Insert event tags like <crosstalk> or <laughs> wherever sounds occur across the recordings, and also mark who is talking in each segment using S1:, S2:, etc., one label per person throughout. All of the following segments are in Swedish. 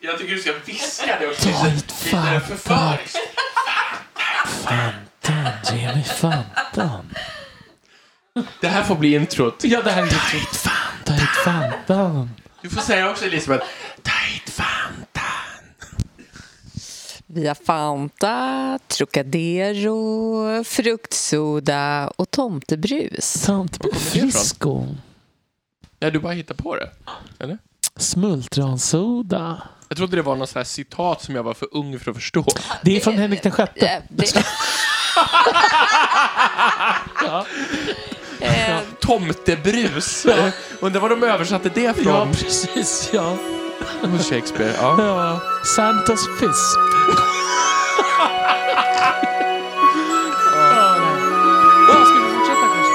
S1: Jag tycker du ska viska det också.
S2: Lite
S1: Det är
S2: fan.
S1: för förföriskt.
S2: Fantan, ge mig Fantan.
S1: Det här får bli introt.
S2: Ja, det här är Tight Fantan. Tight Fantan.
S1: Du får säga också Elisabeth. Tight Fanta.
S3: Via Fanta, Trocadero, fruktsoda och tomtebrus.
S2: Samt
S1: det ifrån?
S2: Frisco.
S1: Ja, du bara hittar på det. Eller?
S2: Smultronsoda.
S1: Jag trodde det var något så här citat som jag var för ung för att förstå.
S2: Det är från Henrik den sjätte.
S3: Eh, det- Eh,
S1: Tomtebrus. Undrar vad de översatte det från.
S2: Ja, precis. Ja.
S1: Shakespeare. Ja.
S2: ja. Santos Fisk.
S1: Ska vi fortsätta kanske?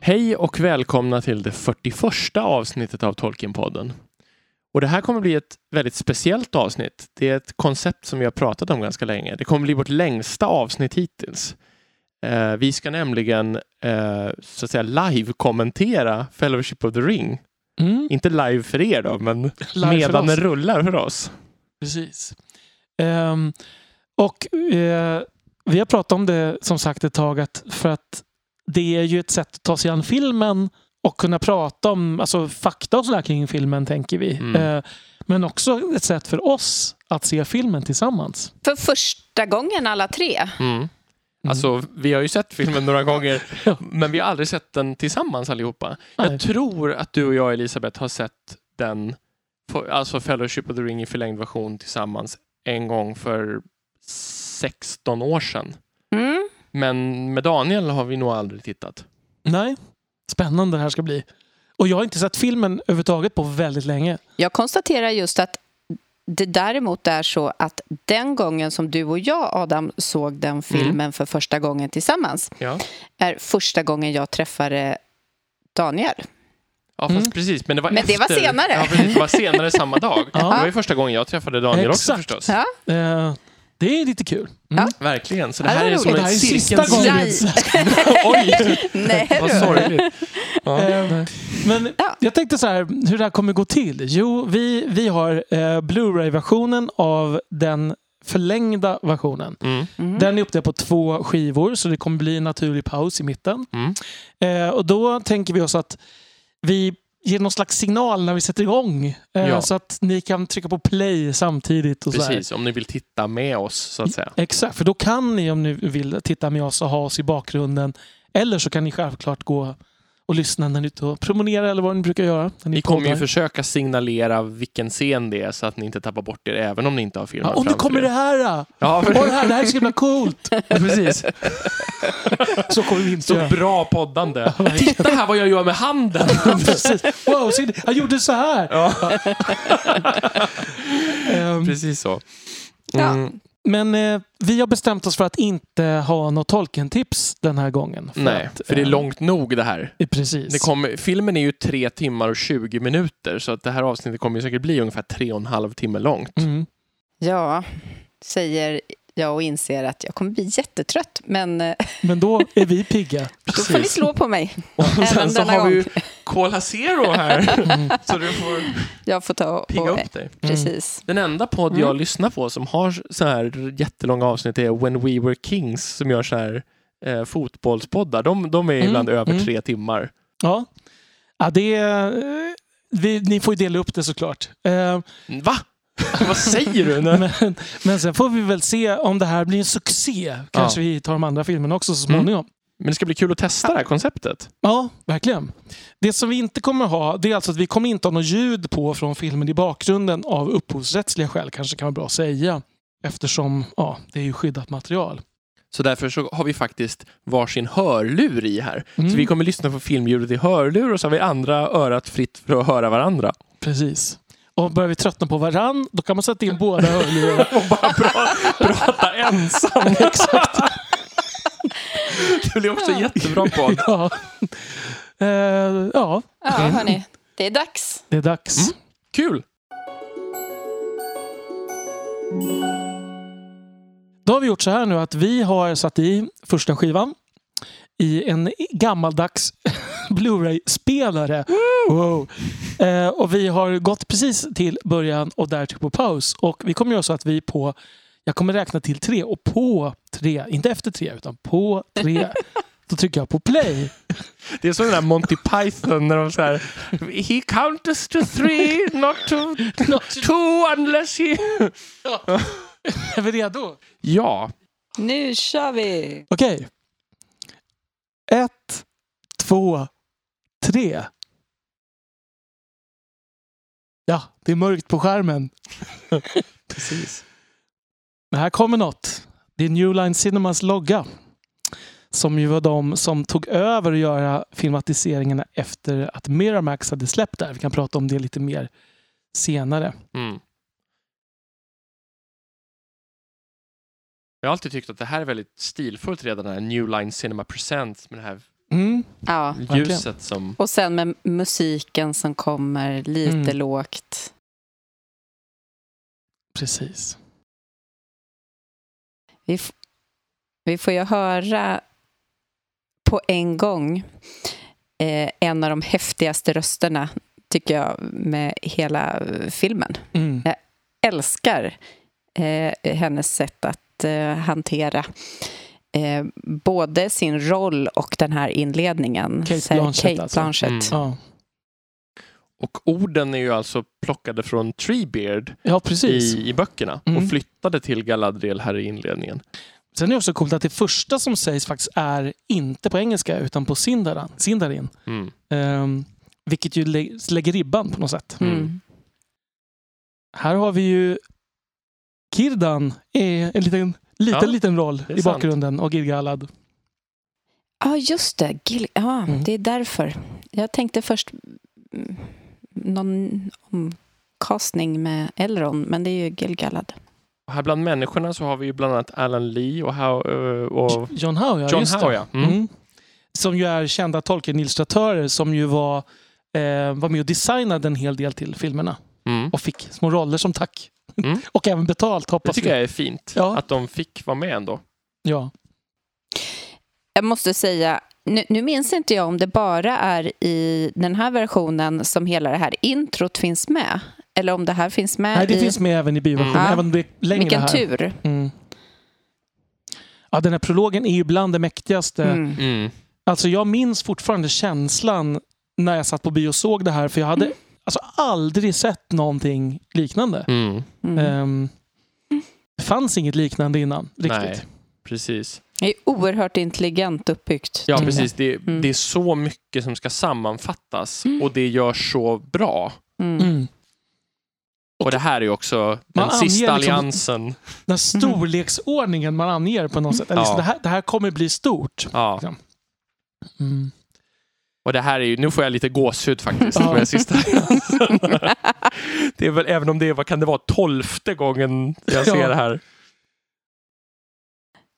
S1: Hej och välkomna till det 41 avsnittet av Tolkienpodden. Och det här kommer bli ett väldigt speciellt avsnitt. Det är ett koncept som vi har pratat om ganska länge. Det kommer bli vårt längsta avsnitt hittills. Eh, vi ska nämligen eh, så att säga live-kommentera Fellowship of the Ring.
S2: Mm.
S1: Inte <laughs> live för er då, men
S2: Live för
S1: medan den
S2: oss.
S1: rullar för oss.
S2: Precis. Ehm, och eh, vi har pratat om det som sagt ett tag att för att det är ju ett sätt att ta sig an filmen och kunna prata om alltså, fakta och sådär kring filmen tänker vi.
S1: Mm.
S2: Eh, men också ett sätt för oss att se filmen tillsammans. Mm.
S3: för första gången alla tre.
S1: Mm. Alltså, vi har ju sett filmen några <laughs> gånger,
S2: Ja.
S1: men vi har aldrig sett den tillsammans allihopa.
S2: Nej.
S1: Jag tror att du och jag, Elisabeth, har sett den, alltså Fellowship of the Ring i förlängd version tillsammans en gång för 16 år sedan.
S3: Mm.
S1: Men med Daniel har vi nog aldrig tittat.
S2: Nej, spännande det här ska bli. Och jag har inte sett filmen överhuvudtaget på väldigt länge.
S3: Jag konstaterar just att det däremot är så att den gången som du och jag, Adam, såg den filmen för första gången tillsammans
S1: Ja,
S3: är första gången jag träffade Daniel.
S1: ja fast
S2: Mm.
S1: precis. Men det var,
S3: Men det var
S1: efter-
S3: senare.
S1: Ja, precis, det var senare samma
S3: <laughs>
S1: dag.
S2: Ja.
S1: Det var ju första gången jag träffade Daniel också
S2: Exakt.
S1: förstås.
S3: Ja.
S2: Eh, det är lite kul. Mm.
S1: Verkligen. Så det
S3: Ja, det
S1: här
S3: var
S1: är
S3: roligt.
S1: som
S2: Och det
S1: en
S2: här är sista
S1: cirkelns...
S2: gången.
S3: Nej.
S1: Oj,
S3: Nej,
S1: vad
S3: du.
S1: sorgligt. Ja.
S2: Eh, Men
S3: Ja.
S2: jag tänkte så här, hur det här kommer gå till. Jo, vi, vi har eh, Blu-ray-versionen av den förlängda versionen.
S1: Mm.
S2: Den är uppdelad på två skivor så det kommer bli en naturlig paus i mitten.
S1: Mm.
S2: Eh, och då tänker vi oss att vi ger någon slags signal när vi sätter igång. Eh,
S1: Ja.
S2: Så att ni kan trycka på play samtidigt. Och Så här.
S1: Precis, om ni vill titta med oss så att säga.
S2: Exakt, för då kan ni om ni vill titta med oss och ha oss i bakgrunden. Eller så kan ni självklart gå och lyssna när ni är ute och promenerar eller vad ni brukar göra. När ni
S1: Vi kommer ju
S2: poddar.
S1: försöka signalera vilken scen det är så att ni inte tappar bort er även om ni inte har filmat
S2: ja, Om det
S1: framför
S2: kommer
S1: er.
S2: det här! Då.
S1: Ja,
S2: Åh, det, här det här är så himla coolt!
S1: <laughs> precis.
S2: Så kommer vi inte
S1: Så
S2: <laughs> göra.
S1: bra poddande. Titta här vad jag gör med handen!
S2: Mm. Precis. Wow, se, det- jag gjorde så här! <laughs> Ehm,
S1: Precis så.
S3: Ja.
S2: men eh, vi har bestämt oss för att inte ha något Tolkien-tips den här gången. För
S1: Nej,
S2: att,
S1: för det är
S2: eh,
S1: långt nog det här.
S2: eh, Precis.
S1: Det kommer, filmen är ju tre timmar och 20 minuter så att det här avsnittet kommer ju säkert bli ungefär tre och en halv timme långt.
S2: Mm.
S3: Ja, säger jag och inser att jag kommer bli jättetrött, men eh,
S2: Men då är
S1: <laughs>
S2: vi pigga.
S3: då får ni slå på mig.
S1: Och
S3: Även
S1: sen så
S3: denna
S1: har vi ju
S3: gång. <laughs>
S1: Cola Zero här. <laughs>
S2: Mm.
S1: Så du får
S3: Jag får ta och...
S1: pigga
S3: och
S1: upp dig.
S3: Precis.
S1: Den enda podd
S3: Mm.
S1: jag lyssnar på som har så här jättelånga avsnitt är When We Were Kings som gör så här eh, fotbollspoddar. De, de är
S2: Mm,
S1: ibland över
S2: mm.
S1: tre timmar.
S2: Ja. ja det, eh, vi, ni får ju dela upp det såklart. Eh,
S1: Va? <laughs> Vad säger du? Nej.
S2: men, men sen får vi väl se om det här blir en succé. Kanske vi tar de andra filmerna också så småningom.
S1: Men det ska bli kul att testa det här konceptet.
S2: Ja, verkligen. Det som vi inte kommer ha, det är alltså att vi kommer inte ha något ljud på från filmen i bakgrunden av upphovsrättsliga skäl, kanske kan vara bra att säga. Eftersom ja, det är ju skyddat material.
S1: Så därför så har vi faktiskt varsin hörlur i här.
S2: Mm.
S1: Så vi kommer lyssna på filmljudet i hörlur och så har vi andra örat fritt för att höra varandra. <laughs>
S2: Precis. Och börjar vi tröttna på varann, då kan man sätta in båda <laughs> hörlurarna.
S1: Och bara pra- prata ensam.
S2: Exakt.
S1: Det blir också en jättebra podd.
S2: <laughs> Ja. Eh, ja,
S3: Ja, hörni. Det är dags.
S2: det är dags.
S1: Kul!
S2: Då har vi gjort så här nu att vi har satt i första skivan i en gammaldags <laughs> Blu-ray-spelare. Wow. Eh, och vi har gått precis till början och där på paus. Och vi kommer göra så att vi på, jag kommer räkna till tre och på tre, inte efter tre utan på tre, då trycker jag på play.
S1: Det är som den där Monty Python när de så här... He counters to three, not to two unless he...
S2: Är vi redo?
S1: Ja,
S3: Nu kör vi!
S2: Okej. Ett, två, tre. Ja, det är mörkt på skärmen.
S1: precis.
S2: Men här kommer något. Det är New Line Cinemas logga. Som ju var de som tog över att göra filmatiseringarna efter att Miramax hade släppt där. Vi kan prata om det lite mer senare.
S1: Mm. Jag har alltid tyckt att det här är väldigt stilfullt redan, den här New Line Cinema Presents med det här
S2: Mm.
S3: Ja.
S2: Verkligen.
S1: ljuset som...
S3: Och sen med musiken som kommer lite
S2: Mm.
S3: lågt.
S2: Precis.
S3: Vi, f- vi får ju höra på en gång eh, en av de häftigaste rösterna, tycker jag, med hela eh, filmen.
S2: Mm.
S3: älskar eh, hennes sätt att eh, hantera eh, både sin roll och den här inledningen.
S2: Cate
S3: Så här,
S2: Blanchett
S3: Cate
S2: alltså.
S3: Blanchett.
S1: Mm.
S2: Ja.
S1: Och orden är ju alltså plockade från Treebeard
S2: ja, precis.
S1: i, i böckerna
S2: Mm.
S1: och flyttade till Galadriel här i inledningen.
S2: Sen är det också coolt att det första som sägs faktiskt är inte på engelska utan på Sindarin. Sindarin.
S1: Mm.
S2: Ehm, vilket ju lä- lägger ribban på något sätt.
S1: Mm.
S3: Mm.
S2: Här har vi ju Kirdan i en liten, liten,
S1: Ja,
S2: liten roll
S1: är
S2: i
S1: sant.
S2: bakgrunden och Gilgalad.
S3: Ja, just det. Gil- ja,
S2: Mm.
S3: Det är därför. Jag tänkte först mm, någon omkastning med Elrond, men det är ju Gilgalad.
S1: Och här bland människorna så har vi ju bland annat Alan Lee och, How, eh, och
S2: John Howe, ja.
S1: John
S2: just det.
S1: Howe. Ja. Mm.
S2: Mm. Som ju är kända Tolkien-illustratörer som ju var, eh, var med och designade en hel del till filmerna.
S1: Mm.
S2: Och fick små roller som tack.
S1: Mm.
S2: <laughs> och även betalt
S1: Det
S2: hoppas
S1: tycker jag är fint,
S2: Ja.
S1: att de fick vara med ändå.
S2: Ja.
S3: Jag måste säga, nu, nu minns inte jag om det bara är i den här versionen som hela det här introt finns med. Eller om det här finns med
S2: Nej, det
S3: i...
S2: finns med även i bioversionen.
S3: Mm. Ja.
S2: Även om det är längre
S3: Vilken
S2: här.
S3: tur.
S2: Mm. Ja, den här prologen är ju bland det mäktigaste.
S3: Mm.
S2: Alltså, jag minns fortfarande känslan när jag satt på bio och såg det här. För jag hade
S3: Mm.
S2: alltså, aldrig sett någonting liknande.
S1: Mm.
S3: Mm.
S2: Ehm, det fanns inget liknande innan. Riktigt.
S1: Nej, precis.
S3: Det är oerhört intelligent uppbyggt.
S1: Ja,
S2: Mm.
S1: precis. Det,
S3: Mm.
S1: det är så mycket som ska sammanfattas och det görs så bra.
S3: Mm.
S2: Mm.
S1: Och det här är ju också
S2: Man
S1: den sista
S2: anger liksom-
S1: alliansen.
S2: Den här
S3: Mm.
S2: storleksordningen man anger på något sätt. Eller, så
S1: Ja.
S2: det, här, det här kommer bli stort.
S1: Ja.
S2: Mm.
S1: Och det här är ju, nu får jag lite gåshud faktiskt
S2: Ja.
S1: med sista Det är väl, även om det är, vad kan det vara, tolfte gången jag
S2: Ja.
S1: ser det här.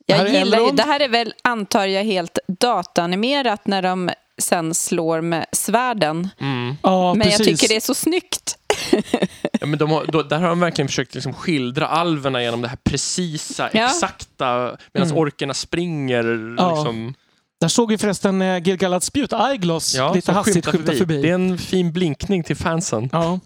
S3: Jag
S2: Här är
S3: gillar ju,
S2: Elrond.
S3: det här är väl, antar jag, helt dataanimerat när de sen slår med svärden.
S1: Mm.
S2: Ja,
S3: Men jag
S2: precis.
S3: tycker det är så snyggt.
S1: Ja, men de har, då, där har de verkligen försökt liksom skildra alverna genom det här precisa,
S3: Ja.
S1: exakta, medan
S2: Mm.
S1: orkerna springer.
S2: Ja.
S1: Liksom,
S2: Där såg vi förresten eh, Gilgalads spjut, Eyegloss,
S1: ja,
S2: lite
S1: som
S2: hastigt skymta förbi.
S1: Det är en fin blinkning till fansen.
S2: Ja.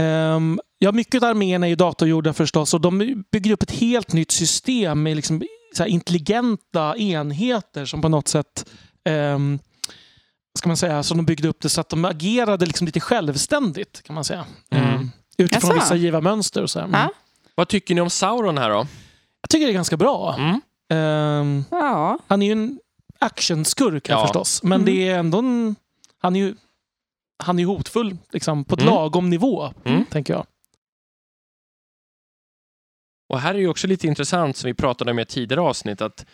S2: Ehm, ja, mycket av arméerna är ju datorgjorda förstås och de bygger upp ett helt nytt system med liksom så här intelligenta enheter som på något sätt ehm, ska man säga, som de byggde upp det så att de agerade liksom lite självständigt kan man säga.
S1: Mm.
S2: Ehm, utifrån
S3: Jaså?
S2: vissa givna mönster och så här. Men
S3: Ja.
S1: Vad tycker ni om Sauron här då?
S2: Jag tycker det är ganska bra.
S1: Mm.
S2: Ehm,
S3: Ja.
S2: Han är ju en actionskurk här
S1: Ja.
S2: förstås. Men
S3: Mm.
S2: det är ändå en, han är ju han är ju hotfull liksom, på ett
S1: Mm.
S2: lagom nivå,
S1: Mm.
S2: tänker jag.
S1: Och här är ju också lite intressant som vi pratade om i ett tidigare avsnitt att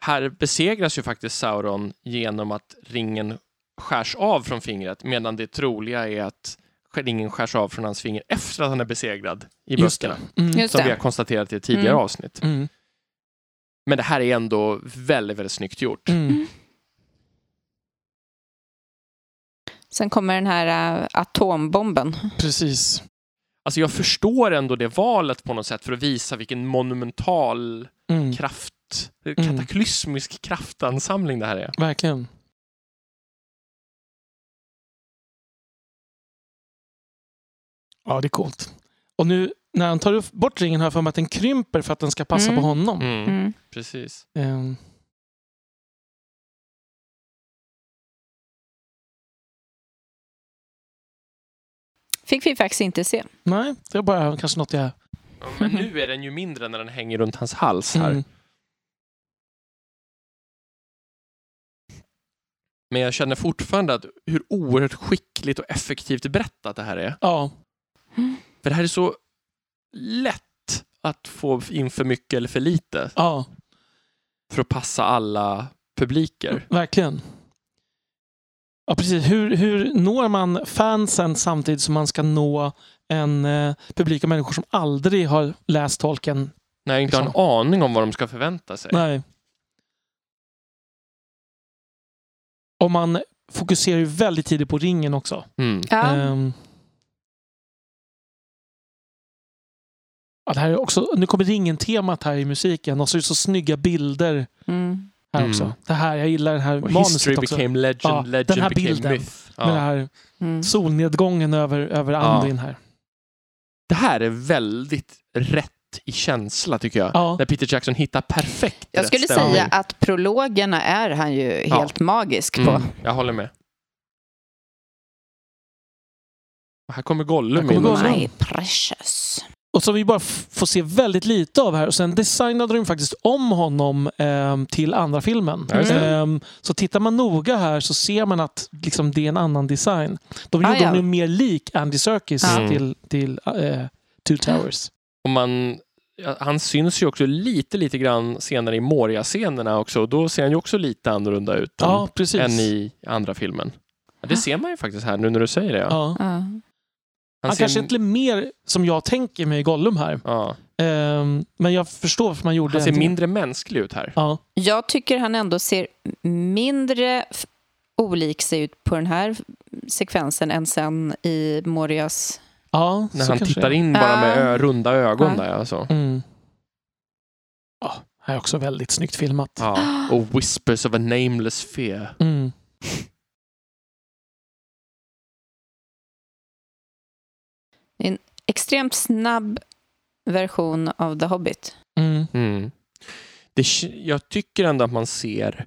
S1: här besegras ju faktiskt Sauron genom att ringen skärs av från fingret medan det troliga är att ringen skärs av från hans finger efter att han är besegrad i
S2: Just
S1: böckerna.
S2: Mm.
S3: Just
S1: Som vi har
S3: det.
S1: konstaterat i ett tidigare
S3: Mm.
S1: avsnitt.
S2: Mm.
S1: Men det här är ändå väldigt, väldigt snyggt gjort.
S2: Mm.
S3: Sen kommer den här äh, eh, atombomben.
S2: Precis.
S1: Alltså jag förstår ändå det valet på något sätt för att visa vilken monumental
S2: Mm,
S1: kraft,
S2: Mm.
S1: kataklysmisk kraftansamling det här är.
S2: verkligen. Ja, det är coolt. Och nu när han tar upp- bort ringen har jag för mig att den krymper för att den ska passa
S3: Mm.
S2: på honom.
S1: Mm,
S3: Mm.
S1: Precis.
S2: Ehm.
S3: Fick vi faktiskt inte se.
S2: nej, det var bara kanske något jag...
S1: Ja, Men nu är den ju mindre när den hänger runt hans hals här.
S2: Mm.
S1: Men jag känner fortfarande att hur oerhört skickligt och effektivt berättat det här är.
S2: Ja,
S1: För det här är så lätt att få in för mycket eller för lite
S2: ja,
S1: för att passa alla
S2: Mm.
S1: publiker.
S2: verkligen. Ja, precis. Hur, hur når man fansen samtidigt som man ska nå en eh, publik av människor som aldrig har läst tolken?
S1: När jag inte har en aning om vad de ska förvänta sig.
S2: Nej. Och man fokuserar ju väldigt tidigt på ringen också.
S1: Mm.
S3: Ja.
S2: Ehm. Ja, det här är också, nu kommer ringen-temat här i musiken och så är det så snygga bilder
S3: Mm.
S2: här
S1: Mm.
S2: också. Det här, jag gillar det här
S1: Och
S2: manuset
S1: History
S2: också.
S1: became legend,
S2: Ja,
S1: legend
S2: den här
S1: became
S2: bilden
S1: myth. Ja.
S2: Med det här
S3: Mm.
S2: solnedgången över, över Andin här.
S1: Det här är väldigt rätt i känsla tycker jag.
S2: Ja.
S1: När Peter Jackson hittar perfekt
S3: Jag
S1: rätt
S3: skulle
S1: stämning.
S3: säga att prologerna är han ju helt magisk på.
S1: Mm, jag håller med. Och här kommer Gollum
S2: Här kommer
S1: in.
S2: Gollum.
S1: också.
S3: My precious.
S2: Och som vi bara f- får se väldigt lite av här. Och sen designade de faktiskt om honom ehm, till andra filmen.
S1: Ja, just det.
S2: Ehm, så tittar man noga här så ser man att liksom, det är en annan design. De
S3: Ah,
S2: gjorde
S3: ja.
S2: honom ju mer lik Andy Serkis
S1: Ja.
S2: till, till eh, Two Towers.
S1: Och man, ja, han syns ju också lite, lite grann senare i Moria-scenerna också. Och då ser han ju också lite annorlunda ut
S2: Ja, precis. Ah.
S1: än, än i andra filmen. Ja, det ser man ju faktiskt här nu när du säger det. Ja.
S2: ja.
S3: Ja.
S2: Han
S1: ser
S2: kanske
S1: en-
S2: inte mer som jag tänker mig Gollum här.
S1: ja.
S2: Ehm, men jag förstår varför man gjorde
S1: Han ser
S2: ändringen.
S1: mindre mänsklig ut här.
S2: Ja,
S3: Jag tycker han ändå ser mindre f- olik sig ut på den här sekvensen än sen i Morias...
S2: ja
S1: När
S2: så
S1: han
S2: kanske
S1: tittar
S2: det är.
S1: in bara med
S3: Ah.
S1: ö, runda ögon
S3: Ah.
S1: där. Alltså.
S2: Mm. Ja, här är också väldigt snyggt filmat.
S1: Ja. Och Whispers of a nameless fear.
S2: Mm.
S3: Extremt snabb version av The Hobbit.
S2: Mm.
S1: Mm. Det, k- jag tycker ändå att man ser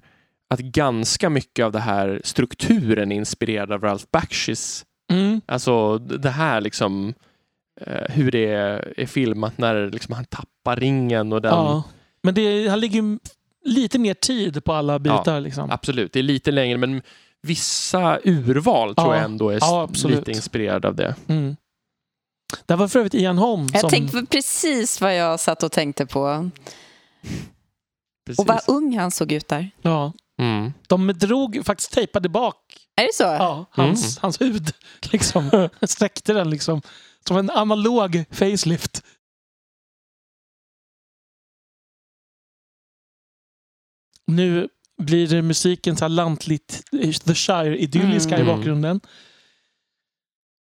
S1: att ganska mycket av det här strukturen är inspirerad av Ralph Bakshis
S2: Mm.
S1: Alltså d- det här liksom eh, hur det är, är filmat när liksom han tappar ringen och den.
S2: Ja. Men det, han ligger ju lite mer tid på alla bitar. Liksom.
S1: Absolut, det är lite längre men vissa urval tror
S2: Ja.
S1: jag ändå är s-
S2: Ja, absolut.
S1: lite inspirerade av det.
S2: Mm. Det här var för övrigt Ian Holm.
S3: Jag
S2: som,
S3: tänkte precis vad jag satt och tänkte på.
S1: Precis.
S3: Och vad ung han såg ut där.
S2: ja,
S1: Mm.
S2: de drog, faktiskt tejpade bak
S3: Är det så?
S2: ja, hans, hans hud. <laughs> Liksom. Sträckte den liksom. Som en analog facelift. Nu blir det musiken så här lantligt, eh, The Shire-idyllisk här i
S1: Mm.
S2: bakgrunden.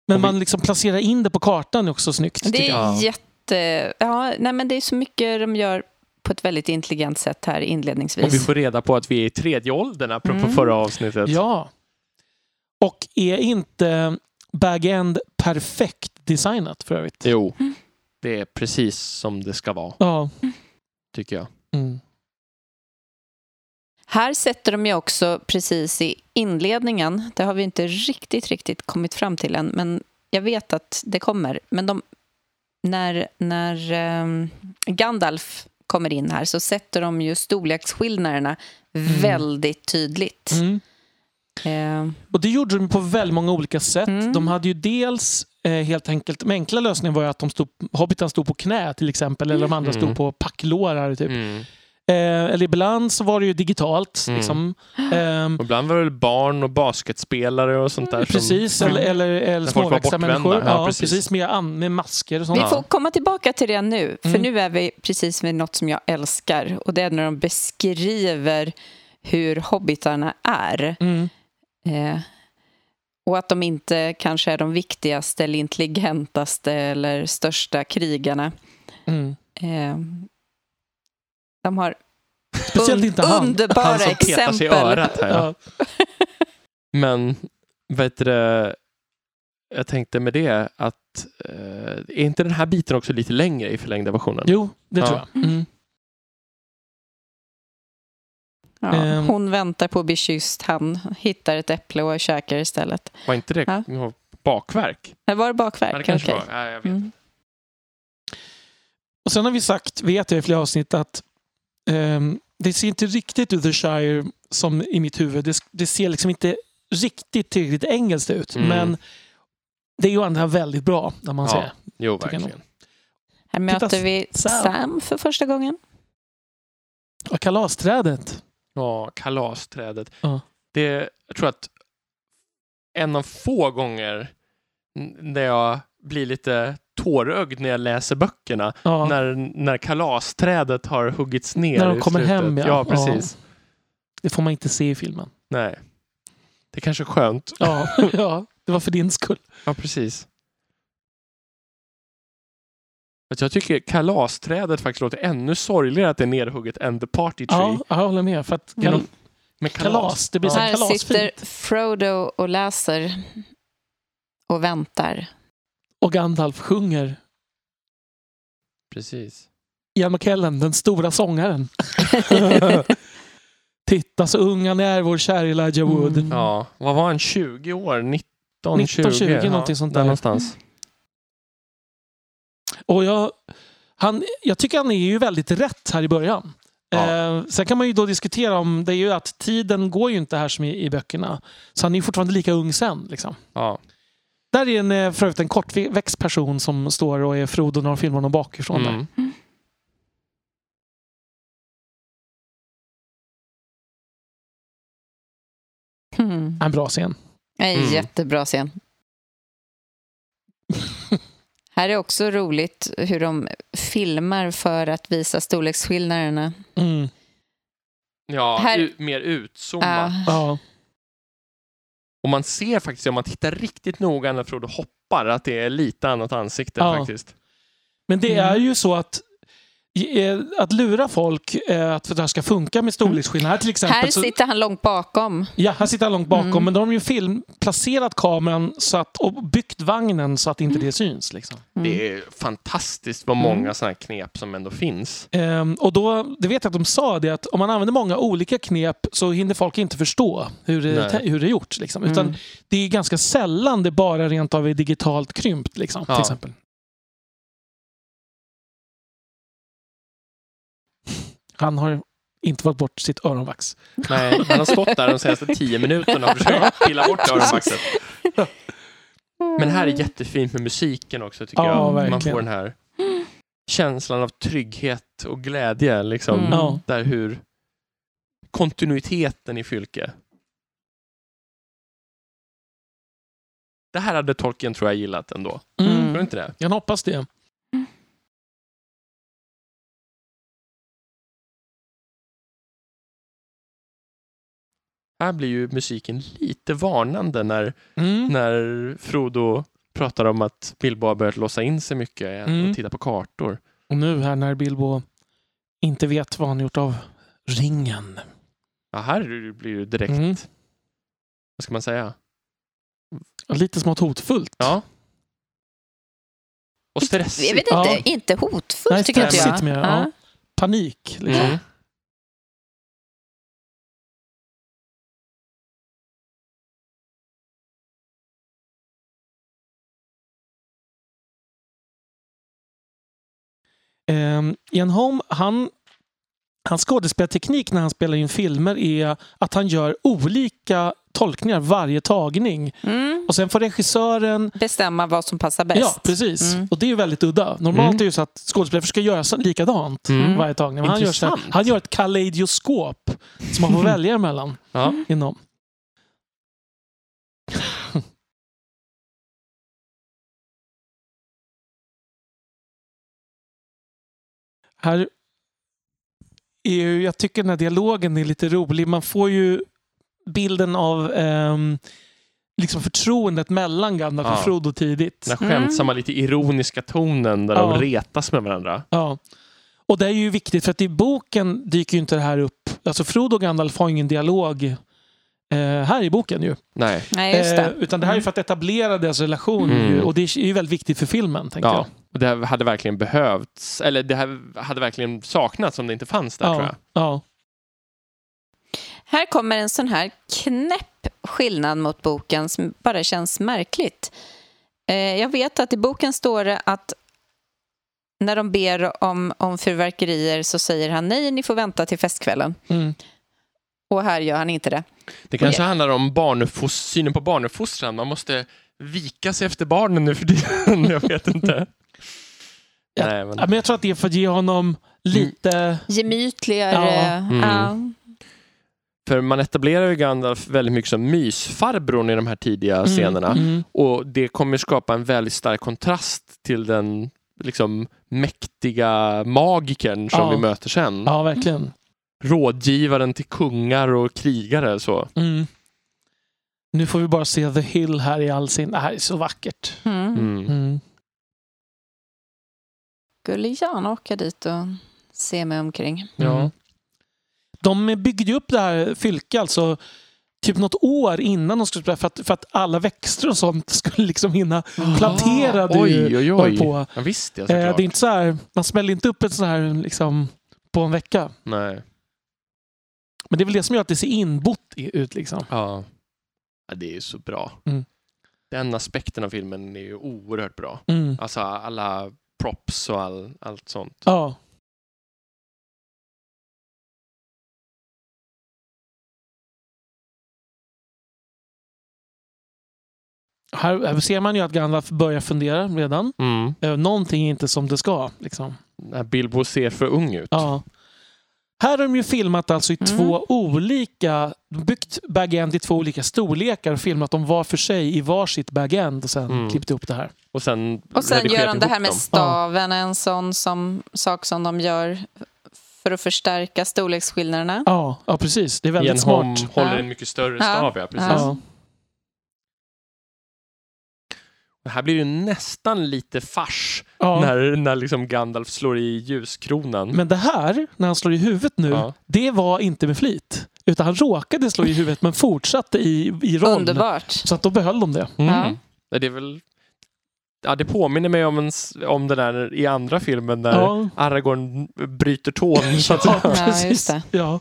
S2: Men
S1: Och vi-
S2: man liksom placerar in det på kartan också snyggt.
S3: Det
S2: tycker jag.
S1: jag.
S3: är jätte... Ja, nej, men det är så mycket de gör på ett väldigt intelligent sätt här
S1: Och vi
S3: inledningsvis.
S1: får reda på att vi är i tredje åldern apropå
S3: Mm.
S1: förra avsnittet.
S2: Ja. Och är inte Bag-End perfekt designat för övrigt?
S1: Jo,
S3: Mm.
S1: det är precis som det ska vara
S2: Ja.
S1: tycker jag.
S2: Mm.
S3: Här sätter de ju också precis i inledningen, det har vi inte riktigt, riktigt kommit fram till än, men jag vet att det kommer. Men de, när, när ehm, Gandalf kommer in här så sätter de ju storleksskillnaderna väldigt tydligt.
S2: Mm.
S3: Eh,
S2: Och det gjorde de på väldigt många olika sätt.
S3: Mm.
S2: De hade ju dels eh, helt enkelt, de enkla lösningen var ju att de stod, hobbiten stod på knä till exempel, eller de andra
S1: Mm.
S2: stod på packlårar. Typ.
S1: Mm.
S2: Eh, eller ibland så var det ju digitalt.
S1: Mm.
S2: Liksom. Ehm,
S1: Och ibland var det väl barn och basketspelare och sånt där.
S2: Mm, precis,
S1: Som... Mm.
S2: eller, eller, eller
S1: folk var
S2: småväxta
S1: bortvända.
S2: människor.
S1: Ja,
S2: Ja,
S1: precis.
S2: precis. med, an- med masker och sånt.
S3: Vi
S1: Ja.
S3: får komma tillbaka till det nu, för
S2: Mm.
S3: nu är vi precis vid något som jag älskar och det är när de beskriver hur hobbitarna är.
S2: Mm.
S3: Eh, Och att de inte kanske är de viktigaste eller intelligentaste eller största krigarna.
S2: Mm.
S3: Eh, De har
S2: Speciellt
S3: un-
S2: inte han.
S3: underbara
S1: Han som petar sig i
S3: exempel.
S1: örat här. Ja.
S2: Ja.
S1: Men vad heter det? Jag tänkte med det att eh, är inte den här biten också lite längre i förlängda versionen?
S2: Jo, det
S1: Ja.
S2: tror jag. Mm.
S3: Ja,
S2: Ehm.
S3: hon väntar på att bli kysst, han hittar ett äpple och käkar istället.
S1: Var inte det
S3: Ja.
S1: ja. bakverk?
S3: Det var det
S1: Ja, det
S3: bakverk?
S1: kanske
S3: Okej.
S1: var. Ja, jag vet.
S3: Mm.
S2: Och sen har vi sagt, vet jag i flera avsnitt, att ehm, det ser inte riktigt ut The Shire som i mitt huvud. Det, det ser liksom inte riktigt tillräckligt engelskt ut.
S1: Mm.
S2: Men det är ju ändå väldigt bra, när man
S1: Ja.
S2: säger.
S1: Jo,
S2: Tycker jag nog.
S1: verkligen.
S3: Här möter
S2: Titta,
S3: vi
S2: Sam.
S3: Sam för första gången.
S2: Och Kalasträdet.
S1: Ja, kalasträdet.
S2: Ja.
S1: Det, jag tror att en av få gånger n- när jag blir lite tårögd när jag läser böckerna,
S2: Ja.
S1: när, när kalasträdet har huggits ner.
S2: När de
S1: i
S2: kommer
S1: slutet.
S2: hem, ja.
S1: ja precis.
S2: Det får man inte se i filmen.
S1: Nej. Det är kanske är skönt.
S2: Ja,
S1: <laughs>
S2: ja det var för din skull.
S1: Ja, precis. Att Jag tycker kalasträdet faktiskt låter ännu sorgligare att det är nedhugget än The Party Tree.
S2: Ja, jag håller med. För att
S1: Kan de-
S2: kal-
S1: Med kalas.
S2: kalas, det blir så
S1: Ja.
S2: här
S3: Här
S2: kalasfint.
S3: sitter Frodo och läser och väntar.
S2: Och Gandalf sjunger
S1: Precis.
S2: Ian McKellen, den
S1: <laughs>
S2: stora sångaren. Titta så ung han är, vår kära Elijah Wood.
S3: Mm.
S1: Ja, vad var han? 20 år? 19,
S2: 19, 20,
S1: ja,
S2: någonting sånt
S1: där.
S2: där. Mm.
S1: någonstans.
S2: Och jag, han, jag tycker han är ju väldigt rätt här i början.
S1: Ja.
S2: Eh, sen kan man ju då diskutera om det är ju att tiden går ju inte här som i, i böckerna. Så han är ju fortfarande lika ung sen. Liksom.
S1: Ja.
S2: Där är en, eh, för övrigt en kortväxt person som står och är Frodo när de filmar honom bakifrån. Där.
S1: Mm.
S3: Mm.
S2: En bra scen.
S3: En
S1: Mm.
S3: jättebra scen. Här är också roligt hur de filmar för att visa storleksskillnaderna.
S2: Mm.
S1: Ja,
S3: Här-
S1: u- mer utzoomat.
S3: Ja.
S2: Ja.
S1: Och man ser faktiskt, om man tittar riktigt noga när Frodo hoppar, att det är lite annat ansikte
S2: Ja.
S1: faktiskt.
S2: Men det
S3: Mm.
S2: är ju så att eh, att lura folk eh, att för att det här ska funka med storleksskillnader. Här till exempel
S3: Här
S2: så-
S3: sitter han långt bakom.
S2: Ja, här sitter han långt bakom.
S3: Mm.
S2: Men då har de ju film, placerat kameran så att, och byggt vagnen så att inte det syns. Liksom.
S3: Mm.
S1: Det är fantastiskt vad
S2: Mm.
S1: många sådana här knep som ändå
S2: <laughs>
S1: finns.
S2: Ehm, och då, det vet jag att de sa det, att om man använder många olika knep så hinner folk inte förstå hur det,
S1: Nej.
S2: hur det är gjort. Liksom. Utan
S3: Mm.
S2: det är ganska sällan det bara rent av är digitalt krympt. Liksom,
S1: Ja.
S2: till exempel. Han har inte fått bort sitt öronvax.
S1: Nej, han har stått där de senaste tio minuterna och försökt
S2: <laughs>
S1: pilla bort öronvaxet.
S3: Mm.
S1: Men här är jättefint med musiken också tycker
S2: Ja,
S1: jag. Man
S2: verkligen.
S1: får den
S2: <gasps>
S1: här känslan av trygghet och glädje. Liksom,
S3: Mm.
S2: Ja.
S1: Där hur kontinuiteten i Fylke. Det här hade Tolkien tror jag gillat ändå.
S2: Mm.
S1: Tror
S3: Mm.
S1: du inte det?
S2: Jag hoppas det.
S1: Här blir ju musiken lite varnande när,
S2: Mm.
S1: när Frodo pratar om att Bilbo har börjat låsa in sig mycket igen
S2: Mm.
S1: och titta på kartor.
S2: Och nu här när Bilbo inte vet vad han gjort av ringen.
S1: Ja, här blir det direkt,
S2: Mm.
S1: vad ska man säga?
S2: Mm. Lite smått hotfullt.
S1: Ja. Och stressigt.
S3: Jag vet inte,
S2: Ja.
S3: inte hotfullt
S2: Nej,
S3: tycker inte jag.
S2: stressigt mer, ja. Panik. Liksom.
S1: Mm.
S2: Ehm, Ian Holm, han, hans skådespelarteknik när han spelar in filmer är att han gör olika tolkningar varje tagning.
S3: Mm.
S2: Och sen får regissören
S3: Bestämma vad som passar bäst.
S2: Ja, precis.
S3: Mm.
S2: Och det är ju väldigt udda. Normalt
S1: Mm.
S2: är det ju så att skådespelare försöker göra så- likadant
S1: Mm.
S2: varje tagning. Men han gör, så här,
S1: Intressant.
S2: han gör ett kaleidoskop
S1: <laughs>
S2: som man får välja emellan.
S1: Ja.
S2: Inom. Här är ju, jag tycker den här dialogen är lite rolig. Man får ju bilden av ehm, liksom förtroendet mellan Gandalf
S1: Ja.
S2: och Frodo tidigt.
S3: Mm.
S1: Den här skämtsamma, lite ironiska tonen där
S2: Ja.
S1: de retas med varandra.
S2: Ja. Och det är ju viktigt för att i boken dyker ju inte det här upp. Alltså Frodo och Gandalf har ingen dialog eh, här i boken ju.
S1: Nej.
S3: Nej, just det. Mm.
S2: Eh, utan det här är ju för att etablera deras relation
S1: Mm.
S2: ju, och det är ju väldigt viktigt för filmen. Tänker
S1: Ja.
S2: jag.
S1: Och det här hade verkligen behövts, eller det här hade verkligen saknats om det inte fanns där
S2: ja,
S1: tror jag.
S2: Ja.
S3: Här kommer en sån här knäpp skillnad mot boken som bara känns märkligt. Eh, Jag vet att i boken står det att när de ber om, om fyrverkerier så säger han nej, ni får vänta till festkvällen.
S2: Mm.
S3: Och här gör han inte det.
S1: Det kanske handlar om barnefos- synen på barnuppfostran. Man måste vika sig efter barnen nu för tiden. <laughs> Jag vet inte.
S2: Ja.
S1: Nej, men...
S2: Ja, men jag tror att det är för att ge honom lite...
S3: Gemytligare.
S2: Ja.
S1: Mm.
S3: Ja.
S1: För man etablerar ju Gandalf väldigt mycket som mysfarbrorn i de här tidiga
S2: Mm,
S1: scenerna.
S2: Mm.
S1: Och det kommer skapa en väldigt stark kontrast till den liksom, mäktiga magikern som
S2: Ja.
S1: vi möter sen.
S2: Ja, verkligen.
S1: Rådgivaren till kungar och krigare. Så.
S2: Mm. Nu får vi bara se The Hill här i all sin... Det här är så vackert.
S3: Mm.
S1: Mm.
S2: Mm.
S3: Skulle gärna åka dit och se mig omkring.
S1: Ja.
S2: Mm. De byggde ju upp det här fylke alltså typ något år innan de skulle spela för att, för att alla växter och sånt <laughs> skulle liksom hinna planterade ju
S1: Oj, oj,
S2: var ju
S1: oj.
S2: på.
S1: Ja, visst ja,
S2: Eh,
S1: såklart.
S2: det är inte så här, man smäller inte upp ett sån här liksom, på en vecka.
S1: Nej.
S2: Men det är väl det som gör att det ser inbott i- ut. Liksom.
S1: Ja. ja, det är ju så bra.
S2: Mm.
S1: Den aspekten av filmen är ju oerhört bra.
S2: Mm.
S1: Alltså alla props och all, allt sånt.
S2: Ja. Här, här ser man ju att Gandalf börjar fundera redan.
S1: Mm.
S2: Eh, Någonting är inte som det ska. Liksom.
S1: När Bilbo ser för ung ut.
S2: Ja. Här har de ju filmat alltså i
S3: Mm.
S2: två olika, byggt bag-end i två olika storlekar och filmat dem var för sig i varsitt bag-end och sen
S1: Mm.
S2: klippt ihop det här.
S1: Och sen,
S3: Och sen
S1: redigerat
S3: gör de det
S1: ihop
S3: här med
S1: dem.
S3: staven, en sån som, sak som de gör för att förstärka storleksskillnaderna.
S2: Ja, ja precis. Det är
S1: Ian
S2: väldigt
S1: Holm
S2: smart.
S1: håller
S3: Ja.
S1: en mycket större
S3: Ja.
S1: stav, ja. Precis.
S2: Ja.
S1: Det Här blir det ju nästan lite fars
S2: Ja.
S1: när, när liksom Gandalf slår i ljuskronan.
S2: Men det här, när han slår i huvudet nu,
S1: Ja.
S2: det var inte med flit. Utan han råkade slå i huvudet men fortsatte i, i roll.
S3: Underbart.
S2: Så att då behöll de det.
S1: Mm. Ja. Det är väl... Ja, det påminner mig om, en, s- om den där i andra filmen där
S2: Ja.
S1: Aragorn bryter tån. Så att,
S2: Ja,
S3: Ja, just
S2: precis.
S3: det.
S2: Ja.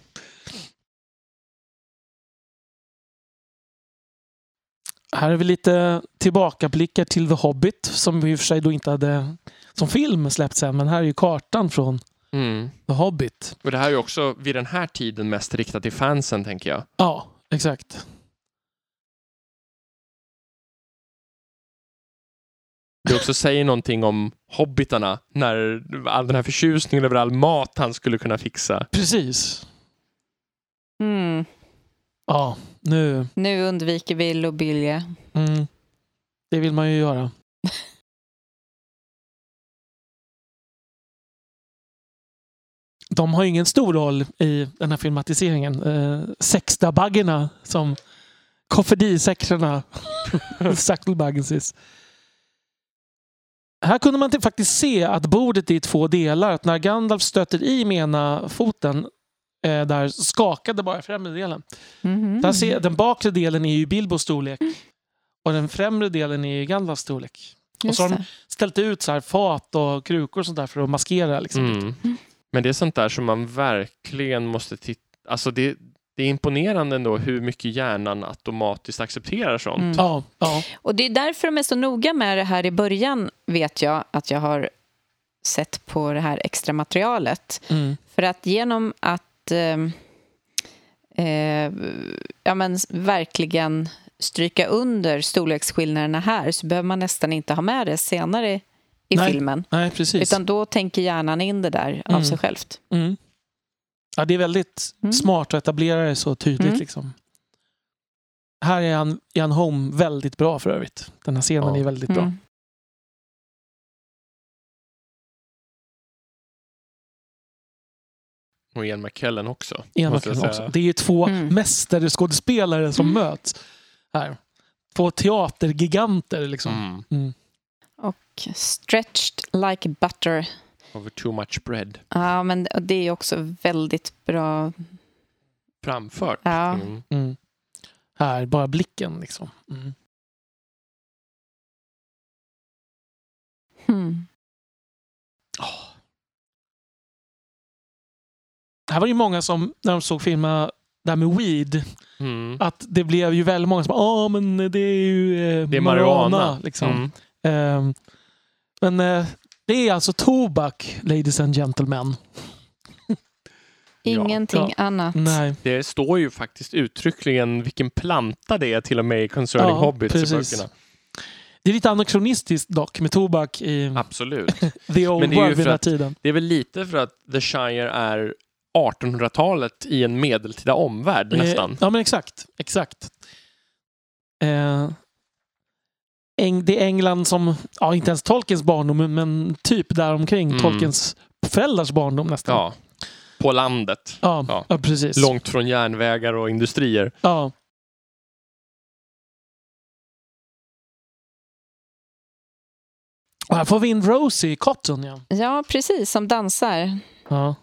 S2: Här är vi lite tillbakablickar till The Hobbit som vi i och för sig då inte hade som film släppts än. Men här är ju kartan från
S1: mm.
S2: The Hobbit.
S1: Och det här är ju också vid den här tiden mest riktat till fansen, tänker jag.
S2: Ja, exakt.
S1: Det också säger någonting om hobbitarna, när all den här förtjusningen över all mat han skulle kunna fixa.
S2: Precis.
S3: Mm.
S2: Ja, nu.
S3: Nu undviker vi lobilje.
S2: Mm. Det vill man ju göra. <laughs> De har ju ingen stor roll i den här filmatiseringen. Eh, Sexdabaggarna som <laughs> kofferdisäckrarna. Sucklebuggensis. Här kunde man till- faktiskt se att bordet är i två delar. Att när Gandalf stöter i med ena foten eh, där skakade bara främre delen.
S3: Mhm.
S2: Där ser, den bakre delen är ju Bilbos storlek
S3: Mm.
S2: och den främre delen är ju Gandalfs storlek. och
S3: Just
S2: så har de-
S3: det.
S2: Ställt ut så här fat och krukor och sånt där för att maskera. Liksom.
S1: Mm. Men det är sånt där som man verkligen måste titta... Alltså det, det är imponerande ändå hur mycket hjärnan automatiskt accepterar sånt.
S3: Mm.
S2: Ja, ja.
S3: Och det är därför de är så noga med det här i början, vet jag att jag har sett på det här extra materialet.
S2: Mm.
S3: För att genom att ehm, eh, ja, men s- verkligen stryka under storleksskillnaderna här så behöver man nästan inte ha med det senare i
S2: Nej,
S3: filmen.
S2: Nej, precis.
S3: Utan då tänker hjärnan in det där av
S2: Mm.
S3: sig självt.
S2: Mm. Ja, det är väldigt
S3: Mm.
S2: smart att etablera det så tydligt.
S3: Mm.
S2: Liksom. Här är han, Jan Holm väldigt bra för övrigt. Den här scenen
S1: Ja.
S2: är väldigt bra.
S3: Mm.
S1: Och Ian McKellen också.
S2: Ena
S1: måste jag
S2: killen
S1: säga.
S2: också. Det är ju två
S3: Mm.
S2: mästerskådespelare som möts här. Två teatergiganter liksom.
S1: Mm.
S2: Mm.
S3: Och Stretched like butter.
S1: Over too much bread.
S3: Ja, men det är ju också väldigt bra.
S1: Framfört.
S3: Ja.
S1: Mm.
S2: Mm. Här, bara blicken liksom. Mm.
S3: Hmm.
S2: Här var det ju många som, när de såg filmen där med weed,
S1: Mm.
S2: att det blev ju väldigt många som ja men det är ju eh,
S1: Det är marijuana.
S2: liksom.
S1: Mm.
S2: Ehm, men eh, det är alltså tobak, ladies and gentlemen.
S1: Ja.
S3: Ingenting annat.
S2: Nej,
S1: Det står ju faktiskt uttryckligen vilken planta det är till och med i Concerning
S2: Ja,
S1: Hobbits
S2: precis.
S1: i böckerna.
S2: det är lite anakronistiskt dock med tobak i
S1: Absolut.
S2: the old
S1: men det är ju
S2: world vid den
S1: för
S2: här
S1: att-
S2: tiden.
S1: Det är väl lite för att The Shire är 1800-talet i en medeltida omvärld nästan.
S2: Eh, ja, men exakt. exakt. Eh, Eng, det är England som, ja inte ens Tolkiens barndom, men typ däromkring
S1: Mm.
S2: Tolkiens föräldrars barndom nästan.
S1: Ja. På landet.
S2: ja,
S1: Ja.
S2: ja, precis.
S1: Långt från järnvägar och industrier.
S2: Ja. Och här får vi in Rosie Cotton ja.
S3: Ja, precis. Som dansar.
S2: ja.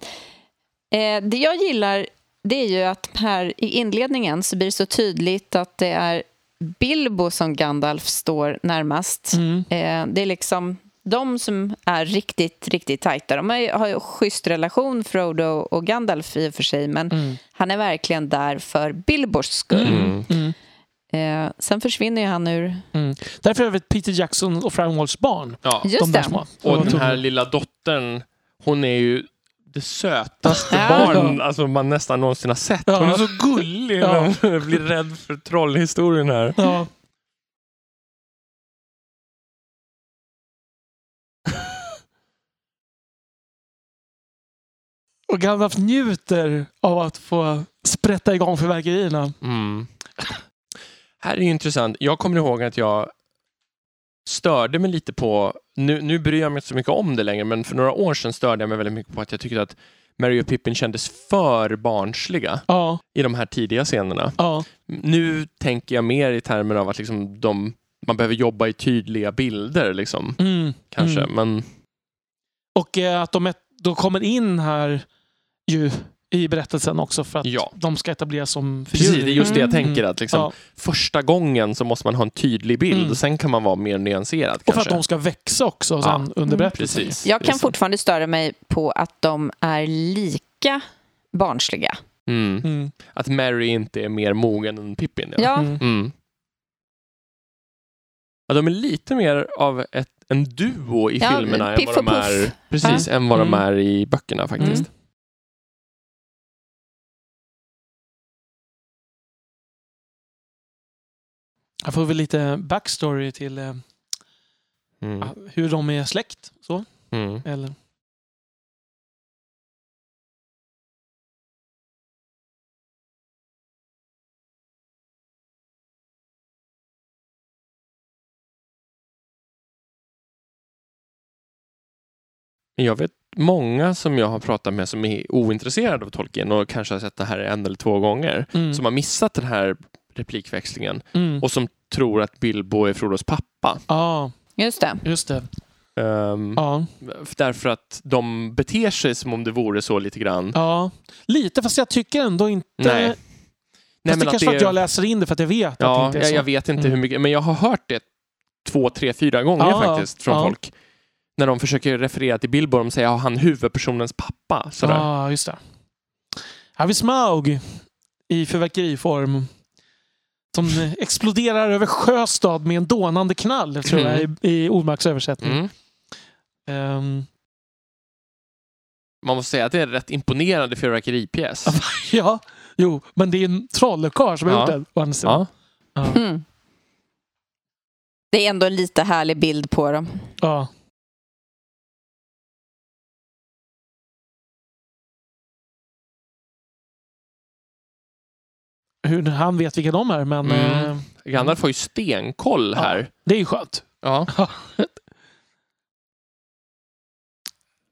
S3: Eh, det jag gillar det är ju att här i inledningen så blir det så tydligt att det är Bilbo som Gandalf står närmast.
S2: Mm.
S3: Eh, det är liksom de som är riktigt, riktigt tajta. De har ju, har ju schysst relation, Frodo och Gandalf i och för sig, men
S2: Mm.
S3: han är verkligen där för Bilbos skull.
S1: Mm.
S2: Mm.
S3: Eh, sen försvinner ju han ur...
S2: Därför är det Peter Jackson och Fran Walls barn.
S1: Ja.
S2: de
S3: Just
S2: där
S3: det.
S2: små.
S1: Och
S2: Vad
S1: den
S2: tror
S1: här
S2: du?
S1: lilla dottern, hon är ju det sötaste
S3: Ja.
S1: barn alltså, man nästan någonsin har sett.
S2: Ja.
S1: Hon är så gullig
S2: Ja.
S1: när hon <laughs> blir rädd för trollhistorien här.
S2: Ja. Och Gandalf njuter av att få sprätta igång fyrverkerierna.
S1: Mm. Här är ju intressant. Jag kommer ihåg att jag störde mig lite på, nu, nu bryr jag mig inte så mycket om det längre, men för några år sedan störde jag mig väldigt mycket på att jag tyckte att Mary och Pippin kändes för barnsliga
S2: Ja,
S1: i de här tidiga scenerna.
S2: ja,
S1: Nu tänker jag mer i termer av att liksom de, man behöver jobba i tydliga bilder, liksom,
S2: mm,
S1: kanske.
S2: Mm.
S1: Men
S2: Och eh, att de, ett, de kommer in här ju i berättelsen också för att
S1: Ja.
S2: de ska etableras som
S1: precis, det är just det jag
S2: Mm.
S1: tänker. att liksom,
S2: Ja.
S1: Första gången så måste man ha en tydlig bild
S2: Mm.
S1: och sen kan man vara mer nyanserad.
S2: Och för att
S1: Kanske.
S2: de ska växa också
S1: Ja.
S2: sen under
S3: Mm.
S2: berättelsen.
S1: Precis.
S3: Jag kan
S1: Precis.
S3: fortfarande störa mig på att de är lika barnsliga.
S1: Mm.
S2: Mm.
S1: att Mary inte är mer mogen än Pippin. Ja.
S3: Ja,
S2: Mm.
S1: Mm. Ja, de är lite mer av ett, en duo i
S3: Ja,
S1: filmerna än
S3: Piff
S1: vad, de
S3: och
S1: är,
S3: Puff.
S1: precis, än vad de
S2: Mm.
S1: är i böckerna faktiskt.
S2: Mm. Här får vi lite backstory till eh,
S1: Mm.
S2: Ah, hur de är släkt. Så,
S1: Mm.
S2: eller?
S1: Men Jag vet många som jag har pratat med som är ointresserade av Tolkien och kanske har sett det här en eller två gånger
S2: Mm.
S1: som har missat den här replikväxlingen
S2: Mm.
S1: och som tror att Bilbo är Frodos pappa.
S2: Ja,
S3: just det.
S2: just
S1: Mm.
S2: det.
S1: Ehm,
S2: Ja.
S1: Därför att de beter sig som om det vore så lite grann.
S2: ja, lite. Fast jag tycker ändå inte...
S1: Nej.
S2: fast det kanske är för att jag läser in det för att jag vet att det
S1: Ja,
S2: inte är
S1: jag,
S2: så.
S1: jag vet inte
S2: Mm.
S1: hur mycket, men jag har hört det två, tre, fyra gånger
S2: Ja, ja,
S1: faktiskt från
S2: ja.
S1: folk. När de försöker referera till Bilbo, de säger "Ja, han huvudpersonens pappa. Sådär.
S2: Ja, just det. Här har vi Smaug i fyrverkeriform. Som eh, exploderar över Sjöstad med en dånande knall, tror jag, i, i Ormarks översättning.
S1: Mm.
S2: Ehm,
S1: Man måste säga att det är en rätt imponerande fyrverkeripjäs.
S2: ja, jo, men det är en trollkarl som har
S1: Ja.
S2: gjort den. å andra sidan.
S1: Ja.
S3: Mm. Det är ändå en lite härlig bild på dem.
S2: Ja. Hur han vet vilka de är, men
S1: Mm.
S2: eh,
S1: Gandalf har ju stenkoll
S2: Ja.
S1: här.
S2: det är ju skönt.
S1: Ja.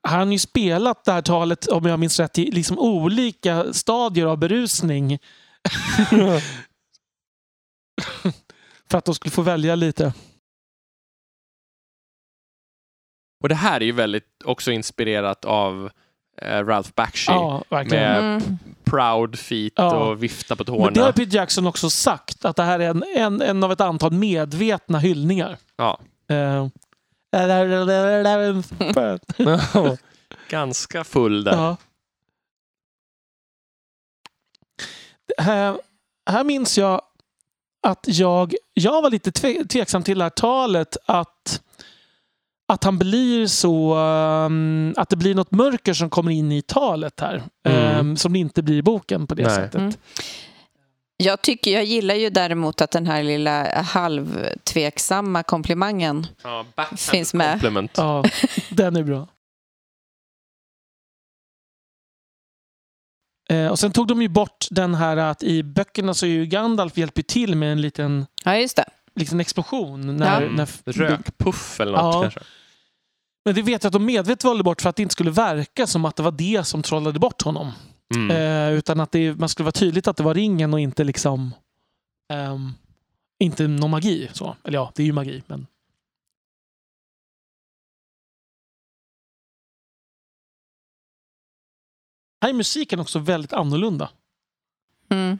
S2: Han har ju spelat det här talet, om jag minns rätt, i liksom
S1: <laughs>
S2: olika stadier av berusning. <laughs> För att de skulle få välja lite.
S1: Och det här är ju väldigt också inspirerat av eh, Ralph Bakshi.
S2: Ja, verkligen.
S1: Med-
S3: Mm.
S1: Proud feet
S2: Ja.
S1: och vifta på
S2: Men det har
S1: tårna.
S2: Peter Jackson också sagt, att det här är en, en, en av ett antal medvetna hyllningar.
S1: Ja.
S2: Eh,
S1: Ganska full där.
S2: <laughs> Ja. Det Här, Eh, här minns jag att jag, jag var lite tve, tveksam till det här talet att, att han blir så... ehm, att det blir något mörker som kommer in i talet här.
S1: Mm.
S2: ehm, som det inte blir i boken på det
S1: Nej.
S2: sättet.
S3: Mm. Jag, tycker, jag gillar ju däremot att den här lilla halvtveksamma komplimangen
S1: Ja, backhand
S3: Finns med.
S1: Compliment.
S2: Ja, den är bra. Eh, och sen tog de ju bort den här att i böckerna så är ju Gandalf hjälper till med en liten,
S3: Ja, just det.
S2: liten explosion. När,
S1: Mm.
S2: när,
S1: Rökpuff eller något
S2: Ja.
S1: kanske.
S2: Men det vet jag att de medvetet valde bort för att det inte skulle verka som att det var det som trollade bort honom.
S1: Mm.
S2: Eh, utan att det, man skulle vara tydligt att det var ringen och inte liksom... ehm, inte någon magi. Så. Eller ja, det är ju magi. Men... Här är musiken också väldigt annorlunda.
S3: Mm.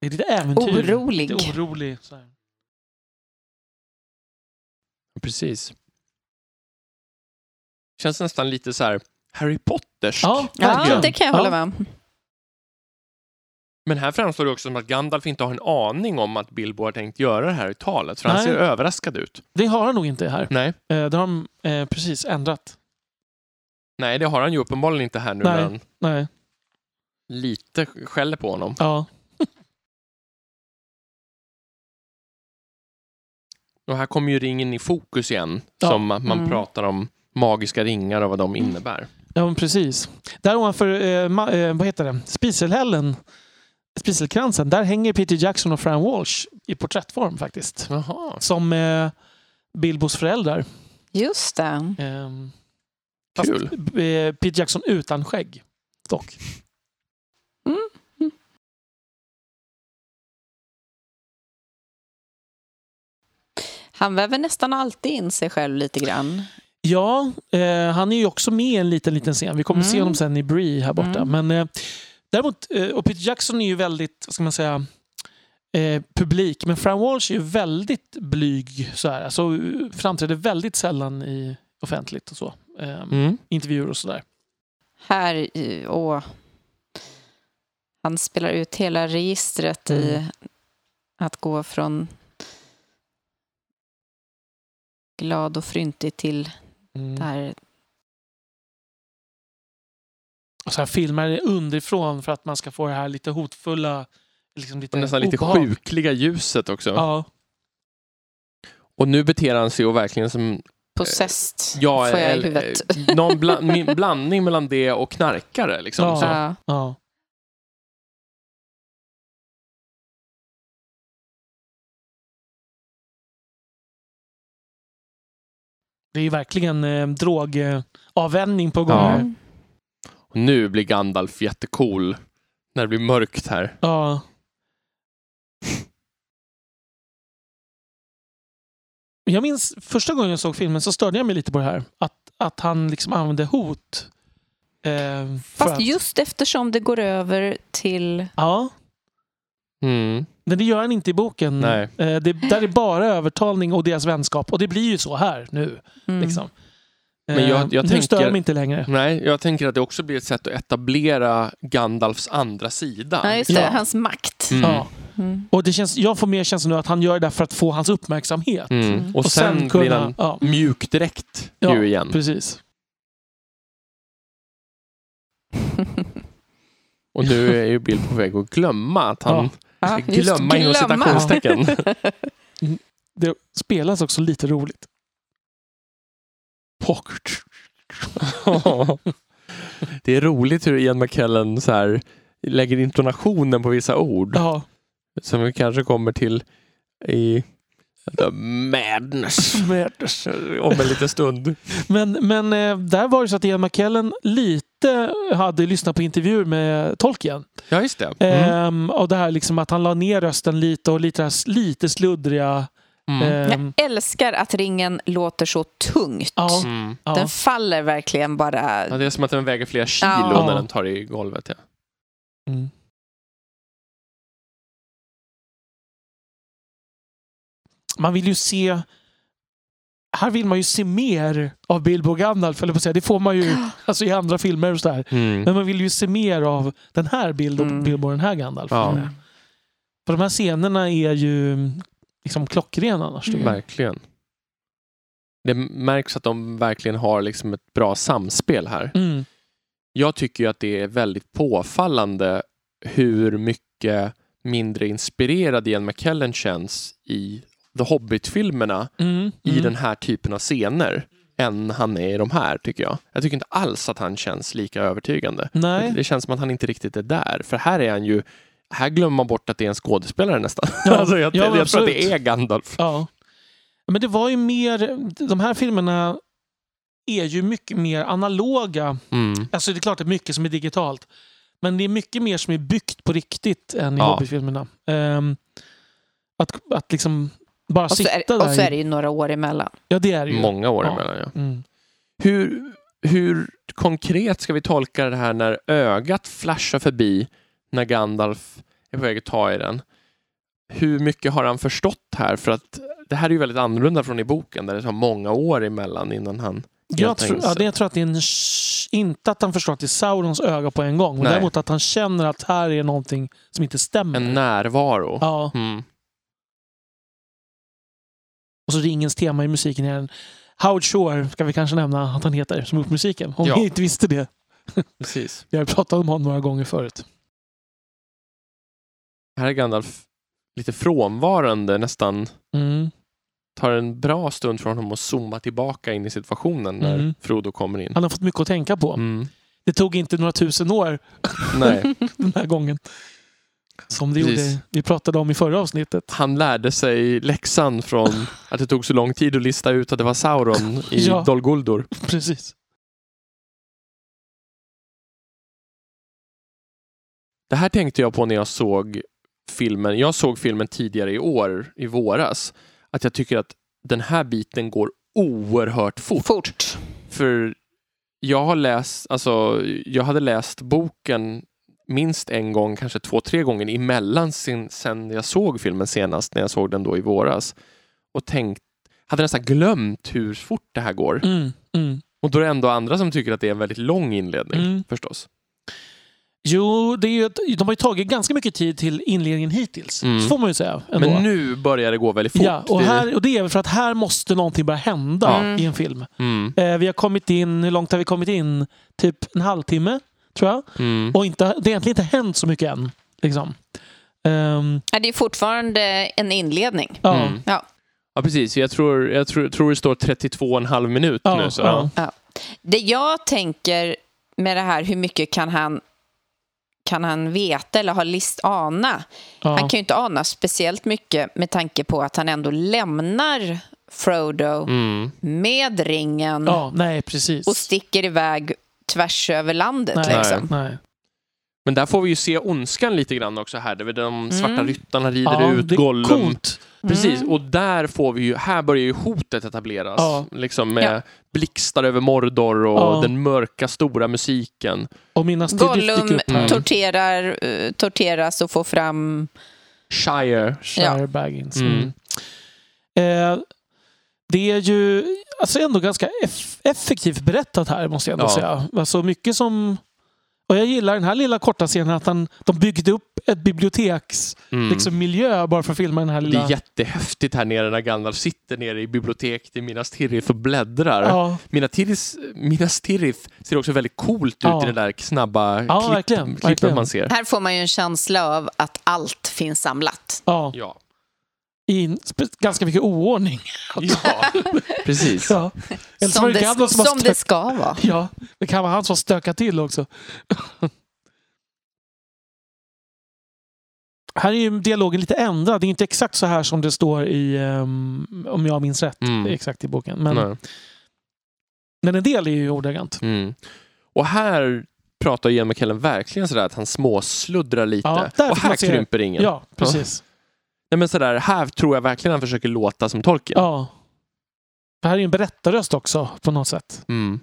S2: Det är lite äventyr.
S3: Orolig.
S2: Lite orolig. Så här.
S1: Precis. Känns nästan lite så här Harry Pottersk.
S2: Ja,
S3: Ja,
S2: verkligen.
S3: det kan jag
S2: Ja.
S3: hålla med om.
S1: Men här framstår det också som att Gandalf inte har en aning om att Bilbo har tänkt göra det här i talet. För han
S2: Nej.
S1: ser överraskad ut.
S2: Det har han nog inte här.
S1: Nej.
S2: Eh, det har de eh, precis ändrat.
S1: Nej, det har han ju uppenbarligen inte här nu
S2: Nej.
S1: när han
S2: Nej,
S1: lite skäller på honom.
S2: ja.
S1: Och här kommer ju ringen i fokus igen.
S2: Ja.
S1: Som att man
S3: Mm.
S1: pratar om magiska ringar och vad de innebär.
S2: Ja, men precis. Där ovanför, eh, ma- eh, vad heter det, spiselhällen, spiselkransen, där hänger Peter Jackson och Fran Walsh i porträttform faktiskt.
S1: Jaha.
S2: Som eh, Bilbos föräldrar.
S3: Just det.
S2: Ehm,
S1: Kul.
S2: Fast, eh, Peter Jackson utan skägg, dock.
S3: Mm. Han väver nästan alltid in sig själv lite grann.
S2: Ja, eh, han är ju också med i en liten, liten scen. Vi kommer
S3: Mm.
S2: se honom sen i Bree här borta.
S3: Mm.
S2: Men eh, däremot, eh, och Peter Jackson är ju väldigt, vad ska man säga, eh, publik. Men Fran Walsh är ju väldigt blyg så här. Alltså eh, framträder väldigt sällan i offentligt och så. Eh,
S1: Mm.
S2: Intervjuer och sådär.
S3: Här, i- åh. Han spelar ut hela registret i att gå från glad och fryntig till det
S2: Mm.
S1: Eh,
S3: här.
S2: Och så här filmar det underifrån för att man ska få det här lite hotfulla, liksom lite
S1: Och nästan lite
S2: obehag.
S1: sjukliga ljuset också.
S2: Ja,
S1: Och nu beter han sig ju verkligen som
S3: Possessed,
S1: ja,
S3: får jag i
S1: eller- eh,
S3: huvudet.
S1: någon bla,
S3: <laughs>
S1: min- blandning mellan det och knarkare. Liksom.
S2: Ja.
S1: Så.
S3: Ja.
S2: ja. Det är ju verkligen eh, drogavvänjning på gång.
S1: Ja.
S2: här.
S3: Mm.
S1: Och nu blir Gandalf jättecool när det blir mörkt här.
S2: Ja. Jag minns första gången jag såg filmen så störde jag mig lite på det här. Att, att han liksom använde hot. Eh, för
S3: Fast
S2: att,
S3: just eftersom det går över till...
S2: Ja,
S1: Mm.
S2: men det gör han inte i boken.
S1: Nej.
S2: Eh, det, där är bara övertalning och deras vänskap. Och det blir ju så här nu.
S3: Mm.
S2: Liksom. Eh,
S1: Men jag- jag
S2: nu
S1: tänker-
S2: stör de inte längre.
S1: Nej, jag tänker att det också blir ett sätt att etablera Gandalfs andra sida.
S3: Ja, just det.
S2: Ja.
S3: Hans makt.
S1: Mm.
S2: Ja.
S3: Mm.
S2: Och det känns, jag får mer känslan nu att han gör det där för att få hans uppmärksamhet.
S1: Mm.
S3: Mm.
S1: Och, sen, blir han
S2: ja,
S1: mjuk direkt
S2: Ja,
S1: ju igen.
S2: precis.
S3: Mm.
S1: Och nu är ju Bill på väg att glömma att han...
S2: Ja.
S3: Ja, just
S1: glömma inom
S3: glömma.
S1: citationstecken.
S2: Det spelas också lite roligt.
S1: Pockert. <laughs> det är roligt hur Ian McKellen så här lägger intonationen på vissa ord.
S2: Ja.
S1: Som vi kanske kommer till i The madness. madness. Om en liten stund.
S2: Men, men eh, där var det så att Ian McKellen lite hade lyssnat på intervjuer med Tolkien.
S1: Ja, just det. Mm.
S2: Ehm, och det här liksom att han la ner rösten lite och lite, det här s- lite sluddriga.
S1: Mm.
S2: ehm,
S3: Jag älskar att ringen låter så tungt.
S2: ja,
S1: Mm.
S2: ja.
S3: Den faller verkligen bara.
S1: Ja, det är som att den väger flera kilo
S3: Ja.
S1: när den tar i golvet. Ja.
S2: Mm. Man vill ju se... Här vill man ju se mer av Bilbo Gandalf, eller på att säga. Det får man ju <laughs> alltså, i andra filmer och sådär.
S1: Mm.
S2: Men man vill ju se mer av den här Bilbo,
S3: Mm.
S2: Bilbo och den här Gandalf.
S1: Ja.
S3: Mm.
S2: För de här scenerna är ju liksom klockrena annars. tycker jag.
S1: Verkligen. Det märks att de verkligen har liksom ett bra samspel här.
S2: Mm.
S1: Jag tycker ju att det är väldigt påfallande hur mycket mindre inspirerad Ian McKellen känns i The Hobbit-filmerna
S2: Mm.
S1: i
S2: Mm.
S1: den här typen av scener än han är i de här, tycker jag. Jag tycker inte alls att han känns lika övertygande.
S2: Nej.
S1: Det känns som att han inte riktigt är där. För här är han ju... Här glömmer man bort att det är en skådespelare nästan. <laughs>
S2: Ja,
S1: alltså jag
S2: ja, men
S1: jag tror att
S2: absolut.
S1: det är Gandalf.
S2: Ja. Men det var ju mer... De här filmerna är ju mycket mer analoga.
S1: Mm.
S2: Alltså det är klart det är mycket som är digitalt. Men det är mycket mer som är byggt på riktigt än i
S1: Ja.
S2: Hobbit-filmerna. Ehm, att, att liksom bara
S3: Och så,
S2: sitta
S3: är,
S2: där.
S3: och så är
S2: i-
S3: det ju några år emellan.
S2: Ja, det är det ju.
S1: Många år
S2: Ja.
S1: emellan, ja.
S2: Mm.
S1: Hur, hur konkret ska vi tolka det här när ögat flashar förbi när Gandalf är på väg att ta i den? Hur mycket har han förstått här? För att det här är ju väldigt annorlunda från i boken där det tar många år emellan innan han...
S2: Jag,
S1: Helt
S2: tror,
S1: enkelt.
S2: ja, det, jag tror att det är en, sh- inte att han förstår att det är Saurons öga på en gång. Men
S1: Nej.
S2: däremot att han känner att här är någonting som inte stämmer.
S1: En närvaro.
S2: Ja.
S1: Mm.
S2: Och så ringens tema i musiken är en Howard Shore, ska vi kanske nämna att han heter, som gjort musiken. Om
S1: Ja.
S2: ni inte visste det.
S1: Precis.
S2: Vi har ju pratat om honom några gånger förut.
S1: Här är Gandalf lite frånvarande, nästan
S2: Mm.
S1: tar en bra stund från honom att zooma tillbaka in i situationen när
S2: Mm.
S1: Frodo kommer in.
S2: Han har fått mycket att tänka på.
S1: Mm.
S2: Det tog inte några tusen år
S1: Nej.
S2: den här gången. Som det
S1: Precis.
S2: gjorde, vi pratade om i
S1: <laughs>
S2: förra avsnittet.
S1: Han lärde sig läxan från att det tog så lång tid att lista ut att det var Sauron i
S2: Ja.
S1: Dol Guldur.
S2: Precis.
S1: Det här tänkte jag på när jag såg filmen. Jag såg filmen tidigare i år, i våras. Att jag tycker att den här biten går oerhört fort.
S3: Fort.
S1: För jag har läst, alltså jag hade läst boken minst en gång, kanske två, tre gånger emellan sin, sen jag såg filmen senast, när jag såg den då i våras. Och tänkt, hade nästan glömt hur fort det här går.
S2: Mm. Mm.
S1: Och då är det ändå andra som tycker att det är en väldigt lång inledning,
S2: Mm.
S1: förstås.
S2: Jo, det är ju, ett- de har ju tagit ganska mycket tid till inledningen hittills.
S1: Mm.
S2: Så får man ju säga. Ändå.
S1: Men nu börjar det gå väldigt fort.
S2: ja, och,
S1: Det-
S2: här, och det är väl för att här måste någonting börja hända
S3: Ja.
S2: i en film.
S1: Mm.
S2: Eh, vi har kommit in, hur långt har vi kommit in? Typ en halvtimme, tror jag.
S1: Mm.
S2: Och inte, det har egentligen inte hänt så mycket än. Liksom. Ehm,
S3: Ja, Det är fortfarande en inledning.
S2: ja.
S1: Mm.
S3: Ja.
S1: Ja, precis. Jag tror, jag tror, tror det står 32,5 minut
S2: Ja,
S1: nu. Så,
S2: ja.
S3: Det jag tänker med det här, hur mycket kan han, kan han veta eller ha list ana?
S2: Ja.
S3: Han kan ju inte ana speciellt mycket med tanke på att han ändå lämnar Frodo
S1: Mm.
S3: med ringen
S2: ja, nej precis.
S3: och sticker iväg tvärs över landet.
S2: nej,
S3: Liksom.
S2: nej.
S1: Men där får vi ju se ondskan lite grann också här. Där de svarta
S3: Mm.
S1: ryttarna rider
S2: ja,
S1: ut
S2: det är
S1: Gollum.
S2: coolt.
S1: Precis,
S3: Mm.
S1: och där får vi ju, här börjar ju hotet etableras.
S2: Ja.
S1: Liksom med
S3: Ja.
S1: blixtar över Mordor och
S2: Ja.
S1: den mörka stora musiken.
S2: Och Minas Tirith dyker
S3: Gollum
S2: upp här.
S3: torterar, eh, torteras och får fram...
S1: Shire.
S2: Shire Baggins.
S1: Mm.
S2: Eh, det är ju alltså ändå ganska eff- effektivt berättat här, måste jag ändå
S1: Ja.
S2: säga. Alltså mycket som... Och jag gillar den här lilla korta scenen att han, de byggde upp ett biblioteks
S1: Mm.
S2: liksom, miljö bara för att filma den här
S1: Det
S2: lilla...
S1: är jättehäftigt här nere när Gandalf sitter nere i biblioteket i Minas Tirith och bläddrar.
S2: ja,
S1: Minas Tirith, Minas Tirith ser också väldigt coolt ut
S2: Ja.
S1: i det där snabba
S2: Ja,
S1: klipp,
S2: verkligen,
S1: klippet
S2: verkligen.
S1: man ser.
S3: Här får man ju en känsla av att allt finns samlat.
S2: ja,
S1: Ja,
S2: i en spe- ganska mycket oordning.
S1: ja. precis.
S2: <laughs> Ja. Eller så var
S3: Som
S2: det
S3: det,
S2: Gandalf som,
S3: som
S2: som
S3: det ska vara.
S2: <laughs> Ja, det kan vara han som har stökat till också. <laughs> Här är ju dialogen lite ändrad. Det är inte exakt så här som det står i, ehm, om jag minns rätt,
S1: Mm.
S2: exakt i boken. Men,
S1: Nej.
S2: men en del är ju ordagrant.
S1: Mm. Och här pratar Ian McKellen verkligen sådär att han småsluddrar lite.
S2: Ja, där
S1: och
S2: får
S1: här
S2: man se det.
S1: krymper ingen.
S2: Ja, precis.
S1: Nej, men sådär, här tror jag verkligen han försöker låta som Tolkien.
S2: Ja. Det här är ju en berättarröst också på något sätt.
S1: Mm.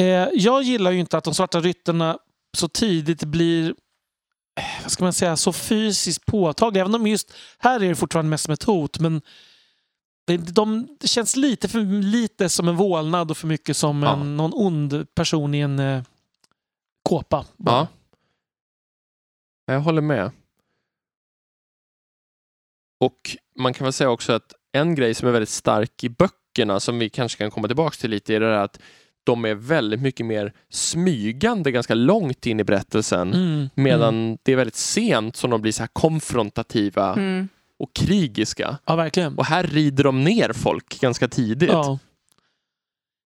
S2: Eh, jag gillar ju inte att de svarta ryttarna så tidigt blir eh, vad ska man säga, så fysiskt påtagliga. Även om just här är det fortfarande mest som ett hot. Men det, de det känns lite för lite som en vålnad och för mycket som
S1: Ja.
S2: en, någon ond person i en eh, kåpa.
S1: Ja. Jag håller med. Och man kan väl säga också att en grej som är väldigt stark i böckerna som vi kanske kan komma tillbaka till lite är det där att de är väldigt mycket mer smygande ganska långt in i berättelsen
S2: Mm,
S1: medan
S2: Mm.
S1: det är väldigt sent som de blir så här konfrontativa
S3: Mm.
S1: och krigiska.
S2: Ja, verkligen.
S1: Och här rider de ner folk ganska tidigt.
S2: Ja.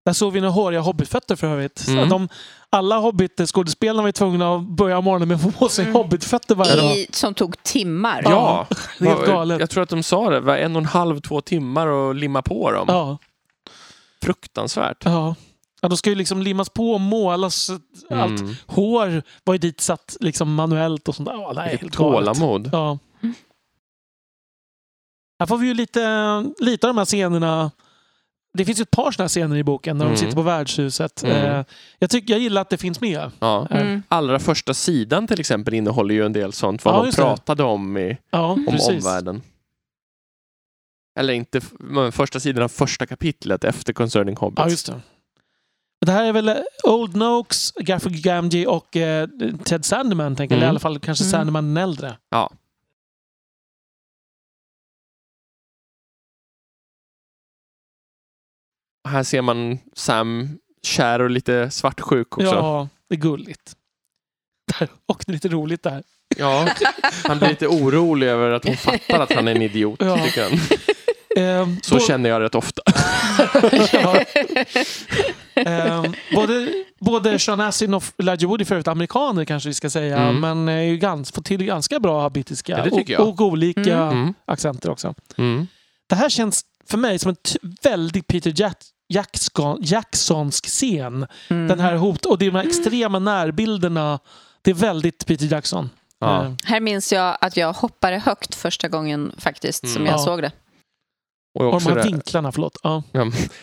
S2: Där såg vi några håriga hobbitfötter för övrigt.
S1: Mm.
S2: Att de, alla hobbitskådespelarna var ju tvungna att börja morgonen med att få på sig
S3: Mm.
S2: hobbitfötter varje dag.
S3: I, som tog timmar.
S1: <laughs> Ja,
S2: Det är helt galet.
S1: jag tror att de sa det, var en och en halv, två timmar och limma på dem.
S2: Ja,
S1: Fruktansvärt.
S2: ja. ja, de ska ju liksom limmas på och målas. Allt
S1: Mm.
S2: hår var ju ditsatt liksom manuellt och sånt där. Ja, det är
S1: Vilket
S2: helt galet.
S1: tålamod.
S2: Ja.
S3: Mm.
S2: Här får vi ju lite, lite av de här scenerna. Det finns ju ett par sådana här scener i boken när
S1: Mm.
S2: de sitter på värdshuset.
S1: Mm.
S2: Eh, Jag, tycker, jag gillar att det finns med.
S1: Ja.
S2: Mm.
S3: Mm.
S1: Allra första sidan till exempel innehåller ju en del sånt, vad
S2: Ja,
S1: de
S2: just det.
S1: pratade om i
S2: Ja,
S1: om
S2: precis.
S1: omvärlden. Eller inte, f- men första sidan av första kapitlet efter Concerning Hobbits.
S2: Ja, just det. Det här är väl eh, Old Noakes, Gafford Gamgee och eh, Ted Sandeman, tänker jag. Eller i
S1: Mm.
S2: alla fall kanske
S3: Mm.
S2: Sandeman den äldre.
S1: Ja. Här ser man Sam kär och lite svartsjuk också.
S2: Ja, det är gulligt. <laughs> Där, och det är lite roligt där.
S1: Ja, <laughs> han blir lite orolig över att hon fattar att han är en idiot.
S2: Ja.
S1: Tycker
S2: <laughs>
S1: han.
S2: Ehm,
S1: Så
S2: bo-
S1: känner jag rätt ofta.
S2: <laughs> ja. Ehm, både, både Sean Astin och Elijah Wood är för övrigt amerikaner kanske vi ska säga.
S1: Mm.
S2: Men är ju gans, får till ganska bra brittiska
S1: Ja, det tycker
S2: och,
S1: jag.
S2: och olika
S1: Mm.
S2: accenter också.
S1: Mm.
S2: Det här känns för mig som en ty- väldigt Peter Jack Jackson- Jacksonsk scen.
S3: Mm.
S2: Den här hot och det är de här extrema närbilderna. Det är väldigt Peter Jackson.
S1: Ja.
S2: Eh,
S3: Här minns jag att jag hoppade högt första gången faktiskt som
S1: Mm.
S3: jag
S2: Ja.
S3: såg det.
S1: Och
S2: Och de
S1: också
S2: här
S1: det,
S2: vinklarna, förlåt. Ja.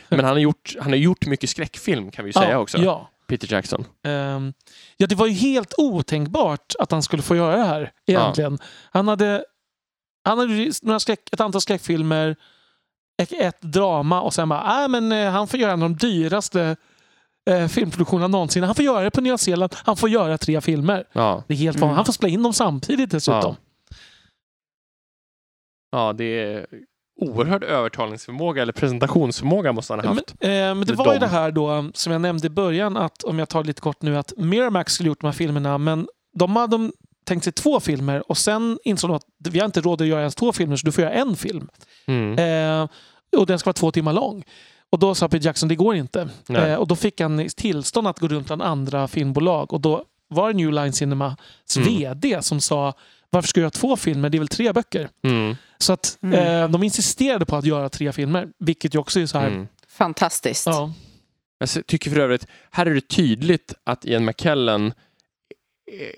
S1: men han har, gjort, han har gjort mycket skräckfilm kan vi ju säga
S2: ja,
S1: också.
S2: Ja.
S1: Peter Jackson.
S2: Ehm, ja, det var ju helt otänkbart att han skulle få göra det här egentligen. Han hade, han hade ju några skräck, ett antal skräckfilmer, ett, ett drama och sen bara, äh, men eh, han får göra en av de dyraste eh, filmproduktionerna någonsin. Han får göra det på Nya Zeeland. Han får göra tre filmer.
S1: Ja.
S2: Det är helt
S3: Mm.
S2: vanligt. Han får spela in dem samtidigt dessutom.
S1: ja, det är oerhörd övertalningsförmåga eller presentationsförmåga måste han ha haft.
S2: Men, eh, men det
S1: Eller
S2: var ju
S1: de.
S2: det här då um, som jag nämnde i början att om jag tar det lite kort nu att Miramax skulle gjort de här filmerna men de hade de tänkt sig två filmer och sen insåg de att vi har inte råd att göra ens två filmer så du får göra en film.
S1: Mm.
S2: Eh, och den ska vara två timmar lång. Och då sa Peter Jackson det går inte.
S1: Nej.
S2: Eh, och då fick han tillstånd att gå runt bland andra filmbolag och då var det New Line Cinemas
S1: Mm.
S2: VD som sa varför ska jag göra två filmer? Det är väl tre böcker?
S1: Mm.
S2: Så att
S3: Mm.
S2: eh, de insisterade på att göra tre filmer, vilket ju också är så här...
S1: Mm.
S3: Fantastiskt.
S2: Ja.
S1: Jag se- tycker för övrigt, här är det tydligt att Ian McKellen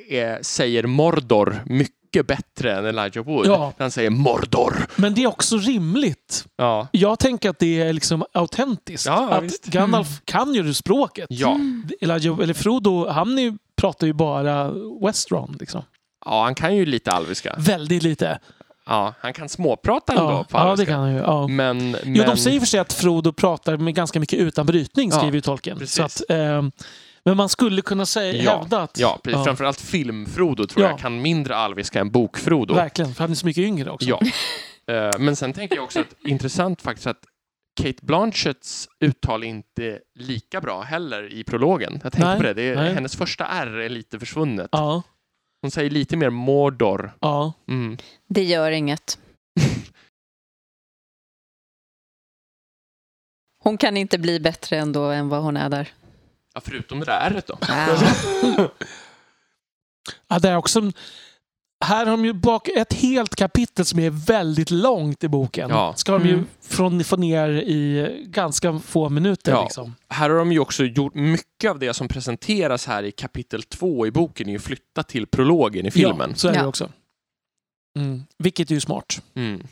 S1: eh, eh, säger Mordor mycket bättre än Elijah Wood.
S2: Ja.
S1: Han säger Mordor.
S2: Men det är också rimligt.
S1: Ja.
S2: Jag tänker att det är liksom autentiskt.
S1: Ja, ja,
S2: att
S1: visst.
S2: Gandalf kan ju det språket.
S1: Ja.
S2: Elijah, eller Frodo, han är ju, pratar ju bara Westron. Liksom.
S1: ja, han kan ju lite alviska.
S2: Väldigt lite.
S1: Ja, han kan småprata ändå
S2: Ja,
S1: på
S2: ja, det
S1: alviska.
S2: kan han ju. Ja.
S1: Men, men...
S2: Jo, de säger i och för sig att Frodo pratar med ganska mycket utan brytning,
S1: Ja,
S2: skriver ju tolken.
S1: precis.
S2: Så att, ehm, men man skulle kunna säga,
S1: Ja,
S2: hävda att...
S1: Ja, precis.
S2: Ja.
S1: Framförallt film-Frodo tror
S2: Ja.
S1: jag kan mindre alviska än bok-Frodo.
S2: Verkligen, för han är så mycket yngre också.
S1: Ja. <laughs> Eh, Men sen tänker jag också att intressant faktiskt att Kate Blanchetts uttal är inte lika bra heller i prologen. Jag tänkte
S2: Nej,
S1: på det. det är,
S2: nej.
S1: hennes första R är lite försvunnet.
S2: Ja,
S1: Hon säger lite mer Mordor.
S2: ja.
S1: Mm. <laughs>
S3: Det gör inget.
S2: <laughs>
S3: Hon kan inte bli bättre ändå än vad hon är där. Äh.
S1: Ja, förutom det där ärret då.
S2: Ja, det är också... en- Här har de ju bak ett helt kapitel som är väldigt långt i boken.
S1: Ja.
S2: Ska de ju
S3: Mm.
S2: från, få ner i ganska få minuter.
S1: Ja.
S2: Liksom.
S1: Här har de ju också gjort mycket av det som presenteras här i kapitel två i boken är ju flyttat till prologen i filmen.
S2: Ja, så är det
S3: Ja.
S2: också. Mm. Vilket är ju smart.
S1: Mm.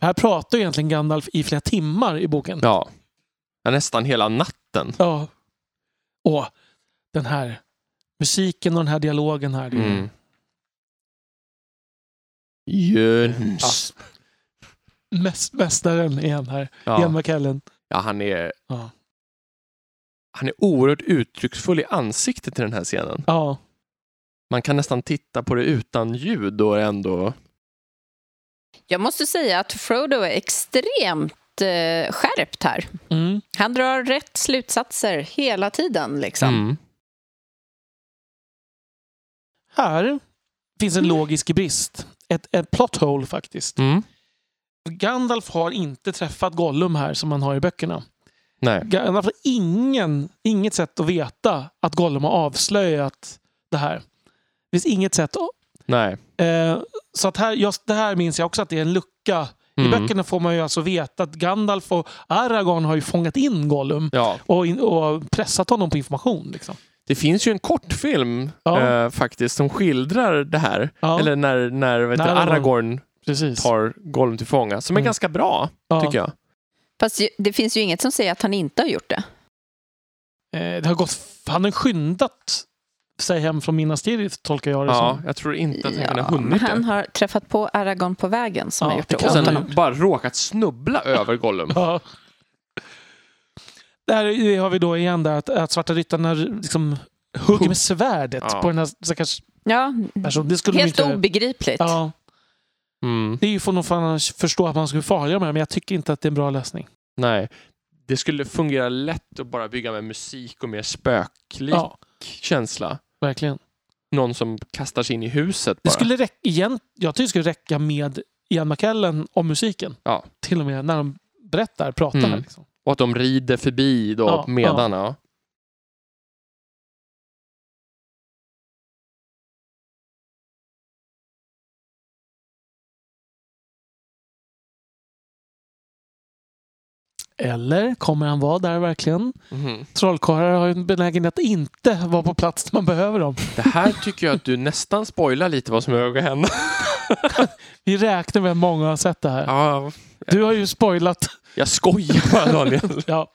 S2: Här pratar ju egentligen Gandalf i flera timmar i boken.
S1: ja. ja nästan hela natten.
S2: Ja. Och den här musiken och den här dialogen här. det är-
S1: Mm. Jöns.
S2: Mäs- Mästaren igen här. Ian
S1: Ja.
S2: McKellen.
S1: ja, han är...
S2: Ja.
S1: Han är oerhört uttrycksfull i ansiktet i den här scenen.
S2: Ja.
S1: Man kan nästan titta på det utan ljud och ändå...
S3: Jag måste säga att Frodo är extremt eh, skärpt här.
S2: Mm.
S3: Han drar rätt slutsatser hela tiden. Liksom.
S1: Mm.
S2: Här finns en logisk brist. Ett, ett plot hole faktiskt.
S1: Mm.
S2: Gandalf har inte träffat Gollum här som man har i böckerna.
S1: Nej.
S2: Gandalf har ingen, inget sätt att veta att Gollum har avslöjat det här. Det finns inget sätt.
S1: Nej.
S2: Eh, så att här, just det här minns jag också att det är en lucka. I
S1: Mm.
S2: böckerna får man ju alltså veta att Gandalf och Aragorn har ju fångat in Gollum
S1: Ja.
S2: och, in, och pressat honom på information. Liksom.
S1: Det finns ju en kortfilm
S2: Ja.
S1: eh, faktiskt som skildrar det här.
S2: Ja,
S1: Eller när, när vet du,
S2: När Aragorn-
S1: Aragorn
S2: precis.
S1: tar Gollum till fånga. Som är
S2: Mm.
S1: ganska bra,
S2: Ja.
S1: tycker jag.
S3: Fast ju- det finns ju inget som säger att han inte har gjort det.
S2: Eh, det har gått, han har skyndat sig hem från Minas Tirith, tolkar jag det
S1: Ja,
S2: som.
S1: jag tror inte att han kan ha
S3: men
S1: hunnit
S3: han
S1: det.
S3: har träffat på Aragorn på vägen som
S2: Ja,
S3: har gjort
S2: det
S3: det
S2: kan
S1: Och
S3: åt
S2: han
S3: honom.
S1: sen bara råkat snubbla över Gollum.
S2: Ja. Där har vi då igen där att, att Svarta Ryttarna liksom hugger med svärdet
S1: Ja.
S2: på den här stackars
S3: Ja,
S2: personen. Det skulle
S3: helt
S2: de inte...
S3: obegripligt.
S2: Ja,
S1: Mm.
S2: det är ju för någon fan förstå att man skulle farliga med det, men jag tycker inte att det är en bra lösning.
S1: Nej. Det skulle fungera lätt att bara bygga med musik och mer spöklik
S2: Ja,
S1: känsla.
S2: verkligen.
S1: Någon som kastar sig in i huset
S2: Det
S1: bara.
S2: skulle räcka, igen, jag tycker det skulle räcka med Ian McKellen om musiken.
S1: Ja.
S2: Till och med när de berättar, pratar.
S1: Mm.
S2: Liksom.
S1: Och att de rider förbi då
S2: Ja,
S1: medan. Ja.
S2: Eller kommer han vara där verkligen?
S1: Mhm.
S2: Trollkarlar har ju en benägenhet att inte vara på plats när man behöver dem.
S1: Det här tycker jag att du nästan spoilar lite vad som är att hända.
S2: Vi räknar med att många har sett det här.
S1: Ja,
S2: Du har ju spoilat.
S1: jag skojar bara Daniel.
S2: Ja,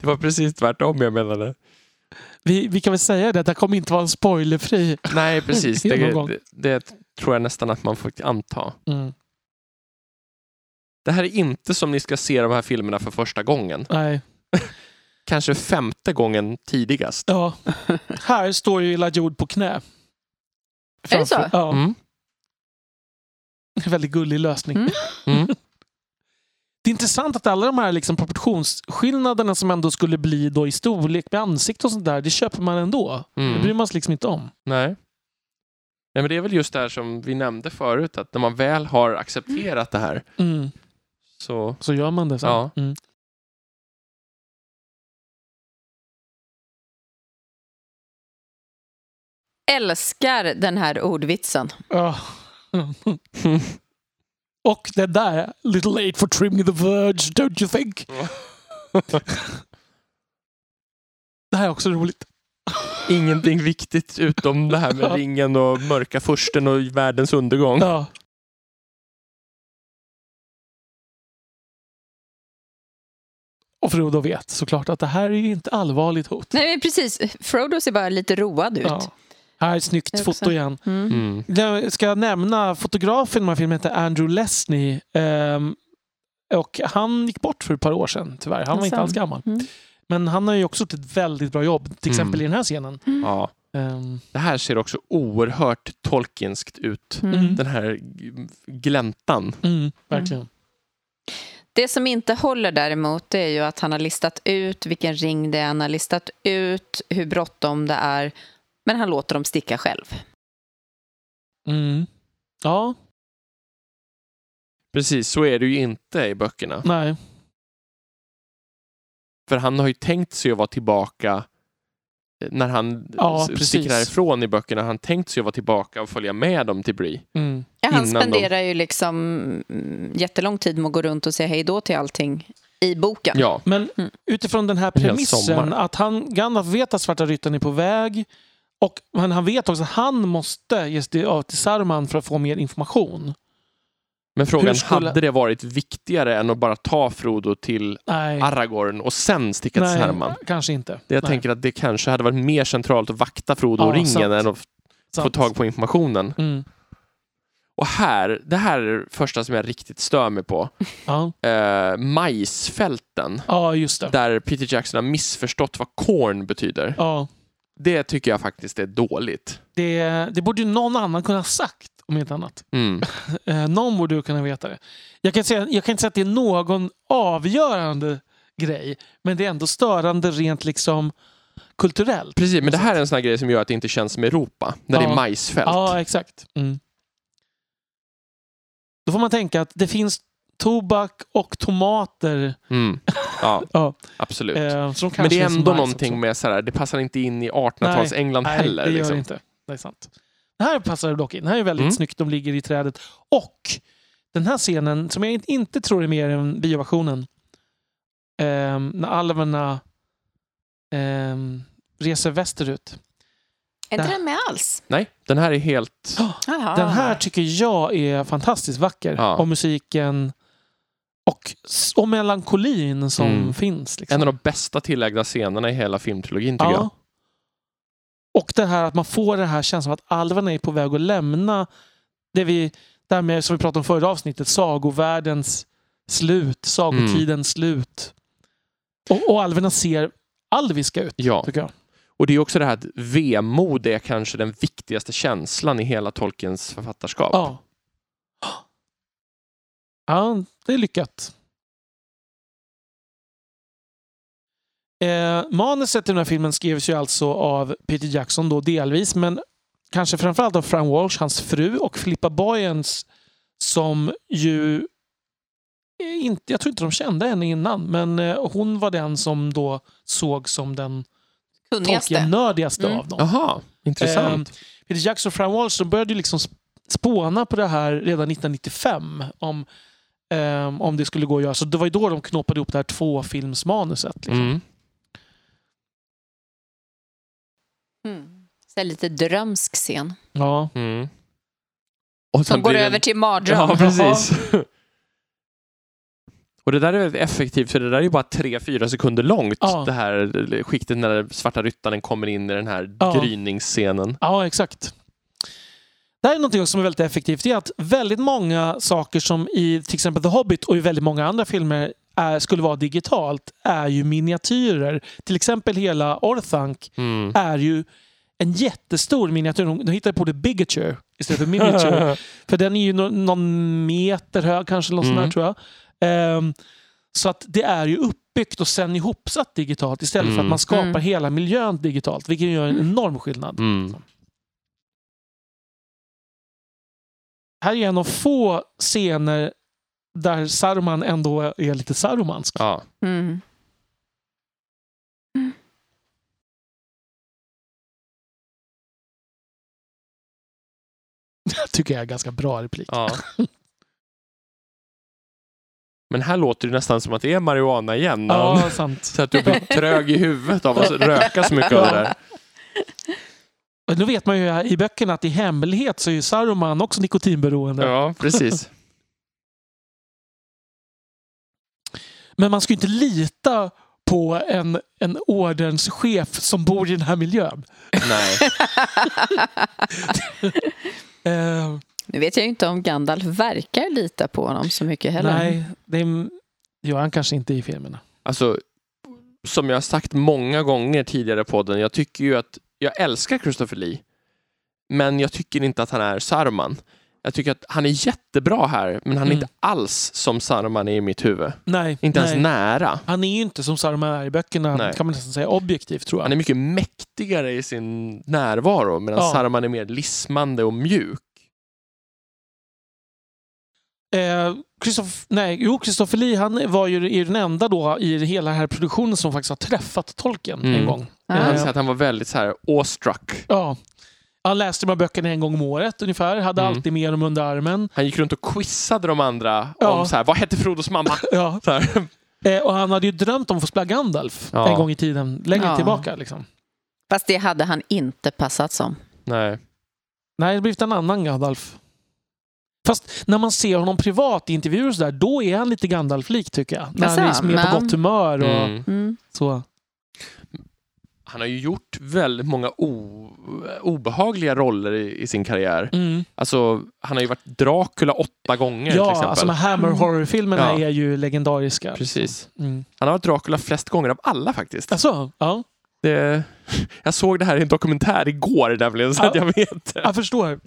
S1: Det var precis tvärtom jag menade.
S2: vi, vi kan väl säga det, det här kommer inte vara en spoilerfri.
S1: Nej, precis. Det,
S2: <laughs> Genomgång.
S1: det, det tror jag nästan att man får anta.
S2: Mm.
S1: Det här är inte som ni ska se de här filmerna för första gången.
S2: Nej.
S1: Kanske femte gången tidigast.
S2: Ja. Här står ju Elijah Wood på knä.
S3: Är det så?
S2: Framför- Ja,
S1: Mm.
S2: en väldigt gullig lösning.
S3: Mm.
S1: Mm.
S2: Det är intressant att alla de här liksom proportionsskillnaderna som ändå skulle bli då i storlek med ansikte och sånt där, det köper man ändå.
S1: Mm.
S2: Det bryr man sig liksom inte om.
S1: Nej. Nej, men det är väl just det här som vi nämnde förut, att när man väl har accepterat det här
S2: Mm.
S1: så...
S2: Så gör man det sen.
S1: Ja.
S2: Mm.
S3: Älskar den här ordvitsen.
S2: Ja. och det där, little late for trimming the verge, don't you think? Det här är också roligt.
S1: Ingenting viktigt utom det här med
S2: <laughs> Ja.
S1: ringen och mörka fursten och världens undergång.
S2: Ja. Och Frodo vet såklart att det här är ju inte allvarligt hot.
S3: Nej, men precis. Frodo ser bara lite road ut.
S2: Ja. Här, snyggt
S3: Det också.
S2: foto igen.
S3: Mm.
S1: Mm.
S2: Jag ska nämna fotografen i den här filmen heter Andrew Lesney. Ehm, och han gick bort för ett par år sedan tyvärr. Han var inte
S3: Asså.
S2: alls gammal.
S3: Mm.
S2: Men han har ju också gjort ett väldigt bra jobb. Till exempel
S1: Mm.
S2: i den här scenen.
S1: Ja.
S2: Ehm,
S1: Det här ser också oerhört tolkinskt ut.
S3: Mm.
S1: Den här g- gläntan.
S2: mm, verkligen.
S3: Det som inte håller däremot det är ju att han har listat ut vilken ring det är, han har listat ut hur bråttom det är, men han låter dem sticka själv.
S2: Mm. Ja,
S1: Precis, så är det ju inte i böckerna.
S2: nej.
S1: För han har ju tänkt sig att vara tillbaka eh, när han
S2: Ja,
S1: ja, sticker
S2: precis.
S1: härifrån i böckerna. Han tänkt sig att vara tillbaka och följa med dem till Bree.
S2: Mm.
S3: Ja, han
S1: innan de-
S3: spenderar ju liksom mm, jättelång tid med att gå runt och säga hej då till allting i boken.
S1: Ja,
S2: Men
S3: Mm.
S2: utifrån den här
S1: En hel
S2: premissen
S1: sommar.
S2: att han, Gandalf vet att Svarta Ryttaren är på väg och men han vet också att han måste ge sig av till Saruman för att få mer information.
S1: men
S2: Hur
S1: frågan,
S2: skulle-
S1: hade det varit viktigare än att bara ta Frodo till
S2: Nej,
S1: Aragorn och sen sticka till Saruman?
S2: kanske inte.
S1: Det jag
S2: Nej,
S1: tänker att det kanske hade varit mer centralt att vakta Frodo
S2: Ja,
S1: och ringen
S2: sant.
S1: än att f- få
S2: sant.
S1: tag på informationen.
S2: Mm.
S1: Och här, det här är det första som jag riktigt stör mig
S2: <laughs>
S1: på.
S2: Ja.
S1: Eh, majsfälten.
S2: ja, just det.
S1: Där Peter Jackson har missförstått vad corn betyder.
S2: Ja.
S1: Det tycker jag faktiskt är dåligt.
S2: Det, det borde ju någon annan kunna ha sagt, om inte annat.
S1: Mm.
S2: Eh, någon borde ju kunna veta det. Jag kan, säga, jag kan inte säga att det är någon avgörande grej, men det är ändå störande rent liksom kulturellt.
S1: Precis, men det här är en sån här grej som gör att det inte känns som Europa. När det
S2: Ja.
S1: är majsfält.
S2: Ja, exakt. Mm. Då får man tänka att det finns tobak och tomater.
S1: Mm. ja
S2: <laughs> Ja,
S1: absolut.
S2: eh, som kanske
S1: men det är
S2: som
S1: ändå
S2: majs
S1: någonting
S2: också.
S1: med så här, det passar inte in i 1800-tals England
S2: Nej,
S1: heller.
S2: det gör
S1: liksom.
S2: det inte. Det är sant. Det här passar det dock in. Det här är väldigt
S1: Mm.
S2: snyggt. De ligger i trädet. Och den här scenen, som jag inte- inte tror är mer än bioversionen, ehm, när alverna ehm, reser västerut.
S3: Är inte
S2: Där.
S3: den med alls?
S1: Nej, den här är
S2: <gasps>
S1: helt...
S3: Jaha.
S2: Den här tycker jag är fantastiskt vacker.
S1: Ah. Ja.
S2: Och musiken och, s- och melankolin som
S1: Mm.
S2: finns. Liksom.
S1: En av de bästa tillägda scenerna i hela filmtrilogin tycker jag.
S2: ja. Och det här att man får den här känslan av att alverna är på väg att lämna det vi, det här med, som vi pratade om förra avsnittet, sagovärldens slut, sagotidens slut. Och, och alverna ser alviska ut,
S1: Ja,
S2: tycker jag.
S1: och det är också det här att vemod är kanske den viktigaste känslan i hela Tolkiens författarskap.
S2: Ja. Ja, det är lyckat. Eh, manuset till den här filmen skrevs ju alltså av Peter Jackson då delvis, men kanske framförallt av Fran Walsh, hans fru, och Filippa Boyens som ju eh, inte, jag tror inte de kände henne innan, men eh, hon var den som då såg som den
S3: Kunnigaste.
S2: Tolkien-nördigaste
S3: Mm.
S2: av dem.
S1: Jaha,
S2: Ehm,
S1: intressant.
S2: Peter Jackson och Fran Walsh de började ju liksom sp- spåna på det här redan 1995 om, ehm, om det skulle gå att göra. Så det var ju då de knåpade ihop det här tvåfilmsmanuset. Liksom.
S1: Mm.
S3: Mm. Så här lite drömsk scen.
S2: Ja.
S1: Mm. Och sen
S3: Som går
S1: blir det-
S3: över till mardröm.
S1: Ja, precis. Och det där är väldigt effektivt för det där är ju bara 3-4 sekunder långt.
S2: Ja.
S1: Det här skiktet när svarta ryttaren kommer in i den här
S2: Ja.
S1: gryningsscenen.
S2: ja, exakt. Det här är något som är väldigt effektivt. Det är att väldigt många saker som i till exempel The Hobbit och i väldigt många andra filmer är, skulle vara digitalt är ju miniatyrer. Till exempel hela Orthanc
S1: Mm.
S2: är ju en jättestor miniatyr. De, de hittade på det bigature istället
S1: <laughs>
S2: för miniature. för den är ju nå- någon meter hög kanske, någon sån här,
S1: Mm.
S2: tror jag. Ehm, så att det är ju uppbyggt och sen ihopsatt digitalt istället för att
S1: Mm.
S2: man skapar
S3: Mm.
S2: hela miljön digitalt, vilket gör en enorm skillnad.
S1: Mm.
S2: Här är en av få scener där Saruman ändå är lite sarumansk.
S1: Ja.
S3: Mm.
S2: tycker jag är ganska bra replik.
S1: ja. Men här låter det nästan som att det är marijuana igen. när han-
S2: Ja, sant.
S1: Så att du blir trög i huvudet av att röka så mycket av det där.
S2: Och Nu vet man ju i böckerna att i hemlighet så är ju Saruman också nikotinberoende.
S1: Ja, precis.
S2: Men man ska ju inte lita på en, en ordenschef som bor i den här miljön.
S1: Nej.
S2: Eh,
S3: Nu vet jag ju inte om Gandalf verkar lita på honom så mycket heller.
S2: nej, det är- gör han kanske inte i filmerna.
S1: Alltså, som jag har sagt många gånger tidigare på podden, jag tycker ju att jag älskar Christopher Lee, men jag tycker inte att han är Saruman. Jag tycker att han är jättebra här, men han är
S2: Mm.
S1: inte alls som Saruman är i mitt huvud.
S2: Nej,
S1: Inte
S2: nej.
S1: ens nära.
S2: Han är ju inte som Saruman är i böckerna,
S1: Nej.
S2: kan man nästan säga, objektivt tror jag.
S1: Han är mycket mäktigare i sin närvaro, medan
S2: Ja.
S1: Saruman är mer lismande och mjuk.
S2: Eh, Christoph, nej, jo, Christopher Lee han var ju är den enda då i hela den här produktionen som faktiskt har träffat Tolkien
S1: Mm.
S2: en gång.
S1: Han
S3: Ja.
S1: sa att han var väldigt så här awestruck.
S2: Ja. Han läste de här böckerna en gång om året ungefär, hade
S1: Mm.
S2: alltid med dem under armen.
S1: Han gick runt och quizade de andra
S2: Ja.
S1: om så här, vad hette Frodos
S2: <laughs>
S1: mamma?
S2: Ja.
S1: Så här.
S2: Eh, och han hade ju drömt om att få spela Gandalf
S1: Ja.
S2: en gång i tiden, längre
S3: Ja.
S2: tillbaka. Liksom.
S3: Fast det hade han inte passat som.
S1: Nej.
S2: Nej, det har blivit en annan Gandalf. Fast när man ser honom privat i intervjuer och sådär, då är han lite Gandalf-lik tycker jag. När han är
S3: Jaså,
S2: liksom mer på
S3: Alltså, men-
S2: gott humör och
S1: Mm.
S3: Mm.
S2: så.
S1: Han har ju gjort väldigt många o- obehagliga roller i, i sin karriär.
S2: Mm.
S1: Alltså, han har ju varit Dracula åtta gånger till
S2: Ja,
S1: exempel.
S2: alltså de här Hammer
S3: Mm.
S2: Horror-filmerna
S1: Ja.
S2: är ju legendariska.
S1: Precis.
S2: Mm.
S1: Han har varit Dracula flest gånger av alla faktiskt.
S2: Alltså, ja.
S1: Det, <laughs> jag såg det här i en dokumentär igår nämligen, så att
S2: Ja.
S1: jag vet.
S2: Jag förstår.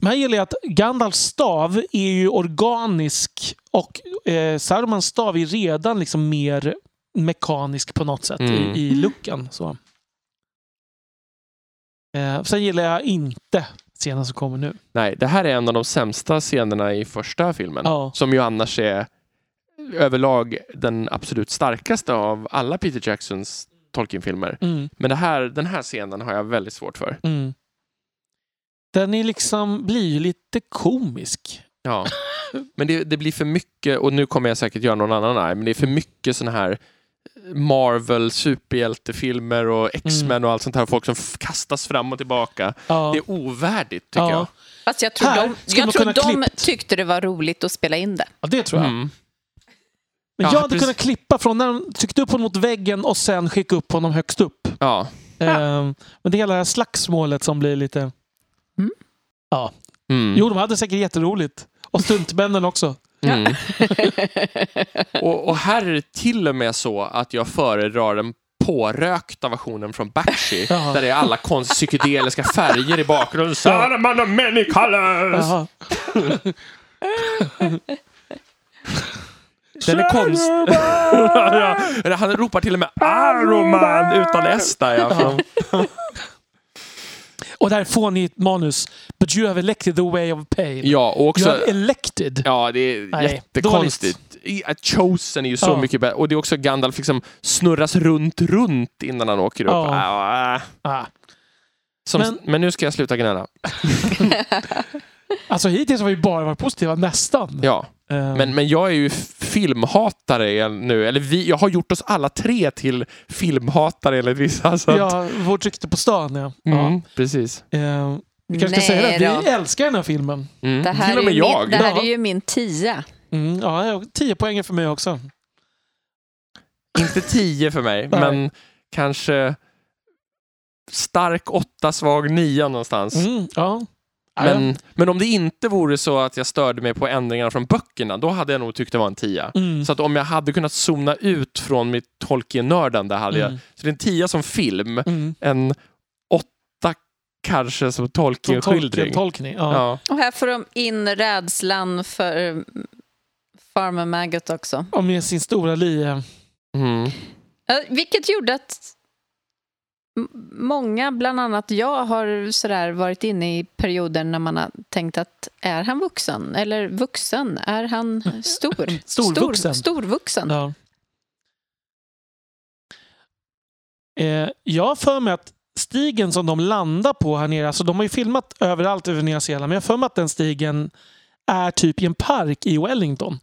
S2: Men här gäller det att Gandalfs stav är ju organisk och eh, Sarumans stav är redan liksom mer mekanisk på något sätt
S1: Mm.
S2: i, i looken. Så. Eh, sen gillar jag inte scenen som kommer nu.
S1: Nej, det här är en av de sämsta scenerna i första filmen.
S2: Ja.
S1: Som ju annars är överlag den absolut starkaste av alla Peter Jacksons Tolkien-filmer.
S2: Mm,
S1: Men det här, den här scenen har jag väldigt svårt för.
S2: mm. Den är liksom, blir ju lite komisk.
S1: Ja. Men det, det blir för mycket, och nu kommer jag säkert göra någon annan arg, men det är för
S2: Mm.
S1: mycket sådana här Marvel, superhjältefilmer och
S2: Mm.
S1: X-Men och allt sånt här. Folk som f- kastas fram och tillbaka.
S2: Ja.
S1: Det är ovärdigt tycker
S2: Ja.
S1: jag.
S3: Fast jag tror
S2: Här
S3: de,
S2: skulle man
S3: jag tror
S2: kunna
S3: de
S2: klippt.
S3: tyckte det var roligt att spela in det.
S2: Ja, det tror jag.
S1: Mm.
S2: Men
S1: Ja,
S2: jag hade
S1: precis.
S2: kunnat klippa från när de tryckte upp honom mot väggen och sen skicka upp honom högst upp.
S1: Ja.
S2: Ehm, men det är hela det här slagsmålet som blir lite...
S1: Mm.
S2: Jo, de hade säkert jätteroligt. Och stuntmännen också. <laughs>
S1: Mm. och, och här är det till och med så att jag föredrar den pårökta versionen från Bakshi
S2: Jaha.
S1: där det är alla konst psykedeliska färger i bakgrunden. Saruman of many colors! <laughs>
S2: Jaha.
S1: Den är konst... Eller Han ropar till och med Aroman utan S där. Ja. Från...
S2: Och där får ni ett manus. But you have elected the way of pain.
S1: ja, och
S2: you
S1: också...
S2: have elected.
S1: Ja, det är
S2: Nej,
S1: jättekonstigt. I- att Chosen är ju så
S2: Ja.
S1: mycket bättre. Och det är också Gandalf liksom snurras runt, runt innan han åker upp.
S2: Ja.
S1: Ah, ah.
S2: Ah.
S1: Som, men...
S2: Men-
S1: nu ska jag sluta gnälla.
S2: Alltså hittills har vi bara varit positiva, nästan.
S1: Ja.
S2: Ehm,
S1: Men, men jag är ju f- filmhatare nu. Eller vi, jag har gjort oss alla tre till filmhatare enligt vissa. Så att,
S2: ja, vårt rykte på stan, ja.
S1: mm,
S2: ja.
S1: Precis.
S2: Ehm, vi kanske ska
S3: Nej
S2: säga det,
S3: då.
S2: vi älskar den här filmen.
S1: Mm.
S3: Det här,
S1: till och med
S3: är, ju
S1: jag.
S3: Min, det här
S2: Ja.
S3: är ju min tia.
S2: Mm, ja, ja, tio poäng för mig också.
S1: Inte tio för mig,
S2: Nej.
S1: men kanske stark åtta, svag nia någonstans.
S2: Mm, ja. Ja,
S1: Men, men om det inte vore så att jag störde mig på ändringarna från böckerna, då hade jag nog tyckt det var en tia.
S2: Mm.
S1: Så att om jag hade kunnat zona ut från mitt Tolkien-nördande hade jag...
S2: Mm.
S1: Så det är en tia som film,
S2: Mm.
S1: en åtta kanske som
S2: Som
S1: Tolkien-skildring.
S2: tolkning. tolkning ja.
S1: Ja.
S3: Och här får de in rädslan för eh, Farmer Maggot också.
S2: Och med sin stora lie. <laughs>
S1: Mm.
S3: Eh, Vilket gjorde att m- många, bland annat jag, har sådär varit inne i perioder när man har tänkt att är han vuxen? Eller vuxen? Är han
S2: <laughs>
S3: stor?
S2: Storvuxen.
S3: Stor, storvuxen.
S2: Ja. Eh, jag har för mig att stigen som de landar på här nere, alltså de har ju filmat överallt över Nya Zeeland, men jag har för mig att den stigen är typ i en park i Wellington.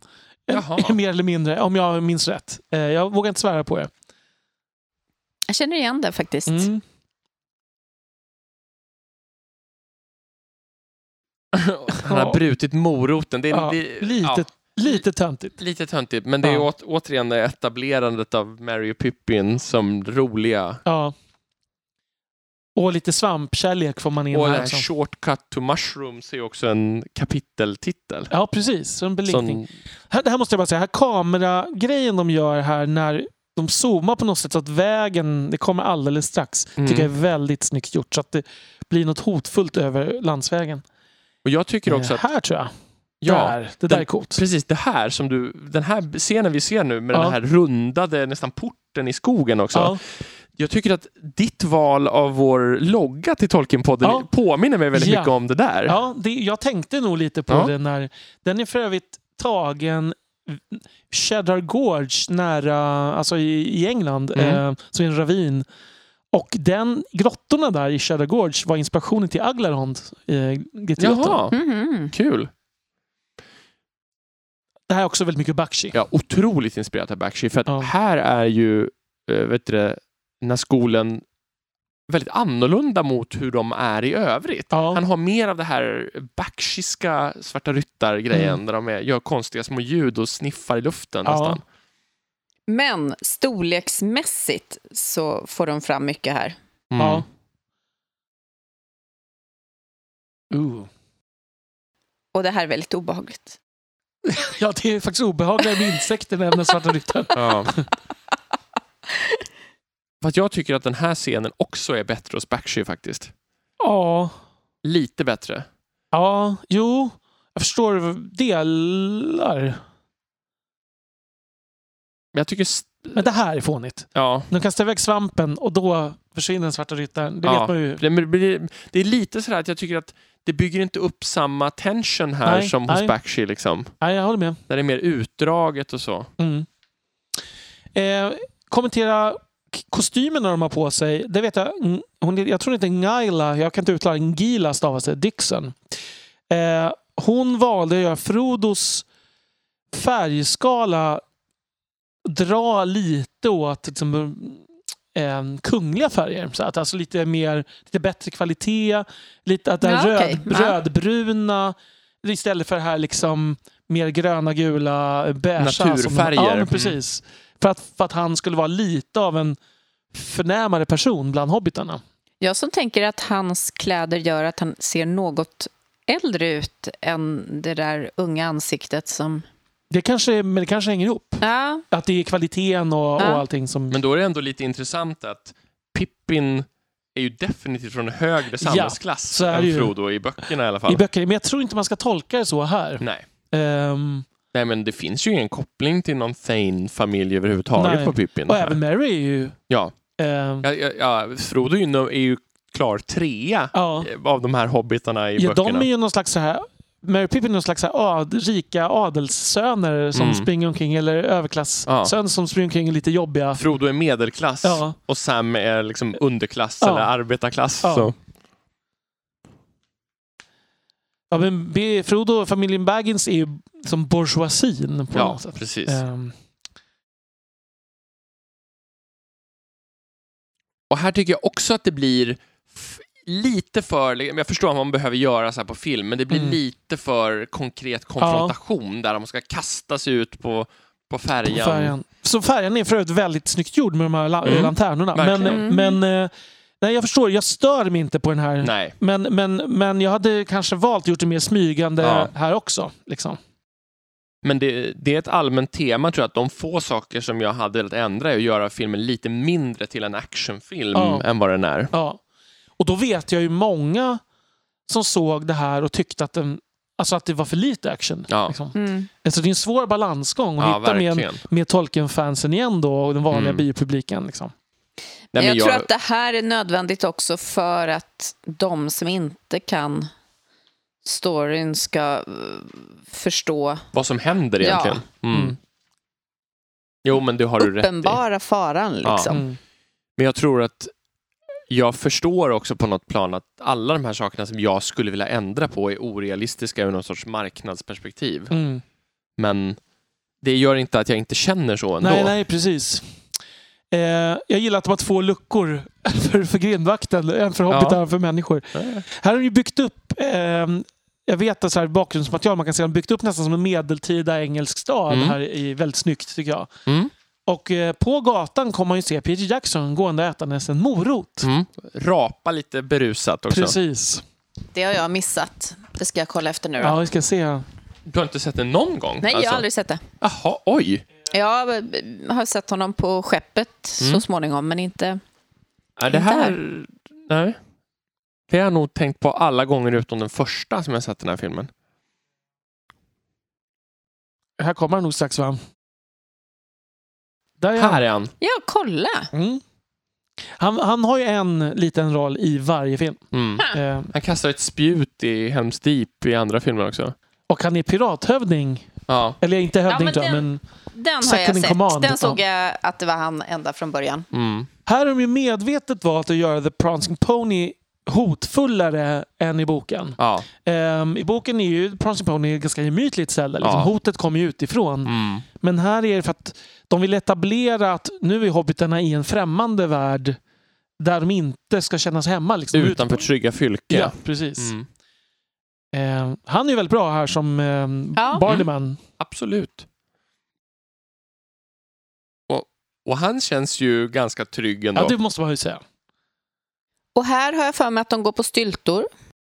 S2: Eh,
S1: Jaha.
S2: <laughs> Mer eller mindre, om jag minns rätt. Eh, jag vågar inte svära på det.
S3: Jag känner igen det faktiskt.
S2: Mm.
S1: Han har brutit moroten. Det är,
S2: Ja,
S1: det,
S2: lite,
S1: ja,
S2: lite töntigt.
S1: lite töntigt, men det är
S2: Ja.
S1: åt, återigen det etablerandet av Mary och Pippin som roliga.
S2: Ja. Och lite svampkärlek får man in
S1: Och den
S2: här
S1: här
S2: också.
S1: Shortcut to Mushrooms är också en kapiteltitel.
S2: Ja, precis. Som beläggning.
S1: Som,
S2: Här, det här måste jag bara säga, här kameragrejen de gör här när de zoomar på något sätt så att vägen, det kommer alldeles strax,
S1: Mm.
S2: tycker jag är väldigt snyggt gjort. Så att det blir något hotfullt över landsvägen.
S1: och jag tycker också
S2: Eh,
S1: att...
S2: här tror jag.
S1: Ja,
S2: där, det där
S1: den-
S2: är coolt.
S1: precis det här som du... Den här scenen vi ser nu med
S2: Ja.
S1: den här rundade nästan porten i skogen också.
S2: Ja,
S1: Jag tycker att ditt val av vår logga till Tolkienpodden
S2: Ja.
S1: påminner mig väldigt
S2: Ja.
S1: mycket om det där.
S2: ja det, jag tänkte nog lite på
S1: Ja.
S2: det när... Den är för övrigt tagen Cheddar Gorge nära, alltså i, i England,
S1: Mm.
S2: eh, som är en ravin. Och den, grottorna där i Cheddar Gorge var inspirationen till Aglarond. Eh, Getiotto.
S1: Jaha,
S3: Mhm.
S1: Mm. kul.
S2: det här är också väldigt mycket Bakshi.
S1: Ja, otroligt inspirerat av Bakshi. För att
S2: Ja.
S1: här är ju eh, vet du, det, när skolan väldigt annorlunda mot hur de är i övrigt.
S2: Ja.
S1: Han har mer av det här bakshiska svarta ryttar-grejen
S2: Mm.
S1: där de är, gör konstiga små ljud och sniffar i luften
S2: Ja.
S1: nästan.
S3: Men storleksmässigt så får de fram mycket här.
S1: Mm.
S2: Ja. Ooh.
S3: Och det här är väldigt obehagligt.
S2: Ja, det är faktiskt obehagligare med insekter än den svarta
S1: <laughs>
S2: ryttaren.
S1: Ja. Fast jag tycker att den här scenen också är bättre hos Bakshi faktiskt.
S2: Ja.
S1: Lite bättre.
S2: Ja, jo. Jag förstår delar.
S1: Men jag tycker... s-
S2: Men det här är fånigt.
S1: Ja.
S2: De kastar iväg svampen och då försvinner den svarta ryttaren. Det
S1: Ja.
S2: vet man ju.
S1: Det, men det blir- det är lite sådär att jag tycker att det bygger inte upp samma tension här
S2: Nej,
S1: som hos
S2: nej.
S1: Bakshi. Liksom.
S2: Nej, jag håller med.
S1: Där det är mer utdraget och så.
S2: Mm. Eh, kommentera k- kostymerna de har på sig. Det vet jag. mm, Hon, jag tror inte Ngaila, jag kan inte uttala Ngila stavas det, Dixon. Eh, hon valde att göra Frodos färgskala dra lite åt liksom, eh, kungliga färger. Så att, alltså lite, mer, lite bättre kvalitet, lite att det här
S3: Ja,
S2: röd,
S3: okej. Ja.
S2: rödbruna istället för det här liksom mer gröna, gula, beigea. som de-
S1: Naturfärger.
S2: Ja, men
S1: Mm.
S2: precis. För, att, för att han skulle vara lite av en förnämare person bland hobbitarna.
S3: Jag som tänker att hans kläder gör att han ser något äldre ut än det där unga ansiktet som...
S2: Det kanske, men det kanske hänger ihop.
S3: Ja,
S2: Att det är kvaliteten och, och
S3: Ja.
S2: allting som...
S1: Men då är det ändå lite intressant att Pippin är ju definitivt från en högre samhällsklass
S2: så är det
S1: än
S2: ju.
S1: Frodo i böckerna i alla fall.
S2: I böcker. Men jag tror inte man ska tolka det så här.
S1: Nej.
S2: Ehm,
S1: Nej, men det finns ju ingen koppling till någon Thane-familj överhuvudtaget
S2: Nej.
S1: på Pippin.
S2: och även Mary är ju...
S1: Ja.
S2: ehm,
S1: Mm. Ja, ja, ja, Frodo är ju, no- är ju klar trea
S2: ja.
S1: eh, av de här hobbitarna i
S2: Ja, de
S1: böckerna.
S2: är ju någon slags så här... Mary Pippin är någon slags så här ad, rika adelssöner som
S1: Mm.
S2: springer omkring, eller överklasssöner som springer omkring i lite jobbiga...
S1: Frodo är medelklass
S2: Ja.
S1: och Sam är liksom underklass
S2: Ja.
S1: eller arbetarklass.
S2: Ja.
S1: Så.
S2: Ja, men B- Frodo och familjen Baggins är ju som bourgeoisien på
S1: Ja,
S2: något sätt.
S1: precis.
S2: Ehm,
S1: Och här tycker jag också att det blir f- lite för, men jag förstår att man behöver göra så här på film, men det blir
S2: Mm.
S1: lite för konkret konfrontation där de ska kasta sig ut på, på färjan.
S2: färjan. Så färjan är för övrigt väldigt snyggt gjord med de här la-
S1: Mm.
S2: lanternorna. Men,
S1: Verkligen.
S2: men eh, nej, jag förstår, jag stör mig inte på den här.
S1: Nej.
S2: Men, men, men jag hade kanske valt att gjort det mer smygande
S1: Ja.
S2: här också. Liksom.
S1: Men det, det är ett allmänt tema tror jag, att de få saker som jag hade velat ändra är att göra filmen lite mindre till en actionfilm
S2: Ja.
S1: än vad den är.
S2: Ja. Och då vet jag ju många som såg det här och tyckte att, den, alltså att det var för lite action.
S1: Ja.
S2: Liksom.
S3: mm.
S2: Alltså det är en svår balansgång att
S1: Ja,
S2: hitta med,
S1: verkligen.
S2: med Tolkien-fansen igen då och den vanliga
S1: Mm.
S2: biopubliken. Liksom.
S1: Nej,
S3: jag,
S1: men
S3: tror att det här är nödvändigt också för att de som inte kan storyn ska eh, förstå
S1: Vad som händer
S3: Ja.
S1: egentligen. Mm.
S2: Mm.
S1: Jo, men det har du rätt i.
S3: uppenbara faran.
S1: Ja.
S3: Liksom.
S2: Mm.
S1: Men jag tror att jag förstår också på något plan att alla de här sakerna som jag skulle vilja ändra på är orealistiska ur någon sorts marknadsperspektiv.
S2: Mm.
S1: Men det gör inte att jag inte känner så ändå.
S2: Nej, nej, precis. Eh, jag gillar att de har två luckor <laughs> för, för grindvakten. En för hobbitar och en för människor.
S1: nej.
S2: Här har de ju byggt upp, ehm, jag vet att så här bakgrundsmaterial man kan se, de har byggt upp nästan som en medeltida engelsk stad
S1: Mm.
S2: här i väldigt snyggt tycker jag.
S1: Mm.
S2: Och eh, på gatan kommer man ju se Peter Jackson gående och ätandes en morot.
S1: Mm. Rapa lite berusat också.
S2: Precis.
S3: Det har jag missat. Det ska jag kolla efter nu. Då.
S2: Ja, vi ska se.
S1: Du har inte sett det någon gång?
S3: Nej, jag
S1: alltså?
S3: har aldrig sett det.
S1: Jaha, oj.
S3: Jag eh, har sett honom på skeppet
S1: Mm.
S3: så småningom, men inte...
S1: Är det
S3: Inte
S1: här...
S3: här.
S1: Nej. Det har jag nog tänkt på alla gånger utom den första som jag sett den här filmen.
S2: Här kommer han nog strax va? Där är han.
S1: Här är han.
S3: Ja, kolla!
S2: Mm. Han, han har ju en liten roll i varje film.
S1: Mm.
S2: Eh,
S1: Han kastar ett spjut i Helms Deep i andra filmer också.
S2: och han är pirathövding
S1: Ja.
S2: Eller inte hövding,
S3: men
S2: tror jag,
S3: den-
S2: men
S3: Den har
S2: Second
S3: jag
S2: in
S3: sett.
S2: command.
S3: Den såg
S2: Ja.
S3: jag att det var han ända från början.
S1: Mm.
S2: här har de ju medvetet valt att göra The Prancing Pony hotfullare än i boken.
S1: Ja.
S2: Ehm, I boken är ju Prancing Pony ett ganska gemytligt ställe. Liksom.
S1: Ja.
S2: Hotet kommer ju utifrån.
S1: Mm.
S2: Men här är det för att de vill etablera att nu är hobbitarna i en främmande värld där de inte ska kännas hemma. Liksom.
S1: Utanför trygga fylke.
S2: Ja, precis.
S1: Mm.
S2: Eh, han är ju väldigt bra här som eh,
S3: Ja.
S2: Barleyman.
S1: Absolut. Och, och han känns ju ganska trygg ändå.
S2: Ja, det måste man ju säga.
S3: Och här har jag för mig att de går på styltor.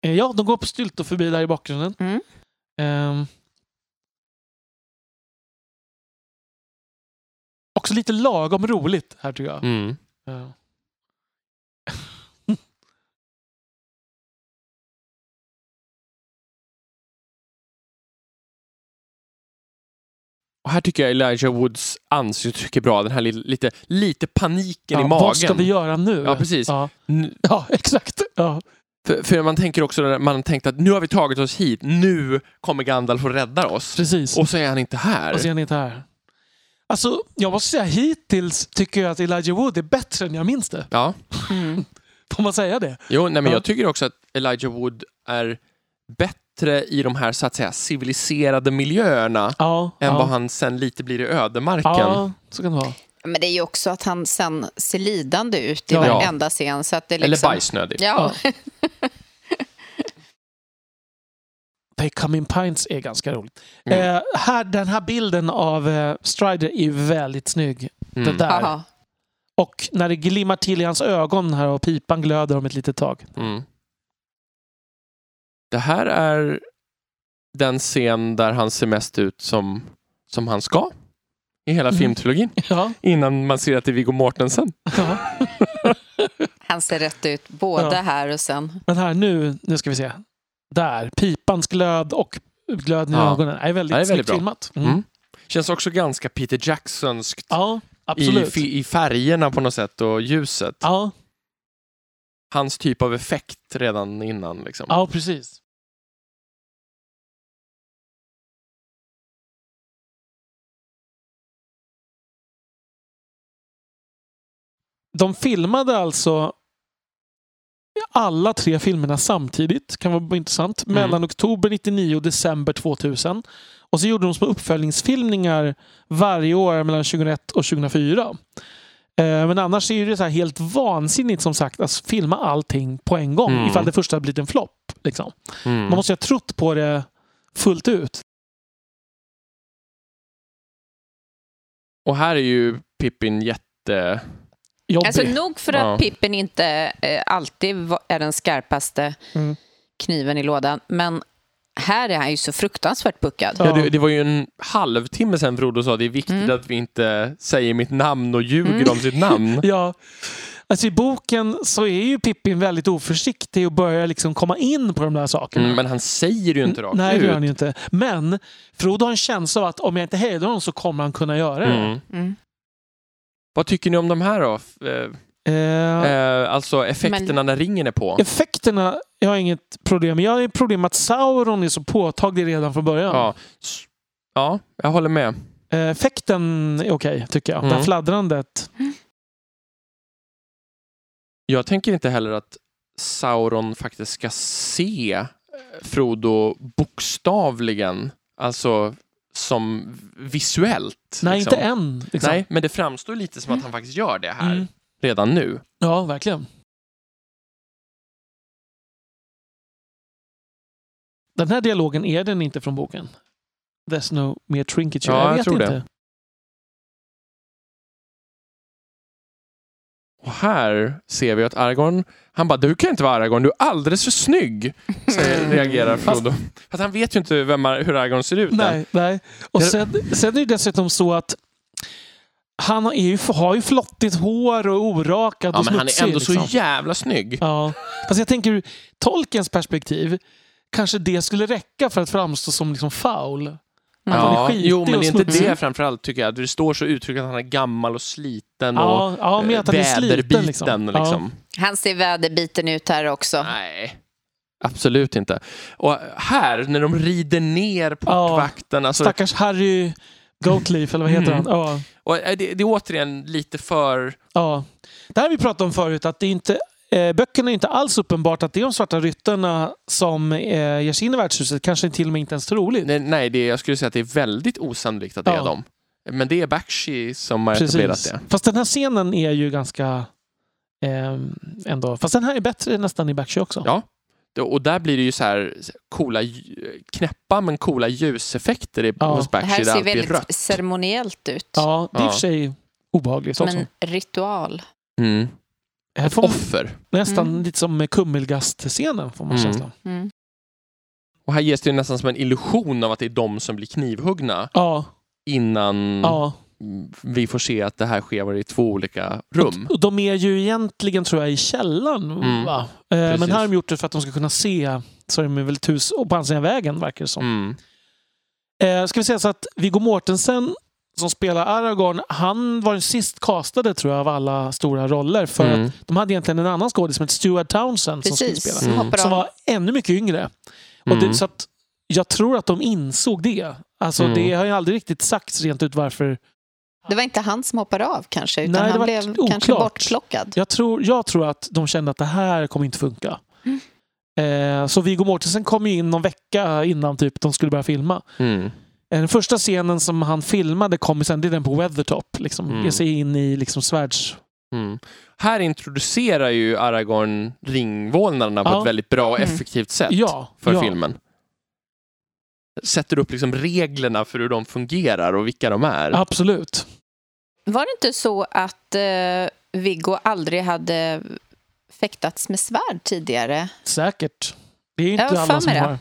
S2: Eh, ja, de går på styltor förbi där i bakgrunden.
S3: Mm.
S2: Eh, också lite lagom roligt här tycker jag.
S1: Mm.
S2: Eh,
S1: Och här tycker jag Elijah Woods ansiktsuttryck är bra. Den här li- lite, lite paniken i
S2: ja,
S1: magen.
S2: vad ska vi göra nu?
S1: Ja, precis.
S2: Ja,
S1: N-
S2: ja <laughs> exakt. Ja.
S1: För, för man tänker också, när man tänkt att nu har vi tagit oss hit, nu kommer Gandalf och räddar oss.
S2: Precis.
S1: Och så är han inte här.
S2: Och så är han inte här. Alltså, jag måste säga hittills tycker jag att Elijah Wood är bättre än jag minns det.
S1: Ja.
S2: Får man säga det?
S1: Jo, nej, men
S2: Ja.
S1: jag tycker också att Elijah Wood är bättre i de här så att säga civiliserade miljöerna
S2: Ja.
S1: än
S2: ja.
S1: vad han sen lite blir i ödemarken.
S2: Ja, så kan det vara.
S3: Men det är ju också att han sen ser lidande ut i
S2: Ja.
S3: varenda scen. Så att det liksom...
S1: Eller bajsnödig.
S3: Ja.
S2: They come in pints är ganska roligt.
S1: Mm.
S2: Eh, här, den här bilden av eh, Strider är ju väldigt snygg.
S1: Mm.
S2: Det
S3: <laughs>
S2: där.
S3: Haha.
S2: Och när det glimmar till i hans ögon här och pipan glöder om ett litet tag.
S1: Mm. Det här är den scen där han ser mest ut som, som han ska i hela
S2: Mm.
S1: filmtrilogin.
S2: Ja.
S1: Innan man ser att det är Viggo Mortensen.
S2: ja.
S3: Han ser rätt ut både
S2: Ja.
S3: här och sen.
S2: Men här nu, nu ska vi se. Där, pipans glöd och glöden i
S1: Ja.
S2: ögonen är väldigt,
S1: Ja, det är väldigt
S2: snyggt
S1: bra.
S2: filmat. Mm.
S1: Mm. Känns också ganska Peter Jacksonskt
S2: Ja,
S1: i,
S2: absolut.
S1: fi- i färgerna på något sätt och ljuset.
S2: Ja,
S1: Hans typ av effekt redan innan. Liksom.
S2: ja, precis. De filmade alltså alla tre filmerna samtidigt, kan vara intressant,
S1: Mm.
S2: mellan oktober 99 och december 2000. Och så gjorde de små uppföljningsfilmningar varje år mellan 2001 och 2004. Eh, Men annars är det så här helt vansinnigt som sagt att filma allting på en gång
S1: Mm.
S2: ifall det första har blivit en flopp. Liksom.
S1: Mm.
S2: Man måste ju ha trott på det fullt ut.
S1: Och här är ju Pippin jätte...
S2: Jobbig.
S3: Alltså nog för att
S1: Ja.
S3: Pippen inte eh, alltid va- är den skarpaste
S2: Mm.
S3: kniven i lådan. Men här är han ju så fruktansvärt puckad.
S2: Ja.
S1: Ja. Det, det var ju en halvtimme sedan Frodo sa det är viktigt
S3: Mm.
S1: att vi inte säger mitt namn och ljuger
S3: Mm.
S1: om sitt
S2: <laughs>
S1: namn.
S2: Ja. Alltså i boken så är ju Pippin väldigt oförsiktig och börjar liksom komma in på de där sakerna.
S1: Mm, men han säger ju inte rakt
S2: Nej, det
S1: ut.
S2: gör han ju inte. Men Frodo har en känsla av att om jag inte hejdar honom så kommer han kunna göra det.
S1: Mm.
S3: Mm.
S1: Vad tycker ni om de här då? F- Eh,
S2: Eh,
S1: eh, alltså effekterna när ringen är på.
S2: Effekterna, jag har inget problem med. Jag har ett problem med att Sauron är så påtaglig redan från början.
S1: Ja. S- ja, jag håller med.
S2: Eh, Effekten är okej, tycker jag. Det här
S1: Mm.
S2: fladdrandet.
S1: Jag tänker inte heller att Sauron faktiskt ska se eh, Frodo bokstavligen. Alltså som visuellt.
S2: Nej,
S1: liksom.
S2: inte än. Liksom.
S1: Nej, men det framstår lite som att han faktiskt gör det här
S2: Mm.
S1: redan nu.
S2: Ja, verkligen. Den här dialogen är den inte från boken. There's no mere trinket.
S1: Ja,
S2: jag
S1: jag
S2: vet
S1: tror det.
S2: inte.
S1: Och här ser vi att Aragorn, han bara du kan inte vara Aragorn, du är alldeles för snygg,
S2: <laughs>
S1: säger, reagerar Frodo. För att han vet ju inte vem, Ar- hur Aragorn ser ut än.
S2: Nej, nej. Och
S1: Det-
S2: sen, sen är det ju dessutom så att han har ju, har ju flottigt hår och orakat
S1: Ja,
S2: och
S1: men han
S2: smutsig.
S1: är ändå så
S2: liksom.
S1: jävla snygg.
S2: Ja. Fast jag tänker ur tolkens perspektiv, kanske det skulle räcka för att framstå som liksom foul.
S3: Mm.
S2: han är
S1: Ja,
S2: skitig
S1: jo, men
S2: och
S1: det är inte
S2: smutsig.
S1: det framförallt tycker jag. Det står så uttryckt att han är gammal och sliten och
S2: Ja, ja men
S1: eh,
S2: att han är sliten.
S1: väderbiten.
S2: Liksom.
S1: Liksom.
S2: Ja.
S3: Han ser väderbiten ut här också.
S1: Nej. Absolut inte. Och här, när de rider ner portvakten. Alltså,
S2: Stackars Harry Goatleaf, eller vad heter
S1: Mm.
S2: han? Ja,
S1: och eh, det, det är återigen lite för...
S2: ja. Det här har vi pratat om förut, att det är inte, eh, böckerna är inte alls uppenbart att det är de svarta ryttarna som eh, ger sig in i värdshuset. Kanske till och med inte ens troligt.
S1: Nej, nej det, är- jag skulle säga att det är väldigt osannolikt att det
S2: Ja.
S1: är dem. Men det är Bakshi som har etablerat
S2: Precis.
S1: det.
S2: Fast den här scenen är ju ganska... Eh, ändå. Fast den här är bättre nästan i Backshow också.
S1: Ja. Det- Och där blir det ju så här coola, lj- knäppa men coola ljuseffekter i,
S2: Ja.
S1: hos
S3: Det
S1: Bakshi.
S3: här
S1: Det är
S3: ser
S1: alltid
S3: väldigt
S1: rött.
S3: ceremoniellt ut.
S2: Ja, det är i och
S1: Ja.
S2: för sig obehagligt
S3: som
S2: också.
S3: en ritual.
S1: Mm.
S2: här får man,
S1: Offer.
S2: nästan
S3: Mm.
S2: lite som Kummelgast-scenen får man
S1: Mm.
S2: känslan av.
S3: Mm.
S1: Och här ges det ju nästan som en illusion av att det är de som blir knivhuggna
S2: Ja,
S1: innan
S2: ja.
S1: vi får se att det här sker i två olika rum.
S2: Och de är ju egentligen, tror jag, i källaren.
S1: Mm.
S2: Va? Eh, men
S1: Precis.
S2: här har de gjort det för att de ska kunna se så de är väl ett hus och på andra sidan vägen, verkar det som.
S1: Mm.
S2: Eh, ska vi säga så att Viggo Mortensen som spelar Aragorn, han var den sist castade tror jag av alla stora roller. För att
S1: Mm.
S2: De hade egentligen en annan skådis som hette Stuart Townsend som skulle
S3: Precis,
S2: spela.
S1: Mm.
S3: hoppar
S2: Som
S3: av.
S2: var ännu mycket yngre. Och
S1: Mm.
S2: det, så att jag tror att de insåg det. Alltså
S1: Mm.
S2: det har ju aldrig riktigt sagts rent ut varför.
S3: Det var inte han som hoppar av kanske, utan
S2: Nej, det
S3: han
S2: var
S3: blev
S2: oklart.
S3: kanske bortplockad.
S2: Jag tror, jag tror att de kände att det här kommer inte funka.
S3: Mm.
S2: Eh, så Viggo Mortensen kom ju in någon vecka innan typ, de skulle börja filma.
S1: Mm.
S2: Eh, Den första scenen som han filmade kom ju sen, det är den på Weathertop. Liksom,
S1: Mm.
S2: Ge sig in i liksom svärds...
S1: Mm. Här introducerar ju Aragorn ringvålnaderna på
S2: Ja.
S1: ett väldigt bra och
S3: Mm.
S1: effektivt sätt
S2: Ja,
S1: för
S2: ja.
S1: filmen. Sätter upp liksom reglerna för hur de fungerar och vilka de är.
S2: Absolut.
S3: Var det inte så att eh, Viggo aldrig hade fäktats med svärd tidigare?
S2: Säkert. Det är ju
S3: Jag
S2: inte
S3: har
S2: alla
S3: för
S2: som
S3: mig det.
S2: har.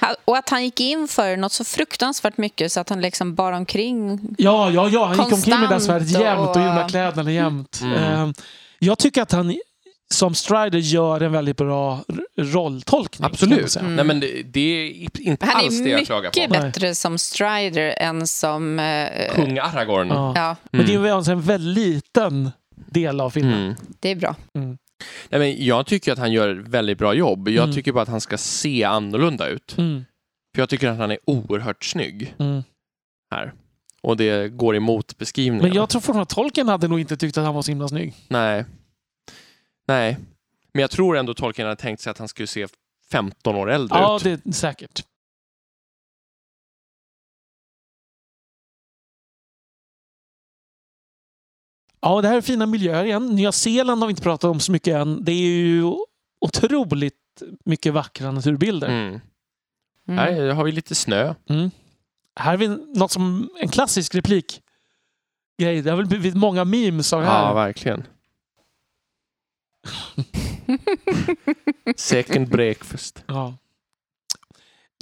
S3: Ha- Och att han gick in för något så fruktansvärt mycket så att han liksom bar omkring.
S2: Ja, ja, ja. Han gick omkring med det där
S3: Konstant
S2: svärdet jämt och
S3: och-
S2: gjorde kläderna jämt.
S1: Mm.
S2: Eh, Jag tycker att han som Strider gör en väldigt bra r- rolltolkning. skulle jag
S1: Absolut.
S2: säga.
S3: Mm.
S1: Nej, men det, det är inte
S3: Han
S1: alls
S3: är
S1: det jag klagar
S3: mycket
S1: på.
S2: Nej.
S3: bättre som Strider än som... eh,
S1: Kung Aragorn.
S2: Ja.
S3: ja,
S2: Men det är ju alltså en väldigt liten del av filmen.
S1: Mm.
S3: det är bra.
S1: Nej, men jag tycker att han gör ett väldigt bra jobb. Jag
S2: Mm.
S1: tycker bara att han ska se annorlunda ut.
S2: Mm.
S1: För jag tycker att han är oerhört snygg
S2: Mm.
S1: och det går emot beskrivningen.
S2: Men jag tror fortfarande att Tolkien hade nog inte tyckt att han var så himla snygg.
S1: Nej. Nej. Men jag tror ändå Tolkien hade tänkt sig att han skulle se 15 år äldre
S2: Ja,
S1: ut.
S2: det är säkert. Ja, det här är fina miljöer igen. Nya Zeeland har vi inte pratat om så mycket än. Det är ju otroligt mycket vackra naturbilder. Mm.
S1: Mm.
S3: Mm.
S2: <laughs>
S1: Här har vi lite snö.
S2: Här har vi något som en klassisk replik. Grej. Det har väl blivit många memes av det här.
S1: Ja,
S2: <laughs>
S1: verkligen. Second breakfast.
S2: Ja.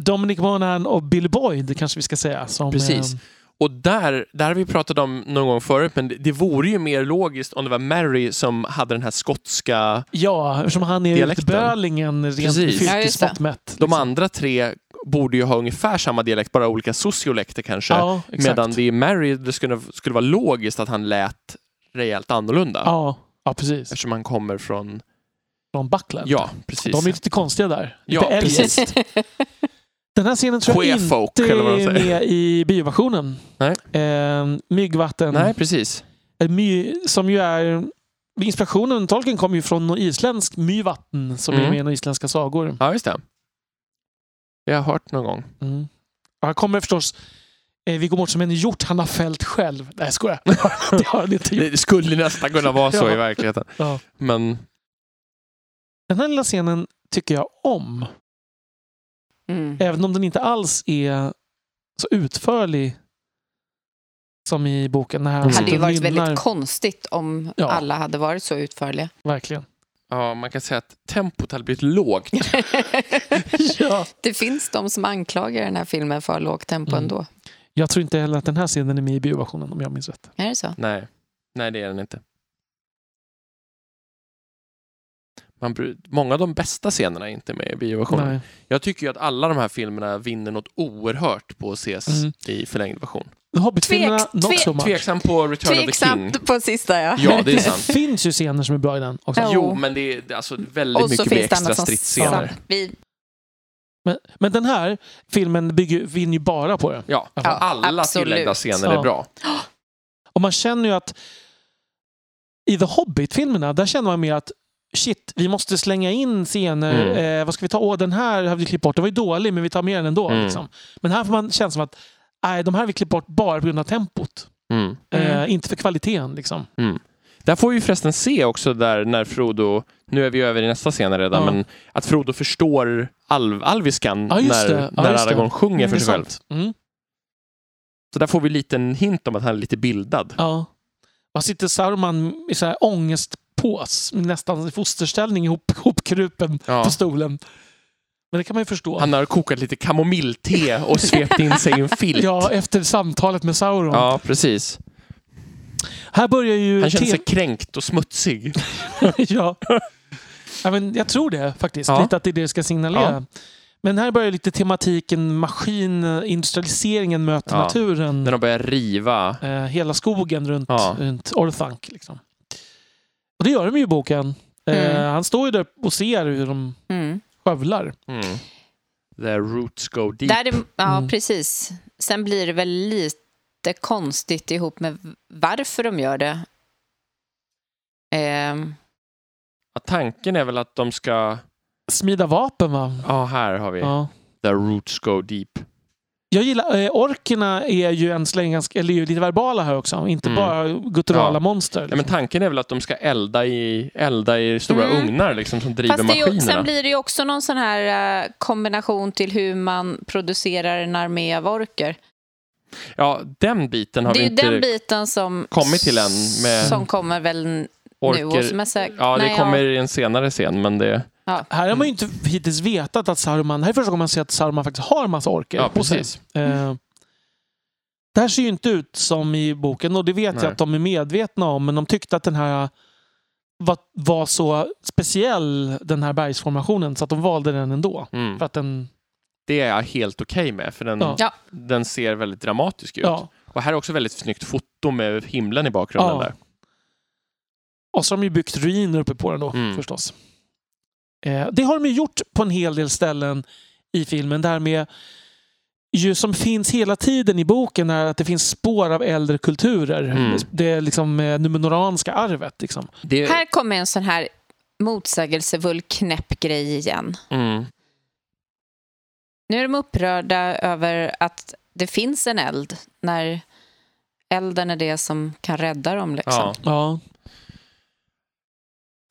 S2: Dominic Monaghan och Bill Boyd kanske vi ska säga. Som,
S1: Precis.
S2: eh,
S1: Och där, där har vi pratat om någon gång förut, men det, det vore ju mer logiskt om det var Mary som hade den här skotska...
S2: ja, eftersom han är
S1: Dialekten.
S2: utbölingen rent
S1: Precis.
S3: Ja, just det.
S2: fylkesmått mätt.
S1: De
S2: liksom.
S1: andra tre borde ju ha ungefär samma dialekt, bara olika sociolekter kanske.
S2: Ja, exakt.
S1: Medan det i Mary det skulle, skulle vara logiskt att han lät rejält annorlunda.
S2: Ja, ja precis.
S1: Eftersom han kommer från...
S2: Från Buckland.
S1: Ja, precis.
S2: De är lite konstiga där.
S1: Ja,
S2: lite
S1: precis.
S2: eljest. Den här scenen tror jag
S1: Queerfolk,
S2: inte
S1: eller vad de
S2: är
S1: säger.
S2: med i bioversionen.
S1: Nej.
S2: Eh, myggvatten.
S1: Nej, precis.
S2: Eh, My, som ju är... Inspirationen, tolken kommer ju från någon isländsk myvatten som är
S1: Mm.
S2: med i några isländska sagor.
S1: Ja, just det. Det har jag hört någon gång.
S2: Mm. Och Här kommer förstås eh, Viggo Mortensen med en hjort han har fällt själv. Nej, jag skojar. <laughs> det har han inte
S1: <laughs>
S2: gjort.
S1: Det skulle nästan kunna vara så
S2: <laughs> Ja.
S1: i verkligheten.
S2: Ja.
S1: Men
S2: Den här lilla scenen tycker jag om.
S3: Mm.
S2: Även om den inte alls är så utförlig som i boken. När han
S1: Mm.
S3: Det hade ju
S2: sitter och
S3: varit
S2: nynnar.
S3: väldigt konstigt om
S2: Ja.
S3: alla hade varit
S2: <laughs>
S3: så utförliga.
S1: <laughs>
S2: Verkligen.
S1: ja, man kan säga att tempot hade blivit lågt.
S2: ja.
S3: det finns de som anklagar den här filmen för lågt tempo
S2: Mm.
S3: ändå.
S2: Jag tror inte heller att den här scenen är med i bioversionen om jag minns rätt.
S3: Är det så?
S1: Nej, nej det är den inte. Man, bru- många av de bästa scenerna är inte med i bioversionen.
S2: Nej.
S1: Jag tycker ju att alla de här filmerna vinner något oerhört på att ses
S2: Mm.
S1: i förlängd version.
S2: Hobbitfilmerna,
S3: Tvek-
S2: not
S3: tve-
S2: so much.
S1: Tveksam på Return of the King.
S3: Tveksamt på sista, ja.
S1: Ja, det är
S2: det
S1: sant.
S2: finns ju scener som är bra i den också.
S3: Ja.
S1: Jo, men det är alltså väldigt
S3: Och så
S1: mycket
S3: finns
S1: mer
S3: det
S1: extra
S3: annat som...
S1: stridsscener.
S3: Vi,
S2: Men, men den här filmen bygger, vinner ju bara på det.
S1: Ja,
S2: Ja,
S1: alla
S3: absolut.
S1: tillägda scener
S2: Ja.
S1: är bra.
S2: Och man känner ju att i The Hobbit-filmerna, där känner man mer att shit, vi måste slänga in scener.
S1: Mm.
S2: Eh, vad ska vi ta? Åh, den här har vi klippt bort. Den var ju dålig, men vi tar med den ändå.
S1: Mm.
S2: Liksom. Men här får man känna som att nej, de här har vi klippt bort bara på grund av tempot.
S1: Mm.
S3: Mm.
S2: Eh, inte för kvaliteten. Liksom.
S1: Där får vi förresten se också där när Frodo, nu är vi över i nästa scen redan,
S2: Ja.
S1: men att Frodo förstår alv, alviskan
S2: Ja, just
S1: när,
S2: det. Ja,
S1: när
S2: just det.
S1: Aragorn sjunger för
S2: Det är
S1: sig själv.
S2: sant. Mm.
S1: Så där får vi en liten hint om att han är lite bildad.
S2: Ja. Man sitter Saruman i så här ångestpås, nästan i fosterställning, ihop, ihopkrupen
S1: Ja.
S2: på stolen. Men det kan man ju förstå.
S1: Han har kokat lite kamomillte och svept in sig i en <laughs> filt.
S2: Ja, efter samtalet med Sauron.
S1: Ja, precis.
S2: Här börjar ju...
S1: Han känner
S2: te-
S1: sig kränkt och smutsig.
S2: <laughs> ja. ja, men jag tror det faktiskt.
S1: Ja.
S2: Lite att det är det det ska signalera. Men här börjar lite tematiken maskin, eh, industrialiseringen möter
S1: Ja.
S2: naturen.
S1: När de börjar riva.
S2: Eh, hela skogen runt,
S1: Ja.
S2: runt Orthanc. Liksom. Och det gör de ju i boken. Eh,
S3: Mm.
S2: Han står ju där och ser hur de
S3: mm.
S2: skövlar.
S1: Mm. The roots go deep.
S3: Där, ja,
S2: Mm.
S3: precis. Sen blir det väl lite konstigt ihop med varför de gör det. Ehm,
S1: Ja, Tanken är väl att de ska...
S2: Smida vapen va?
S1: Ja, här har vi.
S2: Ja.
S1: The roots go deep.
S2: Jag gillar, eh, orkerna är ju än så länge ganska, eller är ju lite verbala här också. Inte
S1: Mm.
S2: bara gutturala
S1: Ja.
S2: monster.
S1: Nej,
S2: Liksom.
S1: men tanken är väl att de ska elda i, elda i stora
S3: Mm.
S1: ugnar liksom, som driver
S3: Fast det är ju,
S1: maskinerna.
S3: sen blir det ju också någon sån här eh, kombination till hur man producerar en armé av orker.
S1: Ja, den biten har
S3: Det är
S1: vi
S3: ju
S1: inte...
S3: den biten som,
S1: kommit till än med
S3: som kommer väl n- nu. Och som är säkert,
S1: Ja, det
S3: nej,
S1: kommer i en senare scen, men det...
S2: Här har man ju inte
S1: Mm.
S2: hittills vetat att Saruman... Här är första gången man ser att Saruman faktiskt har en massa orker
S1: Ja,
S2: på sig.
S1: precis.
S2: Eh, det här ser ju inte ut som i boken och det vet
S1: Nej.
S2: jag att de är medvetna om. Men de tyckte att den här var, var så speciell, den här bergsformationen, så att de valde den ändå.
S1: Mm.
S2: För att den...
S1: Det är jag helt okej med, för den,
S2: Ja.
S3: Ja.
S1: den ser väldigt dramatisk ut.
S2: Ja.
S1: Och här är också väldigt snyggt foto med himlen i bakgrunden.
S2: Ja.
S1: Där.
S2: Och så har de ju byggt ruiner uppe på den då,
S1: Mm.
S2: förstås. Eh, det har de ju gjort på en hel del ställen i filmen. Det här med, ju som finns hela tiden i boken, är att det finns spår av äldre kulturer.
S1: Mm.
S2: Det är liksom eh, numenoranska arvet. Liksom.
S1: Det,
S3: Här kommer en sån här motsägelsefull knäpp grej igen.
S1: Mm.
S3: Nu är de upprörda över att det finns en eld när elden är det som kan rädda dem. Liksom.
S1: Ja.
S2: Ja.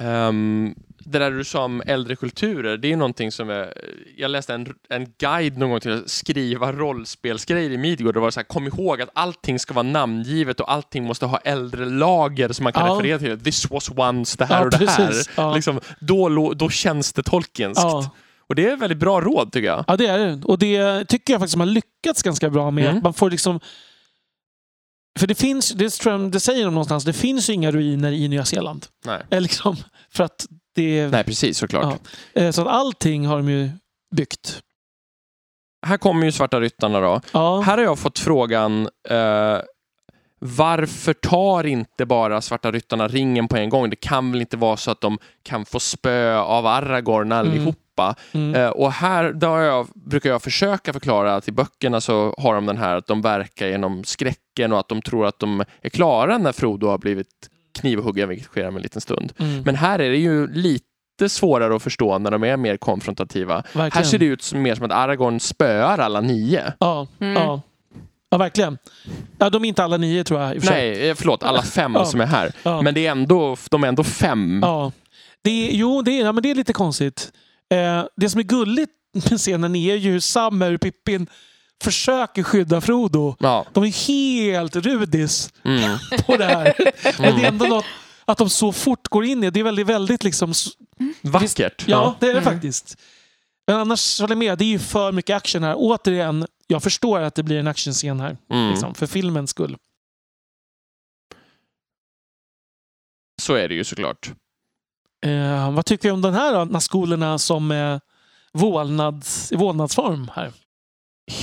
S1: Ehm, det där du sa om äldre kulturer, det är ju någonting som är, jag läste en, en guide någon gång till att skriva rollspelsgrejer i Midgård. Det var så här, kom ihåg att allting ska vara namngivet och allting måste ha äldre lager som man kan
S2: Ja.
S1: referera till. This was once det här
S2: Ja,
S1: och det
S2: precis.
S1: här.
S2: Ja.
S1: Liksom, då, lo- då känns det Tolkienskt.
S2: Ja.
S1: Och det är väldigt bra råd tycker jag.
S2: ja, det är det. Och det tycker jag faktiskt man lyckats ganska bra med.
S1: Mm.
S2: Man får liksom... För det finns, det, tror jag, det säger de någonstans, det finns ju inga ruiner i Nya Zeeland.
S1: Nej.
S2: Eh, liksom, för att det...
S1: Nej, precis såklart.
S2: Eh, Så att allting har de ju byggt.
S1: Här kommer ju Svarta Ryttarna då.
S2: Ja,
S1: Här har jag fått frågan eh, varför tar inte bara Svarta Ryttarna ringen på en gång? Det kan väl inte vara så att de kan få spö av Aragorn allihopa?
S2: mm.
S1: Eh, och här då har jag, brukar jag försöka förklara att i böckerna så har de den här att de verkar genom skräcken och att de tror att de är klara när Frodo har blivit knivhuggen, vilket sker om en liten stund.
S2: mm.
S1: Men här är det ju lite svårare att förstå när de är mer konfrontativa.
S2: verkligen.
S1: Här ser det ut som, mer som att Aragorn spöar alla nio.
S2: Ja,
S3: Mm.
S2: ja. ja, verkligen. Ja, de är inte alla nio tror jag. I och för sig.
S1: Nej, eh, förlåt, alla fem
S2: Ja.
S1: som är här.
S2: Ja.
S1: Men det är ändå, de är ändå fem.
S2: Ja. Det är, jo, det är, ja, men det är lite konstigt. Eh, det som är gulligt med scenen är ju hur Sam och Pippin försöker skydda Frodo.
S1: Ja,
S2: De är helt rudis
S1: mm.
S2: på
S1: <laughs>
S2: det här. Men det är ändå något att de så fort går in i. Det är väldigt, väldigt liksom... s-
S1: Vackert.
S2: Ja, det är det
S3: Mm.
S2: faktiskt. Men annars håller jag med. Det är ju för mycket action här. Återigen, jag förstår att det blir en actionscen här.
S1: Ja. Mm.
S2: liksom, för filmens skull.
S1: Så är det ju såklart.
S2: Eh, vad tycker vi om den här då? Nascolerna som eh, vålnads, i vålnadsform här.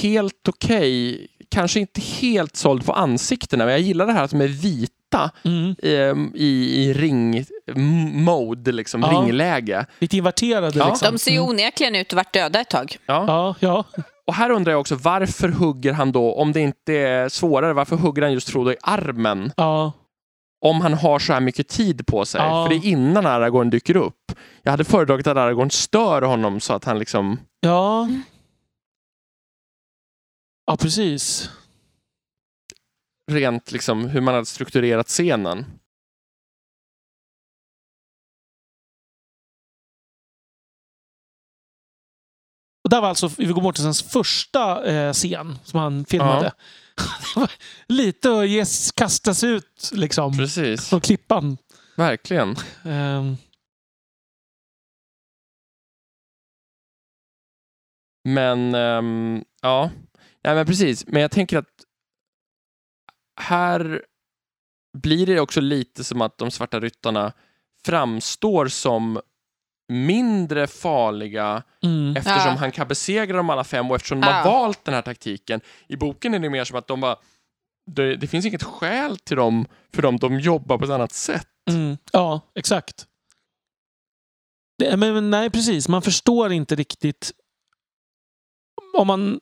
S1: Helt okej kanske inte helt såld på ansiktena, men jag gillar det här att de är vita
S2: Mm.
S1: ehm, i, i ring-mode, liksom,
S2: Ja.
S1: ringläge.
S2: Lite inverterade
S1: Ja.
S2: liksom.
S3: De ser ju
S2: Mm.
S3: onekligen ut att varit döda ett tag.
S1: Ja.
S2: Ja, ja.
S1: Och här undrar jag också, varför hugger han då, om det inte är svårare, varför hugger han just Frodo i armen?
S2: ja.
S1: Om han har så här mycket tid på sig.
S2: Ja.
S1: För det är innan Aragorn dyker upp. Jag hade föredragit att Aragorn stör honom så att han liksom...
S2: Ja.
S3: Mm.
S2: Ja, precis.
S1: rent liksom hur man hade strukturerat scenen.
S2: Och där var alltså Viggo Mortensens första eh, scen som han filmade. <laughs> Det var Lite att ges, kasta sig ut liksom
S1: Precis,
S2: från klippan.
S1: verkligen.
S2: Ehm,
S1: Men ehm, ja, Nej, men precis. Men jag tänker att här blir det också lite som att de svarta ryttarna framstår som mindre farliga
S2: mm.
S1: eftersom
S3: Ja.
S1: han kan besegra dem alla fem och eftersom de har
S3: Ja.
S1: valt den här taktiken. I boken är det mer som att de bara, det, det finns inget skäl till dem för dem, de jobbar på ett annat sätt.
S2: Mm, ja, exakt. Det, men, men nej, precis. Man förstår inte riktigt. Om man,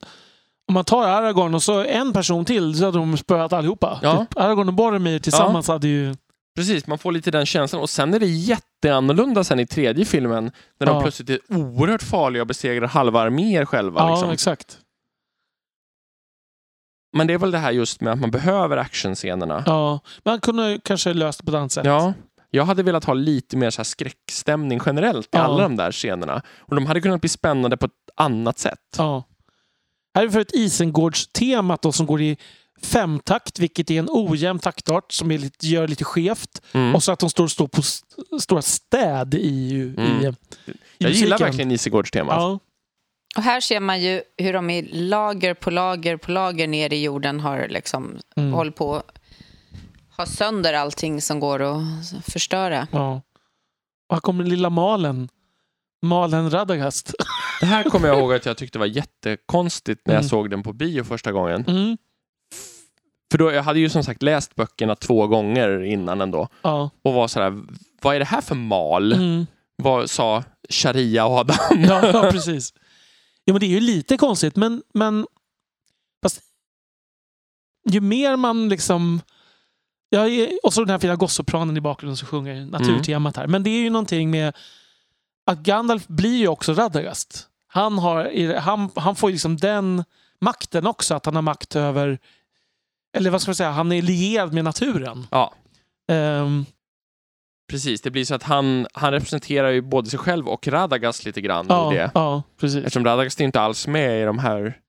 S2: om man tar Aragorn och så en person till så hade de spöat allihopa.
S1: Ja.
S2: Typ Aragorn och Boromir tillsammans hade ju...
S1: Precis, man får lite den känslan. Och sen är det jätteannorlunda sen i tredje filmen när de
S2: Ja.
S1: plötsligt är oerhört farliga och besegrar halva arméer själva.
S2: Ja,
S1: liksom.
S2: exakt.
S1: Men det är väl det här just med att man behöver actionscenerna.
S2: Ja. Man kunde ju kanske löst det på ett annat sätt.
S1: Ja. Jag hade velat ha lite mer så här skräckstämning generellt i
S2: Ja.
S1: alla de där scenerna. Och de hade kunnat bli spännande på ett annat sätt.
S2: Ja. Här är vi för ett Isengårdstemat då som går i femtakt, vilket är en ojämn taktart som är lite, gör lite skevt.
S1: Mm.
S2: Och så att de står och står på st stora städ i... i,
S1: Mm.
S2: i
S1: Jag gillar
S2: musiken.
S1: verkligen Isegårdstemat.
S2: Ja,
S3: Och här ser man ju hur de i lager på lager på lager ner i jorden har liksom
S2: Mm.
S3: håll på att ha sönder allting som går att förstöra.
S2: ja. Och här kommer lilla Malen. Malen Radagast.
S1: Det här kommer jag ihåg att jag tyckte var jättekonstigt när jag
S2: Mm.
S1: såg den på bio första gången.
S2: Mm.
S1: För då, jag hade ju som sagt läst böckerna två gånger innan ändå.
S2: Ja.
S1: och var sådär, vad är det här för mal?
S2: Mm.
S1: Vad sa Sharia Adam?
S2: Ja,
S1: <laughs>
S2: <laughs> ja, precis. Ja, men det är ju lite konstigt, men... men fast, ju mer man liksom... Ja, i- och så den här fina gossepranen i bakgrunden som sjunger naturtemat här. Men det är ju någonting med att Gandalf blir ju också Radagast. Han, har, han, han får ju liksom den makten också, att han har makt över... Eller vad ska man säga, han är lierad med naturen.
S1: Ja.
S2: Ehm,
S1: Precis, det blir så att han, han representerar ju både sig själv och Radagast lite grann
S2: ja,
S1: i det.
S2: ja, precis.
S1: Eftersom Radagast är inte alls med i de här...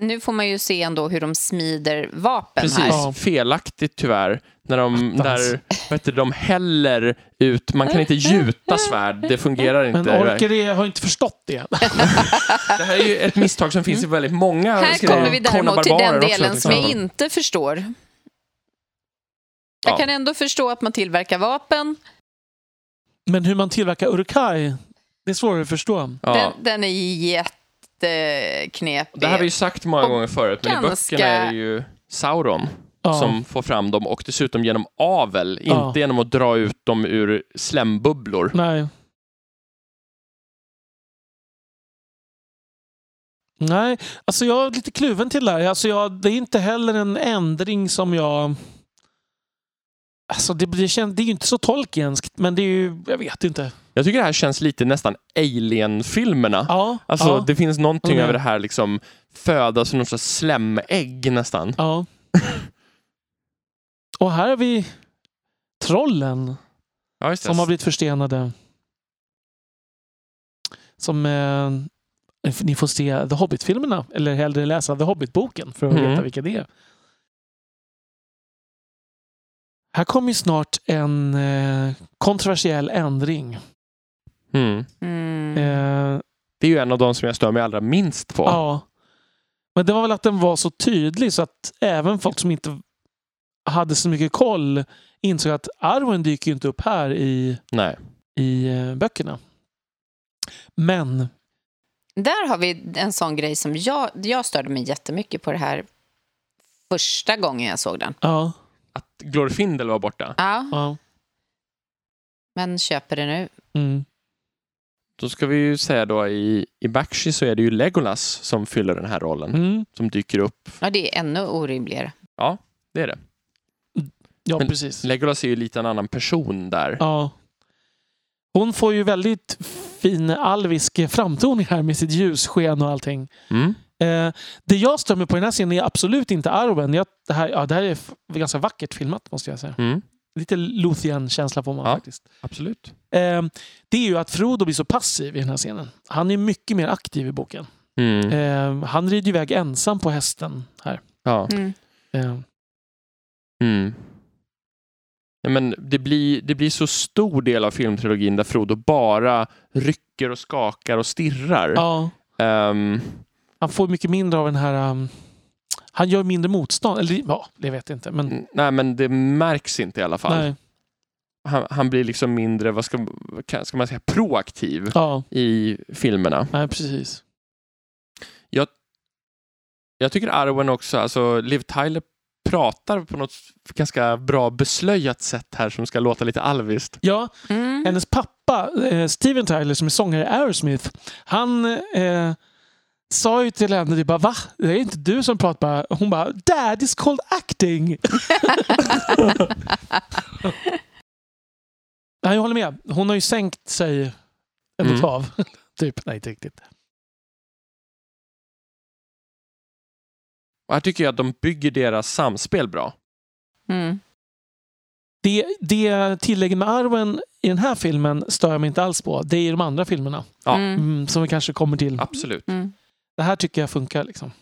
S3: Nu får man ju se ändå hur de smider vapen
S1: Precis,
S3: här.
S2: Ja.
S1: felaktigt tyvärr. När de,
S2: Attans.
S1: när, vad heter, det, de häller ut, man
S2: <laughs>
S1: kan inte gjuta svärd, det fungerar
S2: Men
S1: inte.
S2: Orker har inte förstått det.
S1: Det här är ju ett misstag som finns i väldigt många
S3: Här
S1: skrivare.
S3: kommer vi däremot till
S1: Konungabarbarer
S3: den
S1: också, liksom.
S3: delen
S1: till
S3: som jag
S1: exempel.
S3: inte förstår. Jag
S1: Ja.
S3: kan ändå förstå att man tillverkar vapen.
S2: Men hur man tillverkar urkai, det är svårare att förstå.
S1: Ja.
S3: Den, den är jätteknepig.
S1: Det här har vi ju sagt många
S3: Och
S1: gånger förut, men i
S3: ganska-
S1: böckerna är det ju Sauron.
S2: Ja.
S1: som får fram dem och dessutom genom avel,
S2: Ja.
S1: inte genom att dra ut dem ur slembubblor.
S2: Nej. Nej, alltså jag är lite kluven till det här. Alltså jag, det är inte heller en ändring som jag... Alltså det, det, känns, det är ju inte så tolkenskt, men det är ju... Jag vet inte.
S1: Jag tycker det här känns lite nästan Alien-filmerna.
S2: Ja,
S1: Alltså
S2: ja,
S1: det finns någonting
S2: Mm.
S1: över det här liksom födas som någon sorts slemägg nästan.
S2: <laughs> ja. Och här är vi trollen.
S1: Ja, just det.
S2: Som har blivit förstenade. Som... Eh, ni får se The Hobbit-filmerna, eller hellre läsa The Hobbit-boken för att
S1: Mm.
S2: veta vilka det är. Här kommer ju snart en eh, kontroversiell ändring.
S1: mm.
S3: Mm.
S2: Eh,
S1: Det är ju en av de som jag stör mig allra minst på.
S2: ja. Men det var väl att den var så tydlig så att även folk som inte hade så mycket koll insåg att Arwen dyker ju inte upp här i
S1: Nej.
S2: i eh, böckerna. Men
S3: Där har vi en sån grej som jag, jag störde mig jättemycket på det här första gången jag såg den.
S2: Ja,
S1: Att Glorfindel var borta.
S3: Ja,
S2: ja.
S3: men köper det nu.
S2: Mm.
S1: Då ska vi ju säga då i, i Bakshi så är det ju Legolas som fyller den här rollen.
S2: Mm.
S1: Som dyker upp.
S3: Ja, det är ännu orimligare.
S1: Det är det.
S2: Ja,
S1: Men-
S2: precis.
S1: Legolas är ju lite en annan person där.
S2: Ja. Hon får ju väldigt fin alvisk framtoning här med sitt ljussken och allting.
S1: Mm.
S2: Eh, det jag stör mig på i den här scenen är absolut inte Arwen. Jag, det, här, ja, det här är f- ganska vackert filmat måste jag säga.
S1: Mm.
S2: Lite Luthien-känsla får man
S1: Ja.
S2: faktiskt.
S1: Absolut.
S2: Eh, det är ju att Frodo blir så passiv i den här scenen. Han är mycket mer aktiv i boken.
S1: Mm.
S2: Eh, han rider ju iväg ensam på hästen här.
S1: Ja.
S3: Mm.
S2: Eh,
S1: Mm. Nej, men det, blir, det blir så stor del av filmtrilogin där Frodo bara rycker och skakar och stirrar.
S2: ja,
S1: Ehm,
S2: han får mycket mindre av den här... um, han gör mindre motstånd. Eller ja, det vet jag inte. Men,
S1: n- nej, men det märks inte i alla Mm, fall.
S2: nej,
S1: Han, han blir liksom mindre, vad ska, vad kan- ska man säga, proaktiv
S2: ja,
S1: i filmerna.
S2: nej, precis.
S1: Jag tycker Arwen också, alltså Liv Tyler pratar på något ganska bra beslöjat sätt här som ska låta lite alviskt.
S2: Ja,
S3: Mm.
S2: Hennes pappa, eh, Steven Tyler, som är sångare i Aerosmith, han eh, sa ju till henne, det bara va? Det är inte du som pratar bara. Hon bara, dad is called acting. <laughs> Nej, jag håller med. Hon har ju sänkt sig en
S1: Mm.
S2: oktav. <laughs> typ, nej inte riktigt.
S1: Och här tycker jag att de bygger deras samspel bra.
S3: Mm.
S2: Det, det tillägget med Arwen i den här filmen stör jag mig inte alls på. Det är i de andra filmerna
S1: Ja.
S3: Mm.
S2: mm, som vi kanske kommer till.
S1: Absolut.
S3: Mm.
S2: Det här tycker jag funkar liksom.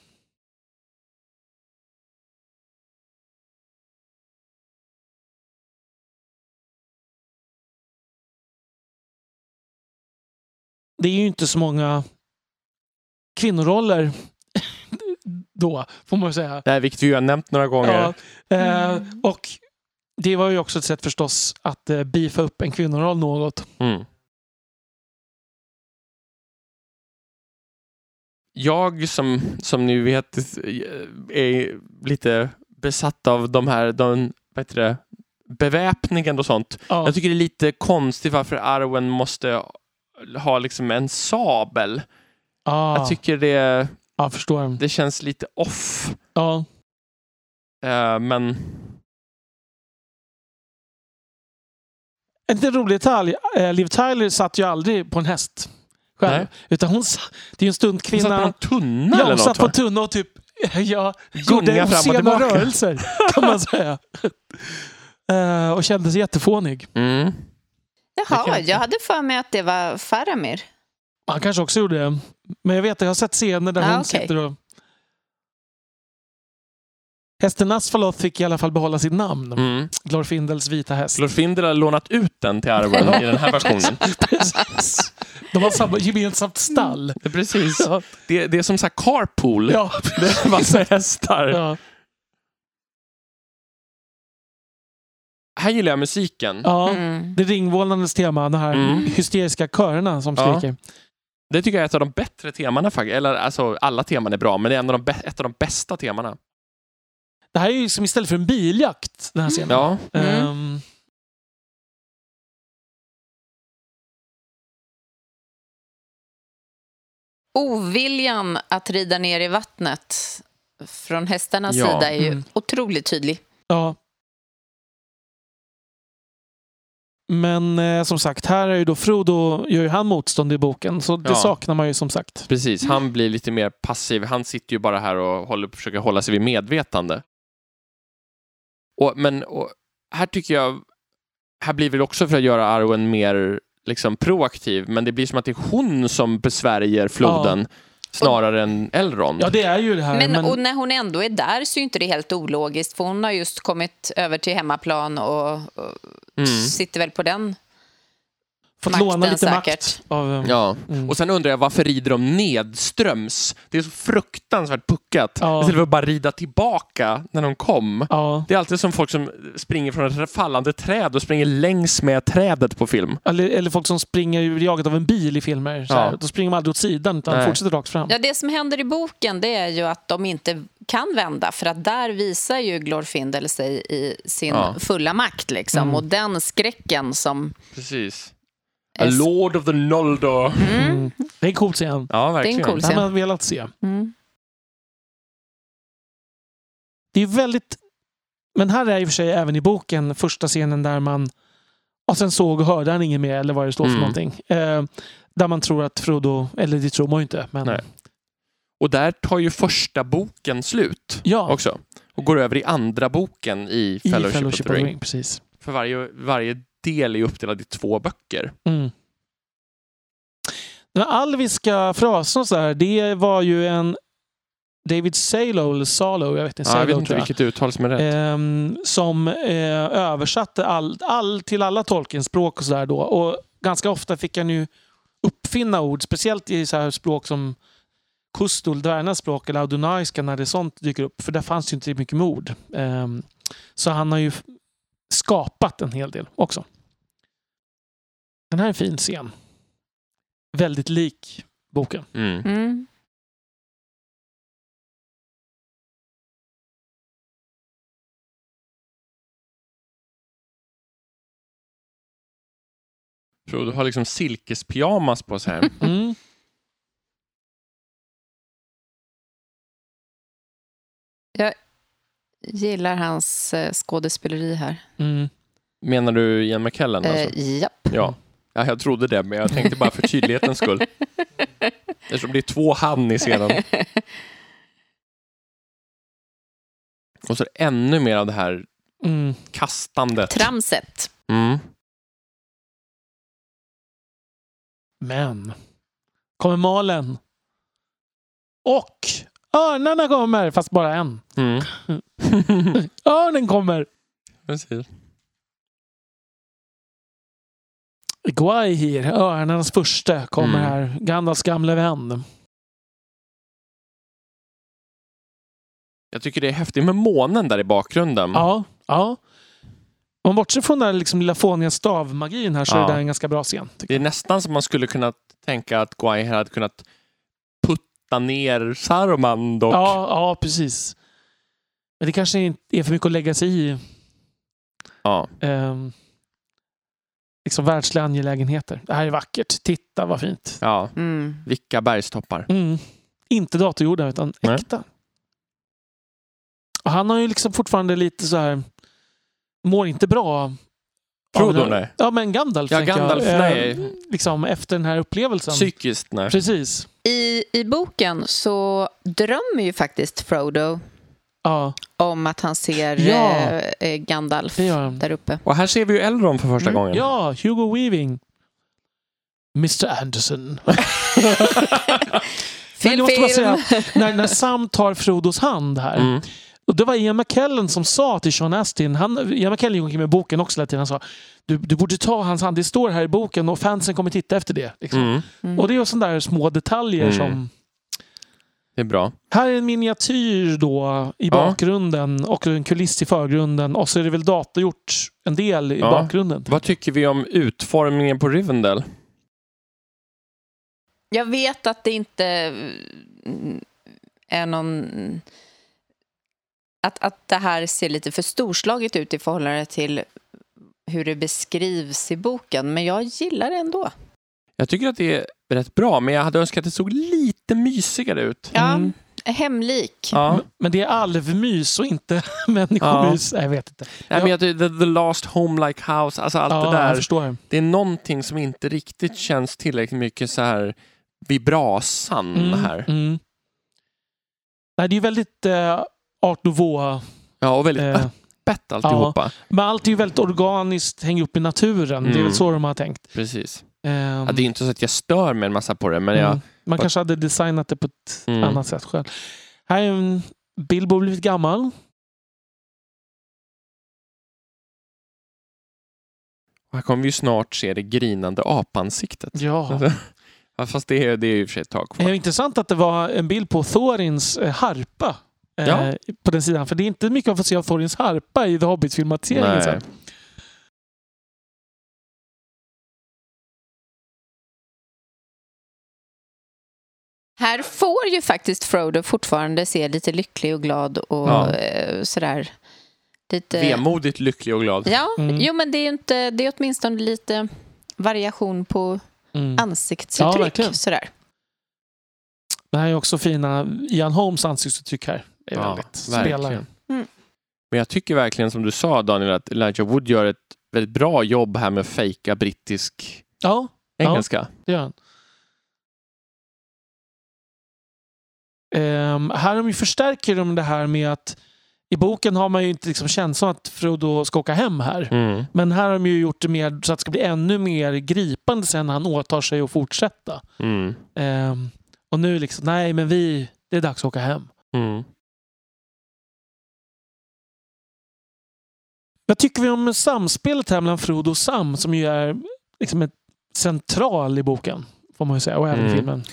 S2: Det är ju inte så många kvinnoroller <laughs> då, får man ju säga.
S1: Det här, vilket vi ju har nämnt några gånger.
S2: Ja, eh,
S3: Mm.
S2: och det var ju också ett sätt förstås att eh, beefa upp en kvinnoroll något.
S1: Mm. Jag som, som ni vet är lite besatt av de här, de, vad heter det, beväpningen och sånt.
S2: Ja.
S1: Jag tycker det är lite konstigt varför Arwen måste ha liksom en sabel.
S2: ja,
S1: Jag tycker det,
S2: ja, Ah, jag förstår.
S1: det känns lite off.
S2: Ja.
S1: Eh, men
S2: En liten rolig detalj. eh, Liv Tyler satt ju aldrig på en häst själv.
S1: Nej.
S2: Utan hon, s- det är ju en stund
S1: hon satt på
S2: kvinna.
S1: någon tunna
S2: ja,
S1: eller
S2: hon
S1: något.
S2: satt på
S1: va?
S2: en tunna och typ ja,
S1: Gunga
S2: gjorde
S1: fram och
S2: obscena
S1: tillbaka.
S2: rörelser. Kan
S1: <laughs>
S2: man säga. Eh, och kände sig jättefånig.
S1: Mm. Det
S3: Jaha,
S1: kan-
S3: jag hade för mig att det var Faramir.
S2: Han kanske också gjorde det. Men jag vet att jag har sett scener där
S3: Ja,
S2: hon
S3: Ah, okej.
S2: sitter och... Hästen Asfaloth fick i alla fall behålla sitt namn.
S1: Mm.
S2: Glorfindels vita häst. <laughs>
S1: Glorfindel har lånat ut den till Arwen i den här versionen. <laughs>
S2: Precis. De har samma, gemensamt stall.
S1: Mm. Precis.
S2: Ja.
S1: Det, det är som så här carpool. typ.
S2: Ja,
S1: <laughs> Det är massa hästar.
S2: ja.
S1: Här gillar jag musiken.
S2: ja.
S3: Mm.
S2: Det är ringvålandes tema, de här
S1: Mm.
S2: hysteriska körerna som
S1: Ja.
S2: skriker.
S1: Det tycker jag är ett av de bättre temana faktiskt. Eller alltså, alla teman är bra, men det är en av de bä- ett av de bästa temana.
S2: Det här är ju som istället för en biljakt, den här scenen.
S1: Ja.
S3: Mm.
S2: Ehm,
S3: Oviljan att rida ner i vattnet från hästarnas
S1: Ja.
S3: sida är ju
S2: Mm.
S3: otroligt tydlig.
S2: ja. Men eh, som sagt, här är ju då Frodo, gör ju han motstånd i boken, så det
S1: Ja.
S2: saknar man ju som sagt.
S1: Precis, han blir lite mer passiv. Han sitter ju bara här och håller, försöker hålla sig vid medvetande. Och, men och, här tycker jag, här blir väl också för att göra Arwen mer liksom, proaktiv, men det blir som att det är hon som besvärjer floden snarare än Elrond.
S2: Ja, det är ju det här.
S3: Men,
S2: Eh, Men,
S3: Och när hon ändå är där så är ju inte det helt ologiskt för hon har just kommit över till hemmaplan och, och
S1: Mm.
S3: sitter väl på den
S2: Fått
S3: Makten
S2: låna lite makt
S3: säkert.
S2: av... eh,
S1: Ja.
S2: Mm.
S1: Och sen undrar jag varför rider de nedströms? Det är så fruktansvärt puckat.
S2: Ja.
S1: Istället för att bara rida tillbaka när de kom.
S2: Ja.
S1: Det är alltid som folk som springer från ett fallande träd och springer längs med trädet på film.
S2: Eller, eller folk som springer blir jagade av en bil i filmer. Så här.
S1: Ja.
S2: Då springer man aldrig åt sidan utan
S1: Nej.
S2: fortsätter rakt fram.
S3: Ja, det som händer i boken det är ju att de inte kan vända för att där visar ju Glorfindel sig i sin
S1: Ja.
S3: fulla makt. Liksom.
S2: Mm.
S3: Och den skräcken som...
S1: Precis. A
S3: är-
S1: Lord of the Noldor.
S3: Mm.
S2: Mm. Det är en cool scen.
S1: Ja,
S3: Det är
S1: verkligen.
S3: en cool
S2: Det hade
S3: scen.
S2: man velat se.
S3: Mm.
S2: Det är väldigt... Men här är i och för sig även i boken första scenen där man... Och sen såg och hörde han inget mer eller vad det står för
S1: Mm.
S2: någonting. Eh, där man tror att Frodo... Eller det tror man ju inte. Men,
S1: Nej. Och där tar ju första boken slut
S2: Ja,
S1: också. Och går över i andra boken i
S2: i
S1: Fellowship, of the Ring.
S2: Precis.
S1: För varje, varje del är ju uppdelad i två böcker.
S2: Mm. Den här alviska frasen och så här, det var ju en David Salo, eller Salo, jag vet inte,
S1: Ja, jag
S2: Salo,
S1: vet inte
S2: tror jag.
S1: vilket uttal som är rätt.
S2: Ehm, som eh, översatte all, all, till alla Tolkiens språk och sådär då. Och ganska ofta fick han ju uppfinna ord, speciellt i så här språk som Kustul, dvärgarnas språk, eller audunaiska när det sånt dyker upp. För där fanns ju inte mycket med ord. Ehm, så han har ju f- skapat en hel del också. Den här är en fin scen. Väldigt lik boken.
S1: Mm.
S3: Mm.
S1: Frodo har liksom silkespyjamas på sig här.
S2: Mm.
S3: Gillar hans eh, skådespeleri här.
S2: Mm.
S1: Menar du Ian McKellen? Alltså?
S3: Eh, japp.
S1: Ja. ja, jag trodde det, men jag tänkte bara för tydlighetens skull. Eftersom det är två han i scenen. Och så är det ännu mer av det här
S2: Mm.
S1: kastandet.
S3: Tramset.
S1: Mm.
S2: Men kommer malen. Och örnarna kommer, fast bara en.
S1: Mm.
S2: Örnen kommer.
S1: Precis.
S2: Gwaihir, örnarnas första, kommer
S1: Mm.
S2: här. Gandalfs gamle vän.
S1: Jag tycker det är häftigt med månen där i bakgrunden.
S2: Ja, ja. Om man bortser från den där liksom lilla fåniga stavmagin här så
S1: Ja.
S2: är det där en ganska bra scen. tycker
S1: Det är nästan som man skulle kunna tänka att Guaiher hade kunnat putta ner Saruman dock.
S2: jag. Ja, ja, precis. Men det kanske inte är för mycket att lägga sig i.
S1: Ja.
S2: ehm, liksom världsliga angelägenheter. Det här är vackert. Titta vad fint.
S1: ja.
S3: Mm.
S1: Vilka bergstoppar.
S2: Mm. Inte datorgjorda, utan
S1: Nej.
S2: äkta. Och han har ju liksom fortfarande lite så här... Mår inte bra. av
S1: Frodo,
S2: den-
S1: nej.
S2: Ja, men Gandalf.
S1: Ja,
S2: tänker
S1: Gandalf,
S2: jag. Eh,
S1: nej.
S2: Liksom efter den här upplevelsen.
S1: Psykiskt, nej.
S2: Precis.
S3: I, I boken så drömmer ju faktiskt Frodo
S2: Ja,
S3: om att han ser
S2: Ja.
S3: eh, eh, Gandalf
S2: det gör han.
S3: där uppe.
S1: Och här ser vi ju Elrond för första
S3: Mm.
S1: gången.
S2: Ja, Hugo Weaving. Mr Anderson. Men
S3: Film,
S2: jag måste bara
S3: film.
S2: säga, när, när Sam tar Frodos hand här.
S1: Mm.
S2: Och det var Ian McKellen som sa till Sean Astin, han, Ian McKellen gick omkring med boken också hela tiden, han sa du, du borde ta hans hand, det står här i boken och fansen kommer titta efter det. Liksom.
S1: Mm.
S3: Mm.
S2: Och det är ju sådana där små detaljer
S1: Mm.
S2: som...
S1: Det är bra.
S2: Här är en miniatyr då i bakgrunden och en kuliss i förgrunden och så är det väl datorgjort en del i
S1: Ja.
S2: bakgrunden.
S1: Vad tycker vi om utformningen på Rivendell?
S3: Jag vet att det inte mm, är någon... Att, att det här ser lite för storslaget ut i förhållande till hur det beskrivs i boken, men jag gillar det ändå.
S1: Jag tycker att det är rätt bra, men jag hade önskat att det såg lite mysigare ut.
S3: Ja,
S2: Mm.
S3: Hemlik.
S1: Ja.
S2: M- Men det är alvmys och inte <laughs> människomys. Nej, Jag vet inte.
S1: Nej, men jag, tycker the, the last home like house, alltså allt
S2: ja,
S1: det
S2: Jag
S1: där.
S2: förstår.
S1: Det är någonting som inte riktigt känns tillräckligt mycket så här vid brasan
S2: Mm,
S1: här.
S2: Mm. Nej, det är ju väldigt eh, art nouveau.
S1: Ja, och väldigt
S2: Eh,
S1: öppet alltihopa.
S2: Men allt är ju väldigt organiskt, hänger upp i naturen. Det är
S1: Mm.
S2: väl så de har tänkt.
S1: Precis.
S2: Ehm,
S1: Ja, det är ju inte så att jag stör mig en massa på det, men jag...
S2: mm. Man kanske hade designat det på ett
S1: Mm.
S2: annat sätt själv. Här är en Bilbo har blivit gammal.
S1: Och här kommer vi ju snart se det grinande apansiktet.
S2: Ja.
S1: <laughs> Ja, Fast det är, det är ju i och för sig ett tag
S2: Det är
S1: kvar.
S2: ju Eh, intressant att det var en bild på Thorins eh, harpa. eh,
S1: Ja.
S2: På den sidan. För det är inte mycket man får se av Thorins harpa i The Hobbit-filmatiseringen. sen.
S1: Nej.
S3: Här får ju faktiskt Frodo fortfarande se lite lycklig och glad och
S1: Ja.
S3: eh, sådär. Lite...
S1: Vemodigt lycklig och glad.
S3: Ja,
S2: Mm.
S3: jo men det är ju inte, det är åtminstone lite variation på
S2: Mm. Ja,
S3: ansiktsuttryck.
S2: verkligen.
S3: sådär.
S2: Det här är också fina Ian Holmes ansiktsuttryck här. Det är
S1: Ja,
S2: väldigt
S1: verkligen.
S2: spelare.
S3: Mm.
S1: Men jag tycker verkligen som du sa Daniel att Elijah Wood gör ett väldigt bra jobb här med att fejka brittisk
S2: Ja, Ja.
S1: engelska.
S2: det gör han. Ehm, här har de ju förstärker de det här med att i boken har man ju inte liksom känslan att Frodo ska åka hem här.
S1: Mm.
S2: Men här har de ju gjort det mer så att det ska bli ännu mer gripande sen när han åtar sig att fortsätta.
S1: Mm.
S2: Ehm, och nu liksom, nej men vi, det är dags att åka hem.
S1: Mm.
S2: Vad tycker vi om samspelet här mellan Frodo och Sam som ju är liksom ett central i boken? Får man ju säga, och även i
S1: Mm.
S2: filmen.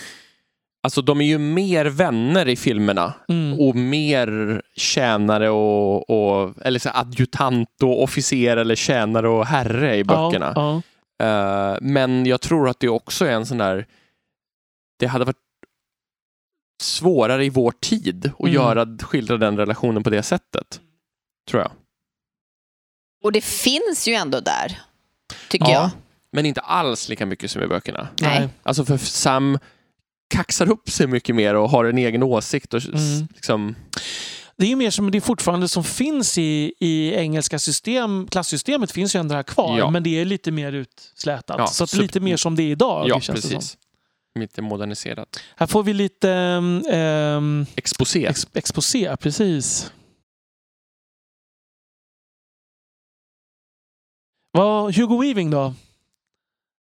S1: Alltså de är ju mer vänner i filmerna
S2: Mm.
S1: och mer tjänare och, och eller så här adjutant och officer eller tjänare och herre i böckerna.
S2: Ja,
S1: Eh, men jag tror att det också är en sån där... Det hade varit svårare i vår tid att
S2: Mm.
S1: göra, skildra den relationen på det sättet. Tror jag.
S3: Och det finns ju ändå där, tycker
S2: Ja.
S3: jag.
S1: Men inte alls lika mycket som i böckerna.
S2: ja.
S3: Nej.
S2: Nej.
S1: Alltså för Sam kaxar upp sig mycket mer och har en egen åsikt. Och s-
S2: Mm.
S1: liksom,
S2: Det är ju mer som det fortfarande som finns i, i engelska system, klassystemet finns ju ändå här kvar.
S1: Ja.
S2: Men det är lite mer utslätat.
S1: Ja,
S2: så att det är
S1: sub-
S2: lite mer som det är idag.
S1: ja,
S2: det känns det som.
S1: precis. Lite moderniserat.
S2: Här får vi lite ehm, ehm,
S1: Exposé.
S2: Ex exposé, precis. Vad Hugo Weaving då?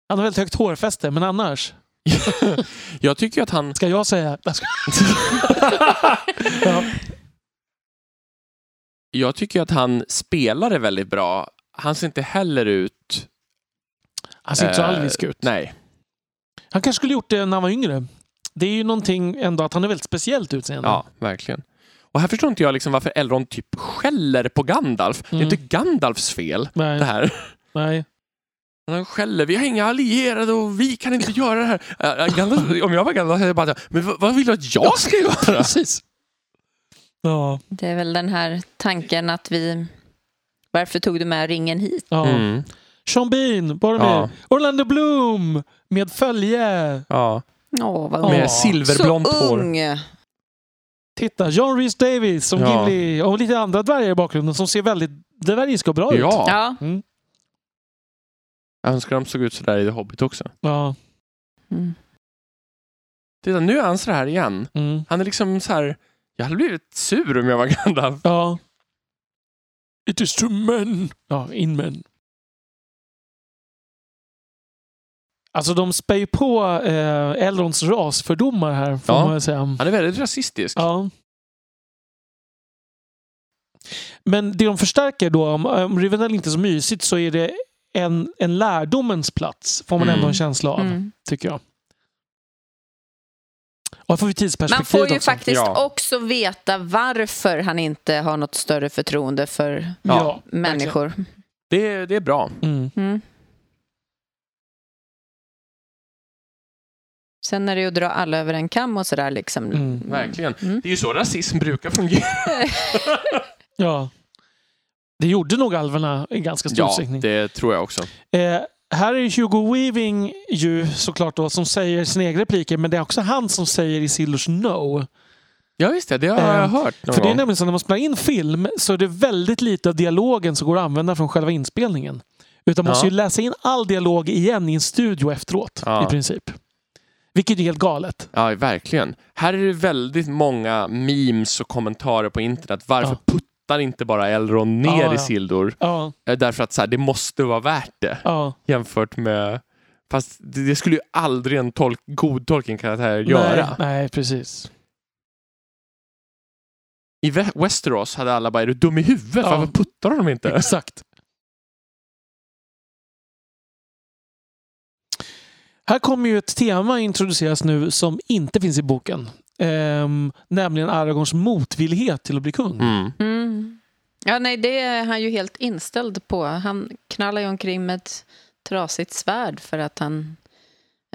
S2: Han har väldigt högt hårfäste, men annars?
S1: jag tycker ju att han...
S2: Ska jag säga? Jag ska- <laughs> ja.
S1: Jag tycker att han spelar det väldigt bra. Han ser inte heller ut...
S2: Han ser inte så
S1: Eh,
S2: alvisk ut.
S1: Nej.
S2: Han kanske skulle gjort det när han var yngre. Det är ju någonting ändå att han är väldigt speciellt utseende.
S1: Ja, verkligen. Och här förstår inte jag liksom varför Elrond typ skäller på Gandalf.
S2: Mm.
S1: Det är inte Gandalfs fel, det
S2: Nej,
S1: här.
S2: nej.
S1: Han skäller, vi har inga allierade och vi kan inte göra det här. Äh, äh, Gandalf, om jag var Gandalf hade jag bara, sagt, men vad, vad vill du att jag ska göra?
S2: Precis. Ja,
S3: Det är väl den här tanken att vi... Varför tog du med ringen hit?
S2: ja.
S1: Mm,
S2: Sean Bean, Boromir,
S1: Ja.
S2: Orlando Bloom med följe.
S1: ja.
S3: Åh, vad
S2: Ja.
S3: ung.
S1: Med silverblont
S3: Så
S1: hår.
S3: ung!
S2: Titta, John Rhys Davies som
S1: Ja.
S2: Gimli och lite andra dvärgar i bakgrunden som ser väldigt dvärgiska och bra ut.
S1: Ja.
S3: Ja.
S2: Mm.
S1: Jag önskar de såg ut sådär i The Hobbit också.
S2: Ja.
S3: Mm.
S1: Titta, nu är han så här igen.
S2: Mm.
S1: Han är liksom så här. jag hade blivit sur om jag var Gandalf.
S2: ja. It is to men. Ja, in men. Alltså de spär ju på eh, Elrons rasfördomar här, får
S1: Ja.
S2: man väl säga.
S1: Han är väldigt rasistisk.
S2: Ja. Men det de förstärker då, om, om Rivendell inte är så mysigt så är det en, en lärdomens plats, får man
S1: Mm.
S2: ändå en känsla av.
S3: Mm.
S2: tycker jag. Och här får vi
S3: Man
S2: tidsperspektivet
S3: får ju
S2: också.
S3: faktiskt
S1: Ja.
S3: också veta varför han inte har något större förtroende för
S2: Ja.
S3: människor.
S1: Det, det är bra.
S2: Mm.
S3: Mm. Sen är det ju att dra alla över en kam och sådär liksom.
S2: Mm,
S1: Verkligen.
S3: Mm.
S1: Det är ju så rasism brukar fungera.
S2: ja. Det gjorde nog alverna i ganska stor
S1: Ja,
S2: utsträckning.
S1: det tror jag också.
S2: Eh, här är Hugo Weaving ju såklart då som säger sina egna repliker men det är också han som säger Isildurs no.
S1: Ja, visst Ehm, det. Det har jag
S2: Eh,
S1: hört någon
S2: För det är
S1: gång.
S2: nämligen så när man spelar in film så är det väldigt lite av dialogen som går att använda från själva inspelningen. Utan man måste
S1: Ja.
S2: ju läsa in all dialog igen i en studio efteråt
S1: Ja.
S2: i princip. Vilket är helt galet.
S1: Ja, verkligen. Här är det väldigt många memes och kommentarer på internet. Varför puttar inte bara Elrond ner
S2: Ja, ja.
S1: i Sildor?
S2: Ja,
S1: Eh, Därför att så här, det måste vara värt det
S2: ja.
S1: jämfört med... Fast det, det skulle ju aldrig en tolk, god Tolkien-karaktär göra.
S2: Nej, nej precis.
S1: I Ve- Westeros hade
S2: <laughs>
S1: alla bara, är du dum i huvudet?
S2: Ja.
S1: Varför puttar de inte?
S2: Exakt. Här kommer ju ett tema introduceras nu som inte finns i boken. Ehm, nämligen Aragorns motvillighet till att bli kung.
S1: Mm.
S3: Mm. Ja, nej, det är han ju helt inställd på. Han knallar ju omkring med ett trasigt svärd för att han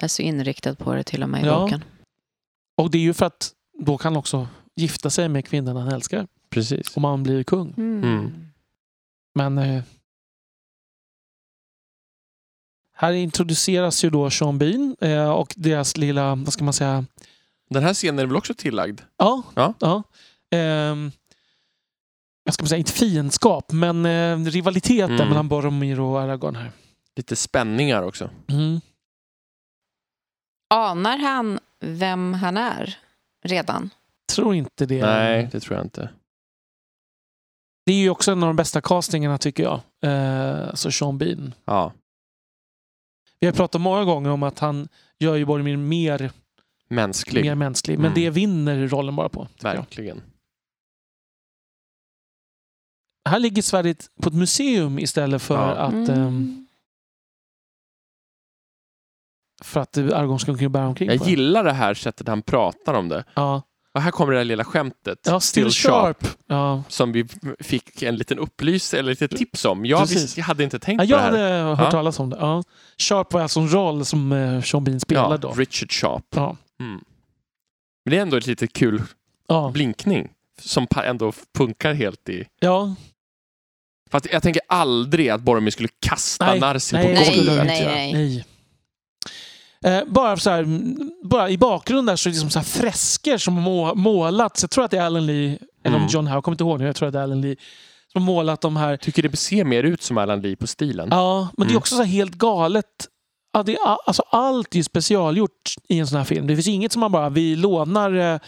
S3: är så inriktad på det till och med i
S2: Ja.
S3: boken.
S2: Och det är ju för att då kan han också gifta sig med kvinnan han älskar.
S1: Precis.
S2: Om han blir kung.
S3: Mm.
S1: Mm.
S2: Men eh, här introduceras ju då Sean Bean eh, och deras lilla, vad ska man säga,
S1: Den här scenen är väl också tillagd?
S2: ja,
S1: Ja.
S2: Ehm, jag ska säga inte fiendskap, men eh, rivaliteten
S1: Mm.
S2: mellan Boromir och Aragorn här.
S1: Lite spänningar också.
S2: Mm.
S3: Anar han vem han är redan?
S2: Tror inte det.
S1: Nej, det tror jag inte.
S2: Det är ju också en av de bästa castingarna tycker jag. Eh, alltså Sean Bean.
S1: Ja.
S2: Vi har pratat många gånger om att han gör ju Boromir mer,
S1: Mänsklig.
S2: mer mänsklig, men
S1: Mm.
S2: det vinner rollen bara på. tycker jag.
S1: Verkligen.
S2: Här ligger svärdet på ett museum istället för
S1: Ja.
S3: Mm.
S2: att, ehm, för att Argon ska kunna bära omkring
S1: Jag
S2: på det.
S1: gillar det här sättet han pratar om det.
S2: Ja,
S1: Och här kommer det här lilla skämtet.
S2: ja still, sharp. Ja.
S1: Som vi fick en liten upplysning, eller lite tips om. Jag,
S2: Precis.
S1: visst, jag hade inte tänkt
S2: Ja,
S1: på
S2: jag
S1: det här.
S2: hade hört
S1: Ja.
S2: talas om det. Ja. Sharp var alltså en roll som eh, Sean Bean spelade
S1: ja,
S2: då.
S1: Richard Sharp.
S2: Ja.
S1: Mm. Men det är ändå ett lite kul
S2: Ja.
S1: blinkning. Som pa- ändå funkar helt i...
S2: ja,
S1: För att jag tänker aldrig att Boromir skulle kasta
S2: Nej,
S1: Narsil på
S2: nej,
S3: det
S1: golvet.
S3: skulle han
S2: inte
S3: Nej,
S2: göra.
S3: nej.
S2: Eh, bara, så här, mm, bara i bakgrunden där så är det liksom så här fresker som har må, målats. Jag tror att det är Alan Lee, eller om
S1: Mm.
S2: John Howe, jag kommer inte ihåg nu. Jag tror att det är Alan Lee som har målat de här.
S1: Tycker det ser mer ut som Alan Lee på stilen.
S2: Ja, men det är
S1: Mm.
S2: också så här helt galet. Ja, det är, a- alltså, allt är ju specialgjort i en sån här film. Det finns inget som man bara, vi lånar eh,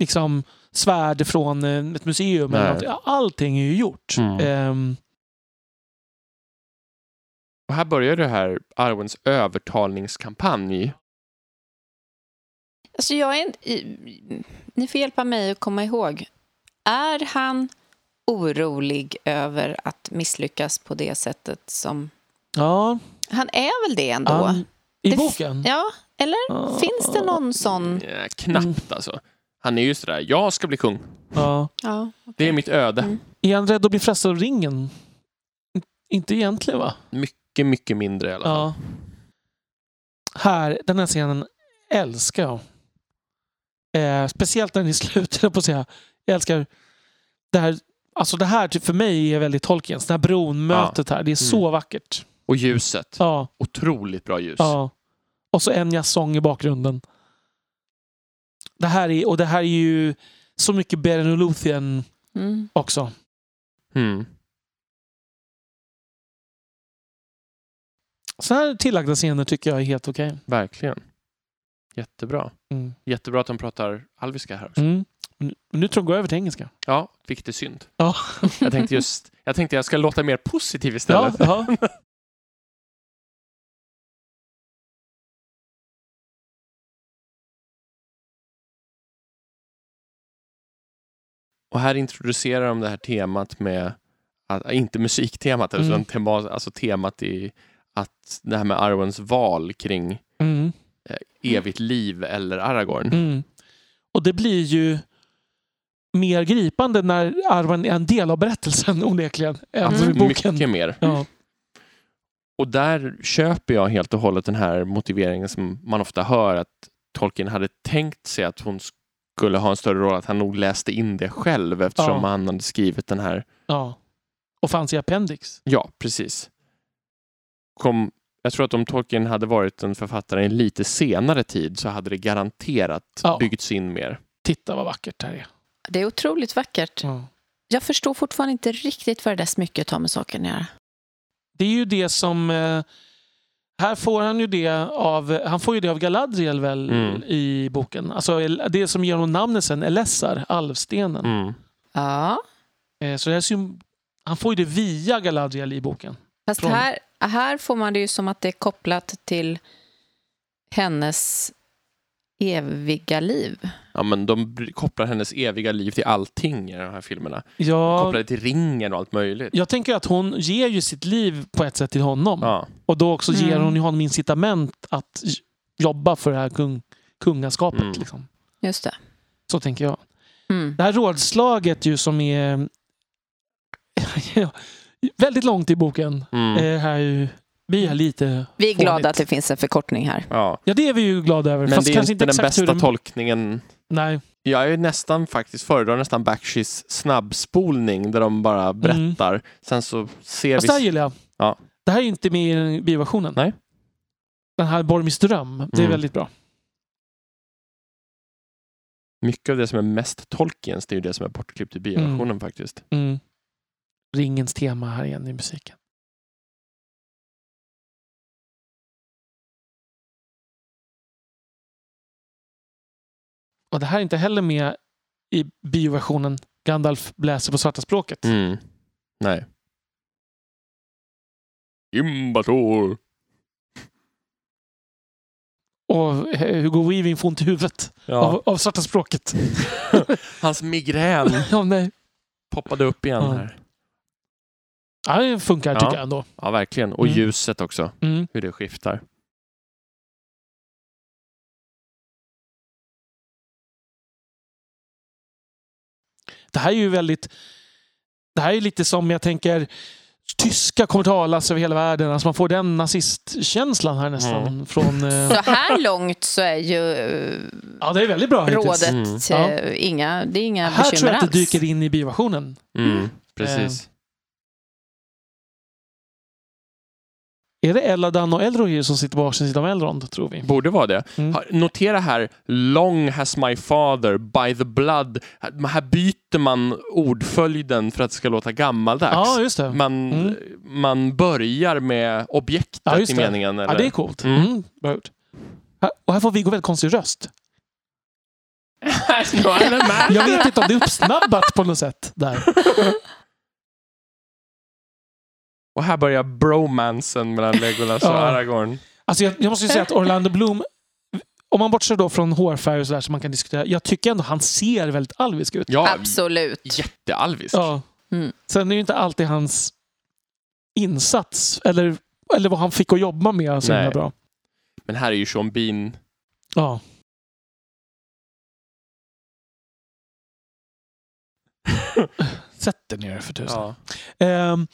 S2: liksom, svärd från eh, ett museum. Eller
S1: Nej.
S2: någonting. Allting är ju gjort.
S1: Mm.
S2: Ehm,
S1: Och här börjar det här Arwens övertalningskampanj.
S3: Alltså jag är en, i- ni får hjälpa mig att komma ihåg. Är han orolig över att misslyckas på det sättet som...
S2: ja,
S3: Han är väl det ändå?
S2: an- i
S3: Det f-
S2: boken.
S3: Ja, eller?
S2: Ja.
S3: Finns det någon sån?
S1: Eh, knappt
S2: Mm.
S1: alltså. Han är ju sådär, jag ska bli kung.
S2: Ja.
S3: Ja.
S1: Det är mitt öde.
S3: Mm.
S2: Är han rädd att bli frestad av ringen? In- Inte egentligen va?
S1: Mycket, mycket mindre i alla fall.
S2: Ja. Här, den här scenen älskar jag. Eh, speciellt när den är slut, <laughs> höll jag på att säga. Jag älskar det här. Alltså det här typ, för mig är väldigt Tolkiens. Det här bronmötet här. Det är så
S1: Mm.
S2: vackert.
S1: Och ljuset.
S2: Ja,
S1: Otroligt bra ljus.
S2: ja. Och så Enyas sång i bakgrunden. Det här är, och det här är ju så mycket Beren och Luthien
S3: Mm.
S2: också.
S1: Mm.
S2: Så här tillagda scener tycker jag är helt okej.
S1: Verkligen. Jättebra.
S2: Mm.
S1: Jättebra att de pratar alviska här också.
S2: Mm. Nu- Nu tror jag gå över till engelska.
S1: Ja, vilket är synd.
S2: Ja.
S1: <laughs> Jag tänkte just, jag tänkte jag ska låta mer positiv
S2: Ja,
S1: istället.
S2: ja.
S1: Och här introducerar de det här temat med, att, äh, inte musiktemat,
S2: Mm.
S1: utan tema, alltså temat i att det här med Arwens val kring
S2: Mm.
S1: evigt liv eller Aragorn.
S2: Mm. Och det blir ju mer gripande när Arwen är en del av berättelsen <laughs> onekligen. Än som i boken.
S1: Mm. Alltså Mycket mer.
S2: Ja.
S1: Och där köper jag helt och hållet den här motiveringen som man ofta hör att Tolkien hade tänkt sig att hon skulle ha en större roll, att han nog läste in det själv eftersom
S2: Ja.
S1: han hade skrivit den här.
S2: ja. Och fanns i appendix.
S1: Ja, precis. Kom, jag tror att om Tolkien hade varit en författare i en lite senare tid så hade det garanterat
S2: Ja.
S1: byggts in mer.
S2: Titta vad vackert det här är.
S3: Det är otroligt vackert.
S1: Mm.
S2: Ja.
S3: Jag förstår fortfarande inte riktigt vad det där smycket har med saken att göra.
S2: Det är ju det som... eh, Här får han ju det av, han får ju det av Galadriel väl
S1: Mm.
S2: i boken. Alltså det som ger honom namnet sen, Elessar, alvstenen.
S1: Mm.
S3: Ja,
S2: Eh, Så det här är sym- han får ju det via Galadriel i boken.
S3: fast
S2: Från-
S3: här, här får man det ju som att det är kopplat till hennes eviga liv.
S1: Ja, men de br- kopplar hennes eviga liv till allting i de här filmerna.
S2: Ja,
S1: Kopplar det till ringen och allt möjligt.
S2: Jag tänker att hon ger ju sitt liv på ett sätt till honom.
S1: Ja.
S2: Och då också ger
S3: Mm.
S2: hon ju honom incitament att jobba för det här kung, kungaskapet.
S1: Mm.
S2: Liksom.
S3: Just det.
S2: Så tänker jag.
S3: Mm.
S2: Det här rådslaget ju som är <laughs> väldigt långt i boken.
S1: Mm.
S2: eh, Här är ju, vi är lite...
S3: Vi är glada
S2: Fånigt.
S3: att det finns en förkortning här.
S1: Ja.
S2: Ja, det är vi ju glada över.
S1: Men
S2: fast
S1: det är
S2: kanske
S1: inte den
S2: exakt hur
S1: bästa tolkningen.
S2: Nej.
S1: Jag är nästan faktiskt föredrar nästan Bakshis snabbspolning där de bara berättar. Sen så ser
S2: Mm. Fast det här
S1: vi...
S2: gillar jag.
S1: Ja.
S2: Det här är inte med i bioversionen.
S1: Nej.
S2: Den här Bormis dröm. Det är
S1: Mm.
S2: väldigt bra.
S1: Mycket av det som är mest Tolkiens, det är ju det som är bortklippt i bioversionen faktiskt.
S2: Mm. Ringens tema här igen i musiken. Och det här är inte heller med i bioversionen Gandalf läser på svarta språket.
S1: Mm. Nej. Imbator!
S2: Och eh, Hugo Weaving får ont i huvudet
S1: Ja.
S2: av, av svarta språket.
S1: <laughs> Hans migrän
S2: <laughs> ja, nej.
S1: poppade upp igen
S2: Ja.
S1: här.
S2: Ja, det funkar tycker
S1: Ja.
S2: jag ändå.
S1: Ja, verkligen. Och
S2: Mm.
S1: ljuset också,
S2: Mm.
S1: hur det skiftar.
S2: Det här är ju väldigt... Det här är lite som jag tänker tyska kommer talas över hela världen. Alltså man får den nazistkänslan här nästan.
S1: Mm.
S2: Från,
S3: <laughs>
S2: eh,
S3: Så här långt så är ju eh,
S2: ja, det är väldigt bra hittills.
S3: rådet
S1: Mm.
S2: Ja.
S3: eh, inga, det är inga
S2: Här tror
S3: bekymmer
S2: jag att det
S3: alls. <laughs>
S2: dyker in i bioversionen.
S1: Mm.
S3: Mm.
S1: Precis.
S2: Är det Eladan och Elrohir som sitter på varsin sida om Elrond, tror vi?
S1: Borde vara det.
S2: Mm.
S1: Ha- Notera här, long has my father by the blood. Här här byter man ordföljden för att det ska låta gammaldags.
S2: Ja, just det.
S1: man,
S2: Mm.
S1: man börjar med objektet
S2: Ja, just
S1: i
S2: det.
S1: meningen. Eller?
S2: Ja, det är coolt.
S1: Mm.
S2: Mm. bra gjort. Här- Och här får Viggo väldigt konstig röst. Jag vet inte om det är uppsnabbat på något sätt. Där.
S1: <laughs> Och här börjar bromansen mellan Legolas och
S2: Ja.
S1: Aragorn.
S2: Alltså jag, jag måste ju säga att Orlando Bloom, om man bortser då från hårfärg och sådär som man kan diskutera, jag tycker ändå han ser väldigt alvisk ut.
S1: Ja,
S3: <laughs> Absolut.
S1: jättealvisk.
S2: Ja.
S3: Mm.
S2: Sen är ju inte alltid hans insats, eller, eller vad han fick att jobba med, så himla
S1: Nej.
S2: bra.
S1: Men här är ju Sean Bean.
S2: Ja. <laughs> Sätt dig ner för tusan.
S1: Ja.
S2: Ehm,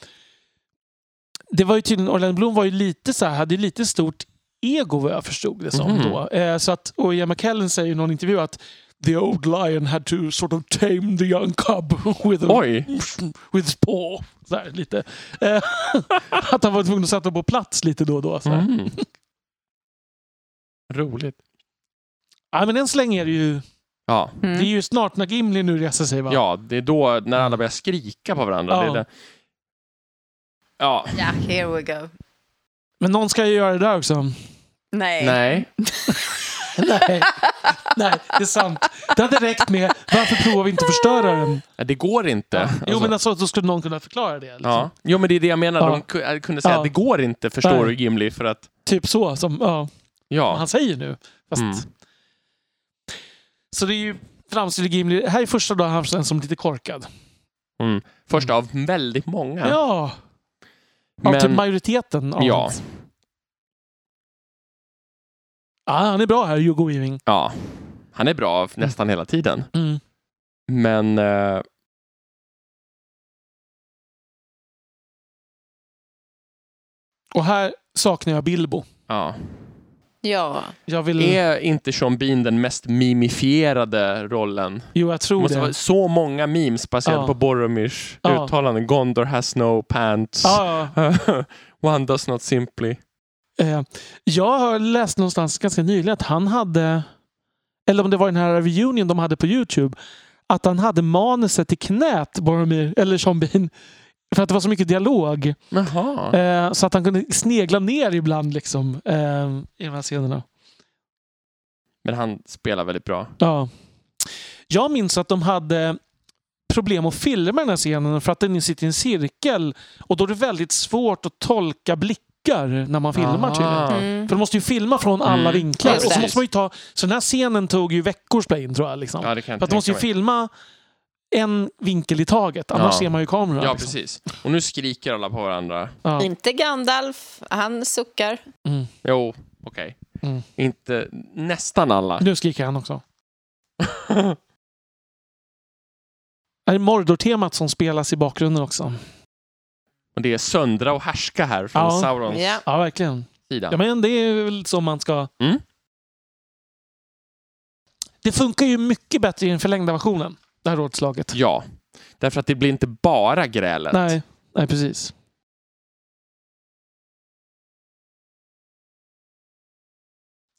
S2: det var ju tydligen, Orlando Bloom var ju lite så här, hade ju lite stort ego vad jag förstod det som
S1: Mhm.
S2: då. Eh, så att, och Ian McKellen säger i någon intervju att the old lion had to sort of tame the young cub <laughs> with, a,
S1: Oj!
S2: with his paw. Så här, lite. Eh, <laughs> att han var tvungen att sätta på plats lite då och då. Så här.
S1: Mm. Roligt.
S2: Ja, men än så länge är det ju,
S1: Ja.
S2: det är
S3: Mm.
S2: ju snart när Gimli nu reser sig va?
S1: ja, det är då när alla börjar skrika på varandra.
S2: Ja.
S1: Det är det. Ja,
S3: Ja, here we go.
S2: Men någon ska ju göra det där
S1: <laughs>
S2: också.
S3: Nej.
S1: nej.
S2: Nej. Nej, det är sant. Det hade räckt med, varför provar vi inte att förstöra den?
S1: Ja, Det går inte.
S2: Ja. Jo,
S1: Alltså,
S2: men alltså, då skulle någon kunna förklara det. Liksom.
S1: ja. jo, men det är det jag menar.
S2: Ja.
S1: De ku- äh, kunde säga
S2: Ja.
S1: att det går inte, förstår
S2: Nej.
S1: du Gimli, för att...
S2: Typ så, som ja,
S1: Ja.
S2: han säger nu. Fast...
S1: Mm.
S2: Så det är ju framstår ju Gimli. Här är första dagen han känns som lite korkad.
S1: Mm. Första av väldigt många.
S2: Ja, ja.
S1: Men-
S2: typ majoriteten av
S1: Ja.
S2: hans- Ja, Ah, han är bra här, Hugo Weaving.
S1: Ja. Han är bra f- nästan hela tiden.
S2: Mm.
S1: Men... eh,
S2: Och här saknar jag Bilbo.
S1: ja.
S3: Ja.
S2: Jag vill...
S1: Är inte Sean Bean den mest mimifierade rollen?
S2: Jo, jag
S1: Det
S2: tror
S1: måste
S2: det.
S1: vara så många memes baserat
S2: Ja.
S1: på Boromirs
S2: Ja.
S1: uttalanden. Gondor has no pants.
S2: Ja,
S1: <laughs> One does not simply.
S2: ja. Eh, jag har läst någonstans ganska nyligen att han hade, eller om det var den här reunion de hade på Youtube, att han hade manuset i knät, Boromir, eller Sean Bean. För att det var så mycket dialog.
S1: Jaha.
S2: Eh, så att han kunde snegla ner ibland liksom, eh, i de här scenerna.
S1: Men han spelar väldigt bra.
S2: Ja. Jag minns att de hade problem att filma den här scenen för att den sitter i en cirkel. Och då är det väldigt svårt att tolka blickar när man filmar tydligen.
S1: Ah.
S3: Mm.
S2: För de måste ju filma från alla
S1: Mm.
S2: vinklar.
S3: Just
S2: Och så
S3: det.
S2: måste man ju ta, så den här scenen tog ju veckor att spela in tror jag. Liksom.
S1: Ja, det kan jag
S2: för att de måste
S1: tänka
S2: ju
S1: mig.
S2: filma en vinkel i taget, annars
S1: Ja.
S2: ser man ju kameran.
S1: Ja,
S2: liksom.
S1: precis. Och nu skriker alla på varandra.
S2: Ja.
S3: Inte Gandalf. Han suckar.
S2: Mm.
S1: Jo, okej.
S2: Mm.
S1: Inte nästan alla. <laughs>
S2: Nu skriker han också. Det är Mordor-temat som spelas i bakgrunden också.
S1: och det är söndra och härska här från
S2: Ja.
S1: Saurons
S3: Ja.
S2: Ja, verkligen.
S1: sida.
S2: Ja, men det är väl som man ska...
S1: Mm.
S2: Det funkar ju mycket bättre i den förlängda versionen, det här rådslaget.
S1: Ja, därför att det blir inte bara grälet.
S2: Nej, nej, precis.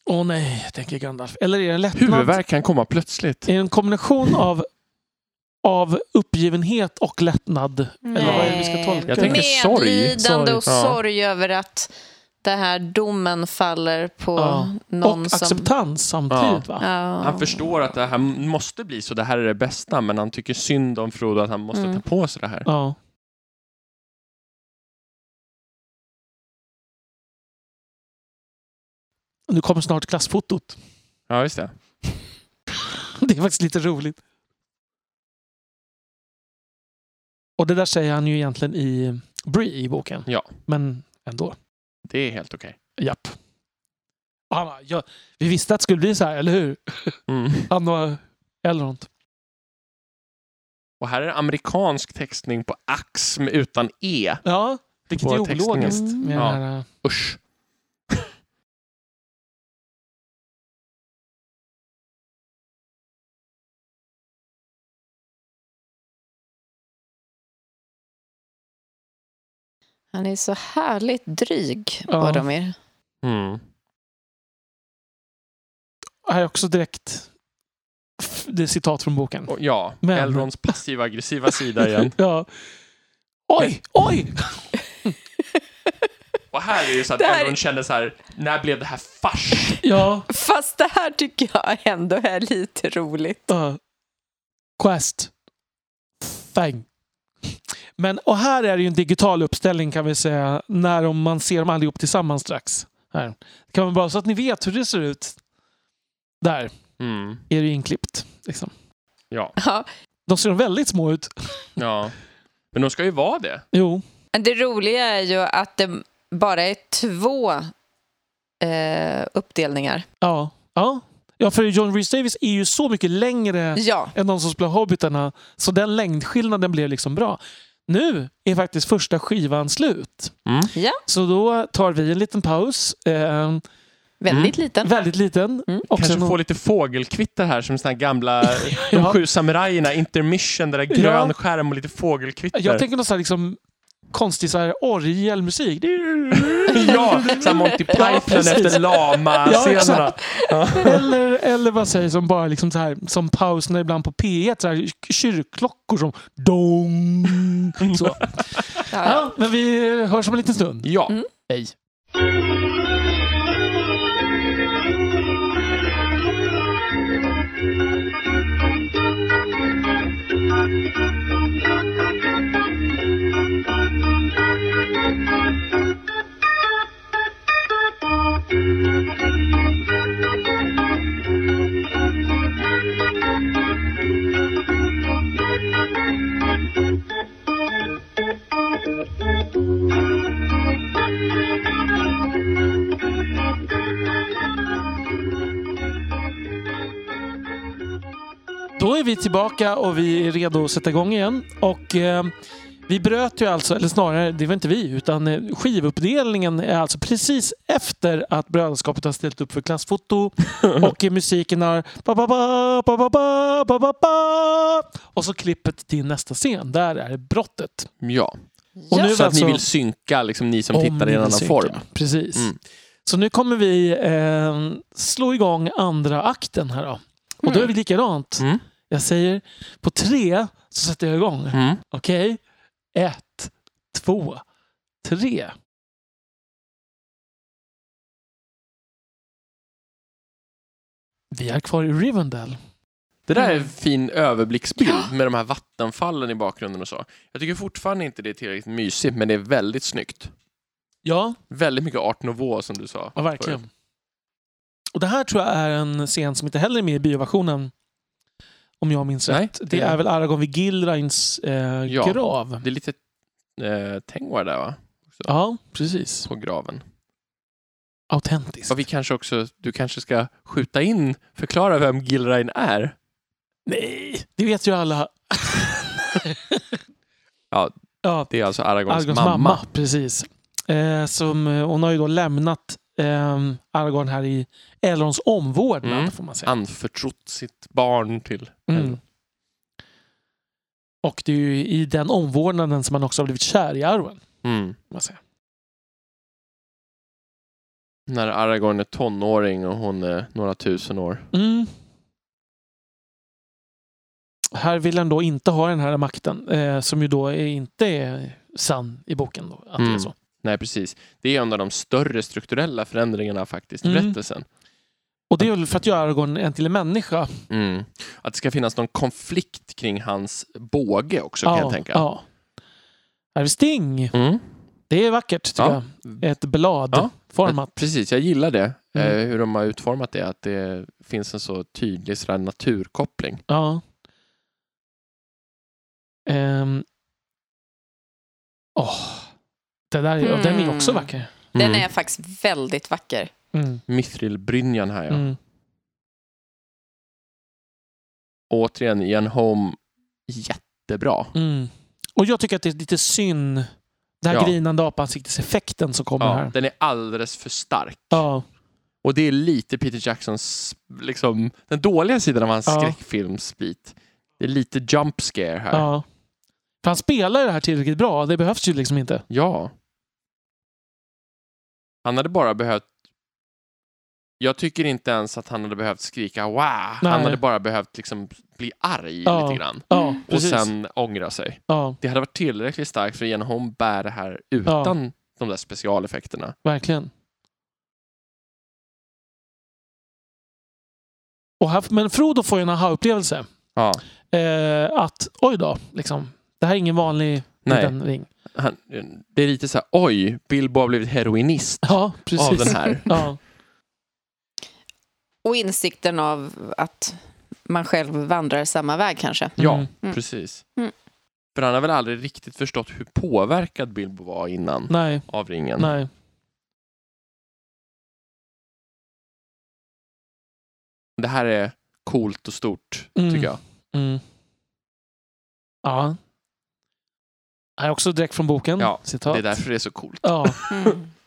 S2: Åh nej, tänker Gandalf. Eller är det lättnad?
S1: Huvudvärk kan komma plötsligt.
S2: Är det en kombination av, av uppgivenhet och lättnad? Eller vad är det vi ska
S3: Nej.
S2: tolka?
S1: Jag tänker sorg.
S3: Medlidande och
S1: Sorg, ja.
S3: sorg över att det här domen faller på
S2: Ja.
S3: någon
S2: Och
S3: som...
S2: acceptans samtidigt, va?
S3: Ja.
S1: Han förstår att det här måste bli så, det här är det bästa, men han tycker synd om Frodo att han måste
S3: Mm.
S1: ta på sig det här.
S2: Ja. Nu kommer snart klassfotot.
S1: Ja, just det.
S2: <laughs> Det är faktiskt lite roligt. Och det där säger han ju egentligen i Bree i boken.
S1: Ja.
S2: Men ändå.
S1: Det är helt okej.
S2: Japp. Och han bara, ja, vi visste att det skulle bli så här, eller hur?
S1: Mm.
S2: Han och Elrond.
S1: Och här är det amerikansk textning på ax med- utan e.
S2: Ja, vilket
S1: På
S2: är
S1: textningen.
S2: ologiskt. Med
S1: Ja.
S2: den här, eh,
S1: Usch.
S3: Han är så härligt dryg,
S2: Ja.
S3: Boromir.
S1: Mm.
S2: här är också direkt f- det är citat från boken.
S1: Och ja,
S2: Men-
S1: Elrons passiv-aggressiva sida igen.
S2: <laughs> Ja. Oj, oj!
S1: <laughs> Och här är det ju så att
S3: Det här är-
S1: Elrond känner så här, när blev det här fars?
S2: Ja.
S3: Fast det här tycker jag ändå är lite roligt.
S2: Uh, quest. Fang. Men, och här är det ju en digital uppställning kan vi säga, när de- man ser dem allihop tillsammans strax. Här. Kan man bara så att ni vet hur det ser ut. Där
S1: Mm.
S2: är det ju inklippt. Liksom.
S1: Ja,
S3: Ja.
S2: De ser väldigt små ut.
S1: ja. Men de ska ju vara det.
S2: Jo.
S3: Men Det roliga är ju att det bara är två eh, uppdelningar.
S2: Ja. Ja. ja, för John Rhys Davis är ju så mycket längre
S3: Ja,
S2: än de som spelar Hobbitarna. Så den längdskillnaden blev liksom bra. Nu är faktiskt första skivan slut.
S1: Mm.
S3: Ja.
S2: Så då tar vi en liten paus. Eh,
S3: väldigt liten.
S2: väldigt liten.
S3: Mm.
S2: Och
S1: Kanske
S2: sen-
S1: få lite fågelkvitter här som såna här <laughs> gamla,
S2: Ja.
S1: de sju samurajerna, intermission, där det är grön
S2: Ja.
S1: skärm och lite fågelkvitter.
S2: Jag tänker någon sån här liksom konstig så här orgelmusik. Det är-
S1: <laughs> <laughs> Ja, som Monty
S2: Ja,
S1: Python
S2: precis.
S1: efter
S2: Ja,
S1: lama-scenerna.
S2: exakt. Eller, eller vad sägs som bara liksom så här, som pauserna ibland på P1, så här, k- kyrkklockor som dong. Så.
S3: Ja.
S2: Ja, men vi hörs om en liten stund.
S1: Ja,
S3: Mm.
S2: Hej. Då är vi tillbaka och vi är redo att sätta igång igen. Och eh, vi bröt ju alltså, eller snarare, det var inte vi, utan eh, skivuppdelningen är alltså precis efter att brödraskapet har ställt upp
S1: <laughs>
S2: för klassfoto och eh, musiken har ba, ba, ba, ba, ba, ba, ba, ba, ba. och så klippet till nästa scen. Där är det brottet.
S1: ja.
S2: Och nu
S1: Så
S2: är vi
S1: att ni
S2: alltså-
S1: vill synka, liksom ni som
S2: Om
S1: tittar
S2: ni
S1: i en
S2: vill
S1: annan
S2: synka.
S1: form.
S2: Precis.
S1: Mm.
S2: Så nu kommer vi eh, slå igång andra akten här då. Och då är vi likadant.
S1: Mm.
S2: Jag säger på tre så sätter jag igång.
S1: Mm.
S2: Okej? Ett, två, tre. Vi är kvar i Rivendell.
S1: Det där är en
S3: Mm.
S1: fin överblicksbild med de här vattenfallen i bakgrunden och så. Jag tycker fortfarande inte det är tillräckligt mysigt, men det är väldigt snyggt.
S2: Ja,
S1: Väldigt mycket art nouveau som du sa.
S2: ja verkligen. Och det här tror jag är en scen som inte heller är med i bioversionen. Om jag minns
S1: Nej,
S2: rätt. Det,
S1: det-
S2: är väl Aragorn vid Gilrains eh,
S1: Ja.
S2: grav.
S1: Det är lite eh, Tengwar där va?
S2: Ja, precis.
S1: På graven.
S2: autentiskt.
S1: Och vi kanske också, du kanske ska skjuta in, förklara vem Gilrain är.
S2: Nej, det vet ju alla.
S1: Ja.
S2: <laughs> ja,
S1: Det är alltså Aragorns,
S2: Aragorns mamma.
S1: mamma.
S2: precis. Eh, som, eh, hon har ju då lämnat eh, Aragorn här i Elrons omvårdnad,
S1: Mm.
S2: får man säga.
S1: Anförtrott sitt barn till
S2: Mm.
S1: Elrond.
S2: Och det är ju i den omvårdnaden som man också har blivit kär i Arwen.
S1: Mm.
S2: får Man säga.
S1: När Aragorn är tonåring och hon är några tusen år.
S2: Mm. Här vill han då inte ha den här makten, eh, som ju då är, inte är sann i boken. Då, att det är
S1: Mm.
S2: så.
S1: Nej, precis. Det är en av de större strukturella förändringarna faktiskt i
S2: Mm.
S1: berättelsen.
S2: Och det är väl för att göra Aragorn en till en människa.
S1: Mm. Att det ska finnas någon konflikt kring hans båge också kan jag tänka.
S2: Ja. Här är Sting.
S1: Mm.
S2: Det är vackert, tycker
S1: Ja.
S2: jag. Ett blad
S1: Ja.
S2: format.
S1: Precis, jag gillar det.
S2: Mm.
S1: Eh, hur de har utformat det. Att det finns en så tydlig sådär, naturkoppling.
S2: Ja. Ehm. Åh. Det där, är- och Den är också
S3: Mm.
S2: vacker.
S3: Den
S1: Mm.
S3: är faktiskt väldigt vacker.
S2: Mm.
S1: Mithrilbrynjan här ja.
S2: Mm.
S1: Återigen, Ian Holm, jättebra.
S2: Mm. Och jag tycker att det är lite synd. Den här
S1: Ja.
S2: grinande apansikteseffekten som kommer
S1: Ja,
S2: här.
S1: den är alldeles för stark.
S2: Ja.
S1: Och det är lite Peter Jacksons, liksom, den dåliga sidan av hans
S2: Ja.
S1: skräckfilmsbit. Det är lite jump scare här.
S2: ja. För han spelar det här tillräckligt bra. Det behövs ju liksom inte.
S1: Ja. Han hade bara behövt... Jag tycker inte ens att han hade behövt skrika wow. Han
S2: Nej.
S1: hade bara behövt liksom bli arg
S2: Ja,
S1: lite grann.
S2: Ja,
S1: Och
S2: precis.
S1: sen ångra sig.
S2: Ja,
S1: Det hade varit tillräckligt starkt för Ian Holm bär det här utan de där specialeffekterna.
S2: verkligen. Och här, men Frodo får ju en aha-upplevelse.
S1: Ja.
S2: Eh, att oj då, liksom. Det här är ingen vanlig
S1: Nej,
S2: liten ring.
S1: han, det är lite så här, oj, Bilbo har blivit heroinist
S2: <laughs> Ja,
S1: av
S2: precis.
S1: den
S2: <laughs>
S1: här.
S2: Ja,
S3: Och insikten av att man själv vandrar samma väg kanske.
S1: Ja,
S2: Mm.
S3: Mm.
S1: precis.
S3: Mm.
S1: För han har väl aldrig riktigt förstått hur påverkad Bilbo var innan
S2: nej,
S1: av ringen.
S2: nej.
S1: Det här är coolt och stort,
S2: Mm.
S1: tycker jag.
S2: Mm. Ja. Här är också direkt från boken.
S1: Ja,
S2: Citat.
S1: Det är därför det är så coolt.
S2: Ja.
S3: Mm. <laughs>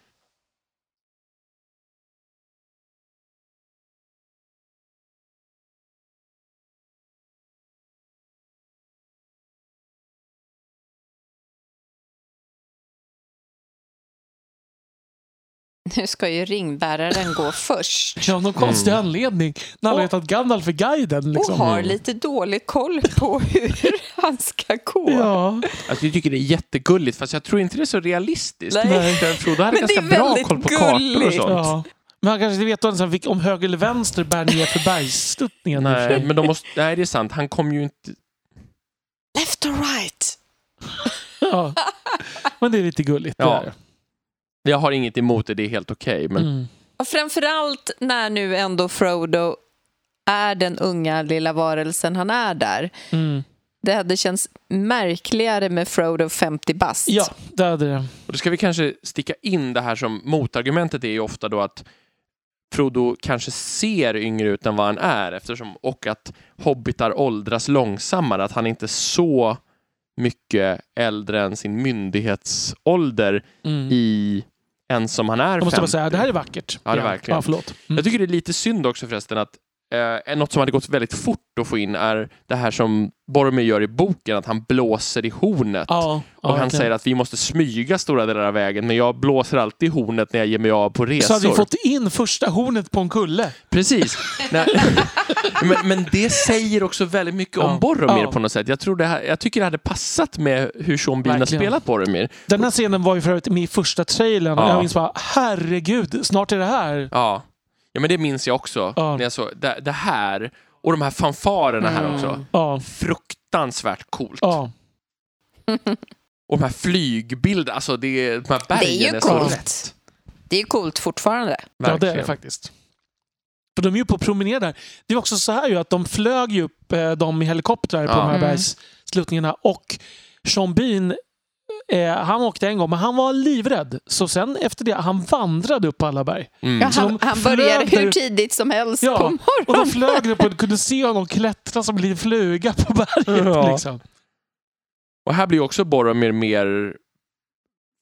S3: Nu ska ju ringbäraren gå först
S2: Ja, av någon konstig
S1: Mm.
S2: anledning. När alla
S3: Och-
S2: vet att Gandalf är guiden. Liksom.
S3: och har lite dålig koll på hur <laughs> han ska gå.
S2: Ja,
S1: Alltså, jag tycker det är jättegulligt, fast jag tror inte det är så realistiskt.
S3: Nej.
S2: nej.
S1: För Frodo hade
S3: Men det är
S1: ganska bra
S3: väldigt
S1: koll på kartor och
S3: gulligt.
S1: sånt.
S2: Ja. Men han kanske inte vet ens vilk- om höger eller vänster bär ner för bergsstuttningen. i och för sig.
S1: Nej, men de måste, nej, det är sant. Han kom ju inte...
S3: Left or right?
S2: Ja. Men det är lite gulligt. det
S1: Ja,
S2: där.
S1: Jag har inget emot det, det är helt okej. men
S2: Mm.
S3: Och framförallt när nu ändå Frodo är den unga lilla varelsen han är där.
S2: Mm.
S3: Det hade känts märkligare med Frodo 50 bast.
S2: Ja, det hade det.
S1: och då ska vi kanske sticka in det här som motargumentet är ju ofta då att Frodo kanske ser yngre ut än vad han är eftersom, och att hobbitar åldras långsammare. Att han inte är så mycket äldre än sin myndighetsålder
S2: Mm.
S1: i en som han är
S2: Jag måste bara
S1: 50.
S2: säga, det här är vackert.
S1: Ja, det är verkligen.
S2: Ja, förlåt. Mm.
S1: Jag tycker det är lite synd också förresten att eh, något som hade gått väldigt fort att få in är det här som Boromir gör i boken, att han blåser i hornet.
S2: ja, ja,
S1: och han
S2: verkligen.
S1: säger att vi måste smyga stora delar av vägen, men jag blåser alltid i hornet när jag ger mig av på resor.
S2: Så hade vi fått in första hornet på en kulle. <laughs>
S1: Precis. Nej. <laughs> men, men det säger också väldigt mycket
S2: Ja.
S1: om Boromir
S2: Ja.
S1: på något sätt. Jag, tror det här, jag tycker det hade passat med hur Sean Bean har
S2: Verkligen.
S1: spelat Boromir.
S2: Den här scenen var ju för övrigt med i första trailern.
S1: Ja.
S2: Jag minns bara, herregud, snart är det här.
S1: Ja. ja, men det minns jag också.
S2: Ja.
S1: När jag såg det, det här och de här fanfarerna här
S3: Mm.
S1: också.
S2: Ja,
S1: Fruktansvärt coolt.
S2: ja. <laughs>
S1: Och de här flygbilderna, alltså det, de här bergen
S3: Mm. Det är ju
S1: så
S3: coolt.
S1: rätt.
S3: Det är ju coolt fortfarande.
S1: Mm.
S2: ja det är det
S1: Verkligen.
S2: faktiskt. För de är ju på promenad där. Det var också så här ju att de flög ju upp eh, dem i helikoptrar på
S1: Ja.
S2: de här
S3: Mm.
S2: bergssluttningarna och Sean Bean eh, han åkte en gång, men han var livrädd. Så sen efter det, han vandrade upp alla berg.
S1: Mm.
S3: Ja,
S2: Så
S3: han,
S2: de
S3: han börjar
S2: flög där-
S3: hur tidigt som helst
S2: Ja,
S3: på
S2: Och då
S3: morgonen.
S2: flög det på, du kunde se honom klättra som en liten fluga på berget.
S1: Ja.
S2: Liksom.
S1: Och här blir ju också Boromir mer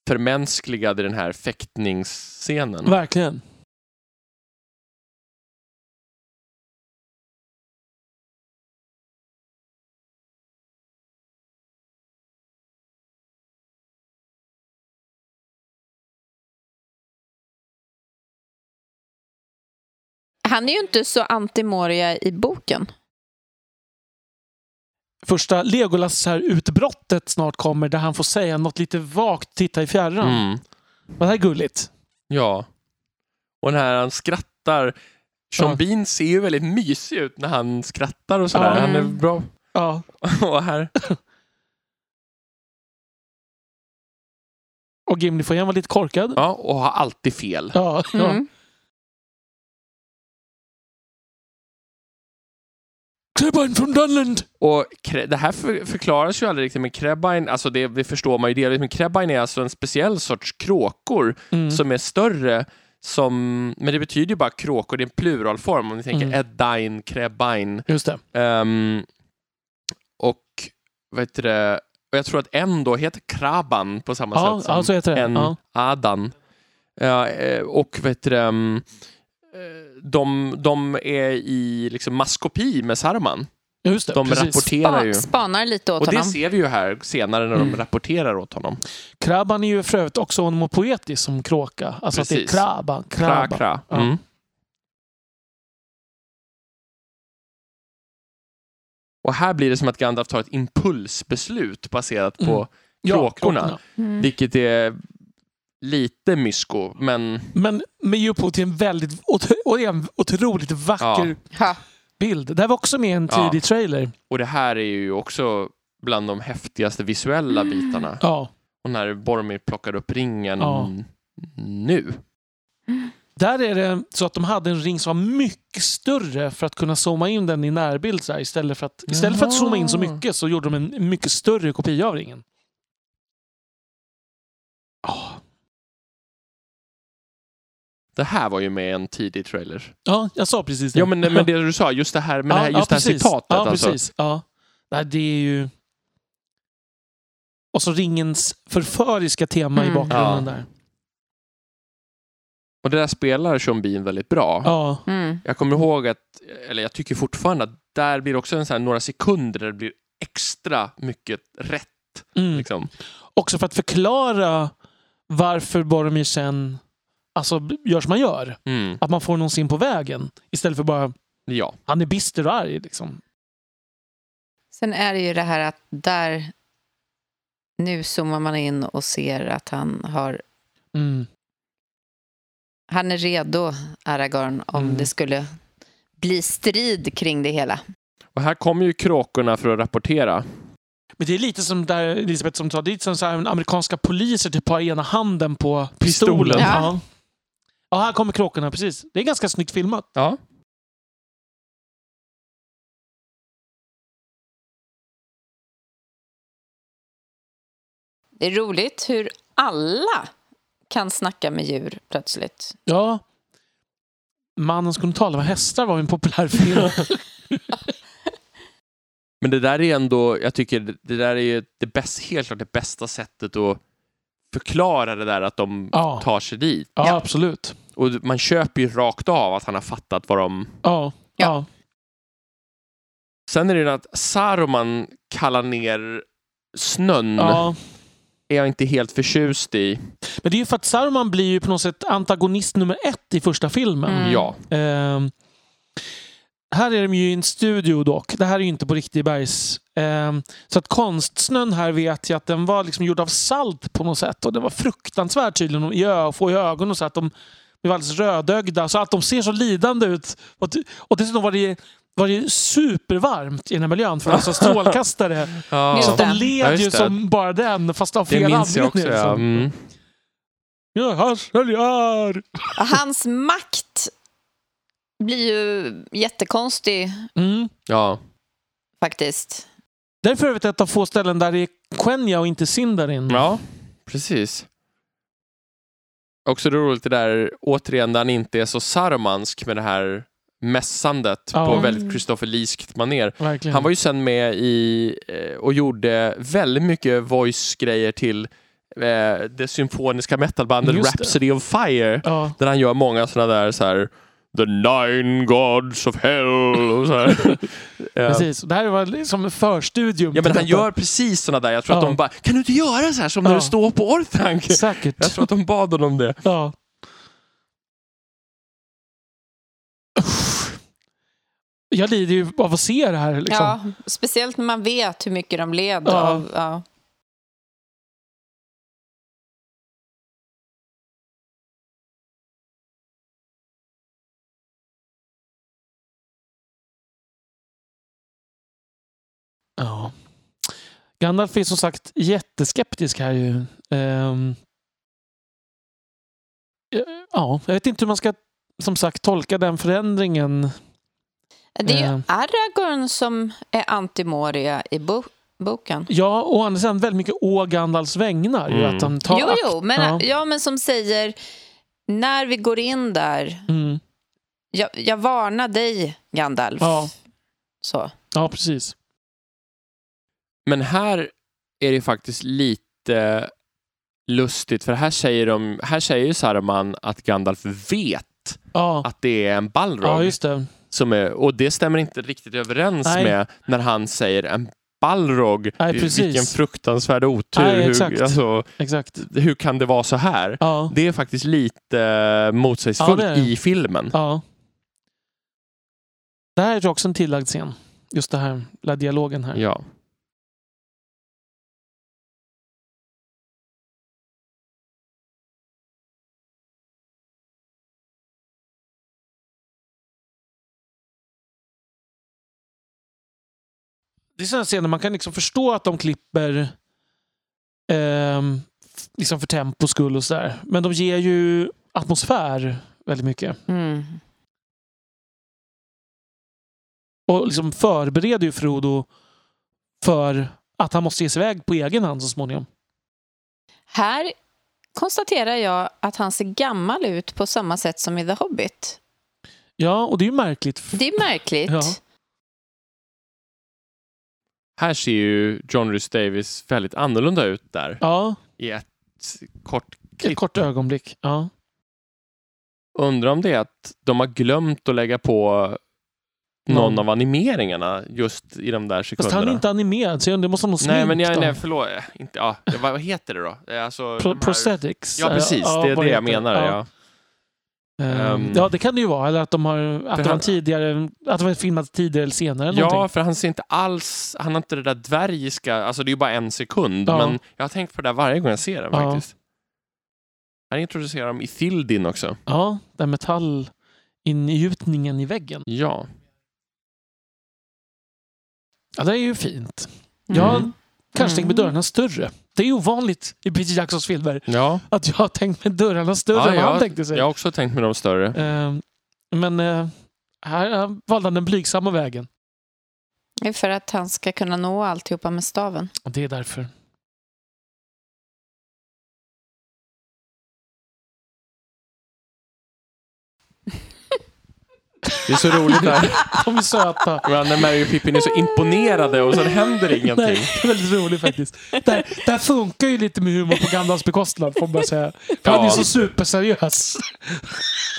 S1: förmänskligad i den här fäktningsscenen.
S2: Verkligen.
S3: Han är ju inte så anti Moria i boken.
S2: Första Legolas här utbrottet snart kommer där han får säga något lite vagt, titta i fjärran.
S1: Mm.
S2: Men det här är gulligt.
S1: Ja. Och när han skrattar. Sean
S2: Ja.
S1: Bean ser ju väldigt mysig ut när han skrattar och sådär.
S2: Ja. Mm.
S1: Han är bra. <laughs>
S2: Ja.
S1: och här.
S2: Och Gimli får igen vara lite korkad.
S1: Ja, och har alltid fel.
S2: Ja. ja.
S3: Mm.
S2: Trebine från Dunland!
S1: Och Kre- det här för- förklaras ju aldrig riktigt, men Krebbine, alltså det, det förstår man ju delvis, men Krebbine är alltså en speciell sorts kråkor
S2: Mm.
S1: som är större som, men det betyder ju bara kråkor, det är en pluralform om ni tänker
S2: Mm.
S1: Eddine, Krebbine.
S2: Just det.
S1: ehm, och vad heter det, och jag tror att en då heter Krabban på samma
S2: Ja, alltså,
S1: sätt som
S2: ja, så heter det.
S1: en
S2: Ja.
S1: Adan. Ja, eh, och vad heter det, mm, eh, de, de är i liksom maskopi med Saruman.
S2: Just det.
S1: De
S2: precis.
S1: rapporterar ju.
S3: Spa- Spanar lite åt
S1: Och det
S3: honom.
S1: ser vi ju här senare när de
S2: Mm.
S1: rapporterar åt honom.
S2: Krabban är ju för övrigt också onomopoetisk som kråka. Alltså att det
S1: Precis.
S2: är krabban,
S1: Kra,
S2: krabban.
S1: kra.
S2: Ja.
S1: Mm. Och här blir det som att Gandalf tar ett impulsbeslut baserat på,
S2: Mm. Ja,
S1: kråkorna.
S3: Mm.
S1: vilket är lite mysko, men
S2: Men med ger upphov till en väldigt otro- och en otroligt vacker
S1: Ja.
S3: Ha.
S2: bild. Det här var också med i en
S1: Ja.
S2: tidig trailer.
S1: och det här är ju också bland de häftigaste visuella
S2: Mm.
S1: bitarna.
S2: Ja.
S1: Och när Boromir plockar upp ringen
S2: Ja.
S1: nu.
S2: Där är det så att de hade en ring som var mycket större för att kunna zooma in den i närbild. Så här, istället för att, istället för att zooma in så
S1: Jaha.
S2: mycket så gjorde de en mycket större kopia av ringen. Ja,
S1: Det här var ju med i en tidig trailer.
S2: Ja, jag sa precis det.
S1: Ja, men, men det du sa, just det här, men
S2: <laughs>
S1: det här, just det här
S2: precis.
S1: citatet.
S2: Ja,
S1: alltså.
S2: precis. Ja. Nej, det är ju... Och så ringens förföriska tema i
S3: Mm.
S2: bakgrunden
S1: Ja.
S2: där.
S1: Och det där spelar Sean Bean väldigt bra.
S2: Ja.
S3: Mm.
S1: Jag kommer ihåg att, eller jag tycker fortfarande att där blir det också en sån här några sekunder där det blir extra mycket rätt.
S2: Mm.
S1: Liksom.
S2: Också för att förklara varför Boromir sen alltså, gör som man gör.
S1: Mm.
S2: Att man får någon sin på vägen. Istället för bara,
S1: Ja.
S2: han är bister och arg. Liksom.
S3: Sen är det ju det här att där... Nu zoomar man in och ser att han har...
S2: Mm.
S3: Han är redo, Aragorn, om
S2: Mm.
S3: det skulle bli strid kring det hela.
S1: Och här kommer ju kråkorna för att rapportera.
S2: Men det är lite som där Elisabeth som sa, det är lite som så här, amerikanska poliser typ har ena handen på pistolen.
S1: Pistolen.
S3: Ja.
S2: Ja. ja, här kommer kråkorna, precis. Det är ganska snyggt filmat.
S1: Ja.
S3: Det är roligt hur alla kan snacka med djur plötsligt.
S2: Ja. Mannen som kunde tala med hästar var ju en populär film. <laughs>
S1: Men det där är ändå, jag tycker det- det där är ju det bäst, helt klart det bästa sättet att förklara det där att de
S2: Ja.
S1: tar sig dit.
S2: Ja, absolut.
S1: Och man köper ju rakt av att han har fattat vad de...
S2: Ja. Ja.
S1: Sen är det ju att Saruman kallar ner snön.
S2: ja. Mm.
S1: är jag inte helt förtjust i.
S2: Men det är ju för att Saruman blir ju på något sätt antagonist nummer ett i första filmen.
S3: Mm.
S1: Ja.
S2: Ehm, här är de ju i en studio dock. Det här är ju inte på riktig bergs... Ehm, så att konstsnön här vet jag att den var liksom gjord av salt på något sätt. Och det var fruktansvärt tydligen att gö- att få i ögonen och så att de blev alldeles rödögda. Så att de ser så lidande ut. Och, t- och dessutom var det, var det ju supervarmt i den här miljön för alltså strålkastare.
S1: Ja.
S2: Så att de
S3: det.
S1: Ja,
S2: led
S1: just
S2: ju
S1: det.
S2: som bara den fast av fel
S1: Det minns jag också.
S2: anledning.
S1: Ja.
S2: liksom.
S1: Mm.
S2: Ja, här säljer!
S3: Och hans makt blir ju jättekonstig
S2: Mm.
S1: ja.
S3: faktiskt.
S2: Det är för övrigt ett av få ställen där det är Quenya och inte Sindarin.
S1: Ja, precis. Också det är roligt det där, återigen, där han inte är så sarmansk med det här mässandet
S2: Ja.
S1: på väldigt Christopher Leeskt maner.
S2: Verkligen.
S1: Han var ju sen med i eh, och gjorde väldigt mycket voice-grejer till eh, det symfoniska metalbandet
S2: Just det.
S1: Rhapsody of Fire.
S2: ja.
S1: Där han gör många sådana där så här The nine gods of hell och så
S2: <laughs>
S1: här. Eh,
S2: Precis. Det här var liksom en förstudium.
S1: Ja men
S2: till
S1: han
S2: detta.
S1: gör precis sådana där. Jag tror att
S2: Ja.
S1: de bara, kan du inte göra så här som när
S2: Ja.
S1: du står på Orthanc?
S2: Säkert.
S1: Jag tror att de bad honom det.
S2: Ja. Jag lider ju av att se det här. Liksom.
S3: Ja, speciellt när man vet hur mycket de led
S2: Ja.
S3: av... Ja.
S2: Ja. Gandalf är som sagt jätteskeptisk här ju. Ehm. Ja, jag vet inte hur man ska som sagt tolka den förändringen.
S3: Det är ju
S2: Eh.
S3: Aragorn som är antimoria i bo- boken.
S2: Ja, och andra sidan väldigt mycket å Gandalfs vägnar. ju,
S1: Mm.
S2: Att han tar
S3: jo,
S2: akt-
S3: jo, men,
S2: ja.
S3: ja. men som säger när vi går in där,
S2: Mm.
S3: jag, jag varnar dig Gandalf.
S2: Ja.
S3: Så.
S2: ja, precis.
S1: Men här är det faktiskt lite lustigt för här säger, de, här säger ju Saruman att Gandalf vet
S2: Ja,
S1: att det är en
S2: ja
S1: Balrog.
S2: just det.
S1: som är, och det stämmer inte riktigt överens
S2: Nej.
S1: med när han säger en Balrog.
S2: Nej,
S1: Vil-
S2: precis.
S1: Vilken fruktansvärd otur.
S2: Nej, exakt.
S1: hur, alltså,
S2: Exakt.
S1: hur kan det vara så här?
S2: Ja,
S1: Det är faktiskt lite eh, motsägelsefullt
S2: Ja, det är det.
S1: i filmen.
S2: ja. Det här är också en tillagd scen. Just det här, la dialogen här.
S1: Ja.
S2: det är sådana scener man kan liksom förstå att de klipper ehm, f- liksom för tempo skull och sådär. Men de ger ju atmosfär väldigt mycket.
S3: Mm.
S2: Och liksom förbereder ju Frodo för att han måste ge sig iväg på egen hand så småningom.
S3: Här konstaterar jag att han ser gammal ut på samma sätt som i The Hobbit.
S2: Ja, och det är ju märkligt.
S3: Det är märkligt. Mm.
S2: Ja.
S1: Här ser ju John Rhys Davis väldigt annorlunda ut där
S2: Ja,
S1: i ett kort
S2: ett
S1: klipp.
S2: kort ögonblick. Ja.
S1: Undrar om det är att de har glömt att lägga på någon
S2: Någon.
S1: av animeringarna just i de där sekunderna.
S2: Fast han är inte animerad, så jag undrar, måste han ha
S1: Nej, men jag,
S2: sminkt då?
S1: nej, förlåt. Eh, Inte, ja, vad vad heter det då? Det är Alltså,
S2: Pro-
S1: de här-
S2: prosthetics?
S1: Ja, precis.
S2: Ja,
S1: det är
S2: vad
S1: det jag
S2: heter
S1: menar. Ja.
S2: Ehm,
S1: Ehm.
S2: ja, det kan det ju vara. Eller att de har att de
S1: han-
S2: har tidigare, att de har filmat tidigare eller senare. Eller
S1: Ja.
S2: någonting.
S1: för han ser inte alls... Han har inte det där dvärgiska... Alltså, det är ju bara en sekund.
S2: Ja.
S1: Men jag har tänkt på det där varje gång jag ser den
S2: Ja.
S1: faktiskt. Han introducerar dem i Thildin också.
S2: Ja, den metallingjutningen i väggen.
S1: Ja.
S2: Ja, det är ju fint.
S3: Mm.
S2: Jag kanske tänker
S3: Mm.
S2: med dörrarna större. Det är ju ovanligt i Peter Jacksons filmer
S1: ja.
S2: att jag har tänkt med dörrarna större
S1: Ja,
S2: än vad
S1: jag-
S2: han tänkte sig.
S1: Jag har också tänkt med de större.
S2: Ehm, men eh, här eh, valde han den blygsamma vägen.
S3: Det är för att han ska kunna nå alltihopa med staven.
S2: Och det är därför.
S1: Det är så roligt
S2: <laughs>
S1: där.
S2: De är söta.
S1: Men när Mary och Pippin är så imponerade och så händer ingenting.
S2: Nej, det är väldigt roligt faktiskt. Det här, det här funkar ju lite med humor på Gandalfs bekostnad, får man bara säga. För Han är
S1: Ja.
S2: så superseriös.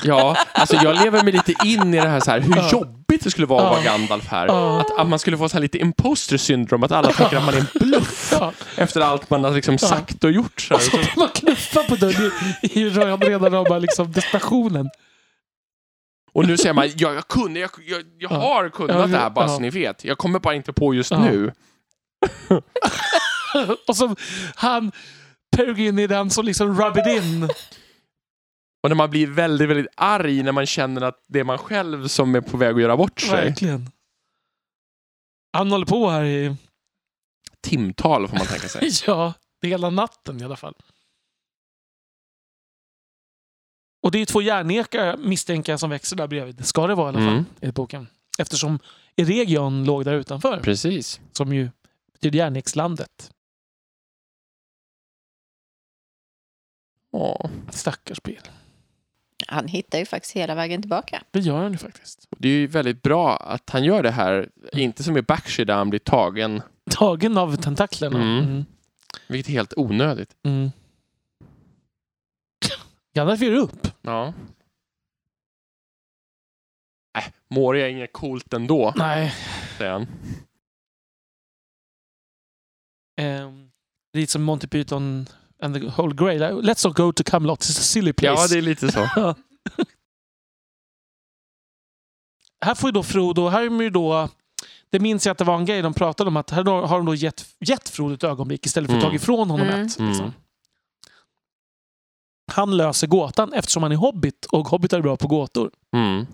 S1: Ja, alltså jag lever mig lite in i det här, så här hur
S2: Ja.
S1: jobbigt det skulle vara att
S2: Ja.
S1: vara Gandalf här.
S2: Ja.
S1: Att, att man skulle få så här lite imposter syndrom, att alla tänker att man är en
S2: <laughs>
S1: bluff
S2: Ja.
S1: efter allt man har liksom sagt och gjort. Så här.
S2: Så
S1: Så,
S2: man knuffar på dörren i, i röda rama liksom, desperationen.
S1: och nu säger man, ja, jag kunde, jag, jag, jag
S2: Ja.
S1: har kunnat
S2: Ja,
S1: det här bara
S2: ja.
S1: så ni vet. Jag kommer bara inte på just
S2: Ja.
S1: nu.
S2: Och så han, Peregrin är den som liksom rub it in.
S1: Och när man blir väldigt, väldigt arg när man känner att det är man själv som är på väg att göra bort sig.
S2: Verkligen. Han håller på här i, <laughs>
S1: Timtal får man tänka sig.
S2: ja, hela natten i alla fall. Och det är två järnekar misstänker jag som växer där bredvid. Ska det vara <laughs> i alla fall,
S1: Mm.
S2: i boken. Eftersom Eregion låg där utanför,
S1: Precis.
S2: som ju till Järnixlandet.
S1: Ja,
S2: Stackars bil.
S3: Han hittar ju faktiskt hela vägen tillbaka.
S2: Det gör han ju faktiskt.
S1: det är ju väldigt bra att han gör det här. Inte som i Bakshi där han blir tagen,
S2: Tagen av tentaklerna.
S1: Mm.
S2: Mm.
S1: vilket är helt onödigt.
S2: Mm. Gandalf ger upp.
S1: Ja. Äh, Moria är inget coolt ändå,
S2: Nej.
S1: säger han.
S2: Um, lite som Monty Python and the Holy Grail. Let's not go to Camelot. It's a silly place.
S1: Ja, det är lite så.
S2: Här får ju då Frodo, här är de ju då, det minns jag att det var en grej de pratade om, att här då, har de då gett, gett Frodo ett ögonblick istället för att
S1: Mm.
S2: ta ifrån honom
S3: Mm.
S2: ett. Liksom.
S1: Mm.
S2: Han löser gåtan eftersom han är hobbit och hobbitar är bra på gåtor.
S1: Mm.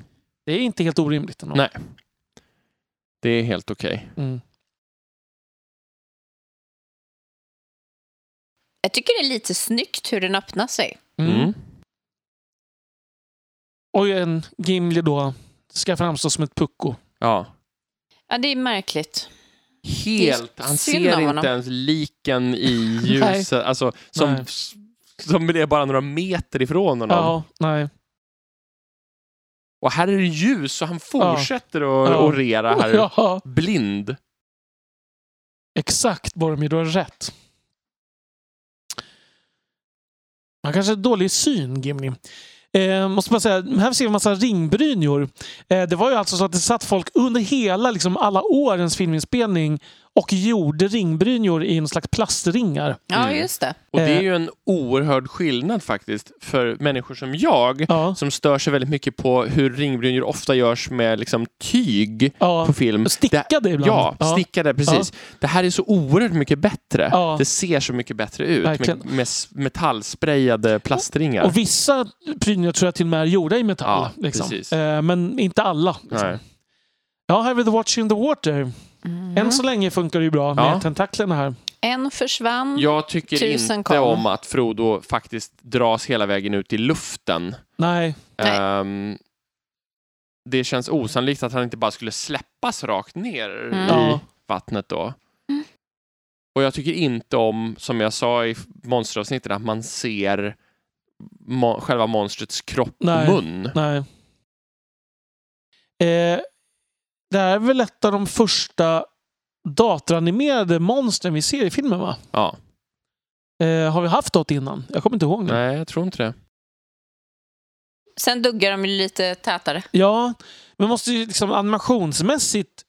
S2: Det är inte helt orimligt. Ändå.
S1: Nej. Det är helt okej.
S2: Mm.
S3: Jag tycker det är lite snyggt hur den öppnar sig.
S2: Mm.
S1: Mm.
S2: Och en Gimli då ska framstå som ett pucko.
S1: Ja.
S3: Ja, det är märkligt.
S1: Helt.
S3: Det är
S1: Han
S3: synd
S1: ser
S3: om
S1: inte
S3: honom.
S1: ens liken
S3: <laughs>
S1: i ljuset. alltså, som,
S2: Nej.
S1: som är bara några meter ifrån honom.
S2: Ja, nej.
S1: Och här är det ljus så han fortsätter att
S2: Ja.
S1: orera här.
S2: <laughs> Ja,
S1: Blind.
S2: exakt Boromir, du har rätt. Han kanske har dålig syn, Gimli. Eh, måste man säga, här ser vi en massa ringbrynjor. Eh, det var ju alltså så att det satt folk under hela, liksom alla årens filminspelning och gjorde ringbrynjor i någon slags plastringar.
S3: Ja,
S1: Mm.
S3: just det.
S1: Och det är
S2: Eh.
S1: ju en oerhörd skillnad faktiskt för människor som jag
S2: Ja,
S1: som stör sig väldigt mycket på hur ringbrynjor ofta görs med liksom tyg
S2: ja.
S1: på film.
S2: Och stickade ibland.
S1: Ja, stickade, precis. Det här är så oerhört mycket bättre.
S2: Ja.
S1: Det ser så mycket bättre ut
S2: Verkligen.
S1: med, med s- metallsprayade plastringar.
S2: Och vissa prydnader tror jag till och med är gjorda i metall.
S1: Ja,
S2: liksom.
S1: precis.
S2: eh, men inte alla. Liksom.
S1: Nej. Mm.
S2: Ja, här har vi The Watch in the Water. Än så länge funkar det ju bra med
S1: Ja.
S2: tentaklerna här.
S3: Mm. En försvann.
S1: Jag tycker
S3: Tusen
S1: inte
S3: kom.
S1: om att Frodo faktiskt dras hela vägen ut i luften.
S2: Nej,
S3: Nej.
S1: Ehm, det känns osannolikt att han inte bara skulle släppas rakt ner i
S2: Ja.
S1: vattnet då.
S3: Mm.
S1: Och jag tycker inte om, som jag sa i monsteravsnittet, att man ser mo- själva monstrets kropp
S2: Nej.
S1: och mun.
S2: nej. Eh, det här är väl ett av de första datoranimerade monstren vi ser i filmen va?
S1: Ja.
S2: Eh, har vi haft något innan? Jag kommer inte ihåg nu.
S1: Nej, jag tror inte det.
S3: Sen duggar de ju lite tätare.
S2: Ja, men måste ju liksom animationsmässigt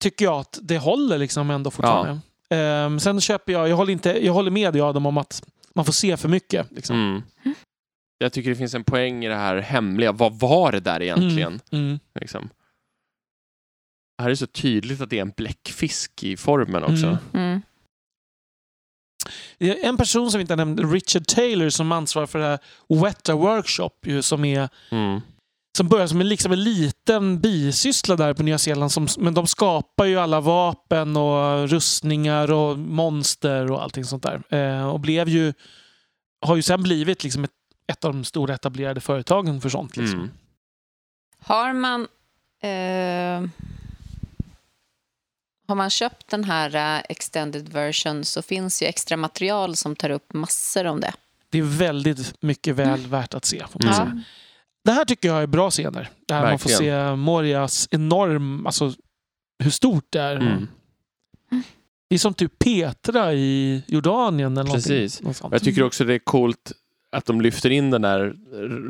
S2: tycker jag att det håller liksom ändå fortfarande. Ehm, sen köper jag, jag håller, inte, jag håller med dig Adam om att man får se för mycket. Liksom.
S1: Mm. Jag tycker det finns en poäng i det här hemliga. Vad var det där egentligen?
S2: Mm.
S1: Liksom. Här är så tydligt att det är en bläckfisk i formen också.
S2: Mm.
S3: Mm.
S2: Det är En person som vi inte nämnde, Richard Taylor, som ansvarar för det här Weta Workshop, ju, som, är,
S1: Mm.
S2: som börjar som en, liksom en liten bisyssla där på Nya Zeeland. Som, men de skapar ju alla vapen och rustningar och monster och allting sånt där. Eh, och blev ju, har ju sen blivit liksom ett, ett av de stora etablerade företagen för sånt. Liksom.
S1: Mm.
S3: Har man... Eh, har man köpt den här eh, extended version så finns ju extra material som tar upp massor om det.
S2: Det är väldigt mycket väl värt att se. Får man
S1: Mm.
S2: säga. Det här tycker jag är bra scener. Där man får
S1: Verkligen.
S2: se Morias enorm, alltså hur stort det är.
S1: Mm.
S2: Det är som typ Petra i Jordanien eller
S1: Precis.
S2: någonting. Något sånt.
S1: Jag tycker också det är coolt att de lyfter in den där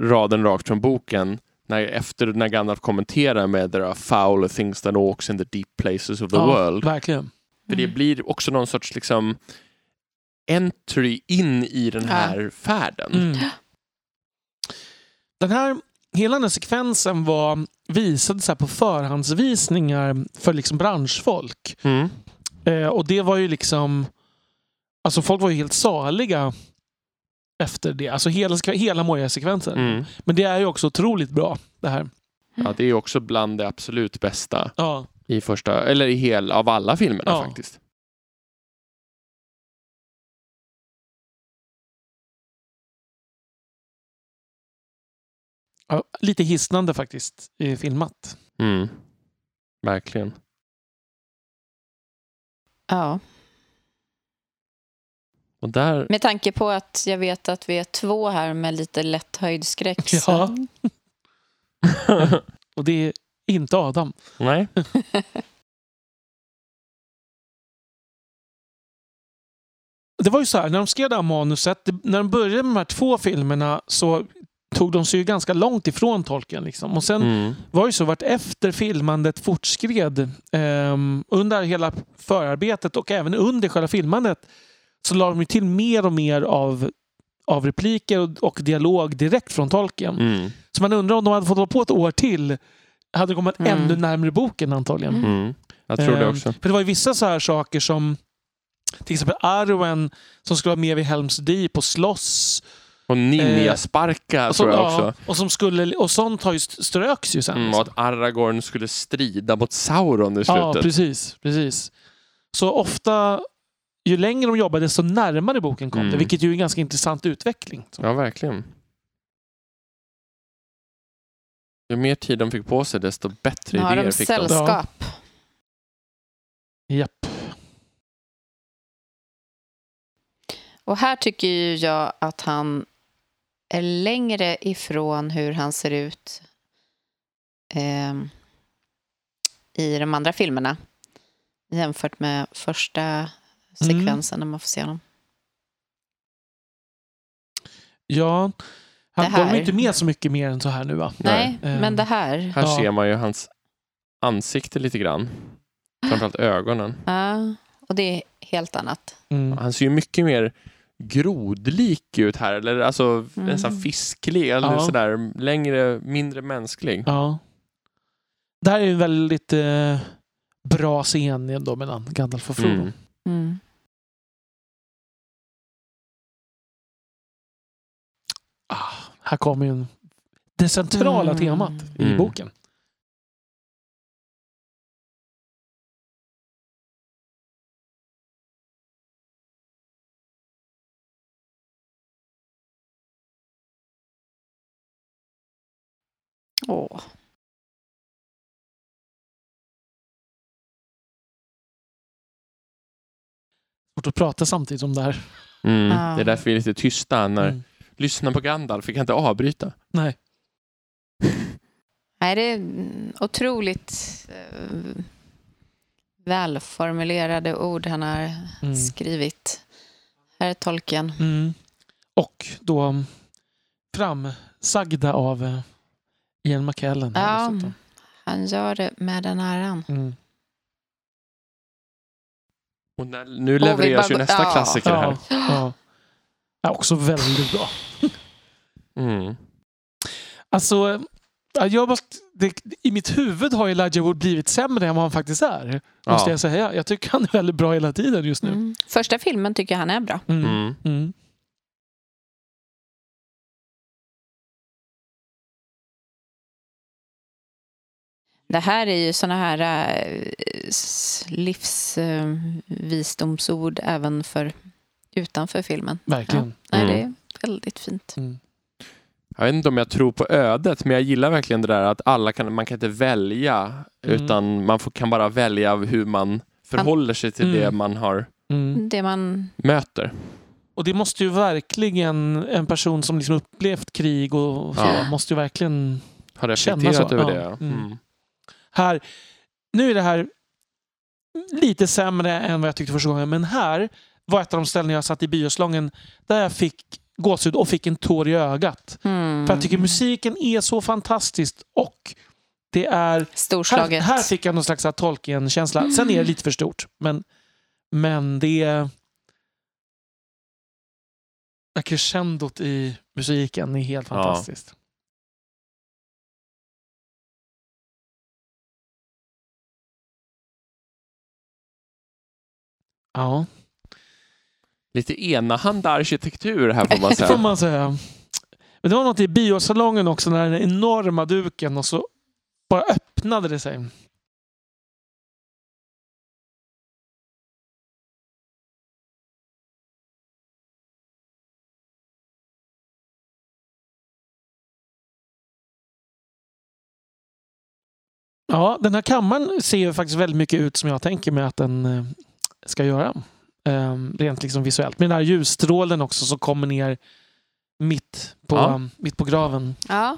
S1: raden rakt från boken. När, efter när Gandalf kommenterar med “There are foul things that walks in the deep places of the
S2: Ja, Mm.
S1: world”.
S2: Verkligen.
S1: För det blir också någon sorts liksom entry in i den här färden.
S2: Mm. Den här, hela den här sekvensen var visad så här på förhandsvisningar för liksom branschfolk.
S1: Mm.
S2: Eh, och det var ju liksom... Alltså folk var ju helt saliga efter det. Alltså hela, sekve- hela Moria-sekvensen.
S1: Mm.
S2: Men det är ju också otroligt bra det här.
S1: Ja, det är också bland det absolut bästa
S2: Ja.
S1: i första, eller i hel, av alla filmerna
S2: Ja.
S1: faktiskt.
S2: Ja, lite hisnande faktiskt eh, filmat.
S1: Mm. Verkligen.
S3: Ja.
S1: Och
S2: <laughs>
S1: där, <laughs>
S3: Med tanke på att jag vet att vi är två här med lite lätt höjdskräck. så-
S2: Ja. Och det är inte Adam.
S1: nej.
S2: Det var ju så här, när de skrev det här manuset, det, när de började med de här två filmerna så tog de sig ju ganska långt ifrån tolken. Liksom. Och sen
S1: Mm.
S2: var ju så vart efter filmandet fortskred ehm, under hela förarbetet och även under själva filmandet så la de ju till mer och mer av, av repliker och, och dialog direkt från tolken.
S1: Mm.
S2: Så man undrar om de hade fått hålla på ett år till hade det kommit
S3: Mm.
S2: ännu närmare boken antagligen.
S1: Mm. Jag tror det
S2: Ehm,
S1: också.
S2: För det var ju vissa så här saker som till exempel Arwen som skulle vara med vid Helms Deep och slåss.
S1: Och ninjasparkar
S2: Eh, Och,
S1: tror jag
S2: ja,
S1: också.
S2: och, som skulle, och sånt har ju st- ströks ju sen.
S1: Mm, och att Aragorn skulle strida mot Sauron i
S2: Ja,
S1: slutet.
S2: precis, precis. Så ofta, ju längre de jobbade, desto närmare boken kom
S1: Mm.
S2: det. Vilket ju är en ganska intressant utveckling.
S1: Ja, verkligen. Ju mer tid de fick på sig, desto bättre
S3: Nu har
S1: idéer
S3: de
S1: fick de.
S3: sällskap.
S2: Japp.
S3: Och här tycker ju jag att han är längre ifrån hur han ser ut ehm, i de andra filmerna jämfört med
S2: Mm.
S3: första sekvensen när man får se honom.
S2: Ja. Han,
S3: Det
S2: de är
S3: här.
S2: ju inte med så mycket mer än så här nu va?
S3: Nej,
S2: Nej.
S3: men
S2: Ehm.
S3: det här.
S1: Här
S2: Ja.
S1: ser man ju hans ansikte lite grann. Framförallt ögonen.
S3: Ja, och det är helt annat.
S2: Mm.
S1: Han ser ju mycket mer grodlik ut här, eller alltså
S3: Mm.
S1: nästan fisklig, eller
S2: Ja.
S1: sådär längre, mindre mänsklig.
S2: Ja. Det här är ju en väldigt eh, bra scen då mellan Gandalf och Frodo.
S1: Mm.
S3: Mm.
S2: Här kommer ju en, det centrala
S3: Mm.
S2: temat i
S1: Mm.
S2: boken.
S3: Åh.
S2: Svårt att prata samtidigt om det här.
S1: Mm.
S3: Ja.
S1: Det är därför vi är lite tysta när...
S2: Mm.
S1: Lyssna på Gandalf, vi kan inte avbryta.
S2: Nej.
S3: Nej, det är mm, otroligt eh, välformulerade ord han har
S2: Mm.
S3: skrivit. Här är tolken.
S2: Mm. Och då mm, framsagda av eh, Ian McKellen. här
S3: Ja.
S2: dessutom.
S3: Han gör det med den äran.
S2: Mm.
S1: <laughs> Och när, nu
S3: vi
S1: levereras
S3: bara
S1: ju
S3: går-
S1: nästa
S3: ja.
S1: klassiker
S2: Ja,
S1: här.
S2: ja. ja, också väldigt bra.
S1: Mm.
S2: Alltså, eh, ja, jag måste, det, i mitt huvud har Elijah Wood blivit sämre än vad han faktiskt är.
S1: Ja.
S2: Måste jag säga. Jag tycker han är väldigt bra hela tiden just nu.
S3: <laughs> Mm. Första filmen tycker jag han är bra.
S2: Mm.
S1: Mm.
S2: Mm.
S3: Det här är ju såna här eh, livsvisdomsord även för utanför filmen.
S2: Verkligen.
S3: Nej,
S1: Mm.
S3: Det är väldigt fint.
S2: Mm.
S1: Jag vet inte om jag tror på ödet, men jag gillar verkligen det där att alla kan, man kan inte välja,
S2: Mm.
S1: utan man får, kan bara välja hur man förhåller sig till
S2: Mm.
S1: det man har
S2: Mm.
S3: Det man...
S1: möter.
S2: Och det måste ju verkligen, en person som liksom upplevt krig och och så,
S1: Ja.
S2: måste ju verkligen
S1: Har
S2: Känna
S1: reflekterat
S2: så,
S1: över
S2: ja.
S1: det. ja.
S2: Mm.
S1: Mm.
S2: här. Nu är det här lite sämre än vad jag tyckte första gången, men här var ett av de ställen jag satt i bioslången där jag fick gåshud och fick en tår i ögat.
S3: Mm,
S2: För jag tycker musiken är så fantastisk och det är... Här,
S3: Storslaget.
S2: här fick jag någon slags Tolkien-känsla. Sen är det lite för stort, men, men det... är- det här Crescendot i musiken är helt
S1: Ja.
S2: fantastiskt. ja.
S1: Lite enahanda arkitektur här får man
S2: Det <laughs> får
S1: säga.
S2: man säga. Men det var något i biosalongen också, när den enorma duken och så bara öppnade det sig. Ja, den här kammaren ser ju faktiskt väldigt mycket ut som jag tänker mig att den eh, ska göra. Ehm, rent liksom visuellt. Med den här ljusstrålen också som kommer ner mitt på, ehm,
S1: Ja.
S2: mitt på graven.
S3: Ja.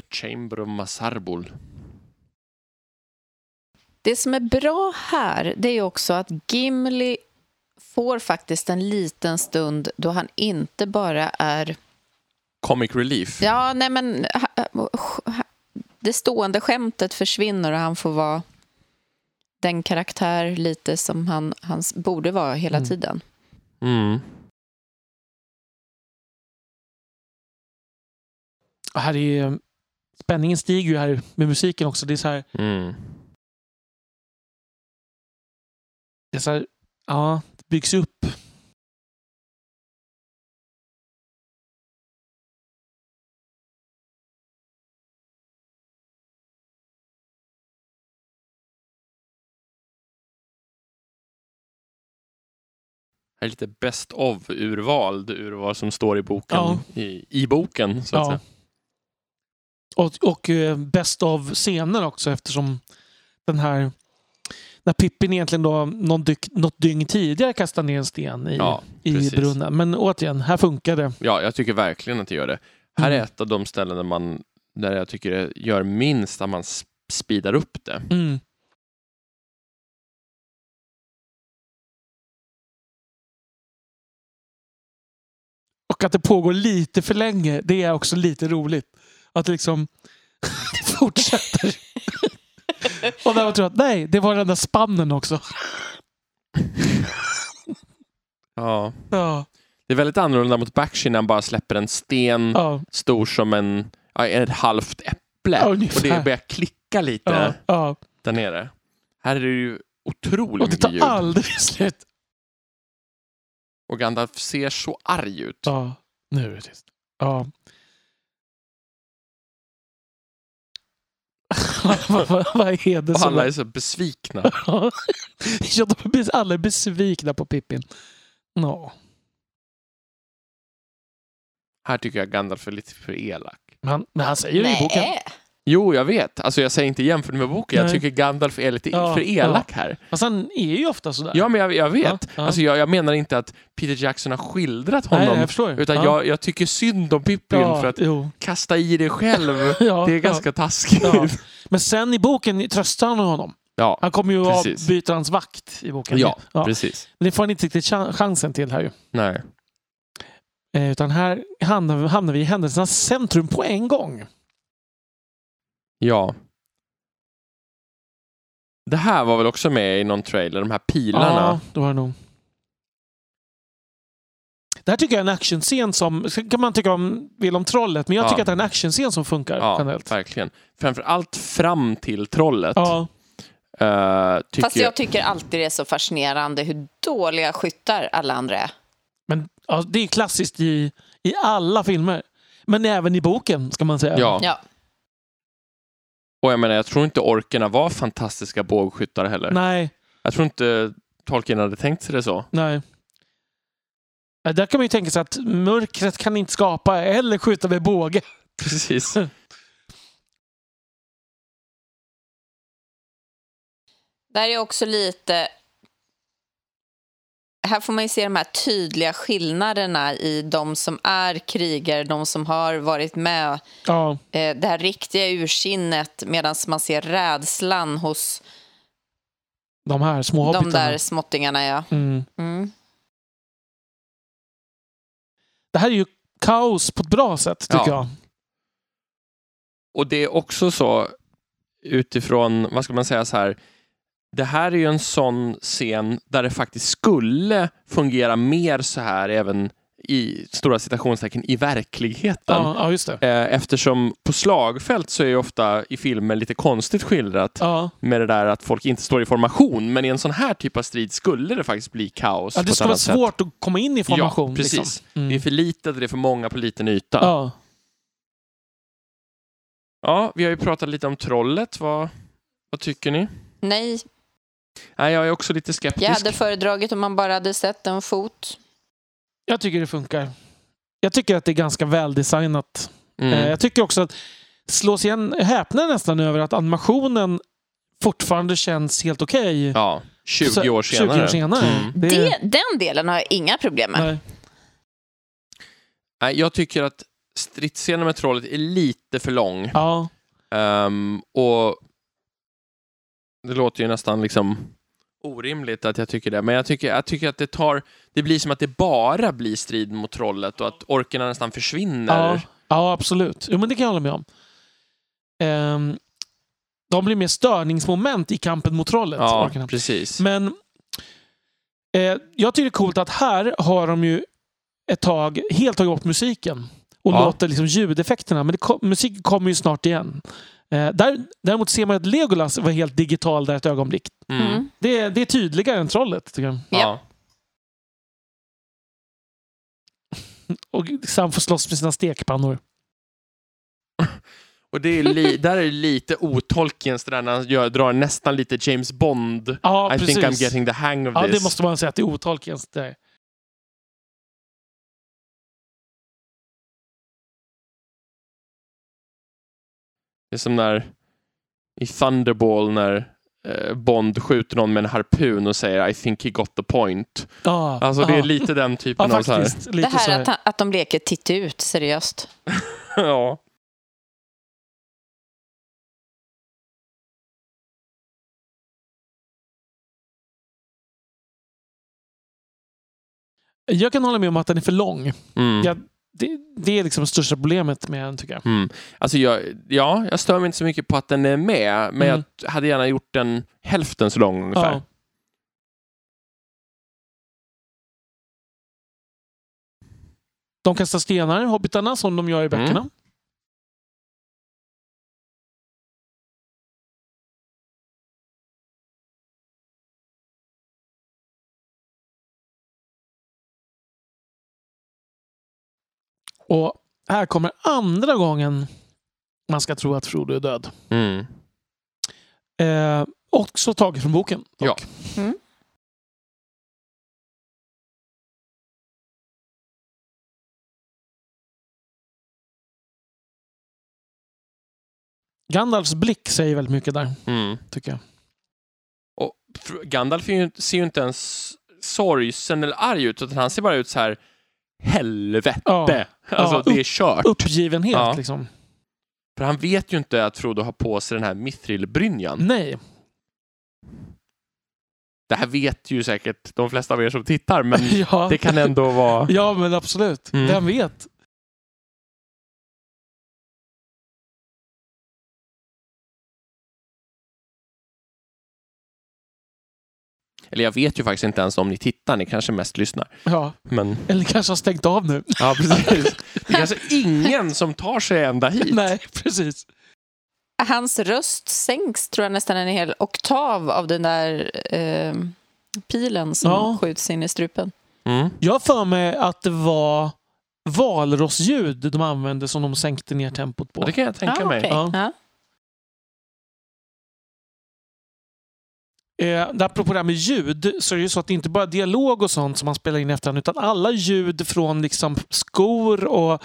S1: The Chamber of Masarbul.
S3: Det som är bra här det är ju också att Gimli får faktiskt en liten stund då han inte bara är...
S1: Comic Relief.
S3: Ja, nej men... Det stående skämtet försvinner och han får vara den karaktär lite som han, han borde vara hela
S2: Mm.
S3: tiden.
S1: Mm.
S2: Och här är, ehm, spänningen stiger ju här med musiken också. Det är så här,
S1: Mm.
S2: det är så här ja, det byggs upp.
S1: Här är lite best of-urval ur vad som står i boken.
S2: Ja.
S1: I, I boken, så att
S2: Ja.
S1: säga.
S2: Och, och eh, bäst av scener också eftersom den här... När Pippin egentligen då någon dyk, något dygn tidigare kastar ner en sten i,
S1: Ja,
S2: i
S1: precis.
S2: brunnen. Men återigen, här funkar det.
S1: Ja, jag tycker verkligen att det gör det. Här är
S2: Mm.
S1: ett av de ställen där, man, där jag tycker det gör minst att man sp- speedar upp det.
S2: Mm. Och att det pågår lite för länge, det är också lite roligt. Att det liksom <laughs> det fortsätter. Och där man tror att nej, det var den där spannen också.
S1: Ja.
S2: Ja,
S1: Det är väldigt annorlunda mot Bakshi när han bara släpper en sten
S2: ja,
S1: stor som en, ja, ett halvt äpple.
S2: Ja,
S1: och
S2: ungefär.
S1: det börjar klicka lite
S2: ja, ja.
S1: där nere. Här är det ju otroligt
S2: Och det
S1: mycket ljud.
S2: tar aldrig slut.
S1: Och Gandalf ser så arg ut.
S2: Ja, nu är det tyst. Ja. <laughs> vad, vad, vad är det
S1: och
S2: som...
S1: alla
S2: <laughs>
S1: är så besvikna.
S2: Ja, de blir alla är besvikna på Pippin. Nå,
S1: Här tycker jag Gandalf är lite för elak.
S2: Men, han- men han säger det i boken.
S3: Nej.
S1: Jo, jag vet. Alltså jag säger inte jämfört med boken.
S2: Nej.
S1: Jag tycker Gandalf är lite
S2: Ja,
S1: för elak här.
S2: Fast han är ju ofta sådär.
S1: Ja, men jag, jag vet.
S2: Ja, ja.
S1: Alltså, jag, jag menar inte att Peter Jackson har skildrat
S2: Nej,
S1: honom.
S2: jag förstår.
S1: utan
S2: ja.
S1: jag, jag tycker synd om Pippin
S2: ja,
S1: för att
S2: jo.
S1: kasta i det själv. <laughs>
S2: Ja,
S1: Det är ganska taskigt.
S2: Ja.
S1: <laughs> Ja,
S2: Men sen i boken tröstar han honom. Han kommer ju att
S1: Precis.
S2: byta hans vakt i boken.
S1: Ja, precis.
S2: Men Det får han inte riktigt chan- chansen till här ju.
S1: Nej.
S2: Eh, utan här hamnar, hamnar vi i händelsernas centrum på en gång.
S1: Ja. Det här var väl också med i någon trailer, de här pilarna.
S2: Ja, det var det nog. Det här tycker jag är en actionscen som... Sen kan man tycka om, vill om trollet, men jag
S1: Ja.
S2: tycker att det är en actionscen som funkar
S1: Ja,
S2: generellt.
S1: verkligen. Framför allt fram till trollet.
S2: Ja,
S1: eh, tycker
S3: Fast jag tycker alltid det är så fascinerande hur dåliga skyttar alla andra är.
S2: men ja, det är klassiskt i, i alla filmer. Men även i boken, ska man säga.
S1: Ja.
S3: Ja.
S1: Och jag menar, jag tror inte orkerna var fantastiska bågskyttar heller.
S2: Nej,
S1: Jag tror inte Tolkien hade tänkt sig det
S2: <laughs>
S1: så.
S2: nej. Ja, Där kan man ju tänka sig att mörkret kan inte skapa eller skjuta med båge.
S1: Precis.
S3: Där är också lite... Här får man ju se de här tydliga skillnaderna i de som är krigare, de som har varit med,
S2: Ja,
S3: eh, det här riktiga ursinnet medan man ser rädslan hos
S2: de här små
S3: de
S2: hobbitarna.
S3: där småttingarna. Ja.
S2: Mm.
S3: Mm.
S2: Det här är ju kaos på ett bra sätt, tycker
S1: Ja.
S2: jag.
S1: Och det är också så utifrån, vad ska man säga så här, det här är ju en sån scen där det faktiskt skulle fungera mer så här även i stora citationstecken i verkligheten.
S2: Ja, ja, just det.
S1: Eh, Eftersom på slagfält så är ju ofta i filmer lite konstigt skildrat
S2: Ja.
S1: med det där att folk inte står i formation, men i en sån här typ av strid skulle det faktiskt bli kaos.
S2: Ja,
S1: på
S2: det
S1: ett
S2: ska vara
S1: annat sätt.
S2: svårt att komma in i formation.
S1: Ja, precis.
S2: Liksom. Mm.
S1: Det är för litet och det är för många på liten yta. Ja.
S2: ja.
S1: vi har ju pratat lite om trollet. Vad, vad tycker ni?
S3: Nej,
S1: Nej, jag är också lite skeptisk.
S3: jag hade föredragit om man bara hade sett en fot.
S2: Jag tycker det funkar. Jag tycker att det är ganska väldesignat.
S1: Mm.
S2: Eh, Jag tycker också att slås igen häpnar nästan över att animationen fortfarande känns helt okej.
S1: Ja, 20
S2: Så-
S1: år
S2: 20
S1: senare.
S2: år senare.
S1: Mm.
S2: Det,
S4: Det, den delen har jag inga problem med.
S2: nej.
S1: Nej, jag tycker att stridsscenen med trollet är lite för lång.
S2: Ja,
S1: Ehm, och det låter ju nästan liksom orimligt att jag tycker det, men jag tycker, jag tycker att det tar... Det blir som att det bara blir strid mot trollet och att orkerna nästan försvinner.
S2: ja, ja, absolut. Jo, men det kan jag hålla med om. Ehm, de blir mer störningsmoment i kampen mot trollet.
S1: Ja,
S2: orkarna.
S1: precis.
S2: Men eh, jag tycker det är coolt att här har de ju ett tag helt tagit bort musiken och
S1: Ja.
S2: låter liksom ljudeffekterna. Men det kom, musiken kommer ju snart igen. Eh, där, däremot ser man att Legolas var helt digital där ett ögonblick.
S1: Mm.
S4: Mm.
S2: Det, det är tydligare än trollet, tycker jag.
S1: Ja.
S2: Och Sam får slåss med sina stekpannor.
S1: Och det är li, där är det lite otolkens det där när han gör, drar nästan lite James Bond.
S2: Ja,
S1: I
S2: precis.
S1: think I'm getting the hang of
S2: ja,
S1: this.
S2: det måste man säga att det är otolkens. Det där.
S1: Det är som när i Thunderball när eh, Bond skjuter någon med en harpun och säger I think he got the point.
S2: Ja,
S1: Alltså det är
S2: ja.
S1: lite den
S2: Ja,
S1: typen av så här.
S2: faktiskt.
S3: Det
S2: Lite så
S3: här
S2: här.
S3: att, han- att de leker titt ut, seriöst.
S1: <laughs> ja.
S2: Jag kan hålla med om att den är för lång.
S1: Mm.
S2: Ja. Det, det är liksom det största problemet med den, tycker jag.
S1: Mm. Alltså jag, ja, jag stör mig inte så mycket på att den är med, men
S2: Mm.
S1: jag hade gärna gjort den hälften så lång ungefär.
S2: Ja. De kastar stenar, hobbitarna, som de gör i böckerna. Och här kommer andra gången man ska tro att Frodo är död.
S1: Mm.
S2: Eh, också taget från boken.
S1: Ja.
S2: dock.
S3: Mm.
S2: Gandalfs blick säger väldigt mycket där,
S1: Mm.
S2: tycker jag.
S1: Och fr- Gandalf är ju, ser ju inte ens sorgsen eller arg ut, utan han ser bara ut så här helvete.
S2: Ja,
S1: Alltså
S2: Ja,
S1: det är kört.
S2: uppgivenhet,
S1: Ja. Mm.
S2: liksom.
S1: För han vet ju inte att Frodo har på sig den här mithrilbrynjan.
S2: Nej.
S1: Det här vet ju säkert de flesta av er som tittar, men
S2: <laughs> ja.
S1: det kan ändå vara...
S2: ja, men absolut.
S1: Mm.
S2: Vem vet?
S1: Eller jag vet ju faktiskt inte ens om ni tittar, ni kanske mest lyssnar.
S2: Ja.
S1: Men...
S2: Eller kanske har stängt av nu.
S1: Ja, precis. Det är kanske ingen som tar sig ända hit.
S2: <laughs> Nej, precis.
S3: Hans röst sänks, tror jag, nästan en hel oktav av den där eh, pilen som
S2: Ja.
S3: skjuts in i strupen.
S1: Mm.
S2: Jag har för mig att det var valrossljud de använde som de sänkte ner tempot
S1: Ja,
S2: på.
S1: det kan jag tänka
S2: Ah,
S1: mig.
S3: Ah, okej.
S2: Ja.
S3: Ja.
S2: Eh, där apropå det här med ljud så är det ju så att det inte bara är dialog och sånt som man spelar in i efterhand utan alla ljud från liksom skor och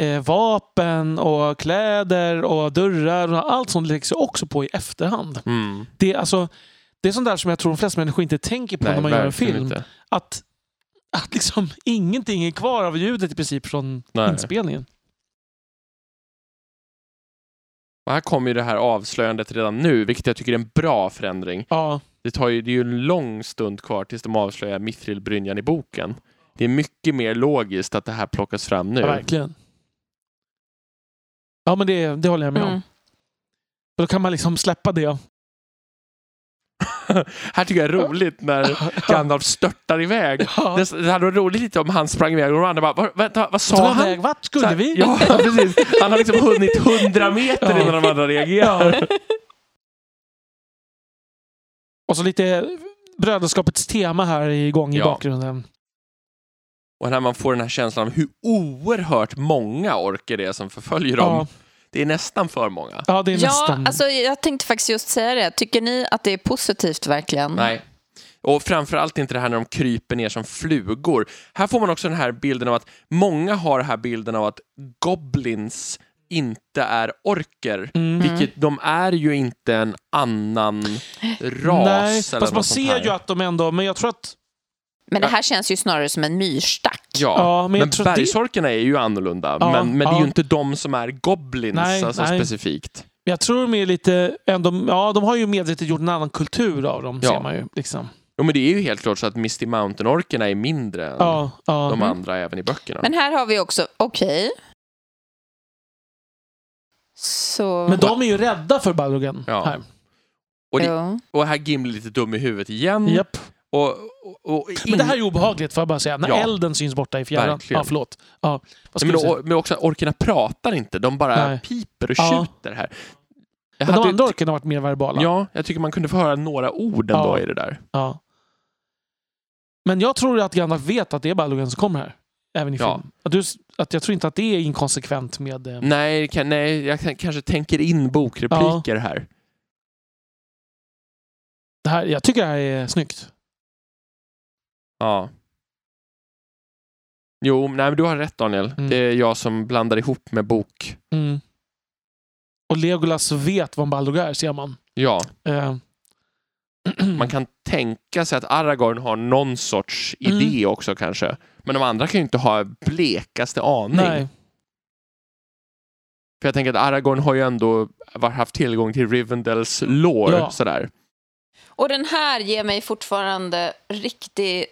S2: eh, vapen och kläder och dörrar och allt sånt läggs ju också på i efterhand.
S1: Mm.
S2: Det är, alltså, det är sånt där som jag tror de flesta människor inte tänker på
S1: Nej,
S2: när man gör en
S1: verkligen
S2: film.
S1: inte.
S2: Att, att liksom ingenting är kvar av ljudet i princip från
S1: Nej.
S2: inspelningen.
S1: Och här kommer ju det här avslöjandet redan nu, vilket jag tycker är en bra förändring.
S2: Ja,
S1: Det, tar ju, det är ju en lång stund kvar tills de avslöjar Mithrilbrynjan i boken. Det är mycket mer logiskt att det här plockas fram nu.
S2: ja verkligen. Ja, men det, det håller jag med om.
S3: Mm.
S2: Då kan man liksom släppa det.
S1: här tycker jag är roligt
S2: <laughs>
S1: när Gandalf störtar iväg.
S2: Ja.
S1: Det, det hade varit roligt lite om han sprang iväg och de andra bara, "Vad- vänta, vad sa
S2: Ta
S1: han?
S2: väg, vart
S1: Så
S2: skulle
S1: här,
S2: vi? <laughs>
S1: Ja, precis. Han har liksom hunnit hundra meter
S2: Ja.
S1: innan de andra reagerar.
S2: Och så lite brödraskapets tema här igång i
S1: Ja.
S2: bakgrunden.
S1: Och när man får den här känslan av hur oerhört många orker det är som förföljer dem.
S2: Ja, Mm.
S1: Det är nästan för många.
S2: ja, det är
S3: Ja,
S2: nästan...
S3: alltså, jag tänkte faktiskt just säga det. Tycker ni att det är positivt verkligen?
S1: Nej. Och framförallt inte det här när de kryper ner som flugor. Här får man också den här bilden av att många har den här bilden av att goblins inte är orker.
S2: Mm.
S3: Mm.
S1: Vilket de är ju inte en annan ras.
S2: Nej,
S1: eller
S2: fast man
S1: något sånt
S2: ser
S1: här.
S2: ju att de ändå... Men jag tror att...
S4: Men det här känns ju snarare som en myrstack.
S1: Ja,
S2: Ja, men
S1: men,
S2: jag tror att det,
S1: bergsorkerna är ju annorlunda.
S2: Ja,
S1: men men det är
S2: ja.
S1: ju inte de som är goblins
S2: Nej,
S1: alltså,
S2: nej.
S1: specifikt.
S2: jag tror de är lite... Ändå, ja, de har ju medvetet gjort en annan kultur av dem,
S1: Ja. Mm.
S2: ser man ju. Liksom.
S1: Jo, men det är ju helt klart så att Misty Mountain-orkerna är mindre än
S2: Ja, Mhm. ja.
S1: de andra även i böckerna.
S4: Men här har vi också, okej.
S3: Så...
S2: Men de är ju rädda för Balrogen.
S1: Ja.
S2: Här.
S1: och det-
S3: Jo.
S1: Och här Gimli lite dum i huvudet igen.
S2: Japp.
S1: Och, och, och Mm. in...
S2: Men det här är ju obehagligt, får jag bara säga. När
S1: Ja.
S2: elden syns borta i fjärran.
S1: Verkligen.
S2: Ja, förlåt. Ja. Vad
S1: Nej, men,
S2: skulle du säga?
S1: och, men också, orkerna pratar inte, de bara
S2: Nej.
S1: piper och
S2: Ja.
S1: tjuter här. Jag
S2: Men de
S1: hade-
S2: andra orken har varit mer verbala.
S1: Ja, jag tycker man kunde få höra några ord ändå
S2: Ja.
S1: i det där.
S2: Ja. Men jag tror att Gandalf vet att det är Balrogen som kommer här. Även i
S1: Ja.
S2: film. Att, du, att jag tror inte att det är inkonsekvent med... eh,
S1: Nej, kan, nej jag kan, kanske tänker in bokrepliker här.
S2: Det här, jag tycker det här är snyggt.
S1: Ja. Jo, nej, men du har rätt Daniel.
S2: Mm.
S1: Det är jag som blandar ihop med bok.
S2: Mm. Och Legolas vet vad en Balrog är, ser man.
S1: Ja,
S2: Eh.
S1: man kan tänka sig att Aragorn har någon sorts
S2: Mm.
S1: idé också kanske. Men de andra kan ju inte ha blekaste aning.
S2: Nej.
S1: För jag tänker att Aragorn har ju ändå var- haft tillgång till Rivendels lore.
S2: Ja.
S1: Sådär.
S3: Och den här ger mig fortfarande riktig...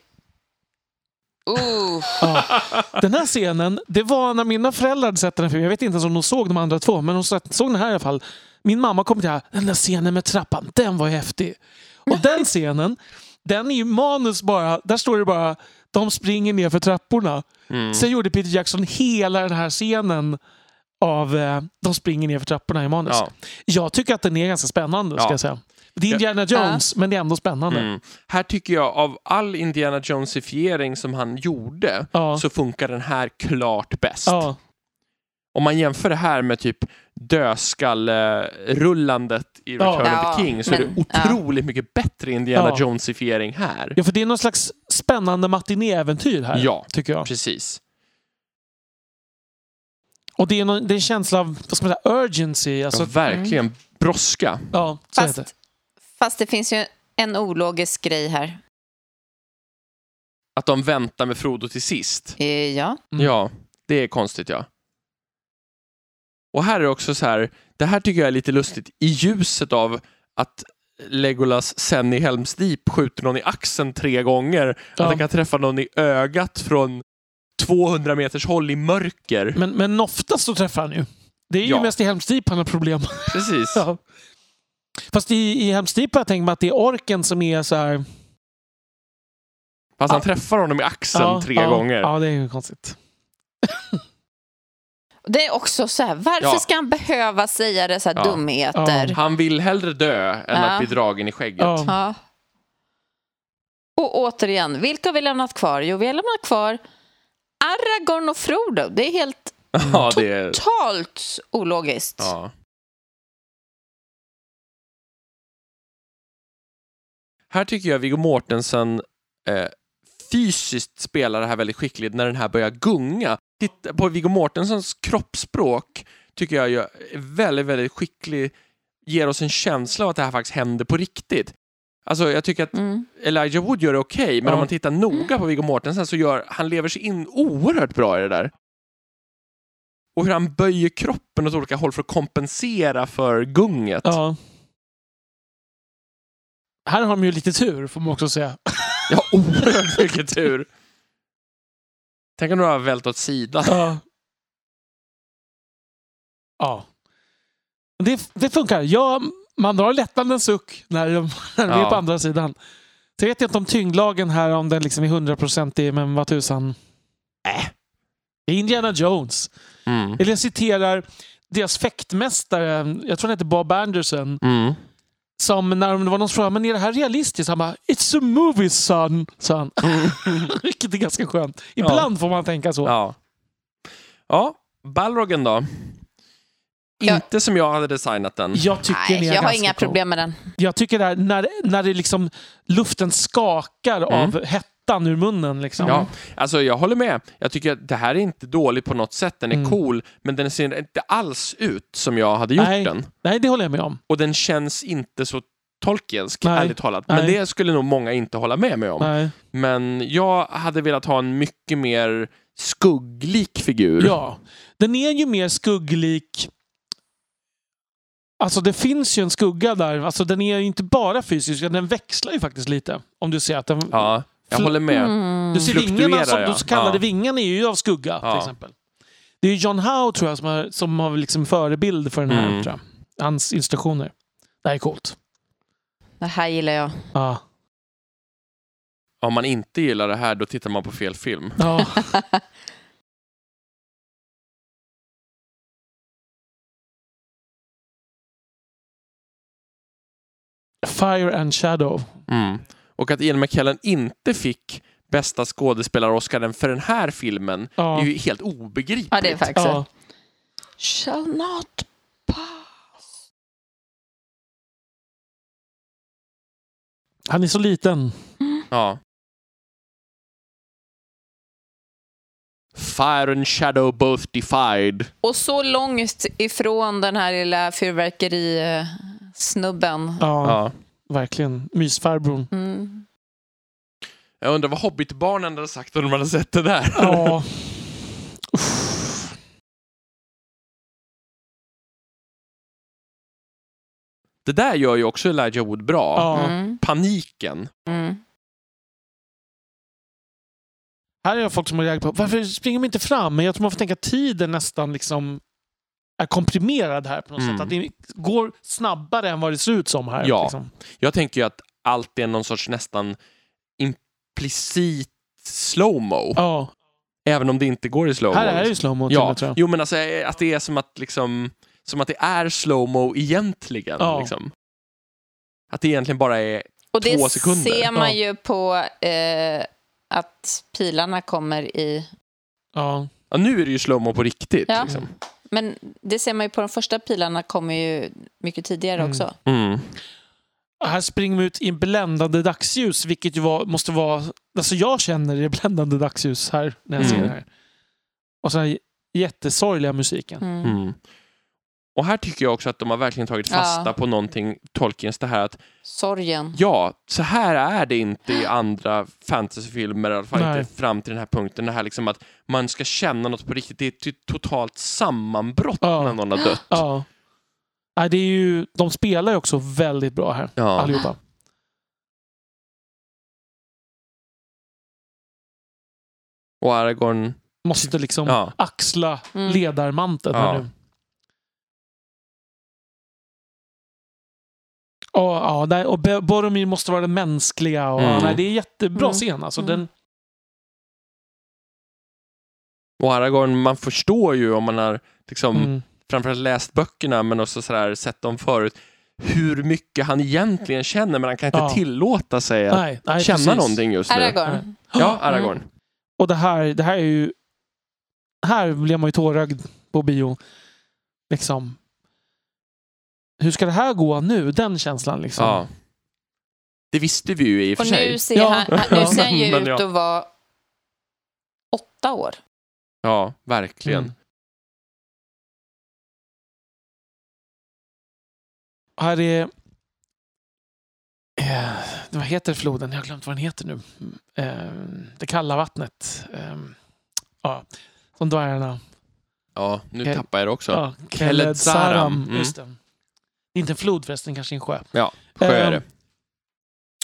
S3: Oh.
S2: Ja. Den här scenen, det var när mina föräldrar hade sett den här filmen. Jag vet inte ens om de såg de andra två, men de satt- såg den här i alla fall. Min mamma kom till det här, den där scenen med trappan, den var ju häftig. Och den scenen, den är ju manus bara, där står det bara de springer ner för trapporna.
S1: Mm.
S2: Sen gjorde Peter Jackson hela den här scenen av eh, de springer ner för trapporna i manus.
S1: Ja.
S2: Jag tycker att den är ganska spännande, ska
S1: Ja.
S2: jag säga. Det är
S1: Ja.
S2: Indiana Jones, men det är ändå spännande.
S1: Mm. Här tycker jag av all Indiana Jonesifiering som han gjorde
S2: Ja.
S1: så funkar den här klart bäst.
S2: Ja.
S1: Om man jämför det här med typ dödskalle-rullandet i Return of
S4: Ja,
S1: the King så är
S4: men-
S1: det otroligt mycket bättre Indiana
S2: Ja.
S1: Jonesifiering här.
S2: ja, för det är någon slags spännande matinéäventyr här,
S1: Ja,
S2: tycker jag.
S1: precis.
S2: Och det är, någon, det är en känsla av vad ska man säga, urgency. Alltså,
S1: ja, verkligen brådska.
S2: ja, så heter det.
S3: Fast, fast det finns ju en ologisk grej här.
S1: Att de väntar med Frodo till sist.
S3: Eh, Ja.
S2: Mm.
S1: Ja, det är konstigt ja. Och här är också så här, det här tycker jag är lite lustigt i ljuset av att Legolas sen i Helms Deep skjuter någon i axeln tre gånger.
S2: Ja.
S1: Att han kan träffa någon i ögat från 200 meters håll i mörker.
S2: Men, men oftast så träffar han ju. Det är ju
S1: Ja.
S2: mest i Helm's Deep han
S1: <laughs>
S2: har problem.
S1: Precis.
S2: ja. Fast i, i Helm's Deep har jag tänkt mig att det är orken som är så här...
S1: Fast han träffar honom i axeln
S2: ja,
S1: tre
S2: ja,
S1: gånger.
S2: Ja, det är ju konstigt.
S4: Det är också så här, varför
S1: Ja.
S4: ska han behöva säga dessa
S1: Ja.
S4: dumheter?
S2: Ja.
S1: Han vill hellre dö än
S4: Ja.
S1: att bli dragen i skägget.
S2: Ja.
S4: Ja. Och återigen, vilka har vi lämnat kvar? Jo, vi har lämnat kvar Aragorn och Frodo. Det är helt
S1: Ja, det är...
S4: totalt ologiskt.
S1: Ja. Här tycker jag Viggo Mortensen eh, fysiskt spelar det här väldigt skickligt när den här börjar gunga. Titta på Viggo Mortensens kroppsspråk tycker jag gör- är väldigt, väldigt skicklig. Ger oss en känsla av att det här faktiskt händer på riktigt. Alltså jag tycker att
S4: Mm.
S1: Elijah Wood gör det okej, men
S2: Ja.
S1: om man tittar noga på Viggo Mortensen så gör han lever sig in oerhört bra i det där. Och hur han böjer kroppen åt olika håll för att kompensera för gunget.
S2: Ja. Här har de ju lite tur, får man också säga.
S1: Jag har oerhört mycket tur. Tänk om du har vält åt sidan.
S2: Ja. ja. Det, det funkar. Ja, man drar lättnad en suck när de, <laughs> när de är
S1: Ja.
S2: på andra sidan. Så jag vet inte om tyngdlagen här, om den liksom är hundraprocentig, men vad tusan. Äh. Det är Indiana Jones.
S1: Mm.
S2: Eller jag citerar deras fäktmästare, jag tror han heter Bob Anderson,
S1: Mm.
S2: som när det var någon som frågade men är det här realistiskt? Han bara “It's a movie son”, sa han. <laughs> Vilket är ganska skönt. Ibland får man tänka så.
S1: Ja. ja, Balrogen då?
S4: Ja.
S1: Inte som jag hade designat den.
S2: Jag tycker
S4: Nej,
S2: ni är
S4: jag har
S2: ganska
S4: inga
S2: cool.
S4: problem med den.
S2: Jag tycker där, när, när det liksom luften skakar
S1: Mm.
S2: av hetta ettan ur munnen liksom.
S1: Ja, alltså jag håller med. Jag tycker att det här är inte dålig på något sätt. Den är
S2: Mm.
S1: cool, men den ser inte alls ut som jag hade gjort
S2: Nej.
S1: den.
S2: Nej, det håller jag med om.
S1: Och den känns inte så Tolkiensk,
S2: Nej.
S1: ärligt talat. Men
S2: Nej.
S1: det skulle nog många inte hålla med mig om.
S2: Nej.
S1: Men jag hade velat ha en mycket mer skugglik figur.
S2: Ja. Den är ju mer skugglik. Alltså det finns ju en skugga där. Alltså den är ju inte bara fysisk, den växlar ju faktiskt lite. Om du ser att den...
S1: Ja, jag
S2: Fl-
S1: håller med.
S4: Mm.
S2: Du ser vingarna,
S1: Fluktuerar,
S2: som,
S1: ja.
S2: de så kallade
S1: Ja.
S2: vingarna är ju av skugga
S1: Ja.
S2: till exempel. Det är ju John Howe tror jag som har, som har liksom förebild för den här.
S1: Mm.
S2: Tror jag. Hans instruktioner. Det här är coolt.
S4: Det här gillar jag.
S2: Ja.
S1: Om man inte gillar det här, då tittar man på fel film.
S2: ja. Fire and Shadow.
S1: Mm. Och att Ian McKellen inte fick bästa skådespelare-Oscaren för den här filmen
S2: Ja.
S1: är ju helt obegripligt.
S4: Ja, det är faktiskt.
S2: Ja.
S4: Shall not pass.
S2: Han är så liten.
S1: Ja. Fire and shadow both defied.
S4: Och så långt ifrån den här lilla fyrverkerisnubben.
S2: Ja,
S1: Ja.
S2: verkligen. Mysfarbrorn.
S4: Mm.
S1: Jag undrar vad hobbitbarnen hade sagt om de hade sett det där.
S2: Ja. Uff.
S1: <laughs> Det där gör ju också Elijah Wood bra.
S2: ja.
S4: Mm.
S1: Paniken.
S4: Mm.
S2: Här är jag folk som har reagerat på varför springer de inte fram? Men jag tror man får tänka att tiden nästan liksom är komprimerad här på något
S1: Mm.
S2: sätt. Att det går snabbare än vad det ser ut som här.
S1: Ja.
S2: Liksom.
S1: Jag tänker ju att allt är någon sorts nästan implicit slowmo.
S2: ja.
S1: Även om det inte går i slowmo.
S2: Här är det ju slowmo till och
S1: Ja,
S2: med, tror jag.
S1: jo men alltså eh, att det är som att liksom, som att det är slowmo egentligen.
S2: Ja.
S1: Liksom. Att det egentligen bara är,
S4: Och det
S1: Två sekunder.
S4: ser man
S2: Ja.
S4: ju på eh, att pilarna kommer i...
S2: Ja.
S1: ja, nu är det ju slowmo på riktigt.
S4: Ja.
S1: Liksom.
S4: Men det ser man ju på de första pilarna kommer ju mycket tidigare
S2: Mm.
S4: också.
S1: Mm.
S2: Här springer vi ut i bländande dagsljus, vilket ju var, måste vara... Alltså jag känner det bländande dagsljus här när jag ser
S1: Mm.
S2: det här. Och så den här jättesorgliga musiken.
S4: Mm.
S1: Mm. Och här tycker jag också att de har verkligen tagit fasta
S4: Ja.
S1: på någonting, Tolkiens det här att
S4: Sorgen.
S1: ja, så här är det inte i andra fantasyfilmer, i alla fall
S2: Nej.
S1: inte fram till den här punkten, det här liksom att man ska känna något på riktigt, det är ett ty- totalt sammanbrott
S2: Ja.
S1: när någon har dött.
S2: Ja. Nej, det är ju, de spelar ju också väldigt bra här,
S1: Ja.
S2: allihopa.
S1: Och Aragorn,
S2: Måste liksom
S1: ja.
S2: axla
S4: Mm.
S2: ledarmanteln.
S1: Ja.
S2: här nu. Ja, ja, där- och Be- Boromir måste vara den mänskliga. Och,
S1: Mm.
S2: nej, det är en jättebra
S4: Mm.
S2: scen. Alltså,
S4: Mm.
S2: den,
S1: och Aragorn, man förstår ju om man har liksom
S2: mm,
S1: framförallt läst böckerna men också sådär, sett dem förut, hur mycket han egentligen känner men han kan inte
S2: Ja.
S1: tillåta sig att
S2: nej, nej,
S1: känna
S2: precis. Mm.
S1: någonting just nu.
S4: Aragorn.
S1: Ja, Aragorn.
S2: Och det här, det här är ju... Här blev man ju tårögd på bio. Liksom. Hur ska det här gå nu? Den känslan liksom.
S1: Ja. Det visste vi ju i och för
S4: Och
S1: sig.
S4: nu ser,
S2: Ja.
S4: han, han- nu ser han ju
S1: Men
S4: ut
S1: ja.
S4: att vara åtta år.
S1: Ja, verkligen.
S2: Mm. Här är... Eh, vad heter floden? Jag har glömt vad den heter nu. Eh, det kalla vattnet. Eh, ja, som dvärgarna.
S1: Ja, nu
S2: Ke-
S1: tappar jag det också.
S2: Ja,
S1: Khaled Saram.
S2: Saram,
S1: Mm.
S2: Just det. det är inte en flod förresten, kanske en sjö.
S1: Sjö är
S2: Ehm.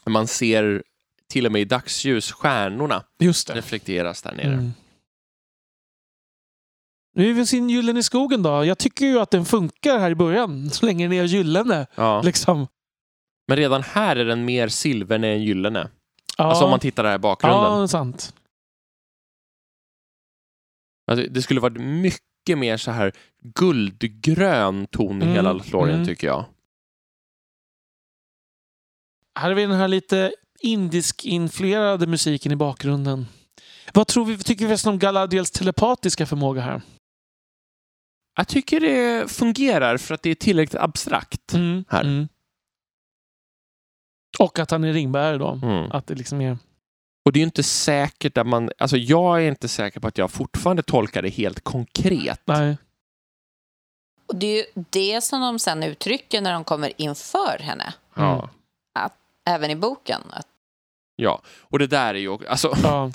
S1: det. Man ser till och med i dagsljus stjärnorna
S2: Just det.
S1: reflekteras där nere.
S2: Mm. Nu är vi sin Gyllene i skogen då. Jag tycker ju att den funkar här i början, <laughs> så länge den är gyllene.
S1: Ja.
S2: Liksom.
S1: Men redan här är den mer silverne än gyllene.
S2: Ja,
S1: Alltså om man tittar där i
S2: ja,
S1: bakgrunden.
S2: det är sant.
S1: Alltså, det skulle varit mycket mer så här guldgrön ton i
S2: Mm,
S1: hela Lothlorien
S2: mm.
S1: tycker jag.
S2: Här har vi den här lite indisk-influerade musiken i bakgrunden. Vad tror vi, tycker vi om Galadriels telepatiska förmåga här?
S1: Jag tycker det fungerar för att det är tillräckligt abstrakt.
S2: Mm.
S1: Här.
S2: Mm. Och att han är ringbärare då.
S1: Mm.
S2: Att det liksom är...
S1: Och det är ju inte säkert att man... Alltså jag är inte säker på att jag fortfarande tolkar det helt konkret.
S2: Nej.
S4: Och det är ju det som de sen uttrycker när de kommer inför henne,
S1: Ja.
S4: även i boken. Att
S1: Mm. ja. Och det där är ju... Alltså,
S2: Ja.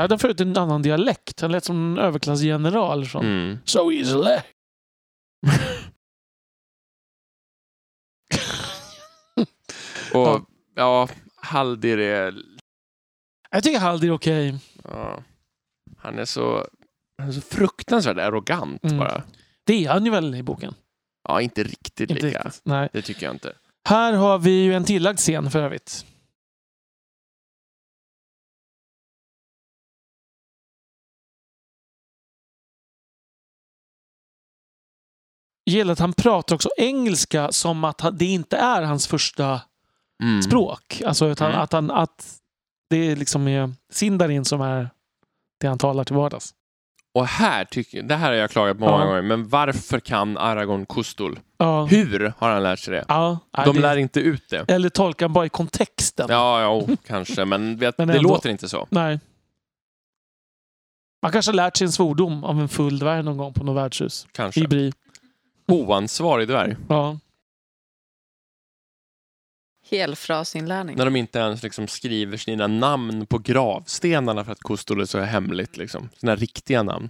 S1: <laughs>
S2: hade förut en annan dialekt. Han lät som en överklassgeneral. Som,
S1: mm.
S2: So easily. <laughs>
S1: Och
S2: Ja.
S1: ja, Haldir är...
S2: Jag tycker Haldir är okej.
S1: Ja, han är så... Han är så fruktansvärt arrogant
S2: Mm.
S1: bara.
S2: Det är han ju väl i boken?
S1: Ja, inte riktigt
S2: Inte
S1: lika.
S2: riktigt. Nej.
S1: Det tycker jag inte.
S2: Här har vi ju en tillagd scen för övrigt. Jag gillar att han pratar också engelska som att han- det inte är hans första
S1: Mm.
S2: språk. Alltså att han,
S1: Mm.
S2: att, han, att det liksom är Sindarin som är det han talar till vardags.
S1: Och här tycker det här har jag klagat på många
S2: Ja.
S1: gånger, men varför kan Aragorn Kustul?
S2: Ja.
S1: Hur har han lärt sig det?
S2: ja nej,
S1: De
S2: det,
S1: lär inte ut det.
S2: Eller tolkar han bara i kontexten.
S1: Ja, ja oh, kanske, men, vet,
S2: Men
S1: det
S2: ändå.
S1: låter inte så.
S2: Nej. Man kanske har lärt sig en svordom av en full dvärg någon gång på något värdshus.
S1: Kanske.
S2: I Bri.
S1: Oansvarig dvärg.
S2: Ja.
S4: helfrasinlärning.
S1: När de inte ens liksom skriver sina namn på gravstenarna för att Kustul är så hemligt. Liksom. Sina riktiga namn.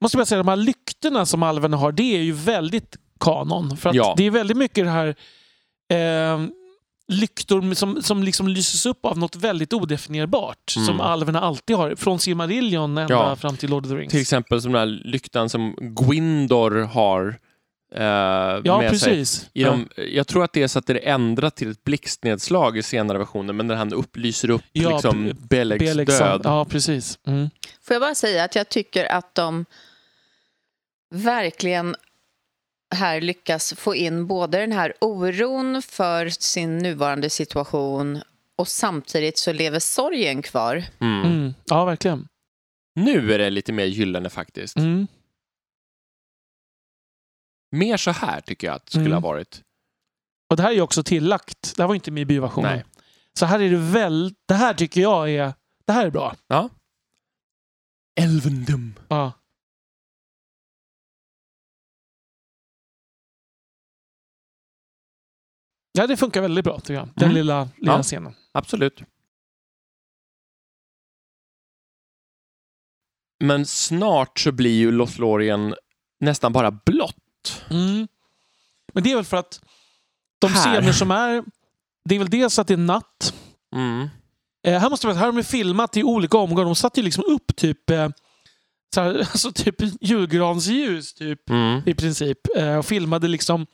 S2: Måste bara säga, de här lyktorna som alverna har, det är ju väldigt kanon. För att
S1: Ja.
S2: det är väldigt mycket det här eh, lyktor som, som liksom lyses upp av något väldigt odefinierbart.
S1: Mm.
S2: Som alverna alltid har. Från Silmarillion ända
S1: Ja.
S2: fram till Lord of the Rings.
S1: Till exempel som den här lyktan som Gwindor har eh,
S2: ja,
S1: med sig.
S2: precis.
S1: I de, jag tror att det är så att det är ändrat till ett blixtnedslag i senare versioner, men där han upplyser upp
S2: Ja,
S1: liksom,
S2: B-
S1: Belegs
S2: Belexan-
S1: död.
S2: Ja, precis. Mm.
S4: Får jag bara säga att jag tycker att de verkligen här lyckas få in både den här oron för sin nuvarande situation och samtidigt så lever sorgen kvar.
S1: Mm.
S2: Mm. Ja, verkligen.
S1: Nu är det lite mer gyllene faktiskt.
S2: Mm.
S1: Mer så här tycker jag att det skulle
S2: Mm.
S1: ha varit.
S2: Och det här är ju också tillagt. Det här var ju inte med i bioversionen.
S1: Nej.
S2: Så här är det väl... Det här tycker jag är... Det här är bra.
S1: Elvendum.
S2: Ja. Ja, det funkar väldigt bra tycker jag. Den
S1: Mm.
S2: lilla, lilla
S1: Ja.
S2: scenen.
S1: Absolut. Men snart så blir ju Lothlorien nästan bara blått.
S2: Mm. Men det är väl för att de
S1: Här.
S2: scener som är... Det är väl dels att det är natt.
S1: Mm.
S2: Eh, här måste man här har de filmat i olika omgångar. De satte ju liksom upp typ... Eh, så här, <laughs> alltså typ julgransljus typ.
S1: Mm.
S2: i princip. Eh, och filmade liksom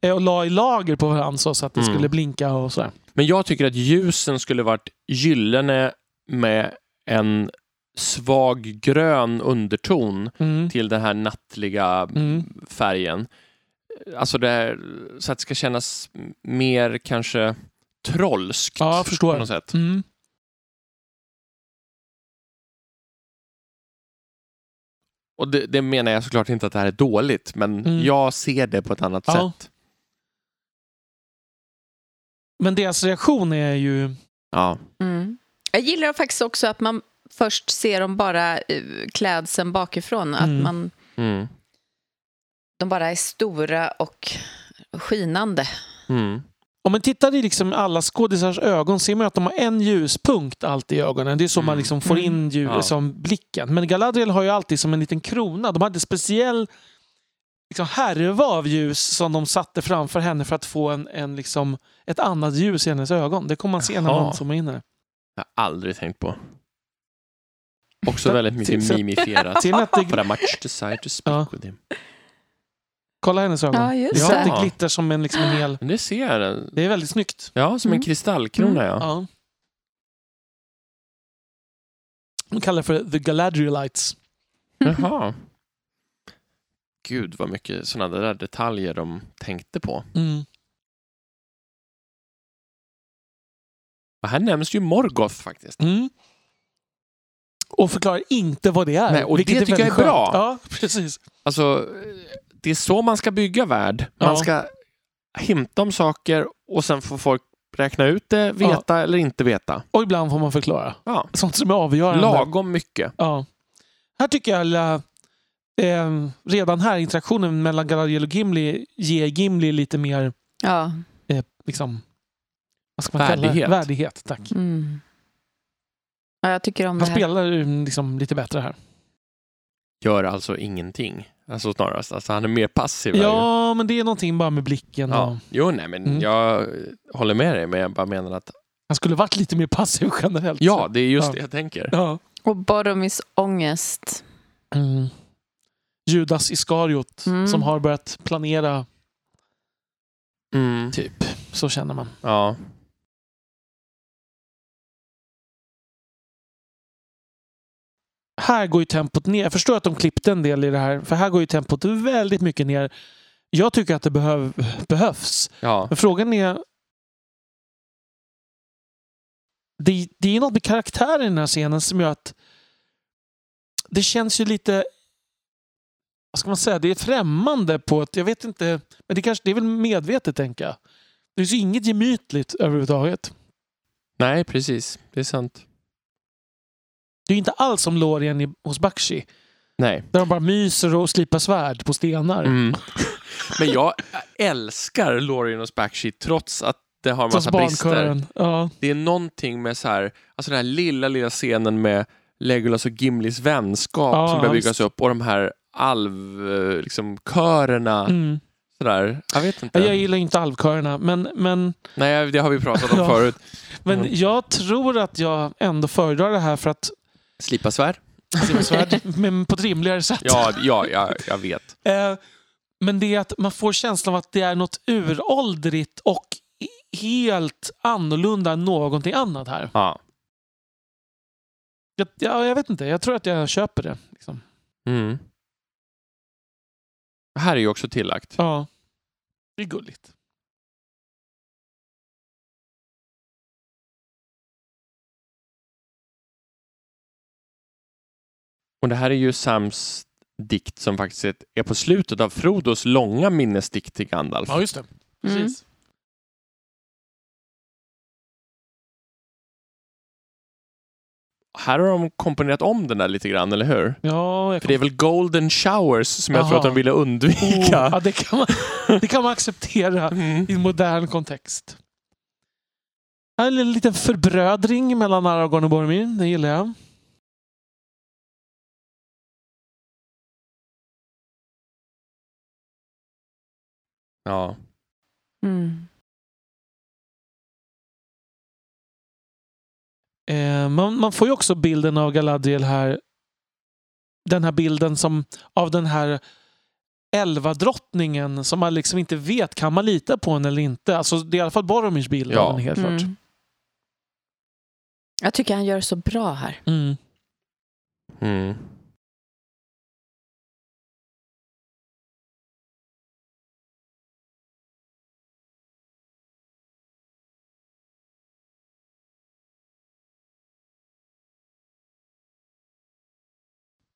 S2: eh, och la i lager på varandra så så att det
S1: Mm.
S2: skulle blinka och sådär.
S1: Men jag tycker att ljusen skulle varit gyllene med en svag grön underton
S2: Mm.
S1: till den här nattliga
S2: Mm.
S1: färgen. Alltså det här, så att det ska kännas mer kanske trollskt
S2: Ja, jag förstår.
S1: på något sätt.
S2: Mm.
S1: Och det, det menar jag såklart inte att det här är dåligt, men
S2: Mm.
S1: jag ser det på ett annat
S2: Ja.
S1: sätt.
S2: Men deras reaktion är ju...
S1: Ja.
S4: Mm. Jag gillar faktiskt också att man först ser dem bara eh, klädseln bakifrån.
S2: Mm.
S4: Att man,
S1: Mm.
S4: de bara är stora och skinande.
S1: Mm.
S2: Om man tittar i liksom alla skådisars ögon ser man ju att de har en ljuspunkt alltid i ögonen. Det är så
S1: Mm.
S2: man liksom får in ljus,
S1: Ja.
S2: som blicken. Men Galadriel har ju alltid som en liten krona. De hade speciell liksom, härva av ljus som de satte framför henne för att få en, en, liksom, ett annat ljus i hennes ögon. Det kommer man se när
S1: Jaha.
S2: man zoomar in här.
S1: Jag har aldrig tänkt på. Också
S2: Så-
S1: väldigt mycket
S2: så-
S1: mimifierat.
S2: Ser ni att det
S1: <laughs> But I much desire to speak
S2: Ja.
S1: with him.
S2: Kolla hennes ögon.
S4: Ja, just
S2: det. är så
S1: det.
S2: att
S1: Ja.
S2: det glittrar som en, liksom en hel...
S1: Men det ser jag. den.
S2: Det är väldigt snyggt.
S1: Ja, som en
S4: Mm.
S1: kristallkrona ja.
S2: Ja. De kallar det för The Galadrielites.
S1: Jaha. Gud vad mycket sådana där detaljer de tänkte på.
S2: Mm.
S1: Och här nämns ju Morgoth faktiskt.
S2: Mm. Och förklarar inte vad det är.
S1: Nej, och
S2: vilket
S1: det tycker jag
S2: väldigt
S1: är bra.
S2: skönt. Ja, precis.
S1: Alltså, eh, det är så man ska bygga värld. Man
S2: Ja.
S1: ska himta om saker och sen får folk Räkna ut det, veta eller inte veta.
S2: Och ibland får man förklara.
S1: Ja.
S2: Sånt som är avgörande.
S1: Lagom mycket.
S2: Ja. Här tycker jag alla, eh, redan här interaktionen mellan Galadriel och Gimli ger Gimli lite mer
S4: <laughs> Ja.
S2: eh, liksom, vad ska man kalla det?
S1: Värdighet.
S2: Värdighet tack.
S4: Mm. ja, jag tycker om
S2: Han
S4: det här.
S2: spelar mm, liksom, lite bättre här.
S1: Gör alltså ingenting. Alltså snarast. Alltså han är mer passiv. här ju.
S2: Ja, men det är någonting bara med blicken. Och,
S1: ja. Jo, nej men
S2: Mm.
S1: jag håller med dig men jag bara menar att
S2: han skulle varit lite mer passiv generellt.
S1: ja, det är just
S2: Ja.
S1: det jag tänker.
S2: ja.
S4: Och Boromirs ångest.
S2: Mm. Judas Iskariot
S4: Mm.
S2: som har börjat planera,
S1: Mm.
S2: typ. Så känner man.
S1: Ja.
S2: här går ju tempot ner. Jag förstår att de klippte en del i det här, för här går ju tempot väldigt mycket ner. Jag tycker att det behöv, behövs.
S1: ja.
S2: Men frågan är... Det, det är något med karaktären i den här scenen som gör att det känns ju lite... Vad ska man säga? Det är främmande på ett... Jag vet inte. Men det, kanske, det är väl medvetet, tänker jag. Det är ju inget gemytligt överhuvudtaget.
S1: Nej, precis. Det är sant.
S2: Det är ju inte alls som Lorien i, hos Bakshi.
S1: Nej.
S2: Där de bara myser och slipar svärd på stenar. <laughs>
S1: Mm. men jag älskar Lorien och Backshit trots att det har en
S2: Trots
S1: massa brister.
S2: barnkören. Ja.
S1: Det är någonting med så här, alltså den här lilla, lilla scenen med Legolas och Gimlis vänskap
S2: Ja,
S1: som börjar
S2: ja,
S1: byggas
S2: visst.
S1: upp och de här alv, eh, liksom, körerna.
S2: Mm.
S1: Sådär. Jag vet inte.
S2: Ja, Jag gillar inte alvkörerna, men, men,
S1: Nej, det har vi pratat om
S2: Ja.
S1: förut.
S2: men
S1: Mm.
S2: jag tror att jag ändå föndrar det här för att
S1: Slipa svärd.
S2: Simon Svärd, men på ett rimligare sätt.
S1: Ja, ja, ja, jag vet.
S2: Eh, men det är att man får känslan av att det är något uråldrigt och i- helt annorlunda än någonting annat här.
S1: Ja.
S2: Jag, ja, jag vet inte, jag tror att jag köper det. Liksom.
S1: Mm. Här är ju också tillagt.
S2: Ja. Det är gulligt.
S1: Och det här är ju Sams dikt som faktiskt är- är på slutet av Frodos långa minnesdikt till Gandalf.
S2: Ja, just det.
S4: Mm.
S2: Precis.
S1: Här har de komponerat om den där lite grann, eller hur?
S2: Ja, jag
S1: För det är väl golden showers som jag
S2: Aha.
S1: tror att de ville
S2: Oh,
S1: undvika.
S2: ja, det, kan man, det kan man acceptera.
S1: Mm.
S2: i en modern kontext. Här är En liten förbrödring mellan Aragorn och Boromir. Det gillar jag.
S1: Ja.
S4: Mm.
S2: Eh, man, man får ju också bilden av Galadriel här. Den här bilden som av den här elvadrottningen som man liksom inte vet. Kan man lita på henne eller inte? Alltså, det är i alla fall Boromirs bild
S1: Ja.
S2: av henne helt klart.
S4: Mm. Jag tycker han gör det så bra här.
S2: Mm.
S1: Mm.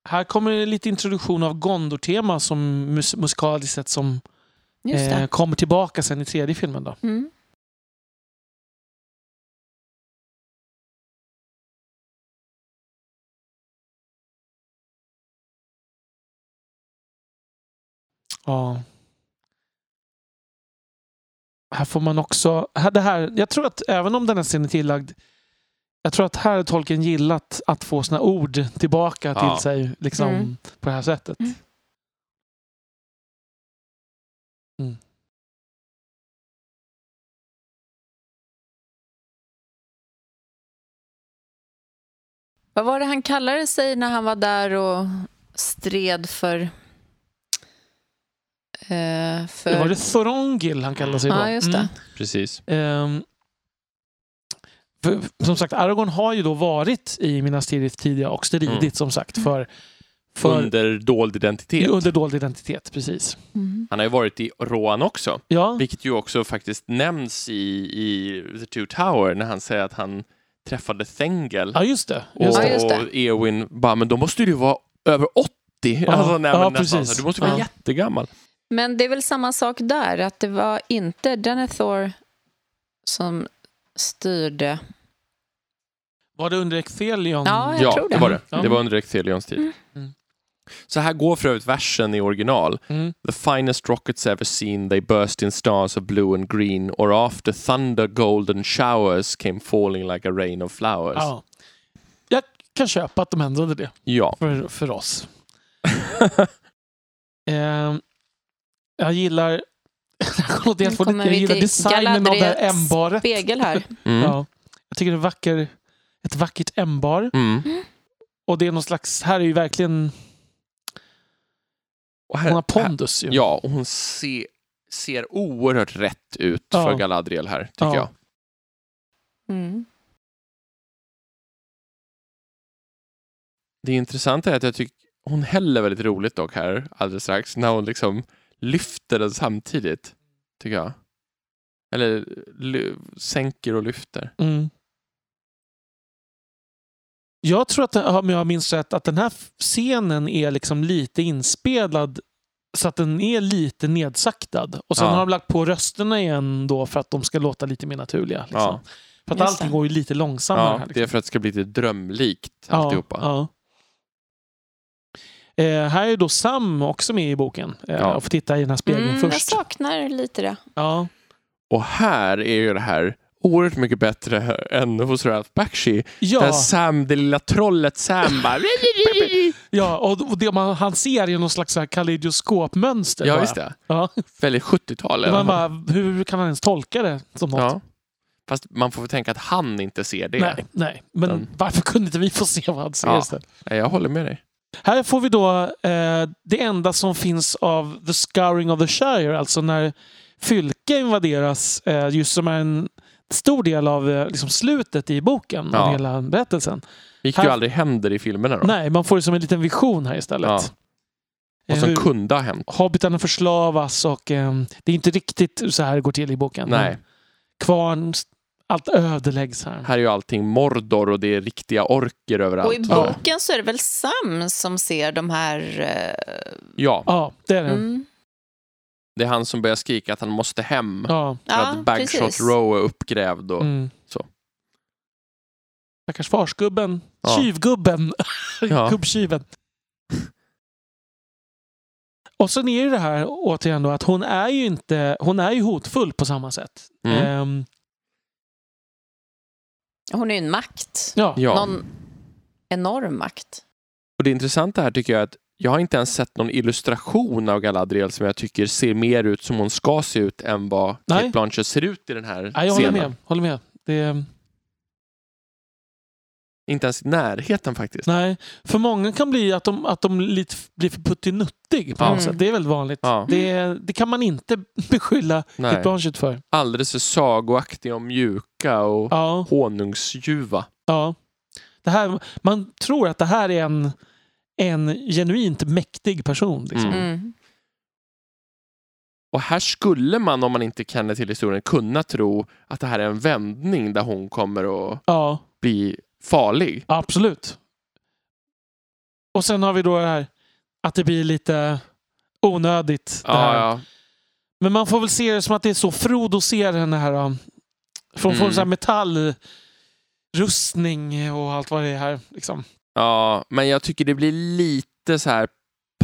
S2: Här kommer det lite introduktion av Gondor-tema som mus- musikaliskt sett som
S4: Just det.
S2: eh, kommer tillbaka sen i tredje filmen. Då.
S4: Mm.
S2: Ja. Här får man också... här- Det här, jag tror att även om den här scenen är tillagd jag tror att här har Tolkien gillat att få sina ord tillbaka
S1: Ja.
S2: till sig liksom,
S4: Mm.
S2: på det här sättet.
S4: Mm.
S2: Mm.
S4: Vad var det han kallade sig när han var där och stred för... Eh, för...
S2: Det var det Thorongil han kallade sig då.
S4: Ja, just det.
S1: Precis.
S2: Ehm, för, för- som sagt, Aragorn har ju då varit i Minas Tirith tidigare och stridit
S1: Mm.
S2: som sagt för, för
S1: Under dold identitet.
S2: under dold identitet. Precis.
S4: Mm.
S1: Han har ju varit i Rohan också.
S2: Ja,
S1: Vilket ju också faktiskt nämns i, i The Two Tower när han säger att han träffade Thengel.
S2: ja just det.
S1: Och,
S2: Just det.
S4: Ja, just det.
S1: och Eowyn bara, men då måste du ju vara över 80. Alltså, nej, men
S2: ja,
S1: nästan,
S2: precis.
S1: så du måste vara
S2: Ja.
S1: jättegammal.
S4: Men det är väl samma sak där, att det var inte Denethor som styrde.
S2: Var det under Ecthelion?
S4: Ja, jag
S1: ja,
S4: tror det.
S1: det var det.
S2: Ja.
S1: Det var under Ecthelions tid.
S4: Mm.
S2: Mm.
S1: Så här går för övrigt versen i original.
S2: Mm.
S1: The finest rockets ever seen, they burst in stars of blue and green, or after thunder golden showers came falling like a rain of flowers.
S2: ja. Jag kan köpa att de ändrade det <laughs>
S1: Ja.
S2: för, för oss. Ehm, jag gillar... <laughs> jag,
S3: Nu kommer
S2: jag
S3: vi
S2: gillar
S3: till
S2: designen av det här
S3: Galadriels
S2: M-baret.
S3: Spegel här.
S1: Mm.
S2: <laughs> Ja. Jag tycker det är vacker, ett vackert M-bar.
S1: Mm.
S2: Och det är någon slags... Här är ju verkligen...
S1: Och här-
S2: Hon har pondus ju.
S1: Ja, och hon ser, ser oerhört rätt ut
S2: Ja.
S1: för Galadriel här, tycker
S2: Ja.
S1: jag.
S3: Mm.
S1: Det intressanta är att jag tycker hon häller väldigt roligt dock här alldeles strax, när hon liksom lyfter den samtidigt, tycker jag. Eller ly- sänker och lyfter.
S2: Mm. Jag tror att, den- om jag minns rätt, att den här f- scenen är liksom lite inspelad så att den är lite nedsaktad. Och sen
S1: Ja.
S2: har de lagt på rösterna igen då för att de ska låta lite mer naturliga. Liksom.
S1: Ja.
S2: För att
S3: Just
S2: allting
S3: det.
S2: går ju lite långsammare.
S1: Ja,
S2: här,
S1: Det
S2: liksom.
S1: är för att det ska bli lite drömlikt
S2: Ja,
S1: alltihopa.
S2: ja. Eh, här är ju då Sam också med i boken. Eh,
S1: Ja.
S2: Och får titta i den här spegeln
S3: Mm, jag
S2: först.
S3: saknar lite det.
S2: Ja.
S1: Och här är ju det här oerhört mycket bättre än hos Ralph Bakshi. Där
S2: Ja,
S1: Sam, det lilla trollet Sam bara...
S2: ja, och och det man, han ser är någon slags så här kaleidoskopmönster.
S1: ja,
S2: bara.
S1: visst det.
S2: <laughs> Ja.
S1: Väldigt 70-tal. i
S2: Och
S1: alla
S2: man
S1: fall.
S2: bara, hur kan han ens tolka det som något?
S1: Ja. Fast man får tänka att han inte ser det.
S2: nej, nej, men
S1: Den-
S2: varför kunde inte vi få se vad han ser
S1: Ja.
S2: istället?
S1: Nej, jag håller med dig.
S2: Här får vi då eh, det enda som finns av The Scouring of the Shire, alltså när Fylke invaderas, eh, just som är en stor del av eh, liksom slutet i boken,
S1: Ja.
S2: av hela berättelsen.
S1: Gick
S2: Här-
S1: ju aldrig händer i filmerna då.
S2: Nej, man får det som en liten vision här istället.
S1: Och som
S2: Eh, hur
S1: kunde ha hänt.
S2: Hobbitarna förslavas och eh, det är inte riktigt så här det går till i boken.
S1: Nej,
S2: Men Kvarn, allt ödeläggs här.
S1: här är ju allting Mordor och det är riktiga orker
S4: Och i
S1: överallt.
S2: Ja.
S4: boken så är det väl Sam som ser de här... eh,
S1: Ja,
S2: Ja, det är det.
S4: Mm.
S1: det är han som börjar skrika att han måste hem.
S2: Ja.
S1: För att Bagshot Row är uppgrävd. Och...
S2: Mm.
S1: så.
S2: Stackars farsgubben.
S1: Ja.
S2: Tjuvgubben. Mm.
S1: Ja.
S2: <laughs> Gubbtjuven. Och sen är ju det här återigen då att hon är ju inte, hon är ju hotfull på samma sätt.
S1: Mm.
S2: Ehm,
S4: Hon är ju en makt.
S2: ja.
S1: Ja.
S4: Någon enorm makt.
S1: Och det intressanta här tycker jag är att jag har inte ens sett någon illustration av Galadriel som jag tycker ser mer ut som hon ska se ut än vad
S2: Nej.
S1: Cate Blanchett ser ut i den här
S2: Nej, jag håller
S1: scenen.
S2: med. Håller med. Det,
S1: Inte ens i närheten faktiskt.
S2: nej. För många kan bli att de, att de lite f- blir för puttinuttig på
S1: Ja.
S2: något sätt. Det är väldigt vanligt.
S1: Ja.
S2: Det, det kan man inte <laughs> beskylla Kate
S1: Nej.
S2: Blanchett för.
S1: Alldeles för sagoaktig och mjuka och
S2: Ja.
S1: honungsljuva.
S2: Ja. Det här, man tror att det här är en, en genuint mäktig person. Liksom.
S1: Mm.
S4: Mm.
S1: Och här skulle man, om man inte känner till historien, kunna tro att det här är en vändning där hon kommer att
S2: Ja,
S1: bli farlig.
S2: absolut. Och sen har vi då det här att det blir lite onödigt. det här.
S1: Ja, ja.
S2: Men man får väl se det som att det är så Frodo ser henne här. Då. Från
S1: Mm.
S2: mm. så här metallrustning och allt vad det är här. Liksom.
S1: ja, men jag tycker det blir lite så här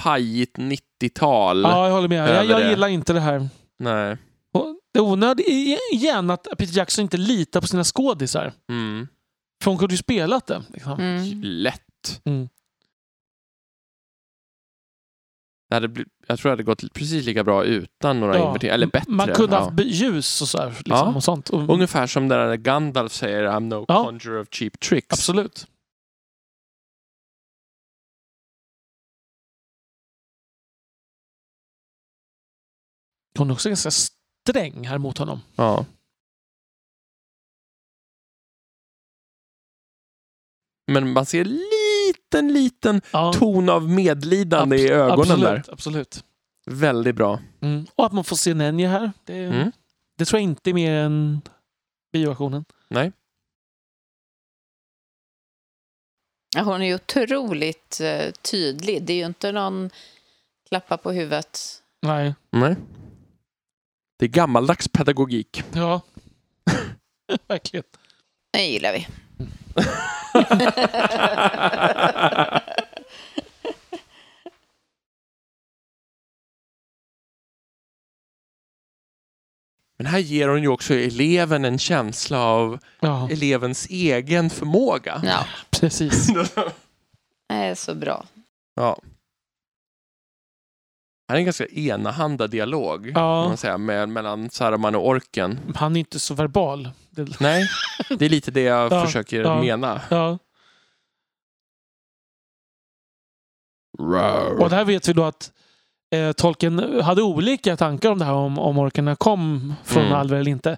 S1: pajigt 90-tal.
S2: Ja, jag håller med. Jag,
S1: Över det.
S2: jag gillar inte det här.
S1: Nej.
S2: Och det är onödigt igen att Peter Jackson inte litar på sina skådisar.
S1: Mm.
S2: För hon kunde ju spelat det. Liksom.
S4: Mm.
S1: Lätt.
S2: Mm.
S1: Det hade bli- jag tror det hade gått precis lika bra utan några
S2: Ja,
S1: inverteringar. Eller bättre.
S2: Man kunde
S1: ja.
S2: haft be- ljus och så här, liksom,
S1: Ja.
S2: och sånt. Och,
S1: Ungefär som där när Gandalf säger I'm no
S2: Ja.
S1: conjurer of cheap tricks.
S2: Absolut. Hon är också ganska sträng här mot honom.
S1: Ja. Men man ser liten, liten
S2: Ja,
S1: ton av medlidande i
S2: abs-
S1: ögonen
S2: absolut,
S1: där.
S2: Absolut.
S1: Väldigt bra.
S2: Mm. Och att man får se Nenja här. Det,
S1: Mm.
S2: det tror jag inte är mer än bioversionen.
S4: Ja, Hon är ju otroligt eh, tydlig. Det är ju inte någon klappa på huvudet.
S2: Nej.
S1: <laughs> Nej. Det är gammaldags pedagogik.
S2: Ja. Verkligen.
S4: Den gillar vi.
S1: Mm. Men här ger hon ju också eleven en känsla av
S2: Ja,
S1: elevens egen <laughs> förmåga.
S4: <laughs> Ja,
S2: precis.
S4: det är så bra.
S1: Ja. Han är en ganska enahanda dialog
S2: Ja.
S1: kan man säga, med, mellan Saruman och orken.
S2: Han är inte så verbal. Det,
S1: Nej, det är lite det jag
S2: <laughs> Ja,
S1: försöker
S2: ja.
S1: mena.
S2: ja. Och där vet vi då att eh, Tolkien hade olika tankar om det här om, om orkarna kom från
S1: Mm.
S2: alver eller inte.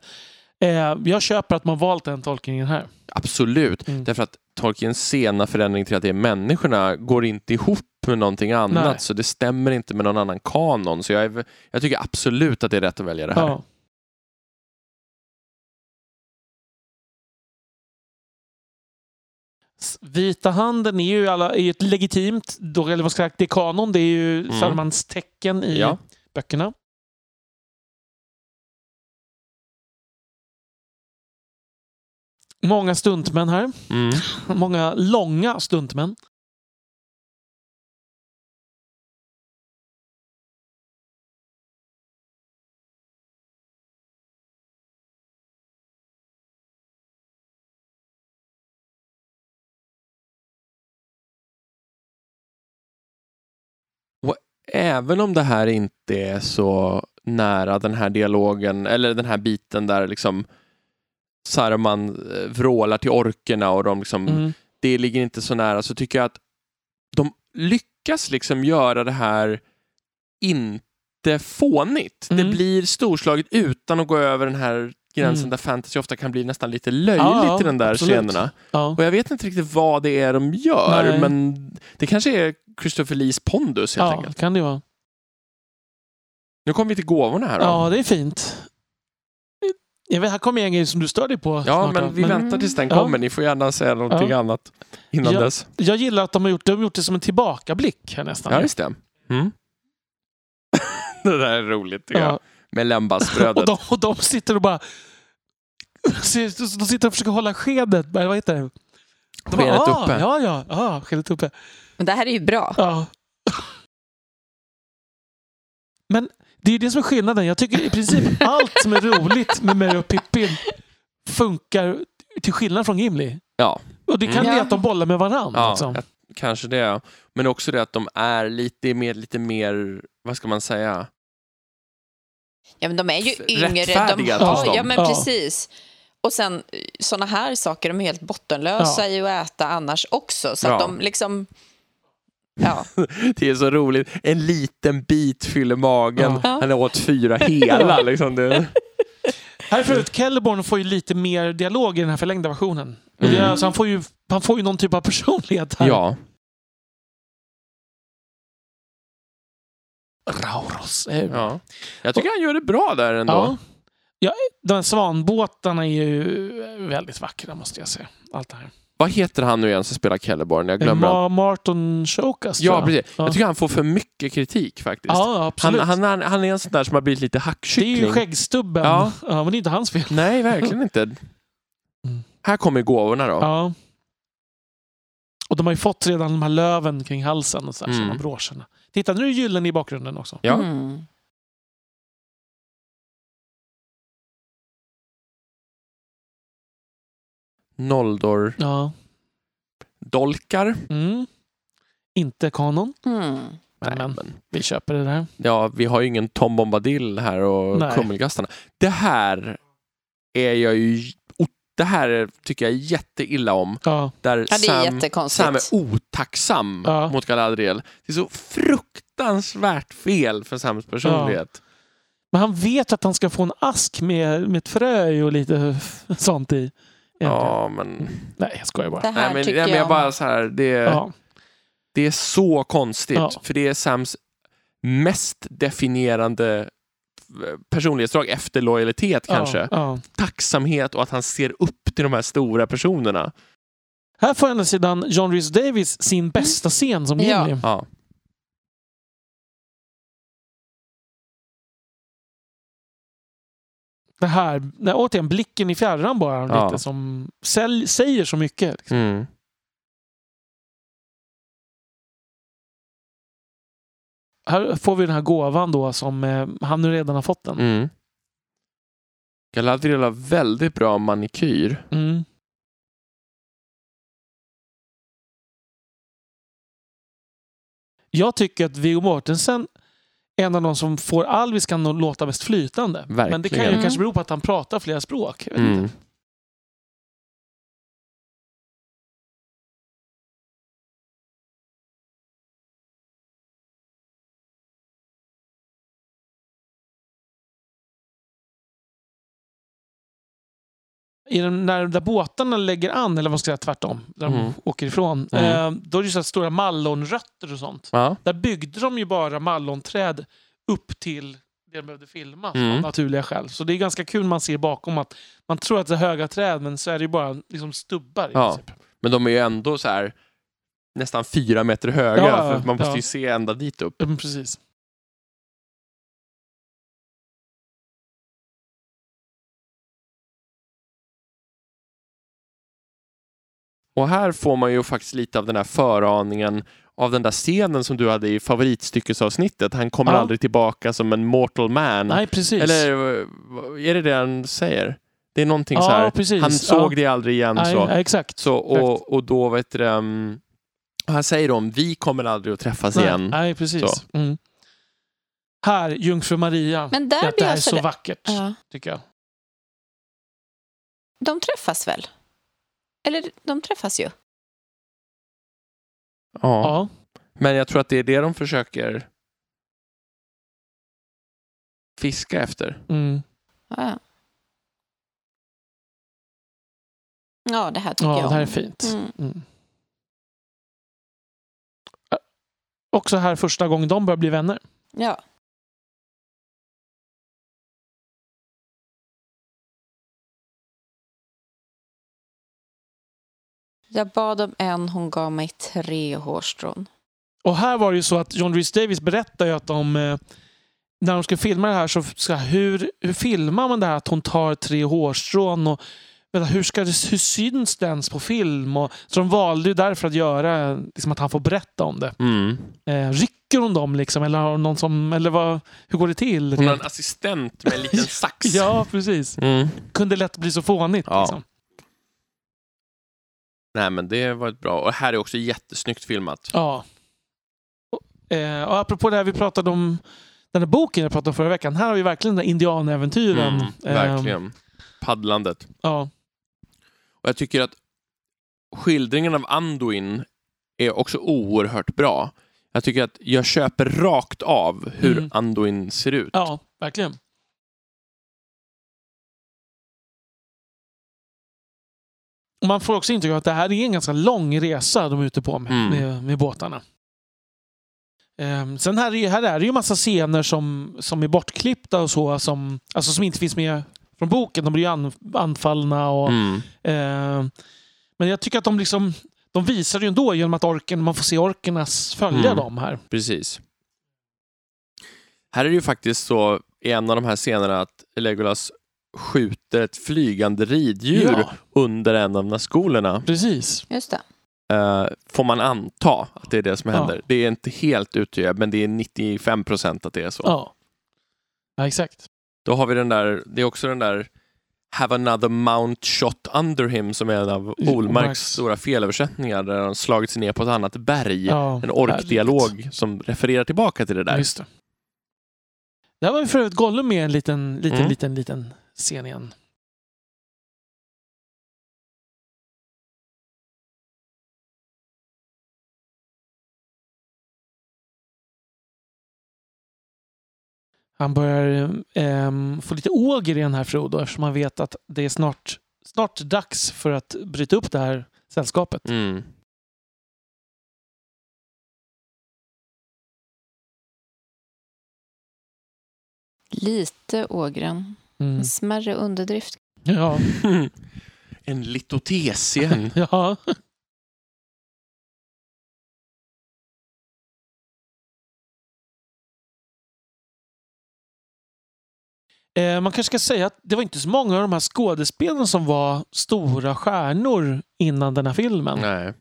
S2: Eh, jag köper att man valt den tolkningen här.
S1: Absolut,
S2: Mm.
S1: därför att Tolkiens sena förändring till att det är människorna går inte ihop med någonting annat,
S2: Nej.
S1: så det stämmer inte med någon annan kanon. Så jag, är, jag tycker absolut att det är rätt att välja det här.
S2: Ja. S- Vita handen är ju, alla, är ju ett legitimt, då, eller vad ska jag säga, det är kanon, det är ju
S1: Mm.
S2: Salmans tecken i
S1: Ja.
S2: böckerna. Många stuntmän här.
S1: Mm.
S2: Många långa stuntmän.
S1: Även om det här inte är så nära den här dialogen, eller den här biten där liksom Saruman eh, vrålar till orkerna och de liksom
S2: Mm.
S1: det ligger inte så nära så tycker jag att de lyckas liksom göra det här inte fånigt.
S2: Mm.
S1: Det blir storslaget utan att gå över den här gränsen
S2: Mm.
S1: där fantasy ofta kan bli nästan lite löjligt
S2: Ja, ja,
S1: i den där
S2: absolut.
S1: scenerna.
S2: Ja.
S1: Och jag vet inte riktigt vad det är de gör,
S2: Nej.
S1: men det kanske är Christopher Lees pondus helt
S2: ja,
S1: enkelt.
S2: kan det vara.
S1: Nu kommer vi till gåvorna här då.
S2: Ja, det är fint. Jag vet, här kommer en grej som du stör dig på.
S1: Ja,
S2: snart, va?
S1: men vi väntar tills den
S2: Ja.
S1: kommer. Ni får gärna säga någonting
S2: Ja.
S1: annat innan
S2: Ja.
S1: dess.
S2: Jag gillar att de har gjort, de har gjort det som en tillbakablick här nästan.
S1: Ja, just det. Mm. <laughs> det där är roligt tycker jag.
S2: Ja.
S1: Med
S2: Och,
S1: Lembasbrödet.
S2: de, och de sitter och bara... <laughs> De sitter och försöker hålla skedet, eller vad heter det? De bara,
S1: Skenet
S2: ah,
S1: uppe."
S2: Ja, ja, ah, skedet uppe.
S4: Men det här är ju bra.
S2: Ja. Men det är ju det som är skillnaden. Jag tycker i princip allt som är roligt med mig och Pippin funkar till skillnad från Gimli.
S1: Ja.
S2: Och det kan
S4: Mm.
S2: bli att de bollar med varandra.
S1: Ja,
S2: liksom.
S1: jag- kanske det. Men också det att de är lite mer, lite mer, vad ska man säga?
S4: Ja, men de är ju
S1: F-
S4: yngre. De
S1: rättfärdiga,
S2: trots dem.
S4: har, ja, men
S2: Ja.
S4: precis. Och sen sådana här saker, de är helt bottenlösa
S2: Ja.
S4: i att äta annars också. Så
S1: Ja.
S4: att de liksom... Ja,
S1: Det är så roligt. En liten bit fyller magen.
S2: Ja.
S1: Han åt fyra hela. liksom. det.
S2: Här förut, Kelleborn får ju lite mer dialog i den här förlängda versionen. Och det är-
S1: Mm.
S2: Så han får, ju, han får ju någon typ av personlighet här.
S1: Ja.
S2: Rauros. eh,
S1: ja. Jag tycker han gör det bra där ändå.
S2: Ja. Ja, de här svanbåtarna är ju väldigt vackra måste jag säga. Allt det här.
S1: Vad heter han nu igen som spelar Kelleborn? Jag glömmer han.
S2: Ma- Martin Shokas
S1: Ja,
S2: tror jag.
S1: precis. Jag tycker han får för mycket kritik faktiskt.
S2: Ja,
S1: han,
S2: absolut.
S1: han, han, han är en sån där som har blivit lite
S2: det är
S1: hackkyckling.
S2: ju skäggstubben.
S1: Ja.
S2: Ja. men det är inte hans fel.
S1: Nej, verkligen inte. Här kommer gåvorna då.
S2: Mm. Ja. Och de har ju fått redan de här löven kring halsen och så här,
S1: Mm.
S2: som de broscherna. Titta, nu är gyllen i bakgrunden också.
S1: Ja.
S4: Mm.
S1: Noldor
S2: Ja.
S1: dolkar.
S2: Mm. Inte kanon.
S4: Mm.
S2: Nej, men.
S1: men-
S2: Vi köper det där.
S1: Ja, vi har ju ingen Tom Bombadil här och
S2: Nej.
S1: Kummelgastarna. Det här är jag ju... o- Det här tycker jag jätteilla om.
S2: Ja.
S1: Där
S4: Ja, det är
S1: Sam,
S4: jättekonstigt.
S1: Sam är otacksam
S2: Ja.
S1: mot Galadriel. Det är så fruktansvärt fel för Sams personlighet.
S2: Men han vet att han ska få en ask med, med ett frö i och lite sånt i.
S1: Ja,
S2: Egentligen.
S1: men...
S2: Nej, jag skojar bara.
S4: Det här
S1: Nej, men,
S4: tycker
S1: nej, men jag
S4: jag...
S1: bara så här, det,
S2: Ja.
S1: det är så konstigt.
S2: Ja.
S1: För det är Sams mest definierande eh, personlighetsdrag efter lojalitet kanske.
S2: Ja, ja.
S1: tacksamhet och att han ser upp till de här stora personerna.
S2: Här får å andra sidan John Rhys Davis sin bästa scen som
S4: Ja.
S2: Gimli.
S1: Ja.
S2: det här, nej, återigen blicken i fjärran bara
S1: Ja.
S2: lite som sälj, säger så mycket. Liksom.
S1: Mm.
S2: Här får vi den här gåvan då som eh, han nu redan har fått den.
S1: Mm. Galadriel har väldigt bra manikyr.
S2: Mm. Jag tycker att Viggo Mortensen är en av de som får alviskan att låta mest flytande. Men det kan ju
S1: Verkligen.
S2: kanske bero på att han pratar flera språk. Jag vet
S1: Mm.
S2: inte. I den, när de där båtarna lägger an, eller vad ska jag säga, tvärtom, där
S1: Mm.
S2: de åker ifrån,
S1: Mm.
S2: eh, då är det ju så här stora mallonrötter och sånt.
S1: Ja.
S2: Där byggde de ju bara mallonträd upp till det de behövde filma
S1: Mm.
S2: av naturliga skäl. Så det är ganska kul man ser bakom att man tror att det är höga träd men så är det ju bara liksom stubbar. i
S1: Ja.
S2: princip.
S1: Men de är ju ändå så här nästan fyra meter höga.
S2: Ja,
S1: för att man måste
S2: ja.
S1: ju se ända dit upp.
S2: Ja, men precis.
S1: Mm. Och här får man ju faktiskt lite av den här föraningen av den där scenen som du hade i favoritstyckesavsnittet. Han kommer
S2: Ja.
S1: aldrig tillbaka som en mortal man.
S2: Nej, precis.
S1: Eller eh, vad- är det det han säger? Det är någonting så
S2: ja,
S1: här.
S2: precis.
S1: Han såg
S2: ja.
S1: det aldrig igen.
S2: Nej,
S1: så.
S2: ja, exakt.
S1: Så,
S2: Exakt.
S1: och, och då vet du, um, här säger de, vi kommer aldrig att träffas igen.
S2: Nej, nej, precis.
S1: Så.
S2: Mm. Här, Jungfru Maria.
S3: Men
S2: Ja,
S3: där
S2: det
S3: blir
S2: här är
S3: jag
S2: så
S3: så...
S2: vackert,
S3: Ja.
S2: tycker jag.
S3: De träffas väl? Eller de träffas ju.
S1: Ja.
S2: Ja.
S1: Men jag tror att det är det de försöker fiska efter.
S2: Mm.
S3: Ja, ja. ja det här tycker
S2: ja
S3: jag
S2: det här
S3: om.
S2: är fint.
S3: Mm.
S2: Mm. Ä- Också här första gången de börjar bli vänner.
S3: Ja. Jag bad om en, hon gav mig tre hårstrån.
S2: Och här var det ju så att John Rhys Davis berättar ju att de, eh, när de ska filma det här, så ska, hur, hur filmar man det här att hon tar tre hårstrån? Och, vänta, hur, ska det, hur syns det ens på film? Och, så de valde ju därför att göra liksom, att han får berätta om det.
S1: Mm.
S2: Eh, rycker hon dem liksom? Eller, har hon någon som, eller vad, hur går det till?
S1: Hon har en assistent med en liten sax.
S2: <laughs> Ja, precis.
S1: Mm.
S2: Kunde lätt bli så fånigt.
S1: Ja.
S2: Liksom.
S1: Nej men det var ett bra. Och här är också jättesnyggt filmat.
S2: Ja. Och, eh, och apropå det här vi pratade om, den här boken jag pratade om förra veckan. Här har vi verkligen den här indianäventyren. Ehm,
S1: Mm, verkligen. Paddlandet.
S2: ja.
S1: Och jag tycker att skildringen av Anduin är också oerhört bra. Jag tycker att jag köper rakt av hur
S2: Mm.
S1: Anduin ser ut.
S2: ja, verkligen. Och Man får också intryck av att det här är en ganska lång resa de är ute på med,
S1: Mm.
S2: med, med båtarna. Ehm, sen här är, här är det ju massa scener som, som är bortklippta och så, som, alltså som inte finns med från boken. De blir ju an, anfallna och
S1: Mm.
S2: Eh, men jag tycker att de liksom de visar det ju ändå genom att orken, man får se orkernas följa
S1: Mm.
S2: dem här.
S1: Precis. Här är det ju faktiskt så i en av de här scenerna att Legolas skjuter ett flygande riddjur
S2: Ja,
S1: under en av skolorna.
S2: precis.
S3: Just det.
S1: Eh, får man anta att det är det som
S2: Ja.
S1: händer. Det är inte helt utgör, men det är 95 procent att det är så.
S2: Ja. ja, exakt.
S1: Då har vi den där, det är också den där Have another mount shot under him som är en av
S2: Mm,
S1: Olmarks
S2: Olmarks.
S1: stora felöversättningar där han slagit sig ner på ett annat berg.
S2: Ja,
S1: En orkdialog som refererar tillbaka till det
S2: där.
S1: där.
S2: Just det. Där var ju för övrigt Gollum med i en liten, liten,
S1: Mm.
S2: liten, liten scen igen. Han börjar ehm, få lite åger i den här Frodo eftersom han vet att det är snart, snart dags för att bryta upp det här sällskapet. <laughs>
S1: Mm.
S3: Lite ågren.
S2: Mm.
S3: En smärre underdrift.
S2: Ja.
S1: en litotes igen.
S2: ja. Eh, man kanske ska säga att det var inte så många av de här skådespelarna som var stora stjärnor innan den här filmen.
S1: Nej.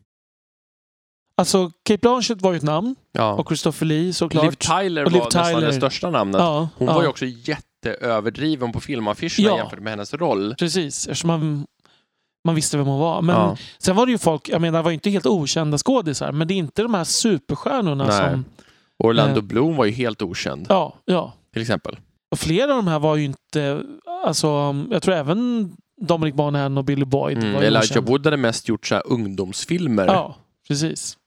S2: Alltså, Kate Blanchett var ju ett namn
S1: Ja.
S2: och Christopher Lee såklart.
S1: Liv Tyler
S2: Och
S1: var
S2: Liv
S1: nästan
S2: Tyler.
S1: det största namnet.
S2: ja,
S1: Hon
S2: ja,
S1: var ju också jätteöverdriven på filmaffischerna
S2: Ja.
S1: jämfört med hennes roll.
S2: Precis, eftersom man, man visste vem hon var. Men
S1: Ja.
S2: sen var det ju folk, jag menar, det var ju inte helt okända skådisar, men det är inte de här superstjärnorna
S1: Nej.
S2: som...
S1: Orlando
S2: Eh.
S1: Bloom var ju helt okänd,
S2: Ja, ja.
S1: till exempel.
S2: Och flera av de här var ju inte... Alltså, jag tror även Dominic Monaghan och Billy Boyd
S1: Mm.
S2: var ju
S1: Elijah
S2: okända.
S1: Wood hade mest gjort så här ungdomsfilmer.
S2: Ja, precis.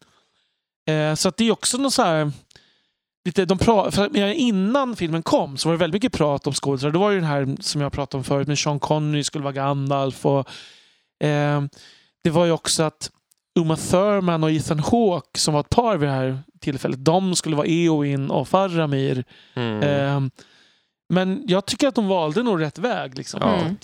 S2: Eh, så att det är också någon så här... Lite, de pra- för, att- men innan filmen kom så var det väldigt mycket prat om skådisar. Det var ju den här som jag pratade om förut med Sean Connery skulle vara Gandalf. Och, eh, det var ju också att Uma Thurman och Ethan Hawke som var ett par vid det här tillfället. De skulle vara Eowyn och Faramir.
S1: Mm.
S2: Ehm, men jag tycker att de valde nog rätt väg. Liksom.
S1: Ja.
S4: Mm.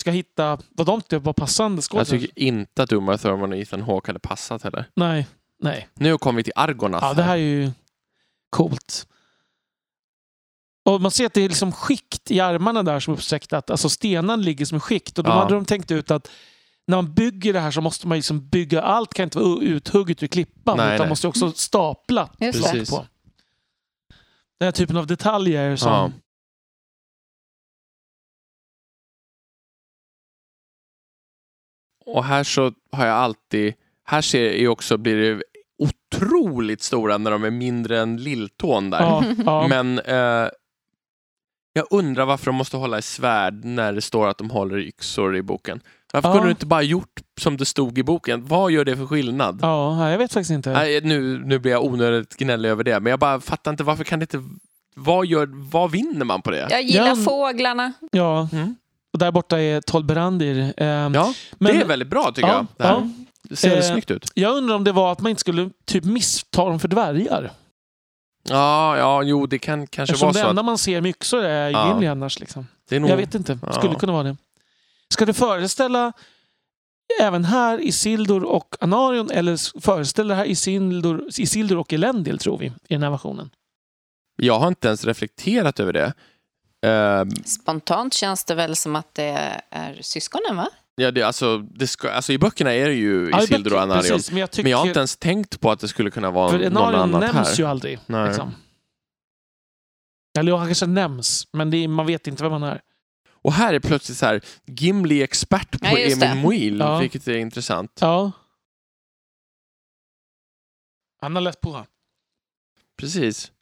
S2: Ska hitta vad de tyckte var passande
S1: Jag
S2: skådespelare.
S1: tycker inte att Uma Thurman och Ethan Hawke hade passat heller.
S2: Nej, nej.
S1: Nu kommer vi till Argonath.
S2: Ja, det här är ju coolt. Och man ser att det är liksom skikt i armarna där som är uppsträckta. Alltså stenen ligger som en skikt. Och då
S1: Ja.
S2: hade de tänkt ut att när man bygger det här så måste man liksom bygga allt. kan inte vara uthugget ur klippan.
S1: Nej,
S2: utan
S1: nej.
S2: måste också stapla
S3: Just
S1: Precis.
S3: det.
S2: på. Den här typen av detaljer som...
S1: Ja. Och här så har jag alltid... Här ser jag ju också blir det otroligt stora när de är mindre än lilltån där.
S2: Ja, ja.
S1: Men eh, jag undrar varför de måste hålla i svärd när det står att de håller i yxor i boken. Varför
S2: Ja.
S1: kunde du inte bara gjort som det stod i boken? Vad gör det för skillnad?
S2: ja, jag vet faktiskt inte.
S1: Nej, nu, nu blir jag onödigt gnällig över det, men jag bara fattar inte varför kan det inte... Vad, gör, vad vinner man på det?
S3: Jag gillar
S2: Ja.
S3: fåglarna.
S2: Ja,
S1: Mm.
S2: och där borta är Tolberandir. Ehm,
S1: Ja,
S2: men-
S1: det är väldigt bra tycker
S2: Ja,
S1: jag. Det här.
S2: ja.
S1: Det ser
S2: Eh.
S1: väldigt snyggt ut.
S2: Jag undrar om det var att man inte skulle typ missta dem för dvärgar.
S1: Ja, ja, jo, det kan kanske
S2: Eftersom
S1: vara
S2: det
S1: så.
S2: enda
S1: Att
S2: man ser med yxor är
S1: Ja.
S2: Gimli annars. Liksom.
S1: det är nog,
S2: Jag vet inte,
S1: Ja.
S2: skulle kunna vara det. Ska det föreställa även här Isildur och Anarion eller s- föreställer det här Isildur, Isildur och Elendil tror vi i den här versionen?
S1: jag har inte ens reflekterat över det. Eh,
S4: Spontant känns det väl som att det är syskonen, va?
S1: ja, det, alltså, det ska, alltså, I böckerna är det ju
S2: Ja, i
S1: Isildur och
S2: böcker-
S1: Anarion.
S2: Precis, men jag tycker,
S1: Men jag har inte ens tänkt på att det skulle kunna vara
S2: för
S1: någon
S2: Anarion
S1: annan
S2: nämns
S1: här.
S2: ju aldrig.
S1: Nej.
S2: Liksom. Eller han kanske nämns, men det är, man vet inte vem han är.
S1: Och här är plötsligt så här, Gimli är expert på
S4: Ja, just det.
S1: Emil Muil,
S2: Ja.
S1: vilket är intressant.
S2: Ja. Han har läst på.
S1: Precis.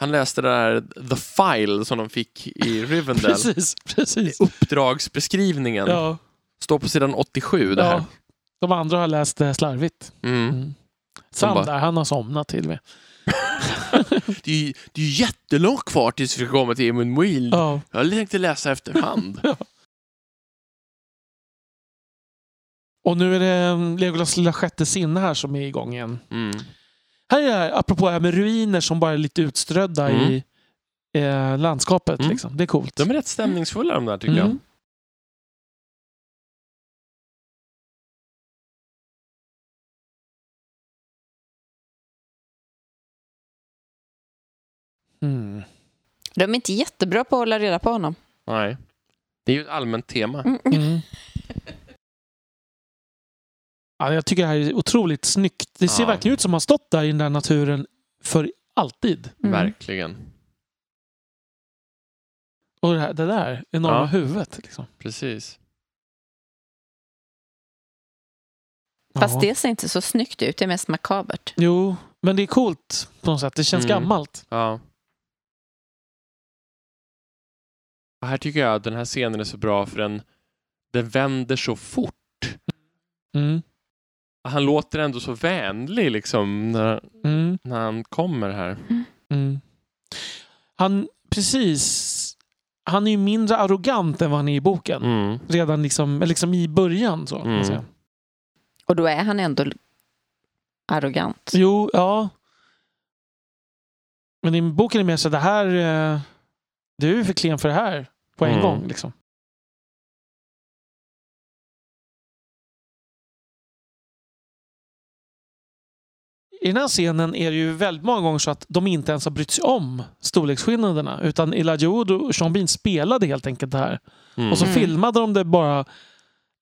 S1: Han läste det här The File som de fick
S2: <laughs>
S1: i Rivendell.
S2: Precis, precis.
S1: Uppdragsbeskrivningen.
S2: Ja,
S1: Står på sidan 87 det här.
S2: ja. De andra har läst det slarvigt.
S1: Mm.
S2: Mm. Sam
S1: bara- Mm.
S2: där, han har somnat till och med.
S1: Det, är ju, det är ju jättelångt kvar tills vi kommer till Emil Muil.
S2: Ja.
S1: Jag tänkte läsa
S2: <laughs>
S1: efterhand.
S2: Och nu är det mm, Legolas lilla sjätte sinne här som är igång igen.
S1: Mm.
S2: Här är det här, apropå det här med ruiner som bara är lite utströdda
S1: Mm.
S2: i eh, landskapet.
S1: Mm.
S2: Liksom. Det är coolt.
S1: De är rätt stämningsfulla de där tycker
S2: Mm.
S1: jag.
S2: Mm.
S4: De är inte jättebra på att hålla reda på honom.
S1: Nej. Det är ju ett allmänt tema.
S4: Mm.
S2: Mm. <laughs> Ja, jag tycker det här är otroligt snyggt. Det ser
S1: Ja.
S2: verkligen ut som att man stått där i den där naturen för alltid.
S4: Mm.
S1: Verkligen.
S2: Och det, här, det där enorma
S1: Ja.
S2: huvudet. Liksom.
S1: Precis.
S2: Ja.
S4: Fast det ser inte så snyggt ut, det är mest makabert.
S2: Jo, men det är coolt på något sätt. Det känns
S1: Mm.
S2: gammalt.
S1: Ja. Och här tycker jag att den här scenen är så bra för den, den vänder så fort.
S2: Mm.
S1: Han låter ändå så vänlig liksom när,
S2: Mm.
S1: när han kommer här.
S2: Mm. Han, precis. Han är ju mindre arrogant än vad han är i boken.
S1: Mm.
S2: Redan liksom, eller liksom i början. Så, kan man
S1: Mm.
S2: säga.
S4: Och då är han ändå arrogant.
S2: Jo, ja. Men i boken är det mer så att det här... eh, Du är för klen för det här på en
S1: Mm.
S2: gång. Liksom. i den här scenen är det ju väldigt många gånger så att de inte ens har brytt sig om storleksskillnaderna. Utan Elijah Wood och Sean Bean spelade helt enkelt det här.
S1: Mm.
S2: Och så
S4: Mm.
S2: filmade de det bara.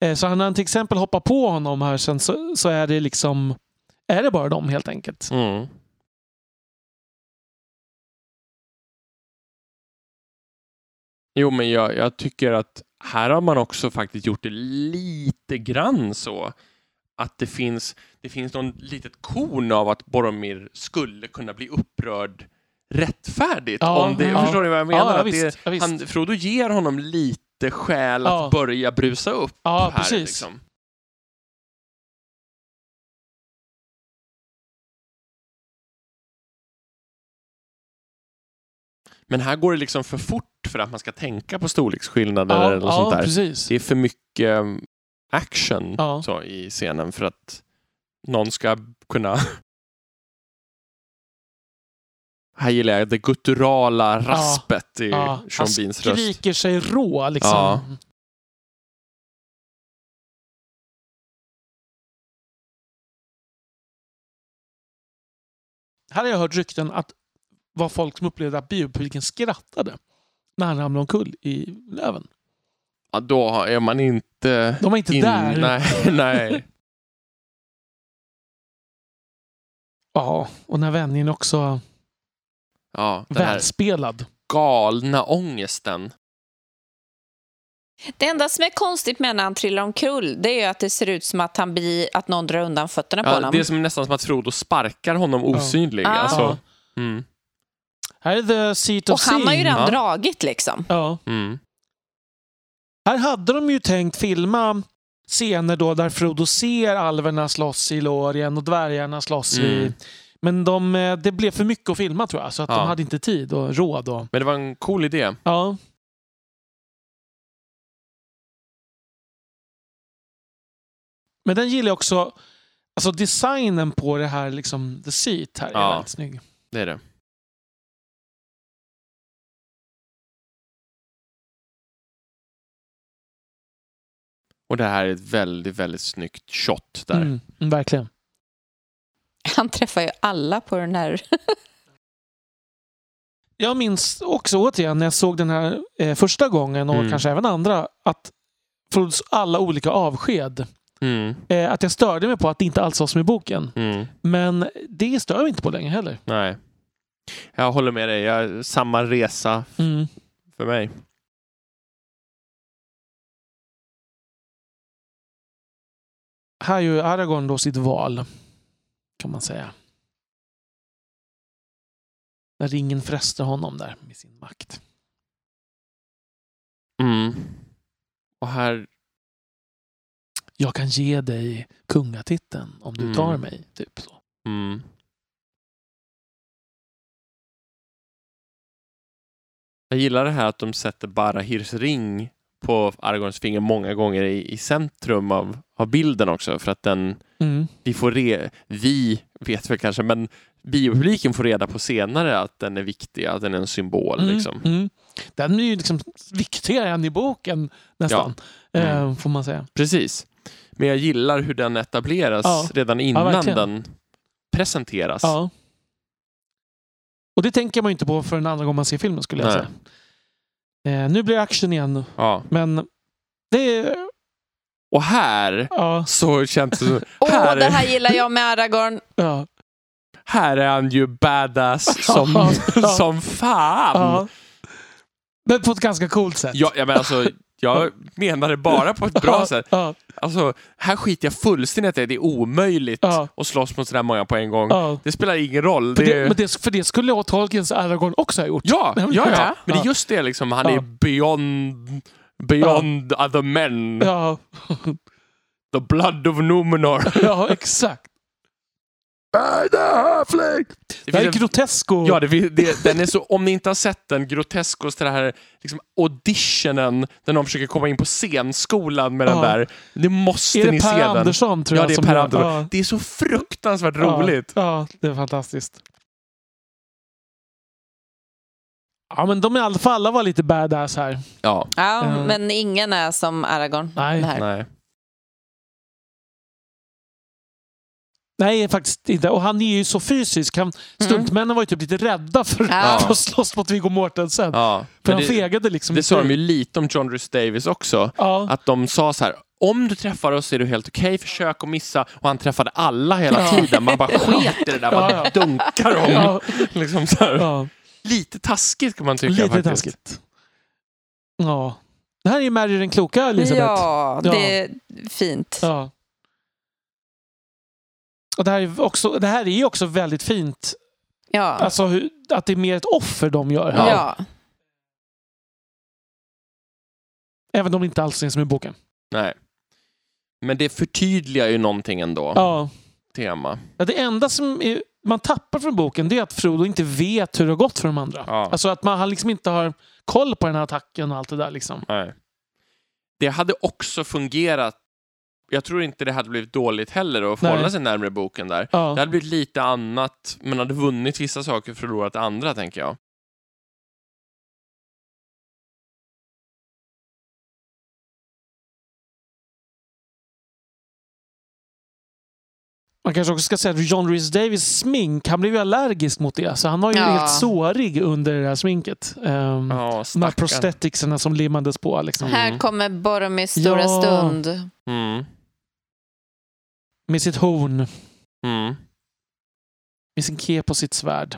S2: Eh, Så när han till exempel hoppar på honom här sen så, så är det liksom... Är det bara dem helt enkelt.
S1: Mm. Jo, men jag, jag tycker att här har man också faktiskt gjort det lite grann så att det finns, det finns någon litet korn av att Boromir skulle kunna bli upprörd rättfärdigt.
S2: Ja,
S1: om det,
S2: ja.
S1: Förstår ni vad Mm. jag menar?
S2: ja,
S1: att
S2: visst,
S1: det,
S2: ja, visst.
S1: han, Frodo ger honom lite skäl
S2: Ja.
S1: att börja brusa upp
S2: ja,
S1: här.
S2: precis.
S1: Liksom. Men här går det liksom för fort för att man ska tänka på storleksskillnader
S2: Ja,
S1: eller något
S2: ja
S1: sånt där.
S2: precis.
S1: Det är för mycket um, action
S2: Ja.
S1: så, i scenen för att någon ska kunna... <laughs> Här gillar jag det gutturala raspet i
S2: Ja, Alltså,
S1: Sean Beans
S2: han
S1: röst.
S2: skriker sig rå liksom.
S1: Ja.
S2: Här har jag hört rykten att vad folk som upplevde att biopubliken skrattade när han ramlade omkull i Löven.
S1: Ja, då har- är man inte...
S2: De var inte
S1: in- <laughs>
S2: där.
S1: Nej, nej.
S2: Ja, och när vändningen också
S1: Ja, den här
S2: välspelad.
S1: galna ångesten.
S3: Det enda som är konstigt med när han trillar omkull det är ju att det ser ut som att, han blir, att någon drar undan fötterna på
S1: Ja,
S3: honom.
S1: det är som, nästan som att Frodo sparkar honom osynlig.
S2: Ah.
S3: Ja.
S1: Alltså, mm,
S2: Här är the seat of
S3: Och han har ju
S2: seeing.
S3: redan
S1: Ja.
S3: dragit liksom.
S2: Ja.
S1: mm,
S2: Här hade de ju tänkt filma scener då där Frodo ser alverna slåss i Lorien och dvärgarna slåss i...
S1: mm.
S2: Men de, eh, det blev för mycket att filma tror jag, så att
S1: Ja.
S2: de hade inte tid och råd. Och,
S1: Men det var en cool idé.
S2: ja. Men den gillar jag också. Alltså designen på det här, liksom, the seat här, är
S1: Ja.
S2: väldigt snygg.
S1: Det är det. Och det här är ett väldigt, väldigt snyggt shot där.
S2: Mm, mm, verkligen.
S3: Han träffar ju alla på den här...
S2: Jag minns också återigen när jag såg den här eh, första gången och
S1: Mm.
S2: kanske även andra att Frodos alla olika avsked.
S1: Mm,
S2: Eh, att jag störde mig på att det inte alls var som i boken.
S1: mm,
S2: Men det stör jag inte på längre heller.
S1: nej. Jag håller med dig. Jag, samma resa
S2: Mm.
S1: för mig.
S2: Här gör Aragorn då sitt val. Kan man säga. När ringen fräster honom där med sin makt.
S1: Mm. Och här...
S2: Jag kan ge dig kungatiteln om du
S1: Mm.
S2: tar mig. Typ så.
S1: Mm. Jag gillar det här att de sätter Barahirs ring på Aragorns finger många gånger i, i centrum av, av bilden också för att den,
S2: Mm.
S1: vi får re, vi vet väl kanske, men biopubliken får reda på senare att den är viktig, att den är en symbol
S2: Mm,
S1: liksom.
S2: mm. Den är ju liksom viktigare än i boken nästan.
S1: Mm.
S2: Eh, får man säga.
S1: Precis. Men jag gillar hur den etableras
S2: Ja.
S1: redan innan
S2: verkligen.
S1: den presenteras.
S2: Ja. Och det tänker man ju inte på för en andra gång man ser filmen skulle jag
S1: Nej.
S2: säga. Eh, nu blir det action igen.
S1: Ja.
S2: Men det är...
S1: Och här
S2: Ja,
S1: så känns det som,
S3: Åh,
S1: här,
S3: det
S1: är,
S3: här gillar jag med Aragorn.
S2: ja,
S1: här är han ju badass
S2: <laughs>
S1: som,
S2: Ja, ja.
S1: som fan.
S2: ja. Men på ett ganska coolt sätt.
S1: Mm. Ja, ja, men alltså, jag menar det bara på ett bra
S2: Ja,
S1: sätt.
S2: Ja,
S1: Alltså, här skiter jag fullständigt i att det är omöjligt
S2: Ja.
S1: att slåss mot sådär många på en gång.
S2: ja.
S1: Det spelar ingen roll.
S2: För,
S1: Det
S2: det,
S1: är...
S2: men det, för det skulle jag och Tolkiens Aragorn också ha gjort.
S1: Ja, ja, ja, men det är
S2: Ja.
S1: just det liksom. Han
S2: Ja.
S1: är beyond, beyond other men.
S2: Ja,
S1: The blood of
S2: <laughs>
S1: Numenor.
S2: ja exakt. Äh,
S1: Det
S2: Det här är
S1: finns en-
S2: grotesk och...
S1: Ja, det, vi- det, den är så, om ni inte har sett den, Groteskos, den här liksom, auditionen där någon försöker komma in på scenskolan med den
S2: Ja.
S1: där. Det måste
S2: är
S1: ni
S2: det
S1: se
S2: Per
S1: den.
S2: Andersson tror
S1: Ja,
S2: jag?
S1: det är
S2: som
S1: Per
S2: gör-
S1: Andersson.
S2: Ja.
S1: Det är så fruktansvärt roligt.
S2: Ja, ja, det är fantastiskt. Ja, men de i alla fall alla var lite badass här.
S1: Ja,
S3: Ja,
S2: Ja.
S3: men ingen är som Aragorn.
S2: Nej.
S3: Det här.
S1: nej.
S2: Nej, faktiskt inte. Och han är ju så fysisk.
S1: Mm.
S2: Han, Stuntmännen var ju typ lite rädda för,
S4: Ja.
S2: för att slåss mot Viggo Mortensen.
S1: Ja. Men
S2: För han
S1: det,
S2: fegade liksom.
S1: det
S2: inte.
S1: sa de ju lite om John Rhys Davis också.
S2: Ja.
S1: Att de sa så här, om du träffar oss är du helt okej, försök att missa. Och han träffade alla hela
S2: <laughs> Ja.
S1: tiden. Man bara sket i det där, man
S2: Ja,
S1: dunkar dem. <laughs>
S2: Ja,
S1: Liksom så här.
S2: ja.
S1: Lite taskigt kan man tycka
S2: Lite
S1: faktiskt.
S2: taskigt. Ja. Det här är ju Mary den kloka, Elisabeth.
S3: Ja,
S2: Ja.
S3: det är fint.
S2: Ja. Och det här är också, det här är ju också väldigt fint.
S4: Ja.
S2: Alltså hur, att det är mer ett offer de gör här.
S4: Ja.
S2: Även om det inte alls är som i boken.
S1: Nej. Men det förtydligar ju någonting ändå,
S2: Ja.
S1: tema.
S2: Ja, Det enda som är, man tappar från boken det är att Frodo inte vet hur det har gått för de andra.
S1: Ja.
S2: Alltså att man, han liksom inte har koll på den här attacken och allt det där. Liksom.
S1: Nej. Det hade också fungerat. Jag tror inte det hade blivit dåligt heller att
S2: Nej.
S1: hålla sig närmare boken där. Det
S2: Ja.
S1: hade blivit lite annat, men hade vunnit vissa saker och förlorat andra, tänker jag.
S2: Man kanske också ska säga att John Rhys Davies smink, han blev ju allergisk mot det. Så han var ju
S4: Ja.
S2: helt sårig under det här sminket. Ehm,
S1: Ja,
S2: de här
S1: stackarn.
S2: prostheticserna som limmades på. Liksom.
S4: Här kommer Boromirs stora
S2: Ja.
S4: stund.
S1: Mm.
S2: Med sitt horn,
S1: Mm.
S2: med sin kep och sitt svärd.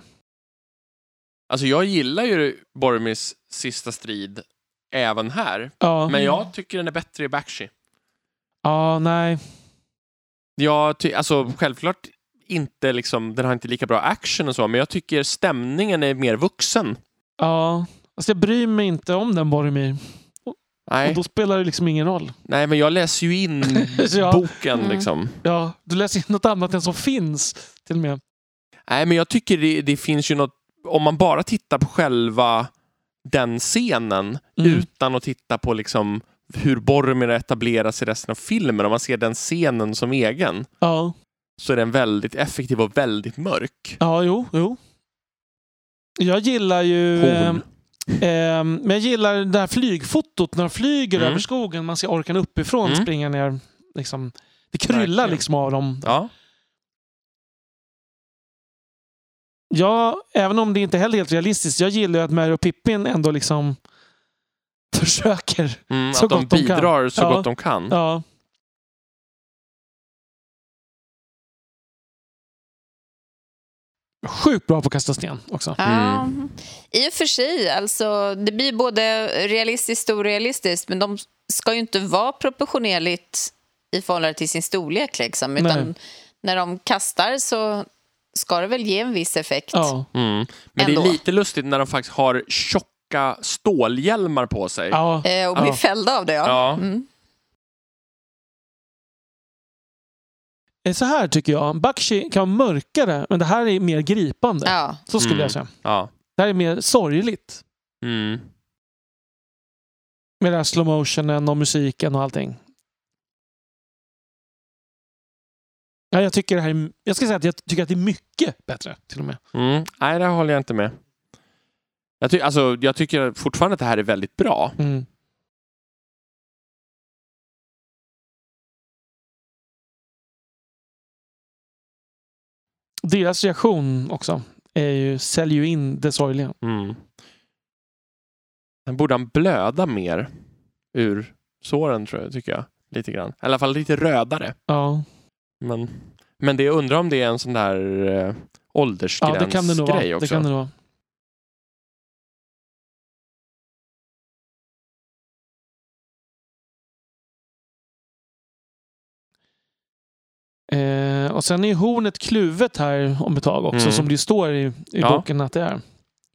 S1: Alltså, jag gillar ju Boromirs sista strid även här,
S2: Ja,
S1: men jag tycker den är bättre i Bakshi.
S2: ja nej.
S1: Jag ty- alltså, självklart inte liksom, den har inte lika bra action och så, men jag tycker stämningen är mer vuxen.
S2: Ja. Alltså, jag bryr mig inte om den Boromir. Och
S1: Nej,
S2: då spelar det liksom ingen roll.
S1: nej men jag läser ju in
S2: <laughs> Ja.
S1: boken
S4: Mm.
S1: liksom.
S2: Ja, du läser in något annat än som finns till och med.
S1: Nej, men jag tycker det, det finns ju något, om man bara tittar på själva den scenen
S2: Mm.
S1: utan att titta på liksom hur Boromir etableras i resten av filmen, om man ser den scenen som egen,
S2: Ja,
S1: så är den väldigt effektiv och väldigt mörk.
S2: ja jo, jo. Jag gillar ju... ehm,
S1: Horn.
S2: ehm, men jag gillar det här flygfotot när de flyger
S1: Mm.
S2: över skogen. Man ser orkan uppifrån
S1: Mm.
S2: springa ner. Liksom, det kryllar
S1: Verkligen.
S2: liksom av dem.
S1: Ja.
S2: Ja, även om det inte heller är helt realistiskt. Jag gillar ju att Mary och Pippin ändå liksom <laughs> försöker.
S1: Mm,
S2: Så
S1: att de
S2: gott de kan.
S1: bidrar så
S2: Ja.
S1: gott de kan.
S2: Ja. Sjukt bra på att kasta sten också.
S4: Ja. I och för sig, alltså, det blir både realistiskt och orealistiskt men de ska ju inte vara proportionerligt i förhållande till sin storlek. Liksom, utan
S2: Nej.
S4: när de kastar så ska det väl ge en viss effekt.
S2: Ja.
S1: Mm. Men det
S4: Ändå.
S1: är lite lustigt när de faktiskt har tjocka stålhjälmar på sig.
S2: ja.
S4: Eh, och bli
S1: Ja.
S4: fällda av det, ja.
S1: Ja.
S4: Mm.
S2: Eh, Så här tycker jag. Bakshi kan vara mörkare, men det här är mer gripande.
S4: ja.
S2: Så skulle
S1: Mm.
S2: jag säga.
S1: Ja.
S2: Det här är mer sorgligt.
S1: Mm.
S2: Med den här slow motionen och musiken och allting. Ja, jag, tycker det här är, jag ska säga att jag tycker att det är mycket bättre till och med.
S1: Mm. Nej, det här håller jag inte med. Jag, ty- alltså, jag tycker fortfarande att det här är väldigt bra.
S2: Mm. Deras reaktion också är ju sälj ju in det sorgliga.
S1: Mm. Sen borde han blöda mer ur såren, tror jag, tycker jag. Lite grann. I alla fall lite rödare.
S2: Ja,
S1: Men, men det jag undrar om det är en sån där eh,
S2: ja det kan det nog vara.
S1: åldersgrej
S2: Det
S1: också.
S2: kan det nog vara. Eh, och sen är ju hornet kluvet här om ett tag också,
S1: Mm.
S2: som det ju står i, i
S1: Ja.
S2: boken att det är.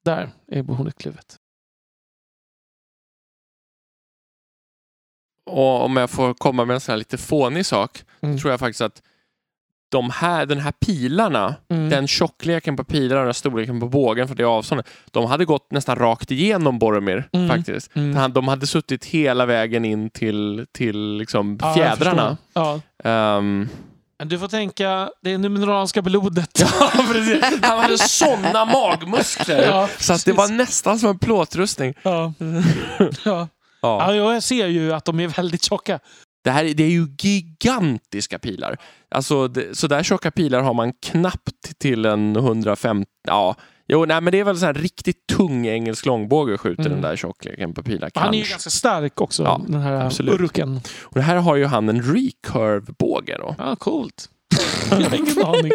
S2: Där är hornet kluvet.
S1: Och om jag får komma med en sån här lite fånig sak,
S2: Mm.
S1: tror jag faktiskt att de här, den här pilarna
S2: Mm.
S1: den tjockleken på pilarna och den storleken på bågen för det avståndet, de hade gått nästan rakt igenom Boromir
S2: Mm.
S1: faktiskt.
S2: Mm.
S1: Han- De hade suttit hela vägen in till, till liksom
S2: Ja, jag
S1: fjädrarna.
S2: förstår. Ja.
S1: Ehm,
S2: Men du får tänka, det är numeranska blodet.
S1: <laughs> Ja, precis. Han hade sådana magmuskler.
S2: <laughs> Ja,
S1: så att det var nästan som en
S2: <laughs>
S1: plåtrustning.
S2: Ja. Ja.
S1: Ja.
S2: Ja, jag ser ju att de är väldigt tjocka.
S1: Det här är- det är ju gigantiska pilar. Alltså, det, så där tjocka pilar har man knappt till en 150... Ja, jo, nej, men det är väl så här riktigt tung engelsk långbåge skjuter
S2: Mm.
S1: den där tjockleken på pilar.
S2: Han är ju
S1: kanske.
S2: ganska stark också,
S1: Ja,
S2: den här
S1: absolut.
S2: Uruken.
S1: Och här har ju han en recurve-båge då.
S2: Ja, coolt. <laughs> Jag har ingen aning.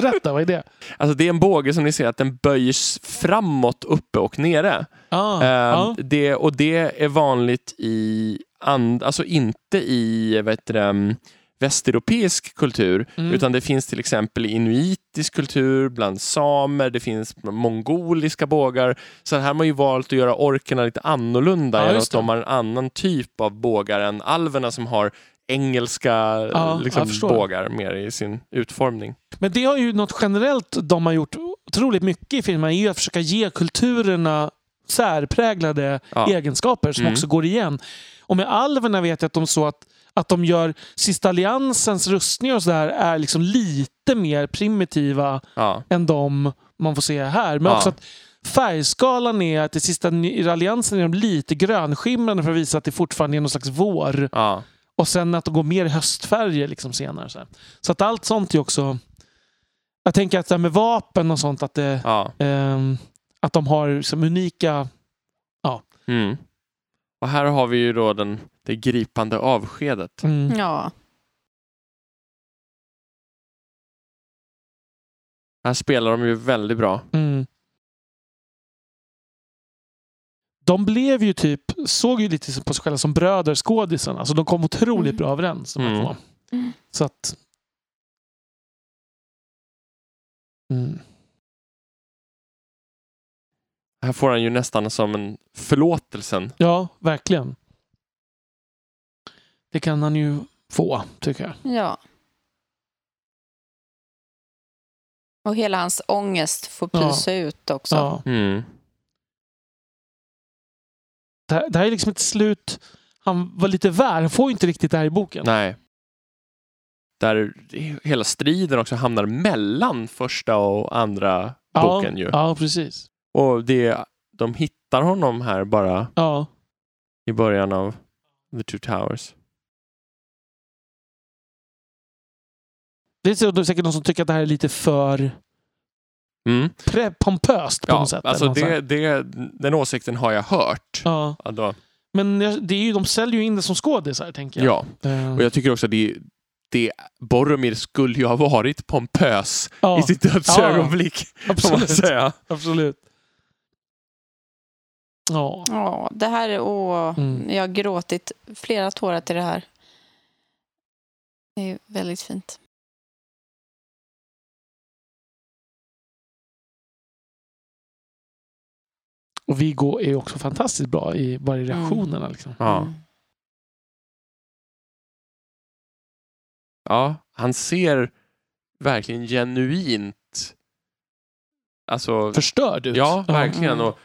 S2: Berätta, vad är det?
S1: Alltså det är en båge som ni ser att den böjs framåt, uppe och nere.
S2: Ah,
S1: Ehm,
S2: ja.
S1: det, och det är vanligt i, and, alltså inte i vad heter det, um, västeuropeisk kultur,
S2: Mm.
S1: utan det finns till exempel i inuitisk kultur, bland samer, det finns mongoliska bågar. Så här har man ju valt att göra orkerna lite annorlunda
S2: Ja,
S1: genom
S2: just
S1: att de har en annan typ av bågar än alverna som har engelska
S2: jag
S1: liksom,
S2: förstår.
S1: bågar mer i sin utformning.
S2: Men det har ju något generellt de har gjort otroligt mycket i filmen, är ju att försöka ge kulturerna särpräglade
S1: Ja.
S2: egenskaper som
S1: Mm.
S2: också går igen. Och med alverna vet jag att de så att, att de gör sista alliansens rustningar och sådär är liksom lite mer primitiva
S1: Ja.
S2: än de man får se här. Men
S1: Ja.
S2: också att färgskalan är att i sista ny- alliansen är de lite grönskimrande för att visa att det fortfarande är någon slags vår.
S1: Ja.
S2: Och sen att de går mer i höstfärger liksom senare. Så, här. så att allt sånt är också... Jag tänker att det här med vapen och sånt, att, det,
S1: Ja.
S2: ehm, att de har liksom unika...
S1: Mm. Och här har vi ju då den, det gripande avskedet.
S2: Mm.
S4: Ja.
S1: Här spelar de ju väldigt bra.
S2: Mm. De blev ju typ, såg ju lite på sig själva som bröder, skådisarna. Alltså de kom otroligt
S4: Mm.
S2: bra överens. De här
S1: Mm.
S2: två. Så att... Mm.
S1: Här får han ju nästan som en förlåtelsen.
S2: Ja, verkligen. Det kan han ju få, tycker jag.
S4: ja. Och hela hans ångest får
S2: Ja.
S4: pysa ut också.
S2: Ja.
S1: Mm.
S2: Det, här, det här är liksom ett slut han var lite värd. Han får ju inte riktigt det här i boken.
S1: Nej. Där hela striden också hamnar mellan första och andra
S2: ja,
S1: boken ju.
S2: Ja, precis.
S1: Och det, de hittar honom här bara
S2: Ja.
S1: i början av The Two Towers.
S2: Det är så- det är säkert någon som tycker att det här är lite för
S1: Mm.
S2: pre- pompöst på
S1: Ja,
S2: något sätt.
S1: alltså
S2: eller något
S1: det,
S2: sånt.
S1: det, den åsikten har jag hört.
S2: ja.
S1: Ja, då,
S2: Men jag- det är ju, de säljer ju in det som skådisar, tänker jag.
S1: ja.
S2: Eh,
S1: Och jag tycker också att det, det Boromir skulle ju ha varit pompös
S2: ja,
S1: i sitt dödsögonblick. <laughs> Får man
S2: absolut.
S1: säga.
S2: absolut. Ja.
S4: Ja, det här är... Åh,
S2: Mm.
S4: jag har gråtit flera tårar till det här. Det är väldigt fint.
S2: Och Viggo är ju också fantastiskt bra i bara i reaktionerna. Liksom.
S1: Ja.
S4: Mm.
S1: Ja, han ser verkligen genuint... Alltså,
S2: Förstörd ut.
S1: ja, verkligen.
S4: Mm.
S1: Och,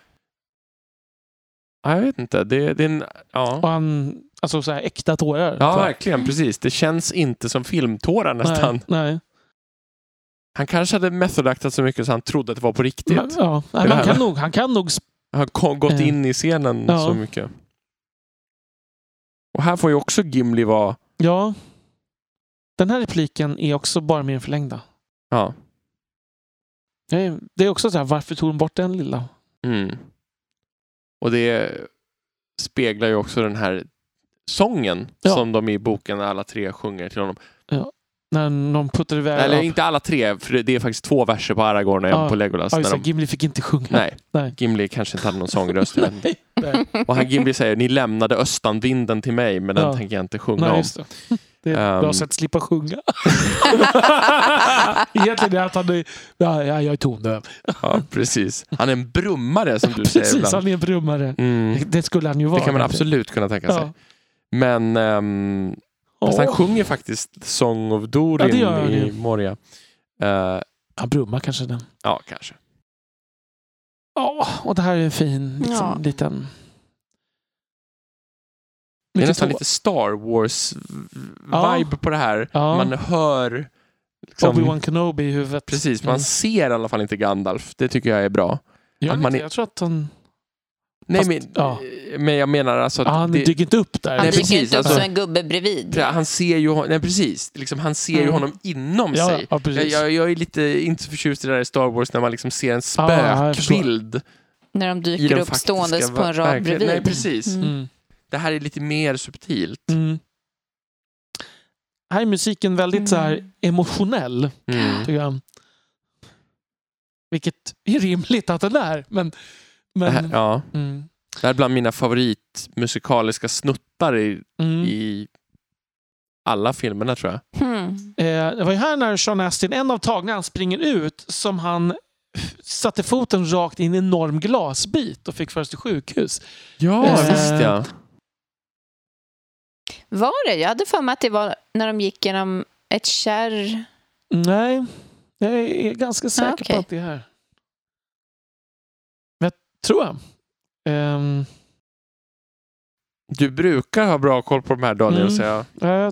S1: ja, jag vet inte. Det, det är en,
S2: Och
S1: ja.
S2: han, alltså så här äkta tårar.
S1: ja,
S2: För-
S1: verkligen. Precis. Det känns inte som filmtårar nästan.
S2: Nej, nej.
S1: Han kanske hade methodaktat så mycket så han trodde att det var på riktigt.
S2: Men, ja, nej,
S1: det
S2: men han,
S1: här,
S2: kan
S1: va?
S2: nog, han kan nog... sp-
S1: Han har ko- gått
S2: Eh.
S1: in i scenen
S2: Ja.
S1: så mycket. Och här får ju också Gimli vara...
S2: Ja. Den här repliken är också bara mer förlängda.
S1: Ja.
S2: Det är- Det är också så här, varför tog de bort den lilla?
S1: Mm. Och det speglar ju också den här sången
S2: Ja.
S1: som de i boken alla tre sjunger till honom.
S2: När någon puttar iväg...
S1: Eller inte alla tre, för det- det är faktiskt två verser på Aragorn och en
S2: Ja.
S1: på Legolas.
S2: Ja,
S1: när
S2: just det,
S1: de,
S2: Gimli fick inte sjunga.
S1: <laughs> nej,
S2: <laughs> Nej.
S1: Gimli kanske inte hade någon sångröst. jag vet
S2: <laughs>
S1: inte.
S2: Nej, nej.
S1: och han Gimli säger, ni lämnade östanvinden till mig, men den
S2: Ja.
S1: tänker jag inte sjunga
S2: nej
S1: om.
S2: just det. Det är ett bra
S1: Ehm.
S2: sätt att
S1: <laughs>
S2: slippa sjunga. Egentligen är det att han är... Ja, ja, jag är tondöv.
S1: Ja, precis. Han är en brummare
S2: <laughs>
S1: som du säger
S2: Precis,
S1: ibland.
S2: han är en brummare.
S1: Mm.
S2: Det- Det skulle han ju vara.
S1: Det kan man
S2: egentligen.
S1: absolut kunna tänka sig.
S2: Ja.
S1: Men ehm, fast han
S2: Åh,
S1: sjunger faktiskt Song of Dorin
S2: Ja, det gör han
S1: i
S2: ju.
S1: Moria. Eh,
S2: Han brummar kanske den.
S1: Ja, kanske.
S2: Ja, och det här är en fin liksom,
S4: Ja.
S2: liten...
S1: Det är
S2: Mycket
S1: nästan
S2: tå-
S1: lite Star
S2: Ja.
S1: Wars-vibe på det här.
S2: Ja.
S1: Man hör... Liksom,
S2: Obi-Wan Kenobi i huvudet.
S1: Precis, man
S2: Mm.
S1: ser i alla fall inte Gandalf. Det tycker jag är bra.
S2: Gör
S1: att
S2: han
S1: man
S2: inte?
S1: är-
S2: Jag tror att han...
S1: Nej,
S2: Fast-
S1: men,
S2: ja.
S1: men jag menar alltså att
S2: Ah, han
S1: det,
S2: dyker inte upp där.
S4: Han
S1: Nej,
S4: dyker
S1: precis,
S4: inte upp
S1: alltså-
S4: som en gubbe bredvid.
S1: Ja, han ser ju, hon- nej, precis, liksom, han ser ju
S2: Mm.
S1: honom inom
S2: Ja,
S1: sig.
S2: ja, precis.
S1: jag, jag, jag är lite inte så förtjust i det där i Star Wars när man liksom ser en
S2: Ja, Ah, ja, jag förstår.
S1: spökbild
S4: När de
S1: i
S4: dyker
S1: den
S4: upp
S1: faktiska
S4: ståendes på en rad
S1: verkligheten.
S4: bredvid.
S1: Nej, precis.
S4: Mm.
S2: Mm.
S1: Det här är lite mer subtilt.
S2: Mm. Här är musiken väldigt så här
S4: Mm.
S2: emotionell,
S1: Mm.
S2: tycker jag. Vilket är rimligt att den är, men...
S1: Det,
S2: men
S1: här, ja,
S2: mm.
S1: det här är bland mina favoritmusikaliska snuttar i,
S2: Mm.
S1: i alla filmerna tror jag.
S4: Mm.
S2: Eh, det var ju här när Sean Astin, en av tagningarna han springer ut, som han satte foten rakt in i en enorm glasbit och fick föras till sjukhus.
S1: Ja,
S2: Eh,
S1: visst ja.
S4: Var det? Jag hade för mig att det var när de gick genom ett kärr.
S2: Nej, jag är ganska säker
S4: okej.
S2: på att det är här. Men jag tror jag. Ehm,
S1: Du brukar ha bra koll på de här Daniel,
S2: Mm.
S1: så jag.
S2: eh,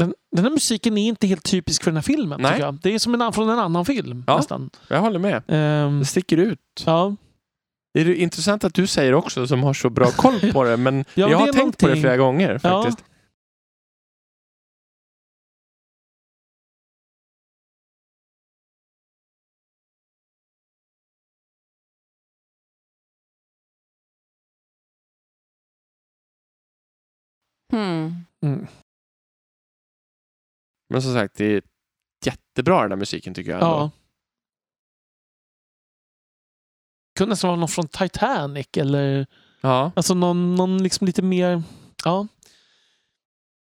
S2: Den, den här musiken är inte helt typisk för den här filmen.
S1: Nej.
S2: Tycker jag. Det är som en an- från en annan film
S1: Ja.
S2: nästan.
S1: jag håller med.
S2: Ehm,
S1: Det sticker ut.
S2: ja.
S1: Det är ju intressant att du säger också som har så bra koll på det, men
S2: <laughs> Ja,
S1: jag
S2: det
S1: har
S2: är
S1: tänkt på det
S2: någonting.
S1: flera gånger
S2: Ja.
S1: faktiskt.
S4: Hmm.
S2: Mm.
S1: Men som sagt, det är jättebra den här musiken tycker jag.
S2: Ja.
S1: ändå.
S2: Kunde nästan vara någon från Titanic eller
S1: ja.
S2: alltså någon, någon liksom lite mer... Ja.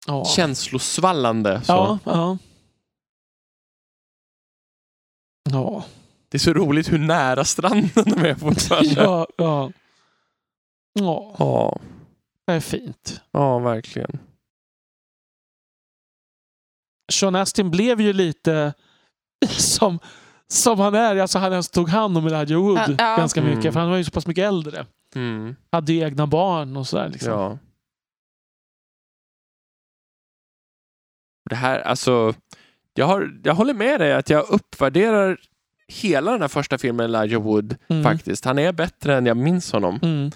S2: Ja.
S1: Känslosvallande. Så.
S2: ja, ja.
S1: <laughs>
S2: Ja.
S1: Det är så roligt hur nära stranden de är fortfarande.
S2: Ja, ja. <laughs> Ja,
S1: ja.
S2: det är fint.
S1: Ja, verkligen.
S2: Sean Astin blev ju lite <laughs> som, som han är. Alltså han ens tog hand om Elijah Wood
S4: Ja, ja.
S2: ganska mycket.
S1: Mm.
S2: För han var ju så pass mycket äldre.
S1: Mm.
S2: Hade ju egna barn och sådär. Liksom.
S1: Ja. Det här, alltså, jag, har, jag håller med dig att jag uppvärderar hela den här första filmen, Elijah Wood,
S2: Mm.
S1: faktiskt. Han är bättre än jag minns honom.
S2: Mm.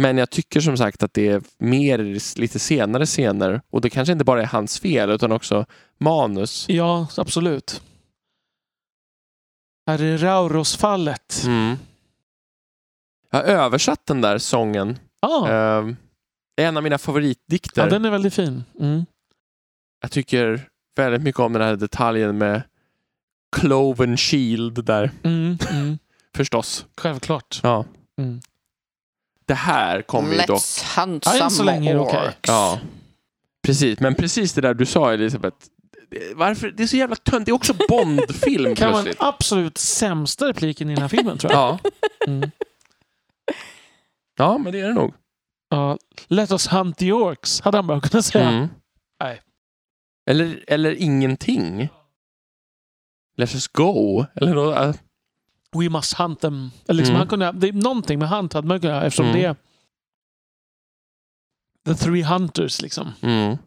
S1: Men jag tycker som sagt att det är mer lite senare scener och det kanske inte bara är hans fel utan också manus.
S2: Ja, absolut. Här är Rauros-fallet.
S1: Mm. Jag har översatt den där sången.
S2: Ah,
S1: Eh, Det är en av mina favoritdikter.
S2: ja, den är väldigt fin. Mm.
S1: jag tycker väldigt mycket om den här detaljen med Cloven Shield där,
S2: Mm. Mm.
S1: förstås.
S2: Självklart.
S1: Ja.
S2: Mm.
S1: Det här kommer ju dock...
S4: Let's hunt
S2: Ja, än så länge är
S4: some
S2: det okej.
S4: orcs.
S1: Ja. Precis, men precis det där du sa Elisabeth. Det- Varför? Det är så jävla tönt. Det är också Bond-film
S2: <laughs> Kan vara den
S1: plötsligt.
S2: absolut sämsta repliken i den här filmen tror jag.
S1: Ja.
S2: Mm.
S1: ja, men det är det nog.
S2: Ja, Let us hunt the orcs, hade han bara kunnat säga.
S1: Mm.
S2: Nej.
S1: Eller, eller ingenting. Let's just go. Eller nå- äh,
S2: We must hunt them. Eller liksom,
S1: Mm.
S2: han kunde, det är någonting med hunt hade man kunnat göra eftersom
S1: Mm.
S2: det är The Three Hunters liksom.
S1: mm.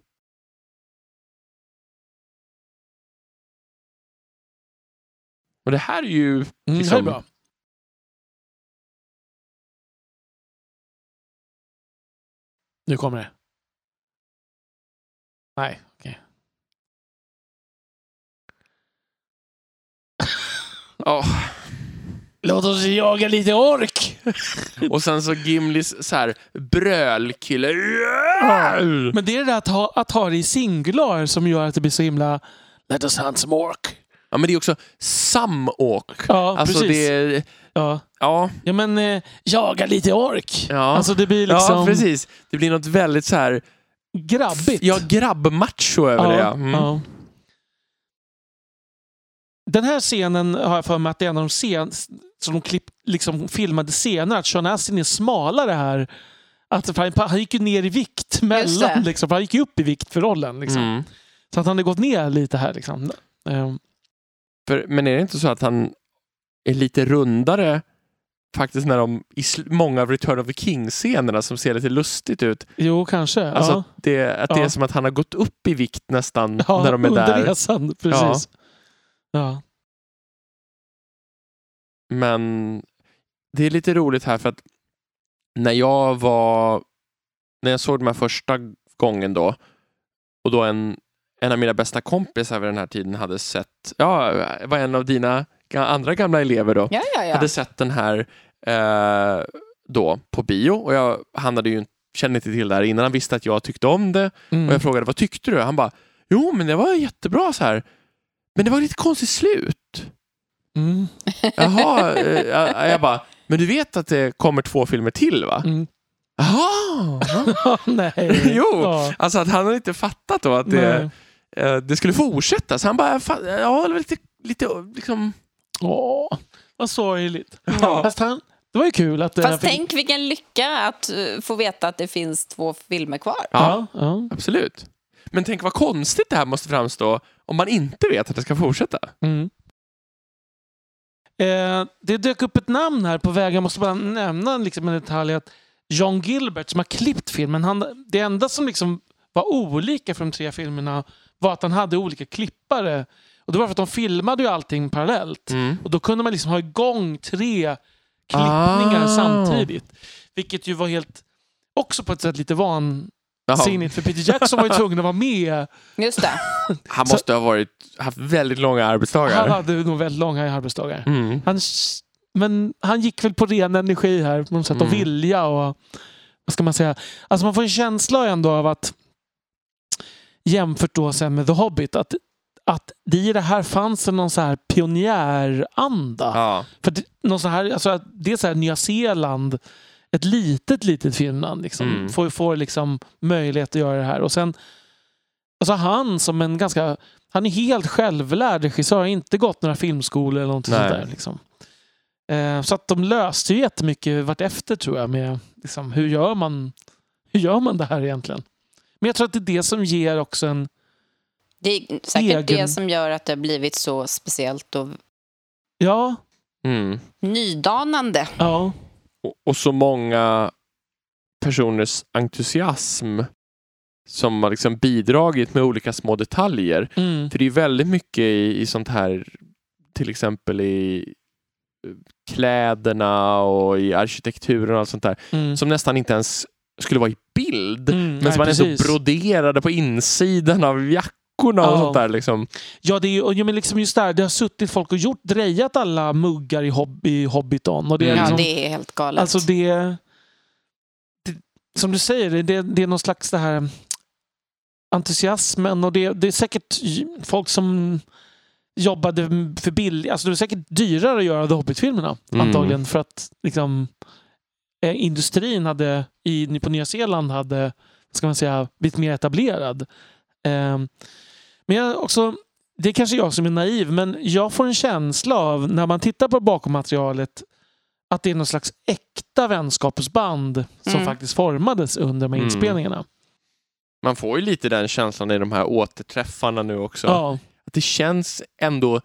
S1: Och det här är ju
S2: Mm,
S1: Liksom.
S2: Det är bra. Nu kommer det. Nej, <laughs> okej.
S1: Ja.
S2: Låt oss jaga lite ork!
S1: Och sen så Gimlis så här brölkille.
S2: Men det är det där att ha, att ha det i singular som gör att det blir så himla... Let us hunt some ork.
S1: Ja men det är också samåk.
S2: Ja,
S1: Alltså
S2: precis.
S1: det är,
S2: Ja.
S1: ja,
S2: ja, men eh, jaga lite ork.
S1: Ja.
S2: Alltså det blir liksom
S1: ja precis. Det blir något väldigt så här,
S2: grabbigt.
S1: ja grabbmacho över det. Ja. Mm.
S2: ja. Den här scenen har jag för mig att det är en av de scen som de klipp, liksom filmade senare. Att Sean Astin är smalare här. Att han, han gick ju ner i vikt mellan.
S4: det.
S2: Liksom, för han gick ju upp i vikt för rollen. Liksom.
S1: Mm.
S2: Så att han hade gått ner lite här. Liksom. Ehm,
S1: För, men är det inte så att han är lite rundare faktiskt när de, i sl- många av Return of the King-scenerna som ser lite lustigt ut.
S2: jo, kanske.
S1: Alltså
S2: ja.
S1: att, det, att det är
S2: Ja.
S1: som att han har gått upp i vikt nästan
S2: Ja,
S1: när de är
S2: under
S1: där.
S2: resan, precis. Ja.
S1: Men det är lite roligt här för att när jag var, när jag såg de här första gången då och då en, en av mina bästa kompisar vid den här tiden hade sett, ja, var en av dina ga- andra gamla elever då,
S4: Ja, ja, ja.
S1: hade sett den här eh, då på bio och jag han hade ju, kände inte till det här innan, han visste att jag tyckte om det
S2: Mm.
S1: och
S4: Mm.
S1: jag frågade vad tyckte du? Han bara, jo men det var jättebra så här. Men det var lite konstigt slut.
S2: Mm.
S1: Jaha, eh, jag, jag bara, men du vet att det kommer två filmer till va?
S2: Mm. <laughs>
S1: Jaha!
S2: Nej.
S1: <laughs> Jo.
S2: Ja.
S1: Alltså att han hade inte fattat då att det,
S2: Nej.
S1: eh, det skulle fortsätta. Så han bara, "Fan, ja det var lite, lite liksom...
S2: Åh, vad sorgligt.
S1: Ja.
S2: Fast han, det var ju kul att... eh,
S4: Fast
S2: fick-
S4: tänk vilken lycka att eh, få veta att det finns två filmer kvar.
S1: ja,
S2: Ja, ja.
S1: absolut. Men tänk vad konstigt det här måste framstå om man inte vet att det ska fortsätta.
S2: Mm. Eh, det dök upp ett namn här på vägen. Jag måste bara nämna liksom en detalj. Att John Gilbert som har klippt filmen. Han, det enda som liksom var olika för de tre filmerna var att han hade olika klippare. Och det var för att de filmade ju allting parallellt.
S1: Mm.
S2: Och då kunde man liksom ha igång tre klippningar
S1: Ah.
S2: samtidigt. Vilket ju var helt, också på ett sätt lite
S1: Jaha.
S2: vansinnigt. För Peter Jackson var ju tvungen att vara med.
S4: Just det.
S1: Han måste ha varit, haft väldigt långa
S2: Han
S1: arbetsdagar.
S2: hade nog väldigt långa arbetsdagar.
S1: Mm.
S2: Han, s- men han gick väl på ren energi här på något sätt och
S1: Mm.
S2: vilja och vad ska man säga. Alltså man får en känsla ändå av att jämfört då sen med The Hobbit att, att det i det här fanns en någon så här pionjäranda.
S1: Ja.
S2: För det, någon så här, alltså, att det är så här Nya Zeeland, ett litet, litet Finland, liksom,
S1: Mm.
S2: får, får liksom möjlighet att göra det här. Och sen, alltså han som en ganska, han är helt självlärd regissör, har inte gått några filmskolor eller någonting
S1: Nej.
S2: sånt där. Liksom. Eh, så att de löste ju jättemycket vartefter tror jag med liksom, hur, gör man, hur gör man det här egentligen? Men jag tror att det är det som ger också en...
S4: Det är säkert
S2: Egen-
S4: det som gör att det har blivit så speciellt och
S2: Ja,
S1: Mm.
S4: nydanande.
S2: ja.
S1: och, och så många personers entusiasm som har liksom bidragit med olika små detaljer.
S2: Mm.
S1: För det är väldigt mycket i, i sånt här, till exempel i eh, kläderna och i arkitekturen och allt sånt där,
S2: Mm.
S1: som nästan inte ens skulle vara i bild.
S2: Mm,
S1: Men
S2: nej,
S1: som man är
S2: precis.
S1: så broderade på insidan av jackorna och
S2: Ja.
S1: sånt där. Liksom.
S2: Ja, det är, ju- och, ja, men liksom just där, det har suttit folk och gjort, drejat alla muggar i, hob, i Hobbiton. Och det är
S1: Mm.
S4: Ja,
S2: liksom,
S4: det är helt galet.
S2: Alltså det, det... Som du säger, det- det, det är någon slags det här entusiasmen och det, det är säkert j- folk som jobbade för billigt. Alltså det är säkert dyrare att göra The Hobbit-filmerna
S1: Mm.
S2: antagligen för att liksom, eh, industrin hade i, på Nya Zeeland hade vad ska man säga, blivit mer etablerad. Ehm, men jag också, det är kanske jag som är naiv, men jag får en känsla av när man tittar på bakom materialet att det är någon slags äkta vänskapsband som
S4: Mm.
S2: faktiskt formades under de här
S1: Mm.
S2: inspelningarna.
S1: Man får ju lite den känslan i de här återträffarna nu också.
S2: Ja.
S1: att det känns ändå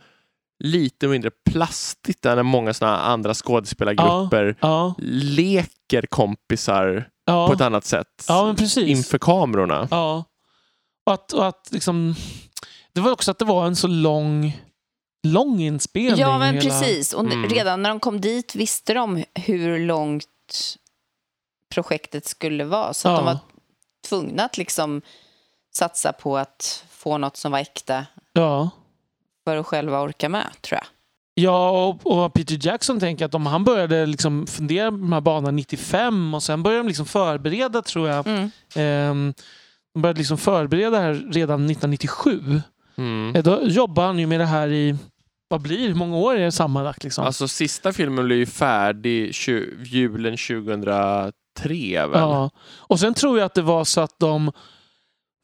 S1: lite mindre plastigt där när många sådana andra skådespelargrupper
S2: Ja,
S1: leker kompisar
S2: ja,
S1: på ett annat sätt
S2: ja men precis.
S1: inför kamerorna.
S2: Ja. Och att, och att liksom, det var också att det var en så lång, lång inspelning.
S4: ja, men
S2: hela-
S4: precis. Och
S1: Mm.
S4: redan när de kom dit visste de hur långt projektet skulle vara. Så att
S2: Ja.
S4: de var tvungna att liksom satsa på att få något som var äkta
S2: Ja.
S4: för att själva orka med, tror jag.
S2: Ja, och, och Peter Jackson tänker att om han började liksom fundera på de här banorna 95 och sen började de liksom förbereda, tror jag.
S4: Mm.
S2: ehm, de började liksom förbereda det här redan 1997.
S1: Mm.
S2: Eh, Då jobbar han ju med det här i, vad blir det? hur många år är det sammanlagt? Liksom?
S1: Alltså sista filmen blev ju färdig tju- julen 2003 väl?
S2: ja. Och sen tror jag att det var så att de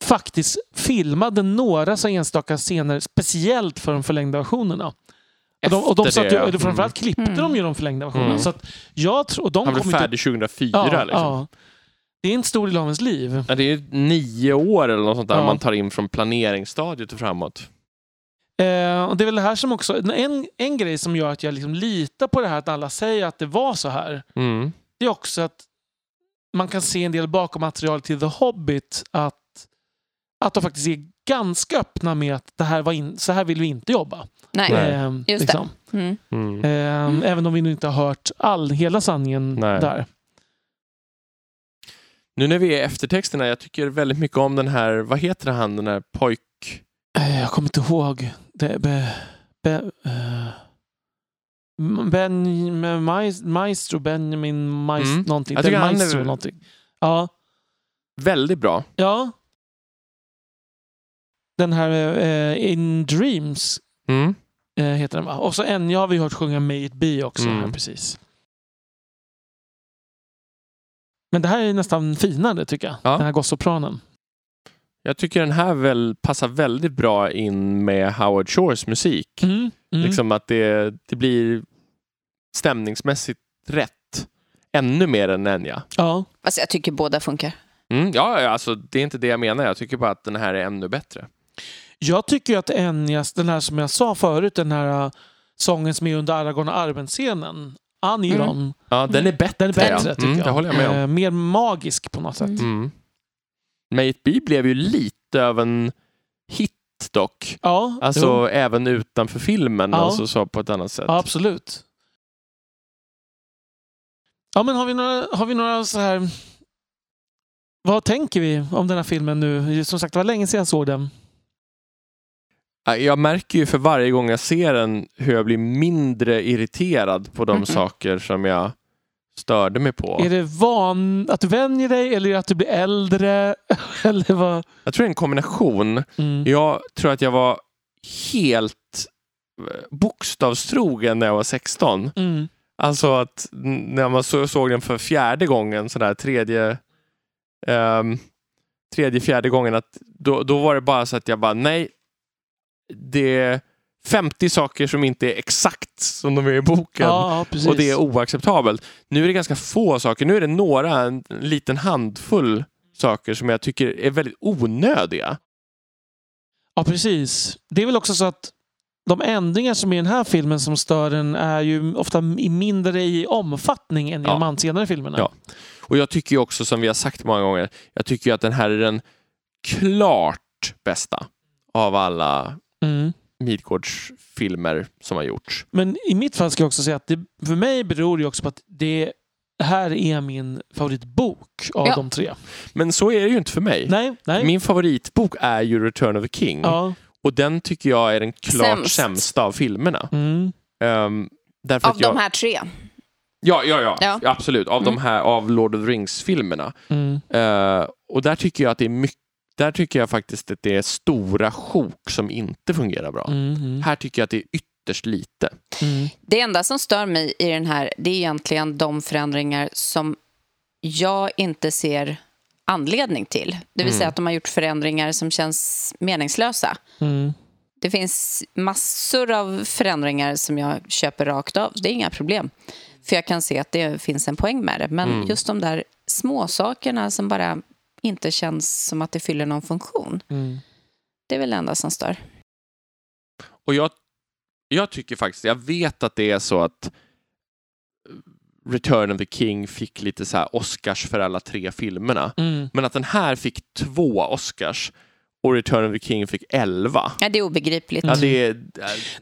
S2: faktiskt filmade några så enstaka scener speciellt för de förlängda versionerna. Och de, och de
S1: Efter
S2: satt
S1: det,
S2: ju,
S1: ja.
S2: eller framförallt klippte
S4: Mm.
S2: de ju de förlängda versionerna.
S1: Mm.
S2: Så att jag tror, och de
S1: Han blev
S2: kom inte
S1: färdig 2004 liksom.
S2: Det är en stor del av ens liv.
S1: Ja, Det är ju nio år eller något sånt där
S2: Ja.
S1: man tar in från planeringsstadiet och framåt.
S2: Eh, och det är väl det här som också, en, en grej som gör att jag liksom litar på det här att alla säger att det var så här.
S1: Mm.
S2: Det är också att man kan se en del bakom material till The Hobbit att, att de faktiskt är ganska öppna med att det här var in, så här vill vi inte jobba.
S4: Nej.
S1: Nej.
S2: Ehm,
S4: det. Mm.
S1: Mm.
S2: Ehm, Även om vi nu inte har hört all, hela sanningen
S1: Nej.
S2: där.
S1: Nu när vi är i eftertexterna, jag tycker väldigt mycket om den här, vad heter han, den här pojk...
S2: Eh, Jag kommer inte ihåg. Det, be, be, eh, M- ben, Me- Mais- Maestro, Benjamin Maestro,
S1: Mm.
S2: någonting.
S1: Jag tycker
S2: Del
S1: han är
S2: Maestro,
S1: väl-
S2: någonting. Ja,
S1: Väldigt bra.
S2: ja. Den här eh, In Dreams
S1: Mm.
S2: eh, heter den va? Och så Enya har vi hört sjunga May It Be också.
S1: Mm.
S2: Här, precis. Men det här är nästan finare tycker jag.
S1: Ja.
S2: Den här gossopranen.
S1: Jag tycker den här väl passar väldigt bra in med Howard Shores musik.
S2: Mm. Mm.
S1: Liksom att det, det blir stämningsmässigt rätt. Ännu mer än Enya.
S2: Ja.
S4: Alltså, jag tycker båda funkar.
S1: Mm, ja, ja, alltså det är inte det jag menar. Jag tycker bara att den här är ännu bättre.
S2: Jag tycker ju att Enyas, den här som jag sa förut, den här äh, sången som är under Aragorn och Arven-scenen, Aniron,
S1: Ja, Mm. den är bättre.
S2: den är bättre
S1: ja.
S2: tycker
S1: mm,
S2: jag.
S1: Det håller jag med om.
S2: Eh, mer magisk på något sätt.
S1: Mm. May It Be blev ju lite av en hit dock.
S2: Ja,
S1: Alltså
S2: jo.
S1: även utanför filmen,
S2: Ja.
S1: alltså så på ett annat sätt.
S2: ja, absolut. Ja, men har vi några, har vi några så här... Vad tänker vi om den här filmen nu? Som sagt, det var länge sedan jag såg den.
S1: Jag märker ju för varje gång jag ser den hur jag blir mindre irriterad på de
S4: Mhm.
S1: saker som jag störde mig på.
S2: Är det van att du vänjer dig eller att du blir äldre? <laughs> eller vad?
S1: Jag tror det är en kombination.
S2: Mm.
S1: Jag tror att jag var helt eh, bokstavstrogen när jag var 16.
S2: Mm.
S1: Alltså att n- när man så- såg den för fjärde gången, sådär tredje, ehm, tredje, fjärde gången, att då, då var det bara så att jag bara nej, det är 50 saker som inte är exakt som de är i boken.
S2: Ja, ja, precis.
S1: Och det är oacceptabelt. Nu är det ganska få saker. Nu är det några, en liten handfull saker som jag tycker är väldigt onödiga.
S2: Ja, precis. Det är väl också så att de ändringar som är i den här filmen som stör den är ju ofta i mindre i omfattning än i
S1: Ja.
S2: de an- senare filmerna.
S1: Ja. Och jag tycker ju också, som vi har sagt många gånger, jag tycker ju att den här är den klart bästa av alla
S2: Mm.
S1: Midgårdsfilmer som har gjorts.
S2: Men i mitt fall ska jag också säga att det för mig beror det ju också på att det här är min favoritbok av
S4: Ja.
S2: de tre.
S1: Men så är det ju inte för mig.
S2: Nej, nej.
S1: Min favoritbok är ju Return of the King
S2: Ja.
S1: och den tycker jag är den klart
S4: Sämst.
S1: sämsta av filmerna.
S2: Mm.
S1: Ehm, därför
S4: Av
S1: att jag...
S4: de här tre.
S1: Ja, ja, ja,
S4: Ja.
S1: absolut. Av de här, av Lord of the Rings-filmerna.
S2: Mm.
S1: Eh, och där tycker jag att det är mycket, där tycker jag faktiskt att det är stora sjok som inte fungerar bra.
S2: Mm. Mm.
S1: Här tycker jag att det är ytterst lite.
S2: Mm.
S4: Det enda som stör mig i den här det är egentligen de förändringar som jag inte ser anledning till. Det vill säga
S1: Mm.
S4: att de har gjort förändringar som känns meningslösa.
S2: Mm.
S4: Det finns massor av förändringar som jag köper rakt av. Det är inga problem. För jag kan se att det finns en poäng med det. Men
S1: Mm.
S4: just de där små sakerna som bara inte känns som att det fyller någon funktion.
S2: Mm.
S4: Det är väl det enda som stör.
S1: Och jag, jag tycker faktiskt, jag vet att det är så att eh, Return of the King fick lite så här Oscars för alla tre filmerna.
S2: Mm.
S1: Men att den här fick två Oscars och Return of the King fick elva.
S4: Ja, det är obegripligt.
S3: Mm-hmm.
S1: Ja, det är,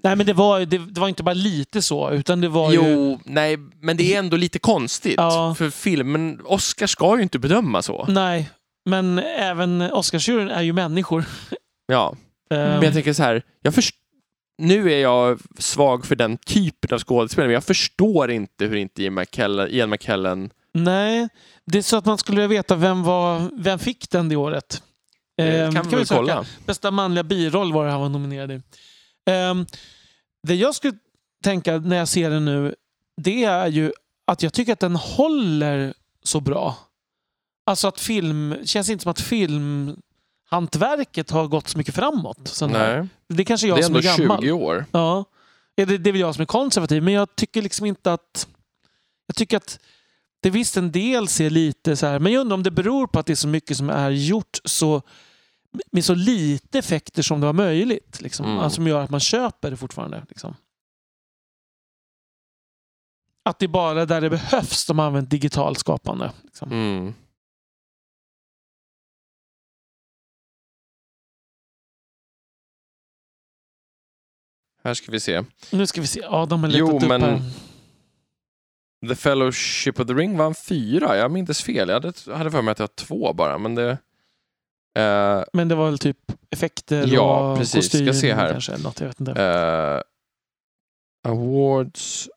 S2: Nej, men det var, ju- det, det var inte bara lite så, utan det var ju...
S1: jo, nej, men det är ändå lite konstigt.
S2: Ja.
S1: För filmen, Oscar ska ju inte bedöma så.
S2: Nej, men även Oscarsjuryn är ju människor. Ehm.
S1: Ja.
S2: Mm.
S1: Men jag tänker så här, jag först- nu är jag svag för den typen av skådespelare, men jag förstår inte hur inte Ian McKellen, Ian McKellen
S2: Nej, det är så att man skulle vilja veta vem, var, vem fick den det året.
S1: Det
S2: Ehm,
S1: kan vi väl
S2: söka.
S1: kolla.
S2: Bästa manliga biroll var det han var nominerad i. Ehm, det jag skulle tänka när jag ser den nu, det är ju att jag tycker att den håller så bra. Alltså att film, känns inte som att filmhantverket har gått så mycket framåt. Sen här.
S1: Nej,
S2: Det kanske är
S1: det
S2: jag
S1: är
S2: som
S1: ändå
S2: är gammal.
S1: 20 år.
S2: Ja, Ja, det, det är väl jag som är konservativ, men jag tycker liksom inte att... Jag tycker att det visst en del ser lite så här, men jag undrar om det beror på att det är så mycket som är gjort så med så lite effekter som det var möjligt. Liksom.
S1: Mm.
S2: Alltså, som gör att man köper det fortfarande. Liksom. Att det är bara där det behövs de har använt digitalt skapande. Liksom.
S1: Mm. Här ska vi se.
S2: Nu ska vi se. Adam har letat
S1: Jo,
S2: upp
S1: men-
S2: här.
S1: The Fellowship of the Ring vann fyra. Jag minns fel. Jag hade, hade för mig att jag har två bara. Men det... Eh,
S2: Men det var väl typ effekter
S1: Ja,
S2: och
S1: precis. Ska
S2: kostym
S1: se här.
S2: kanske. Eller något, jag vet inte.
S1: eh, awards.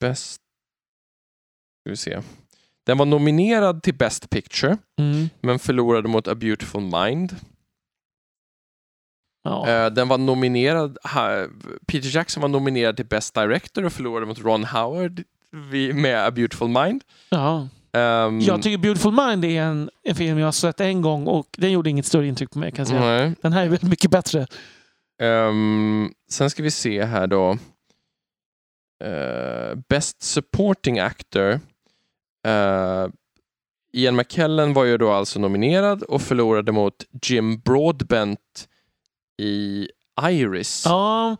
S1: Best... Ska vi se. Den var nominerad till Best Picture,
S2: Mm.
S1: men förlorade mot A Beautiful Mind.
S2: Ja.
S1: Eh, den var nominerad... Ha, Peter Jackson var nominerad till Best Director och förlorade mot Ron Howard vid- med A Beautiful Mind.
S2: ja.
S1: Ehm,
S2: Jag tycker Beautiful Mind är en, en film jag har sett en gång och den gjorde inget större intryck på mig kan jag säga.
S1: nej.
S2: Den här är väldigt mycket bättre.
S1: Ehm, sen ska vi se här då. Eh, best supporting actor. Eh, Ian McKellen var ju då alltså nominerad och förlorade mot Jim Broadbent i Iris.
S2: Ja,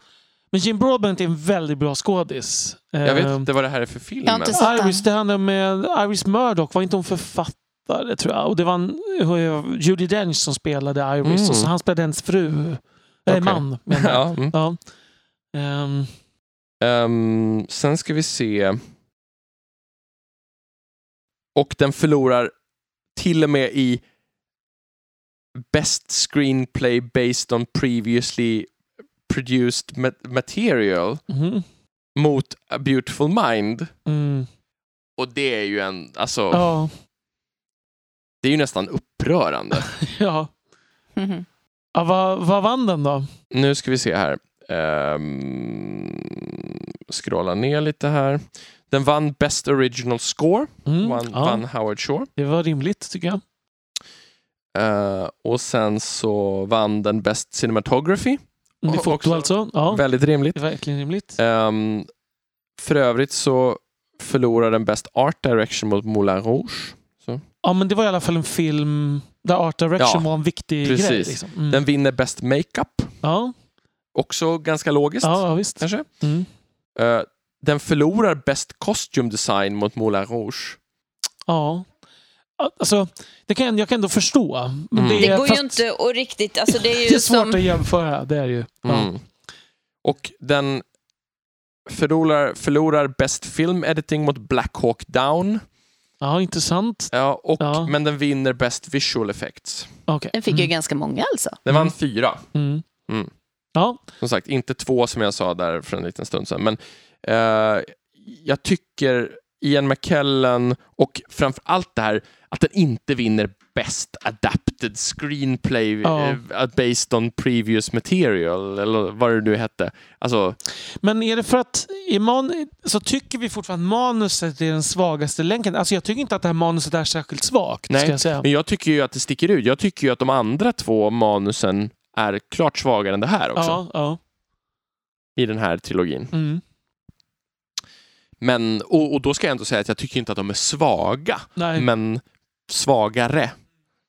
S2: men Jim Broadbent är en väldigt bra skådis.
S1: Jag vet
S2: Ehm,
S1: inte vad det här är för film.
S3: Jag har inte
S1: men-
S3: sett den.
S2: Iris, det handlar med Iris Murdoch, var inte hon författare tror jag? Och det var en, Judy Dench som spelade Iris
S1: Mm.
S2: och så han spelade hennes fru. Eller
S1: Okej.
S2: man menar jag.
S1: <laughs> ja, mm.
S2: ja. Ehm,
S1: Ehm, sen ska vi se. Och den förlorar till och med i Best Screenplay Based on Previously Produced ma- Material
S2: mhm.
S1: mot A Beautiful Mind.
S2: mm.
S1: Och det är ju en, alltså,
S2: Ja,
S1: det är ju nästan
S2: <laughs>
S1: upprörande.
S2: ja.
S4: Mm-hmm.
S3: Mhm.
S2: ja vad, vad vann den då?
S1: Nu ska vi se här. Um, scrolla ner lite här. Den vann Best Original Score,
S2: Mm.
S1: vann,
S2: ja,
S1: vann Howard Shore.
S2: Det var rimligt tycker jag.
S1: Eh, och sen så vann den Best Cinematography.
S2: Det
S1: Och
S2: är foto
S1: också-
S2: alltså. Ja,
S1: Väldigt rimligt.
S2: det är verkligen rimligt.
S1: Ehm, för övrigt så förlorade den Best Art Direction mot Moulin
S2: Mm.
S1: Rouge.
S2: Ja, men det var i alla fall en film där Art Direction
S1: Ja,
S2: var en viktig
S1: precis.
S2: grej. Liksom. Mm.
S1: Den vinner Best Makeup.
S2: Ja,
S1: Också ganska logiskt,
S2: ja, visst.
S1: kanske.
S2: Mm.
S1: Eh, den förlorar Best Costume Design mot Moulin Rouge.
S2: Ja. Alltså, det kan, jag kan ändå förstå. Men
S1: Mm.
S2: det,
S3: Det
S2: är,
S3: går
S2: fast
S3: ju inte att riktigt... Alltså det är
S2: <laughs>
S3: ju
S2: det är svårt
S3: som...
S2: att jämföra. Det är ju. Ja.
S1: Mm. Och den förlorar, förlorar Best Film Editing mot Black Hawk Down.
S2: ja, intressant.
S1: Ja, och,
S2: Ja.
S1: Men den vinner Best Visual Effects.
S2: Okay.
S3: Den fick ju
S2: mm.
S3: ganska många alltså.
S1: Den vann
S2: Mm.
S1: fyra.
S2: Mm.
S1: Mm.
S2: Ja,
S1: Som sagt, inte två som jag sa där för en liten stund sedan. Men eh, jag tycker Ian McKellen och framför allt det här att den inte vinner Best Adapted Screenplay
S2: Ja.
S1: eh, Based on Previous Material eller vad det nu hette. Alltså,
S2: men är det för att i man, så tycker vi fortfarande att manuset är den svagaste länken? Alltså jag tycker inte att det här manuset är särskilt svagt.
S1: Nej,
S2: ska jag säga.
S1: men jag tycker ju att det sticker ut. Jag tycker ju att de andra två manusen är klart svagare än det här också
S2: Ja, ja.
S1: i den här trilogin.
S2: Mm.
S1: Men, och, och då ska jag ändå säga att jag tycker inte att de är svaga.
S2: Nej.
S1: men svagare.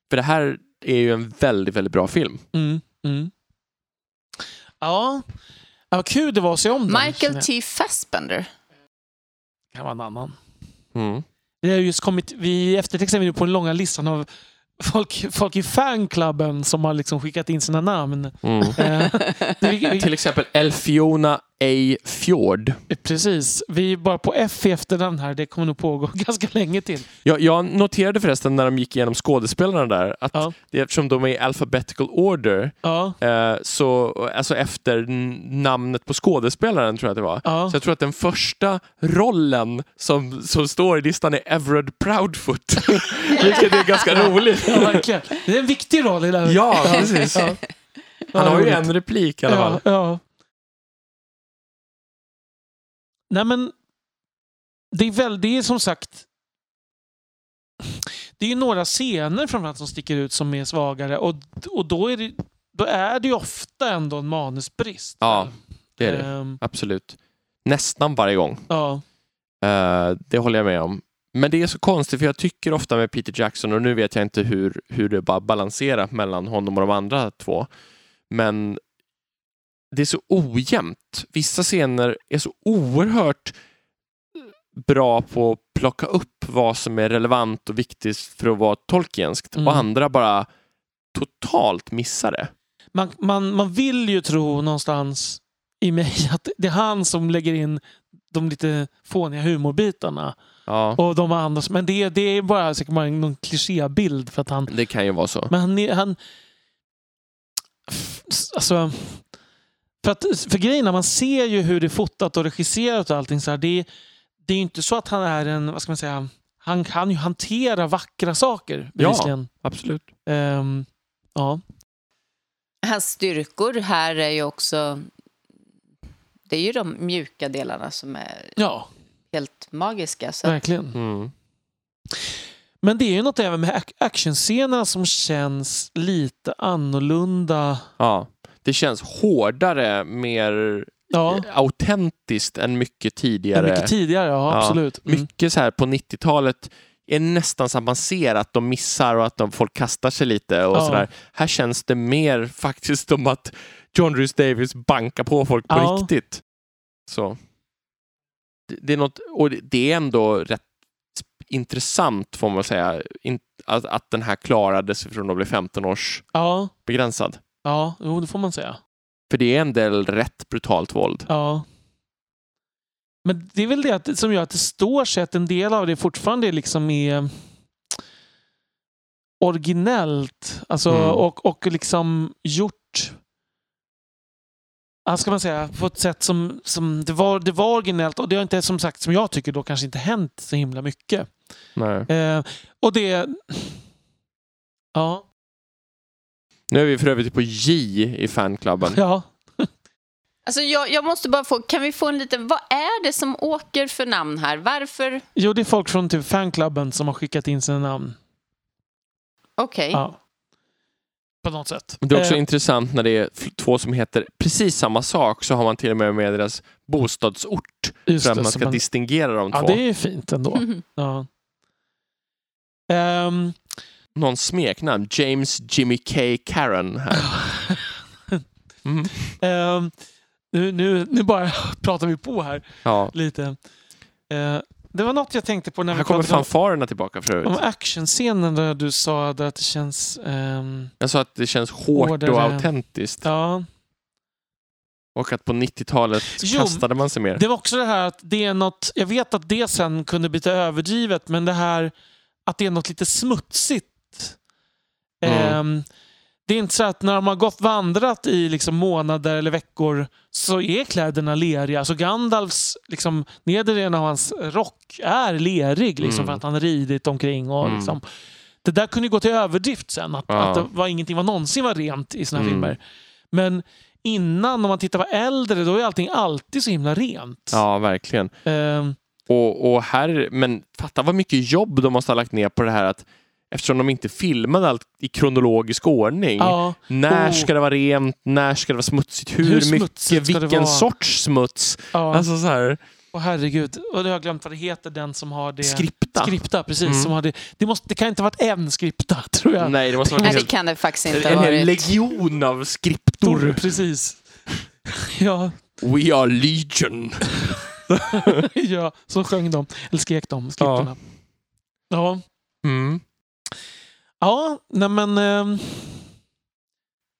S1: För det här är ju en väldigt, väldigt bra film.
S2: Mm. Mm. Ja. ja, vad kul det var att se om den.
S3: Michael
S2: känner jag.
S3: T. Fassbender.
S2: kan vara en annan. Mm. Det har just kommit, vi eftertextar vi nu på den långa listan av folk, folk i fanklubben som har liksom skickat in sina namn.
S1: Mm.
S2: Eh, det-
S1: <laughs>
S2: vi,
S1: Till exempel Elfiona A. Fjord.
S2: vi, precis, vi är bara på F i efternamn här. Det kommer nog pågå <laughs> ganska länge till.
S1: Jag, jag noterade förresten när de gick igenom skådespelarna där att
S2: Ja.
S1: det, eftersom de är i alphabetical order,
S2: Ja,
S1: eh, så, alltså efter n- namnet på skådespelaren tror jag att det var.
S2: ja.
S1: Så jag tror att den första rollen som, som står i listan är Everard Proudfoot. <laughs> Vilket är ganska roligt.
S2: ja verkligen. Det är en viktig roll i det här.
S1: Ja, precis.
S2: Ja.
S1: Han har ju
S2: roligt.
S1: en replik i alla fall.
S2: Ja, ja. Nej men, det är väl, det är som sagt, det är ju några scener framförallt som sticker ut som är svagare och, och då, är det, då är det ju ofta ändå en manusbrist.
S1: Ja, det är det.
S2: Ehm,
S1: Absolut. Nästan varje gång.
S2: ja.
S1: Eh, det håller jag med om. Men det är så konstigt, för jag tycker ofta med Peter Jackson, och nu vet jag inte hur, hur det bara balanserat mellan honom och de andra två, men det är så ojämnt. Vissa scener är så oerhört bra på att plocka upp vad som är relevant och viktigt för att vara Tolkienskt,
S2: Mm.
S1: och andra bara totalt missar det.
S2: Man, man, man vill ju tro någonstans i mig <laughs> att det är han som lägger in de lite fåniga humorbitarna.
S1: Ja,
S2: Och de andra, som- men det, det är bara säkert bara någon klichébild för att han...
S1: det kan ju vara så.
S2: Men han... är- han alltså... För, att, för grejen är, man ser ju hur det är fotat och regisserat och allting så här. Det, är- det är ju inte så att han är en, vad ska man säga, han kan ju hantera vackra saker
S1: Ja.
S2: bevisligen.
S1: Absolut.
S2: Ja. ja.
S3: Hans styrkor här är ju också... Det är ju de mjuka delarna som är
S2: ja,
S3: helt magiska. Så att,
S2: verkligen.
S1: Mm.
S2: Men det är ju något även med ac- actionscenerna som känns lite annorlunda.
S1: Ja. Det känns hårdare, mer
S2: Ja,
S1: eh, autentiskt än mycket
S2: än
S1: tidigare.
S2: mycket tidigare. Ja,
S1: Ja,
S2: absolut. Mm.
S1: Mycket så här på 90-talet är nästan så att man ser att de missar och att de, folk kastar sig lite och
S2: Ja.
S1: sådär. Här känns det mer <laughs> faktiskt som att John Rhys Davis bankar på folk på
S2: Ja.
S1: riktigt. Så. Det, det är något, och det- det är ändå rätt intressant får man säga, in, att, att den här klarade sig från att bli 15 års
S2: Ja,
S1: begränsad.
S2: ja, jo, det får man säga.
S1: För det är en del rätt brutalt våld.
S2: Ja. Men det är väl det att, som gör att det står sig att en del av det fortfarande är liksom är originellt. Alltså,
S1: Mm.
S2: och, och liksom gjort Ja, ska man säga, på ett sätt som, som det, var, det var originellt och det har inte, som sagt, som jag tycker då kanske inte hänt så himla mycket.
S1: Nej.
S2: Eh, och det... Ja.
S1: Nu är vi för övrigt på J i fanklubben.
S2: Ja.
S3: alltså jag, jag måste bara få... Kan vi få en liten... Vad är det som åker för namn här? Varför?
S2: Jo, det är folk från typ fanklubben som har skickat in sina namn.
S3: Okej.
S2: Ja. På något sätt.
S1: Det är också
S2: Eh,
S1: intressant när det är f- två som heter precis samma sak så har man till och med med deras bostadsort
S2: Just
S1: för att
S2: det,
S1: man
S2: så
S1: ska distingera de
S2: Ja,
S1: två.
S2: det är ju fint
S3: <laughs>
S2: ändå.
S3: Mhm.
S2: Ja. Ehm,
S1: Någon smeknamn, James Jimmy K. Karen
S2: <laughs>
S1: här. Mm.
S2: ehm, nu, nu, nu bara <laughs> pratar vi på här
S1: Ja.
S2: lite. Eh, det var något jag tänkte på när vi
S1: Här kommer
S2: pratade om,
S1: fanfarerna tillbaka för övrigt.
S2: om actionscenen där du sa där att det känns... ehm,
S1: Jag sa att det känns hårt och
S2: Hårdare.
S1: autentiskt
S2: ja.
S1: och att på 90-talet
S2: Jo,
S1: kastade man sig mer.
S2: Det var också det här att det är något... Jag vet att det sen kunde bli lite överdrivet, men det här att det är något lite smutsigt.
S1: Mm.
S2: Ehm, det är inte så att när de har gått vandrat i liksom månader eller veckor så är kläderna leriga. Så Gandalfs liksom, nedre delen av hans rock är lerig liksom,
S1: Mm.
S2: för att han har ridit omkring. Och,
S1: Mm.
S2: liksom. Det där kunde ju gå till överdrift sen. Att,
S1: Ja.
S2: att det var, ingenting var någonsin var rent i såna här
S1: Mm.
S2: filmer. Men innan, om man tittar på äldre, då är allting alltid så himla rent.
S1: Ja, Mm. verkligen.
S2: Ehm,
S1: Och, och här, men fatta vad mycket jobb de måste ha lagt ner på det här att eftersom de inte filmade allt i kronologisk ordning
S2: ja.
S1: När
S2: Oh.
S1: ska det vara rent? När ska det vara smutsigt? Hur,
S2: Hur smutsigt
S1: mycket?
S2: ska det
S1: Vilken
S2: vara?
S1: sorts smuts?
S2: ja.
S1: Alltså så här,
S2: Åh, herregud. Och nu har jag glömt vad det heter, den som har det...
S1: skripta.
S2: Skripta, precis.
S1: Mm.
S2: Som har det, det, måste, det kan inte ha varit en skripta, <laughs> tror jag.
S1: Nej, det måste vara
S3: Nej, det
S1: helt,
S3: kan det faktiskt inte ha
S1: en hel
S3: varit.
S1: legion av skriptor.
S2: Precis. <laughs> Ja, <laughs>
S1: We are legion.
S2: ja, så sjöng de. Eller skrek de, skriptorna. Ja,
S1: Mm.
S2: ja nej men... ehm,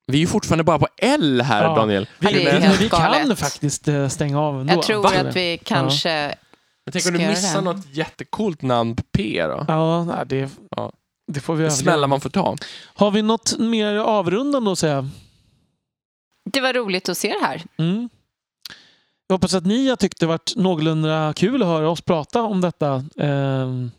S1: Vi är ju fortfarande bara på L här,
S2: Ja.
S1: Daniel.
S2: vi,
S3: Ja, det är
S2: men
S3: helt
S2: vi kan
S3: galet.
S2: faktiskt eh, stänga av ändå.
S3: Jag tror
S2: antar jag.
S3: att vi kanske...
S1: Men tänk om
S3: Ska
S1: du
S3: jag
S1: missar
S3: det?
S1: något jättecoolt namn på P då?
S2: Ja, nej, det,
S1: Ja.
S2: det får vi
S1: Det
S2: överleva.
S1: smällar man får ta.
S2: Har vi något mer avrundande att säga?
S3: Det var roligt att se det här.
S2: Mm. Jag hoppas att ni har tyckt det varit någorlunda kul att höra oss prata om detta ehm,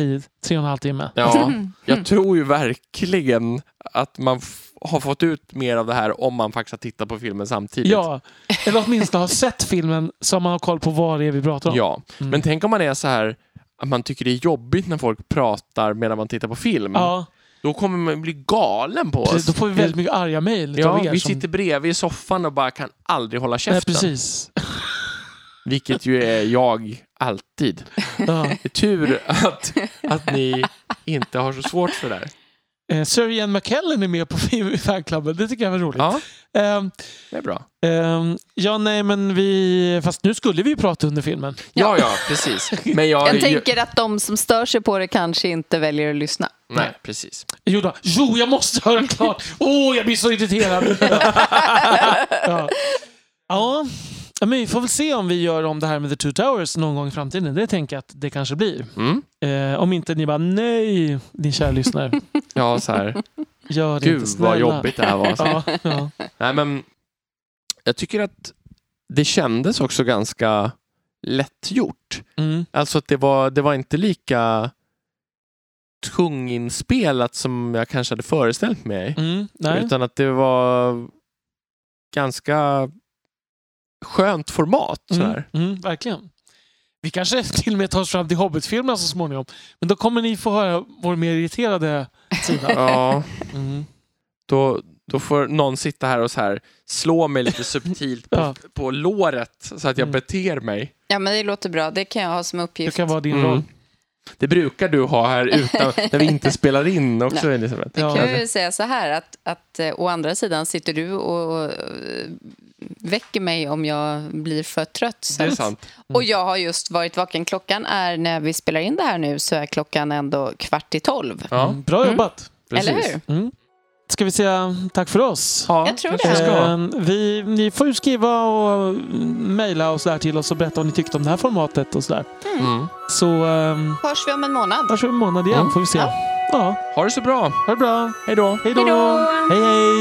S2: i tre och en halv timme.
S3: <laughs>
S1: Ja,
S3: Mm.
S1: jag tror ju verkligen att man f- har fått ut mer av det här om man faktiskt har tittat på filmen samtidigt.
S2: Ja, eller åtminstone har sett filmen så man har koll på vad det är vi pratar om.
S1: Ja,
S2: Mm.
S1: men tänk om man är så här att man tycker det är jobbigt när folk pratar medan man tittar på film.
S2: ja
S1: Då kommer man bli galen på
S2: precis,
S1: oss.
S2: då får vi väldigt mycket arga mejl
S1: ja,
S2: av er.
S1: vi
S2: som-
S1: sitter bredvid i soffan och bara kan aldrig hålla
S2: Nej,
S1: käften.
S2: precis.
S1: vilket ju är jag alltid. <laughs>
S2: Ja.
S1: Det är
S2: <laughs>
S1: tur att, att ni inte har så svårt för det här.
S2: Eh, Sir Ian McKellen är med på fanklubben. Det tycker jag var roligt.
S1: Ja,
S2: Ehm,
S1: det är bra.
S2: ehm, ja, nej, men vi... Fast nu skulle vi ju prata under filmen.
S1: Ja, ja, precis. Men jag...
S3: Jag tänker att de som stör sig på det kanske inte väljer att lyssna.
S1: Nej, precis.
S2: Jo, då. jo jag måste höra klart. Åh, jag blir så irriterad. ja. Ja. men vi får väl se om vi gör om det här med The Two Towers någon gång i framtiden. Det tänker jag att det kanske blir.
S1: Mm.
S2: Eh, om inte ni bara nej, din kära lyssnare.
S1: Ja, så här.
S2: Gör det
S1: Gud
S2: inte snälla.
S1: vad jobbigt det här var. Så.
S2: <laughs> Ja, ja.
S1: Nej, men jag tycker att det kändes också ganska lättgjort.
S2: Mm.
S1: Alltså att det var, det var inte lika tunginspelat som jag kanske hade föreställt mig.
S2: Mm. Nej.
S1: Utan att det var ganska skönt format. Så
S2: Mm. Mm. Verkligen. Vi kanske till och med tar oss fram till Hobbit-filmerna så småningom. Men då kommer ni få höra vår mer irriterade sida.
S1: Ja,
S2: Mm.
S1: då, då får någon sitta här och så här slå mig lite subtilt på,
S2: Ja.
S1: på låret så att jag
S2: Mm.
S1: beter mig.
S3: Ja, men det låter bra. Det kan jag ha som
S2: Det
S3: uppgift.
S2: kan vara din
S1: Mm.
S2: roll.
S1: Det brukar du ha här
S3: <laughs>
S1: utan, när vi inte spelar in också, Elisabeth.
S2: Ja.
S3: kan jag ju säga så här att, att eh, å andra sidan sitter du och, och eh, väcker mig om jag blir för trött. Så
S1: Det är
S3: att-
S1: sant.
S3: Och jag har just varit vaken. Klockan är, när vi spelar in det här nu, så är klockan ändå kvart i tolv.
S1: Ja,
S2: Mm. Bra
S3: Mm.
S2: jobbat.
S1: precis.
S3: Eller hur?
S2: Mm. Ska vi säga tack för oss?
S1: Ja,
S3: Jag tror
S1: kanske
S3: det.
S1: ska.
S2: Eh, vi, ni får ju skriva och mm, mejla och sådär till oss och berätta om ni tyckte om det här formatet och sådär.
S1: Mm.
S2: Så ehm,
S3: Hörs vi om en månad?
S2: hörs vi om en månad igen
S1: Mm.
S2: får vi se.
S3: Ja.
S2: Ja,
S1: Ha det så bra.
S2: ha det bra.
S1: Hej då.
S2: Hej då! Hej hej!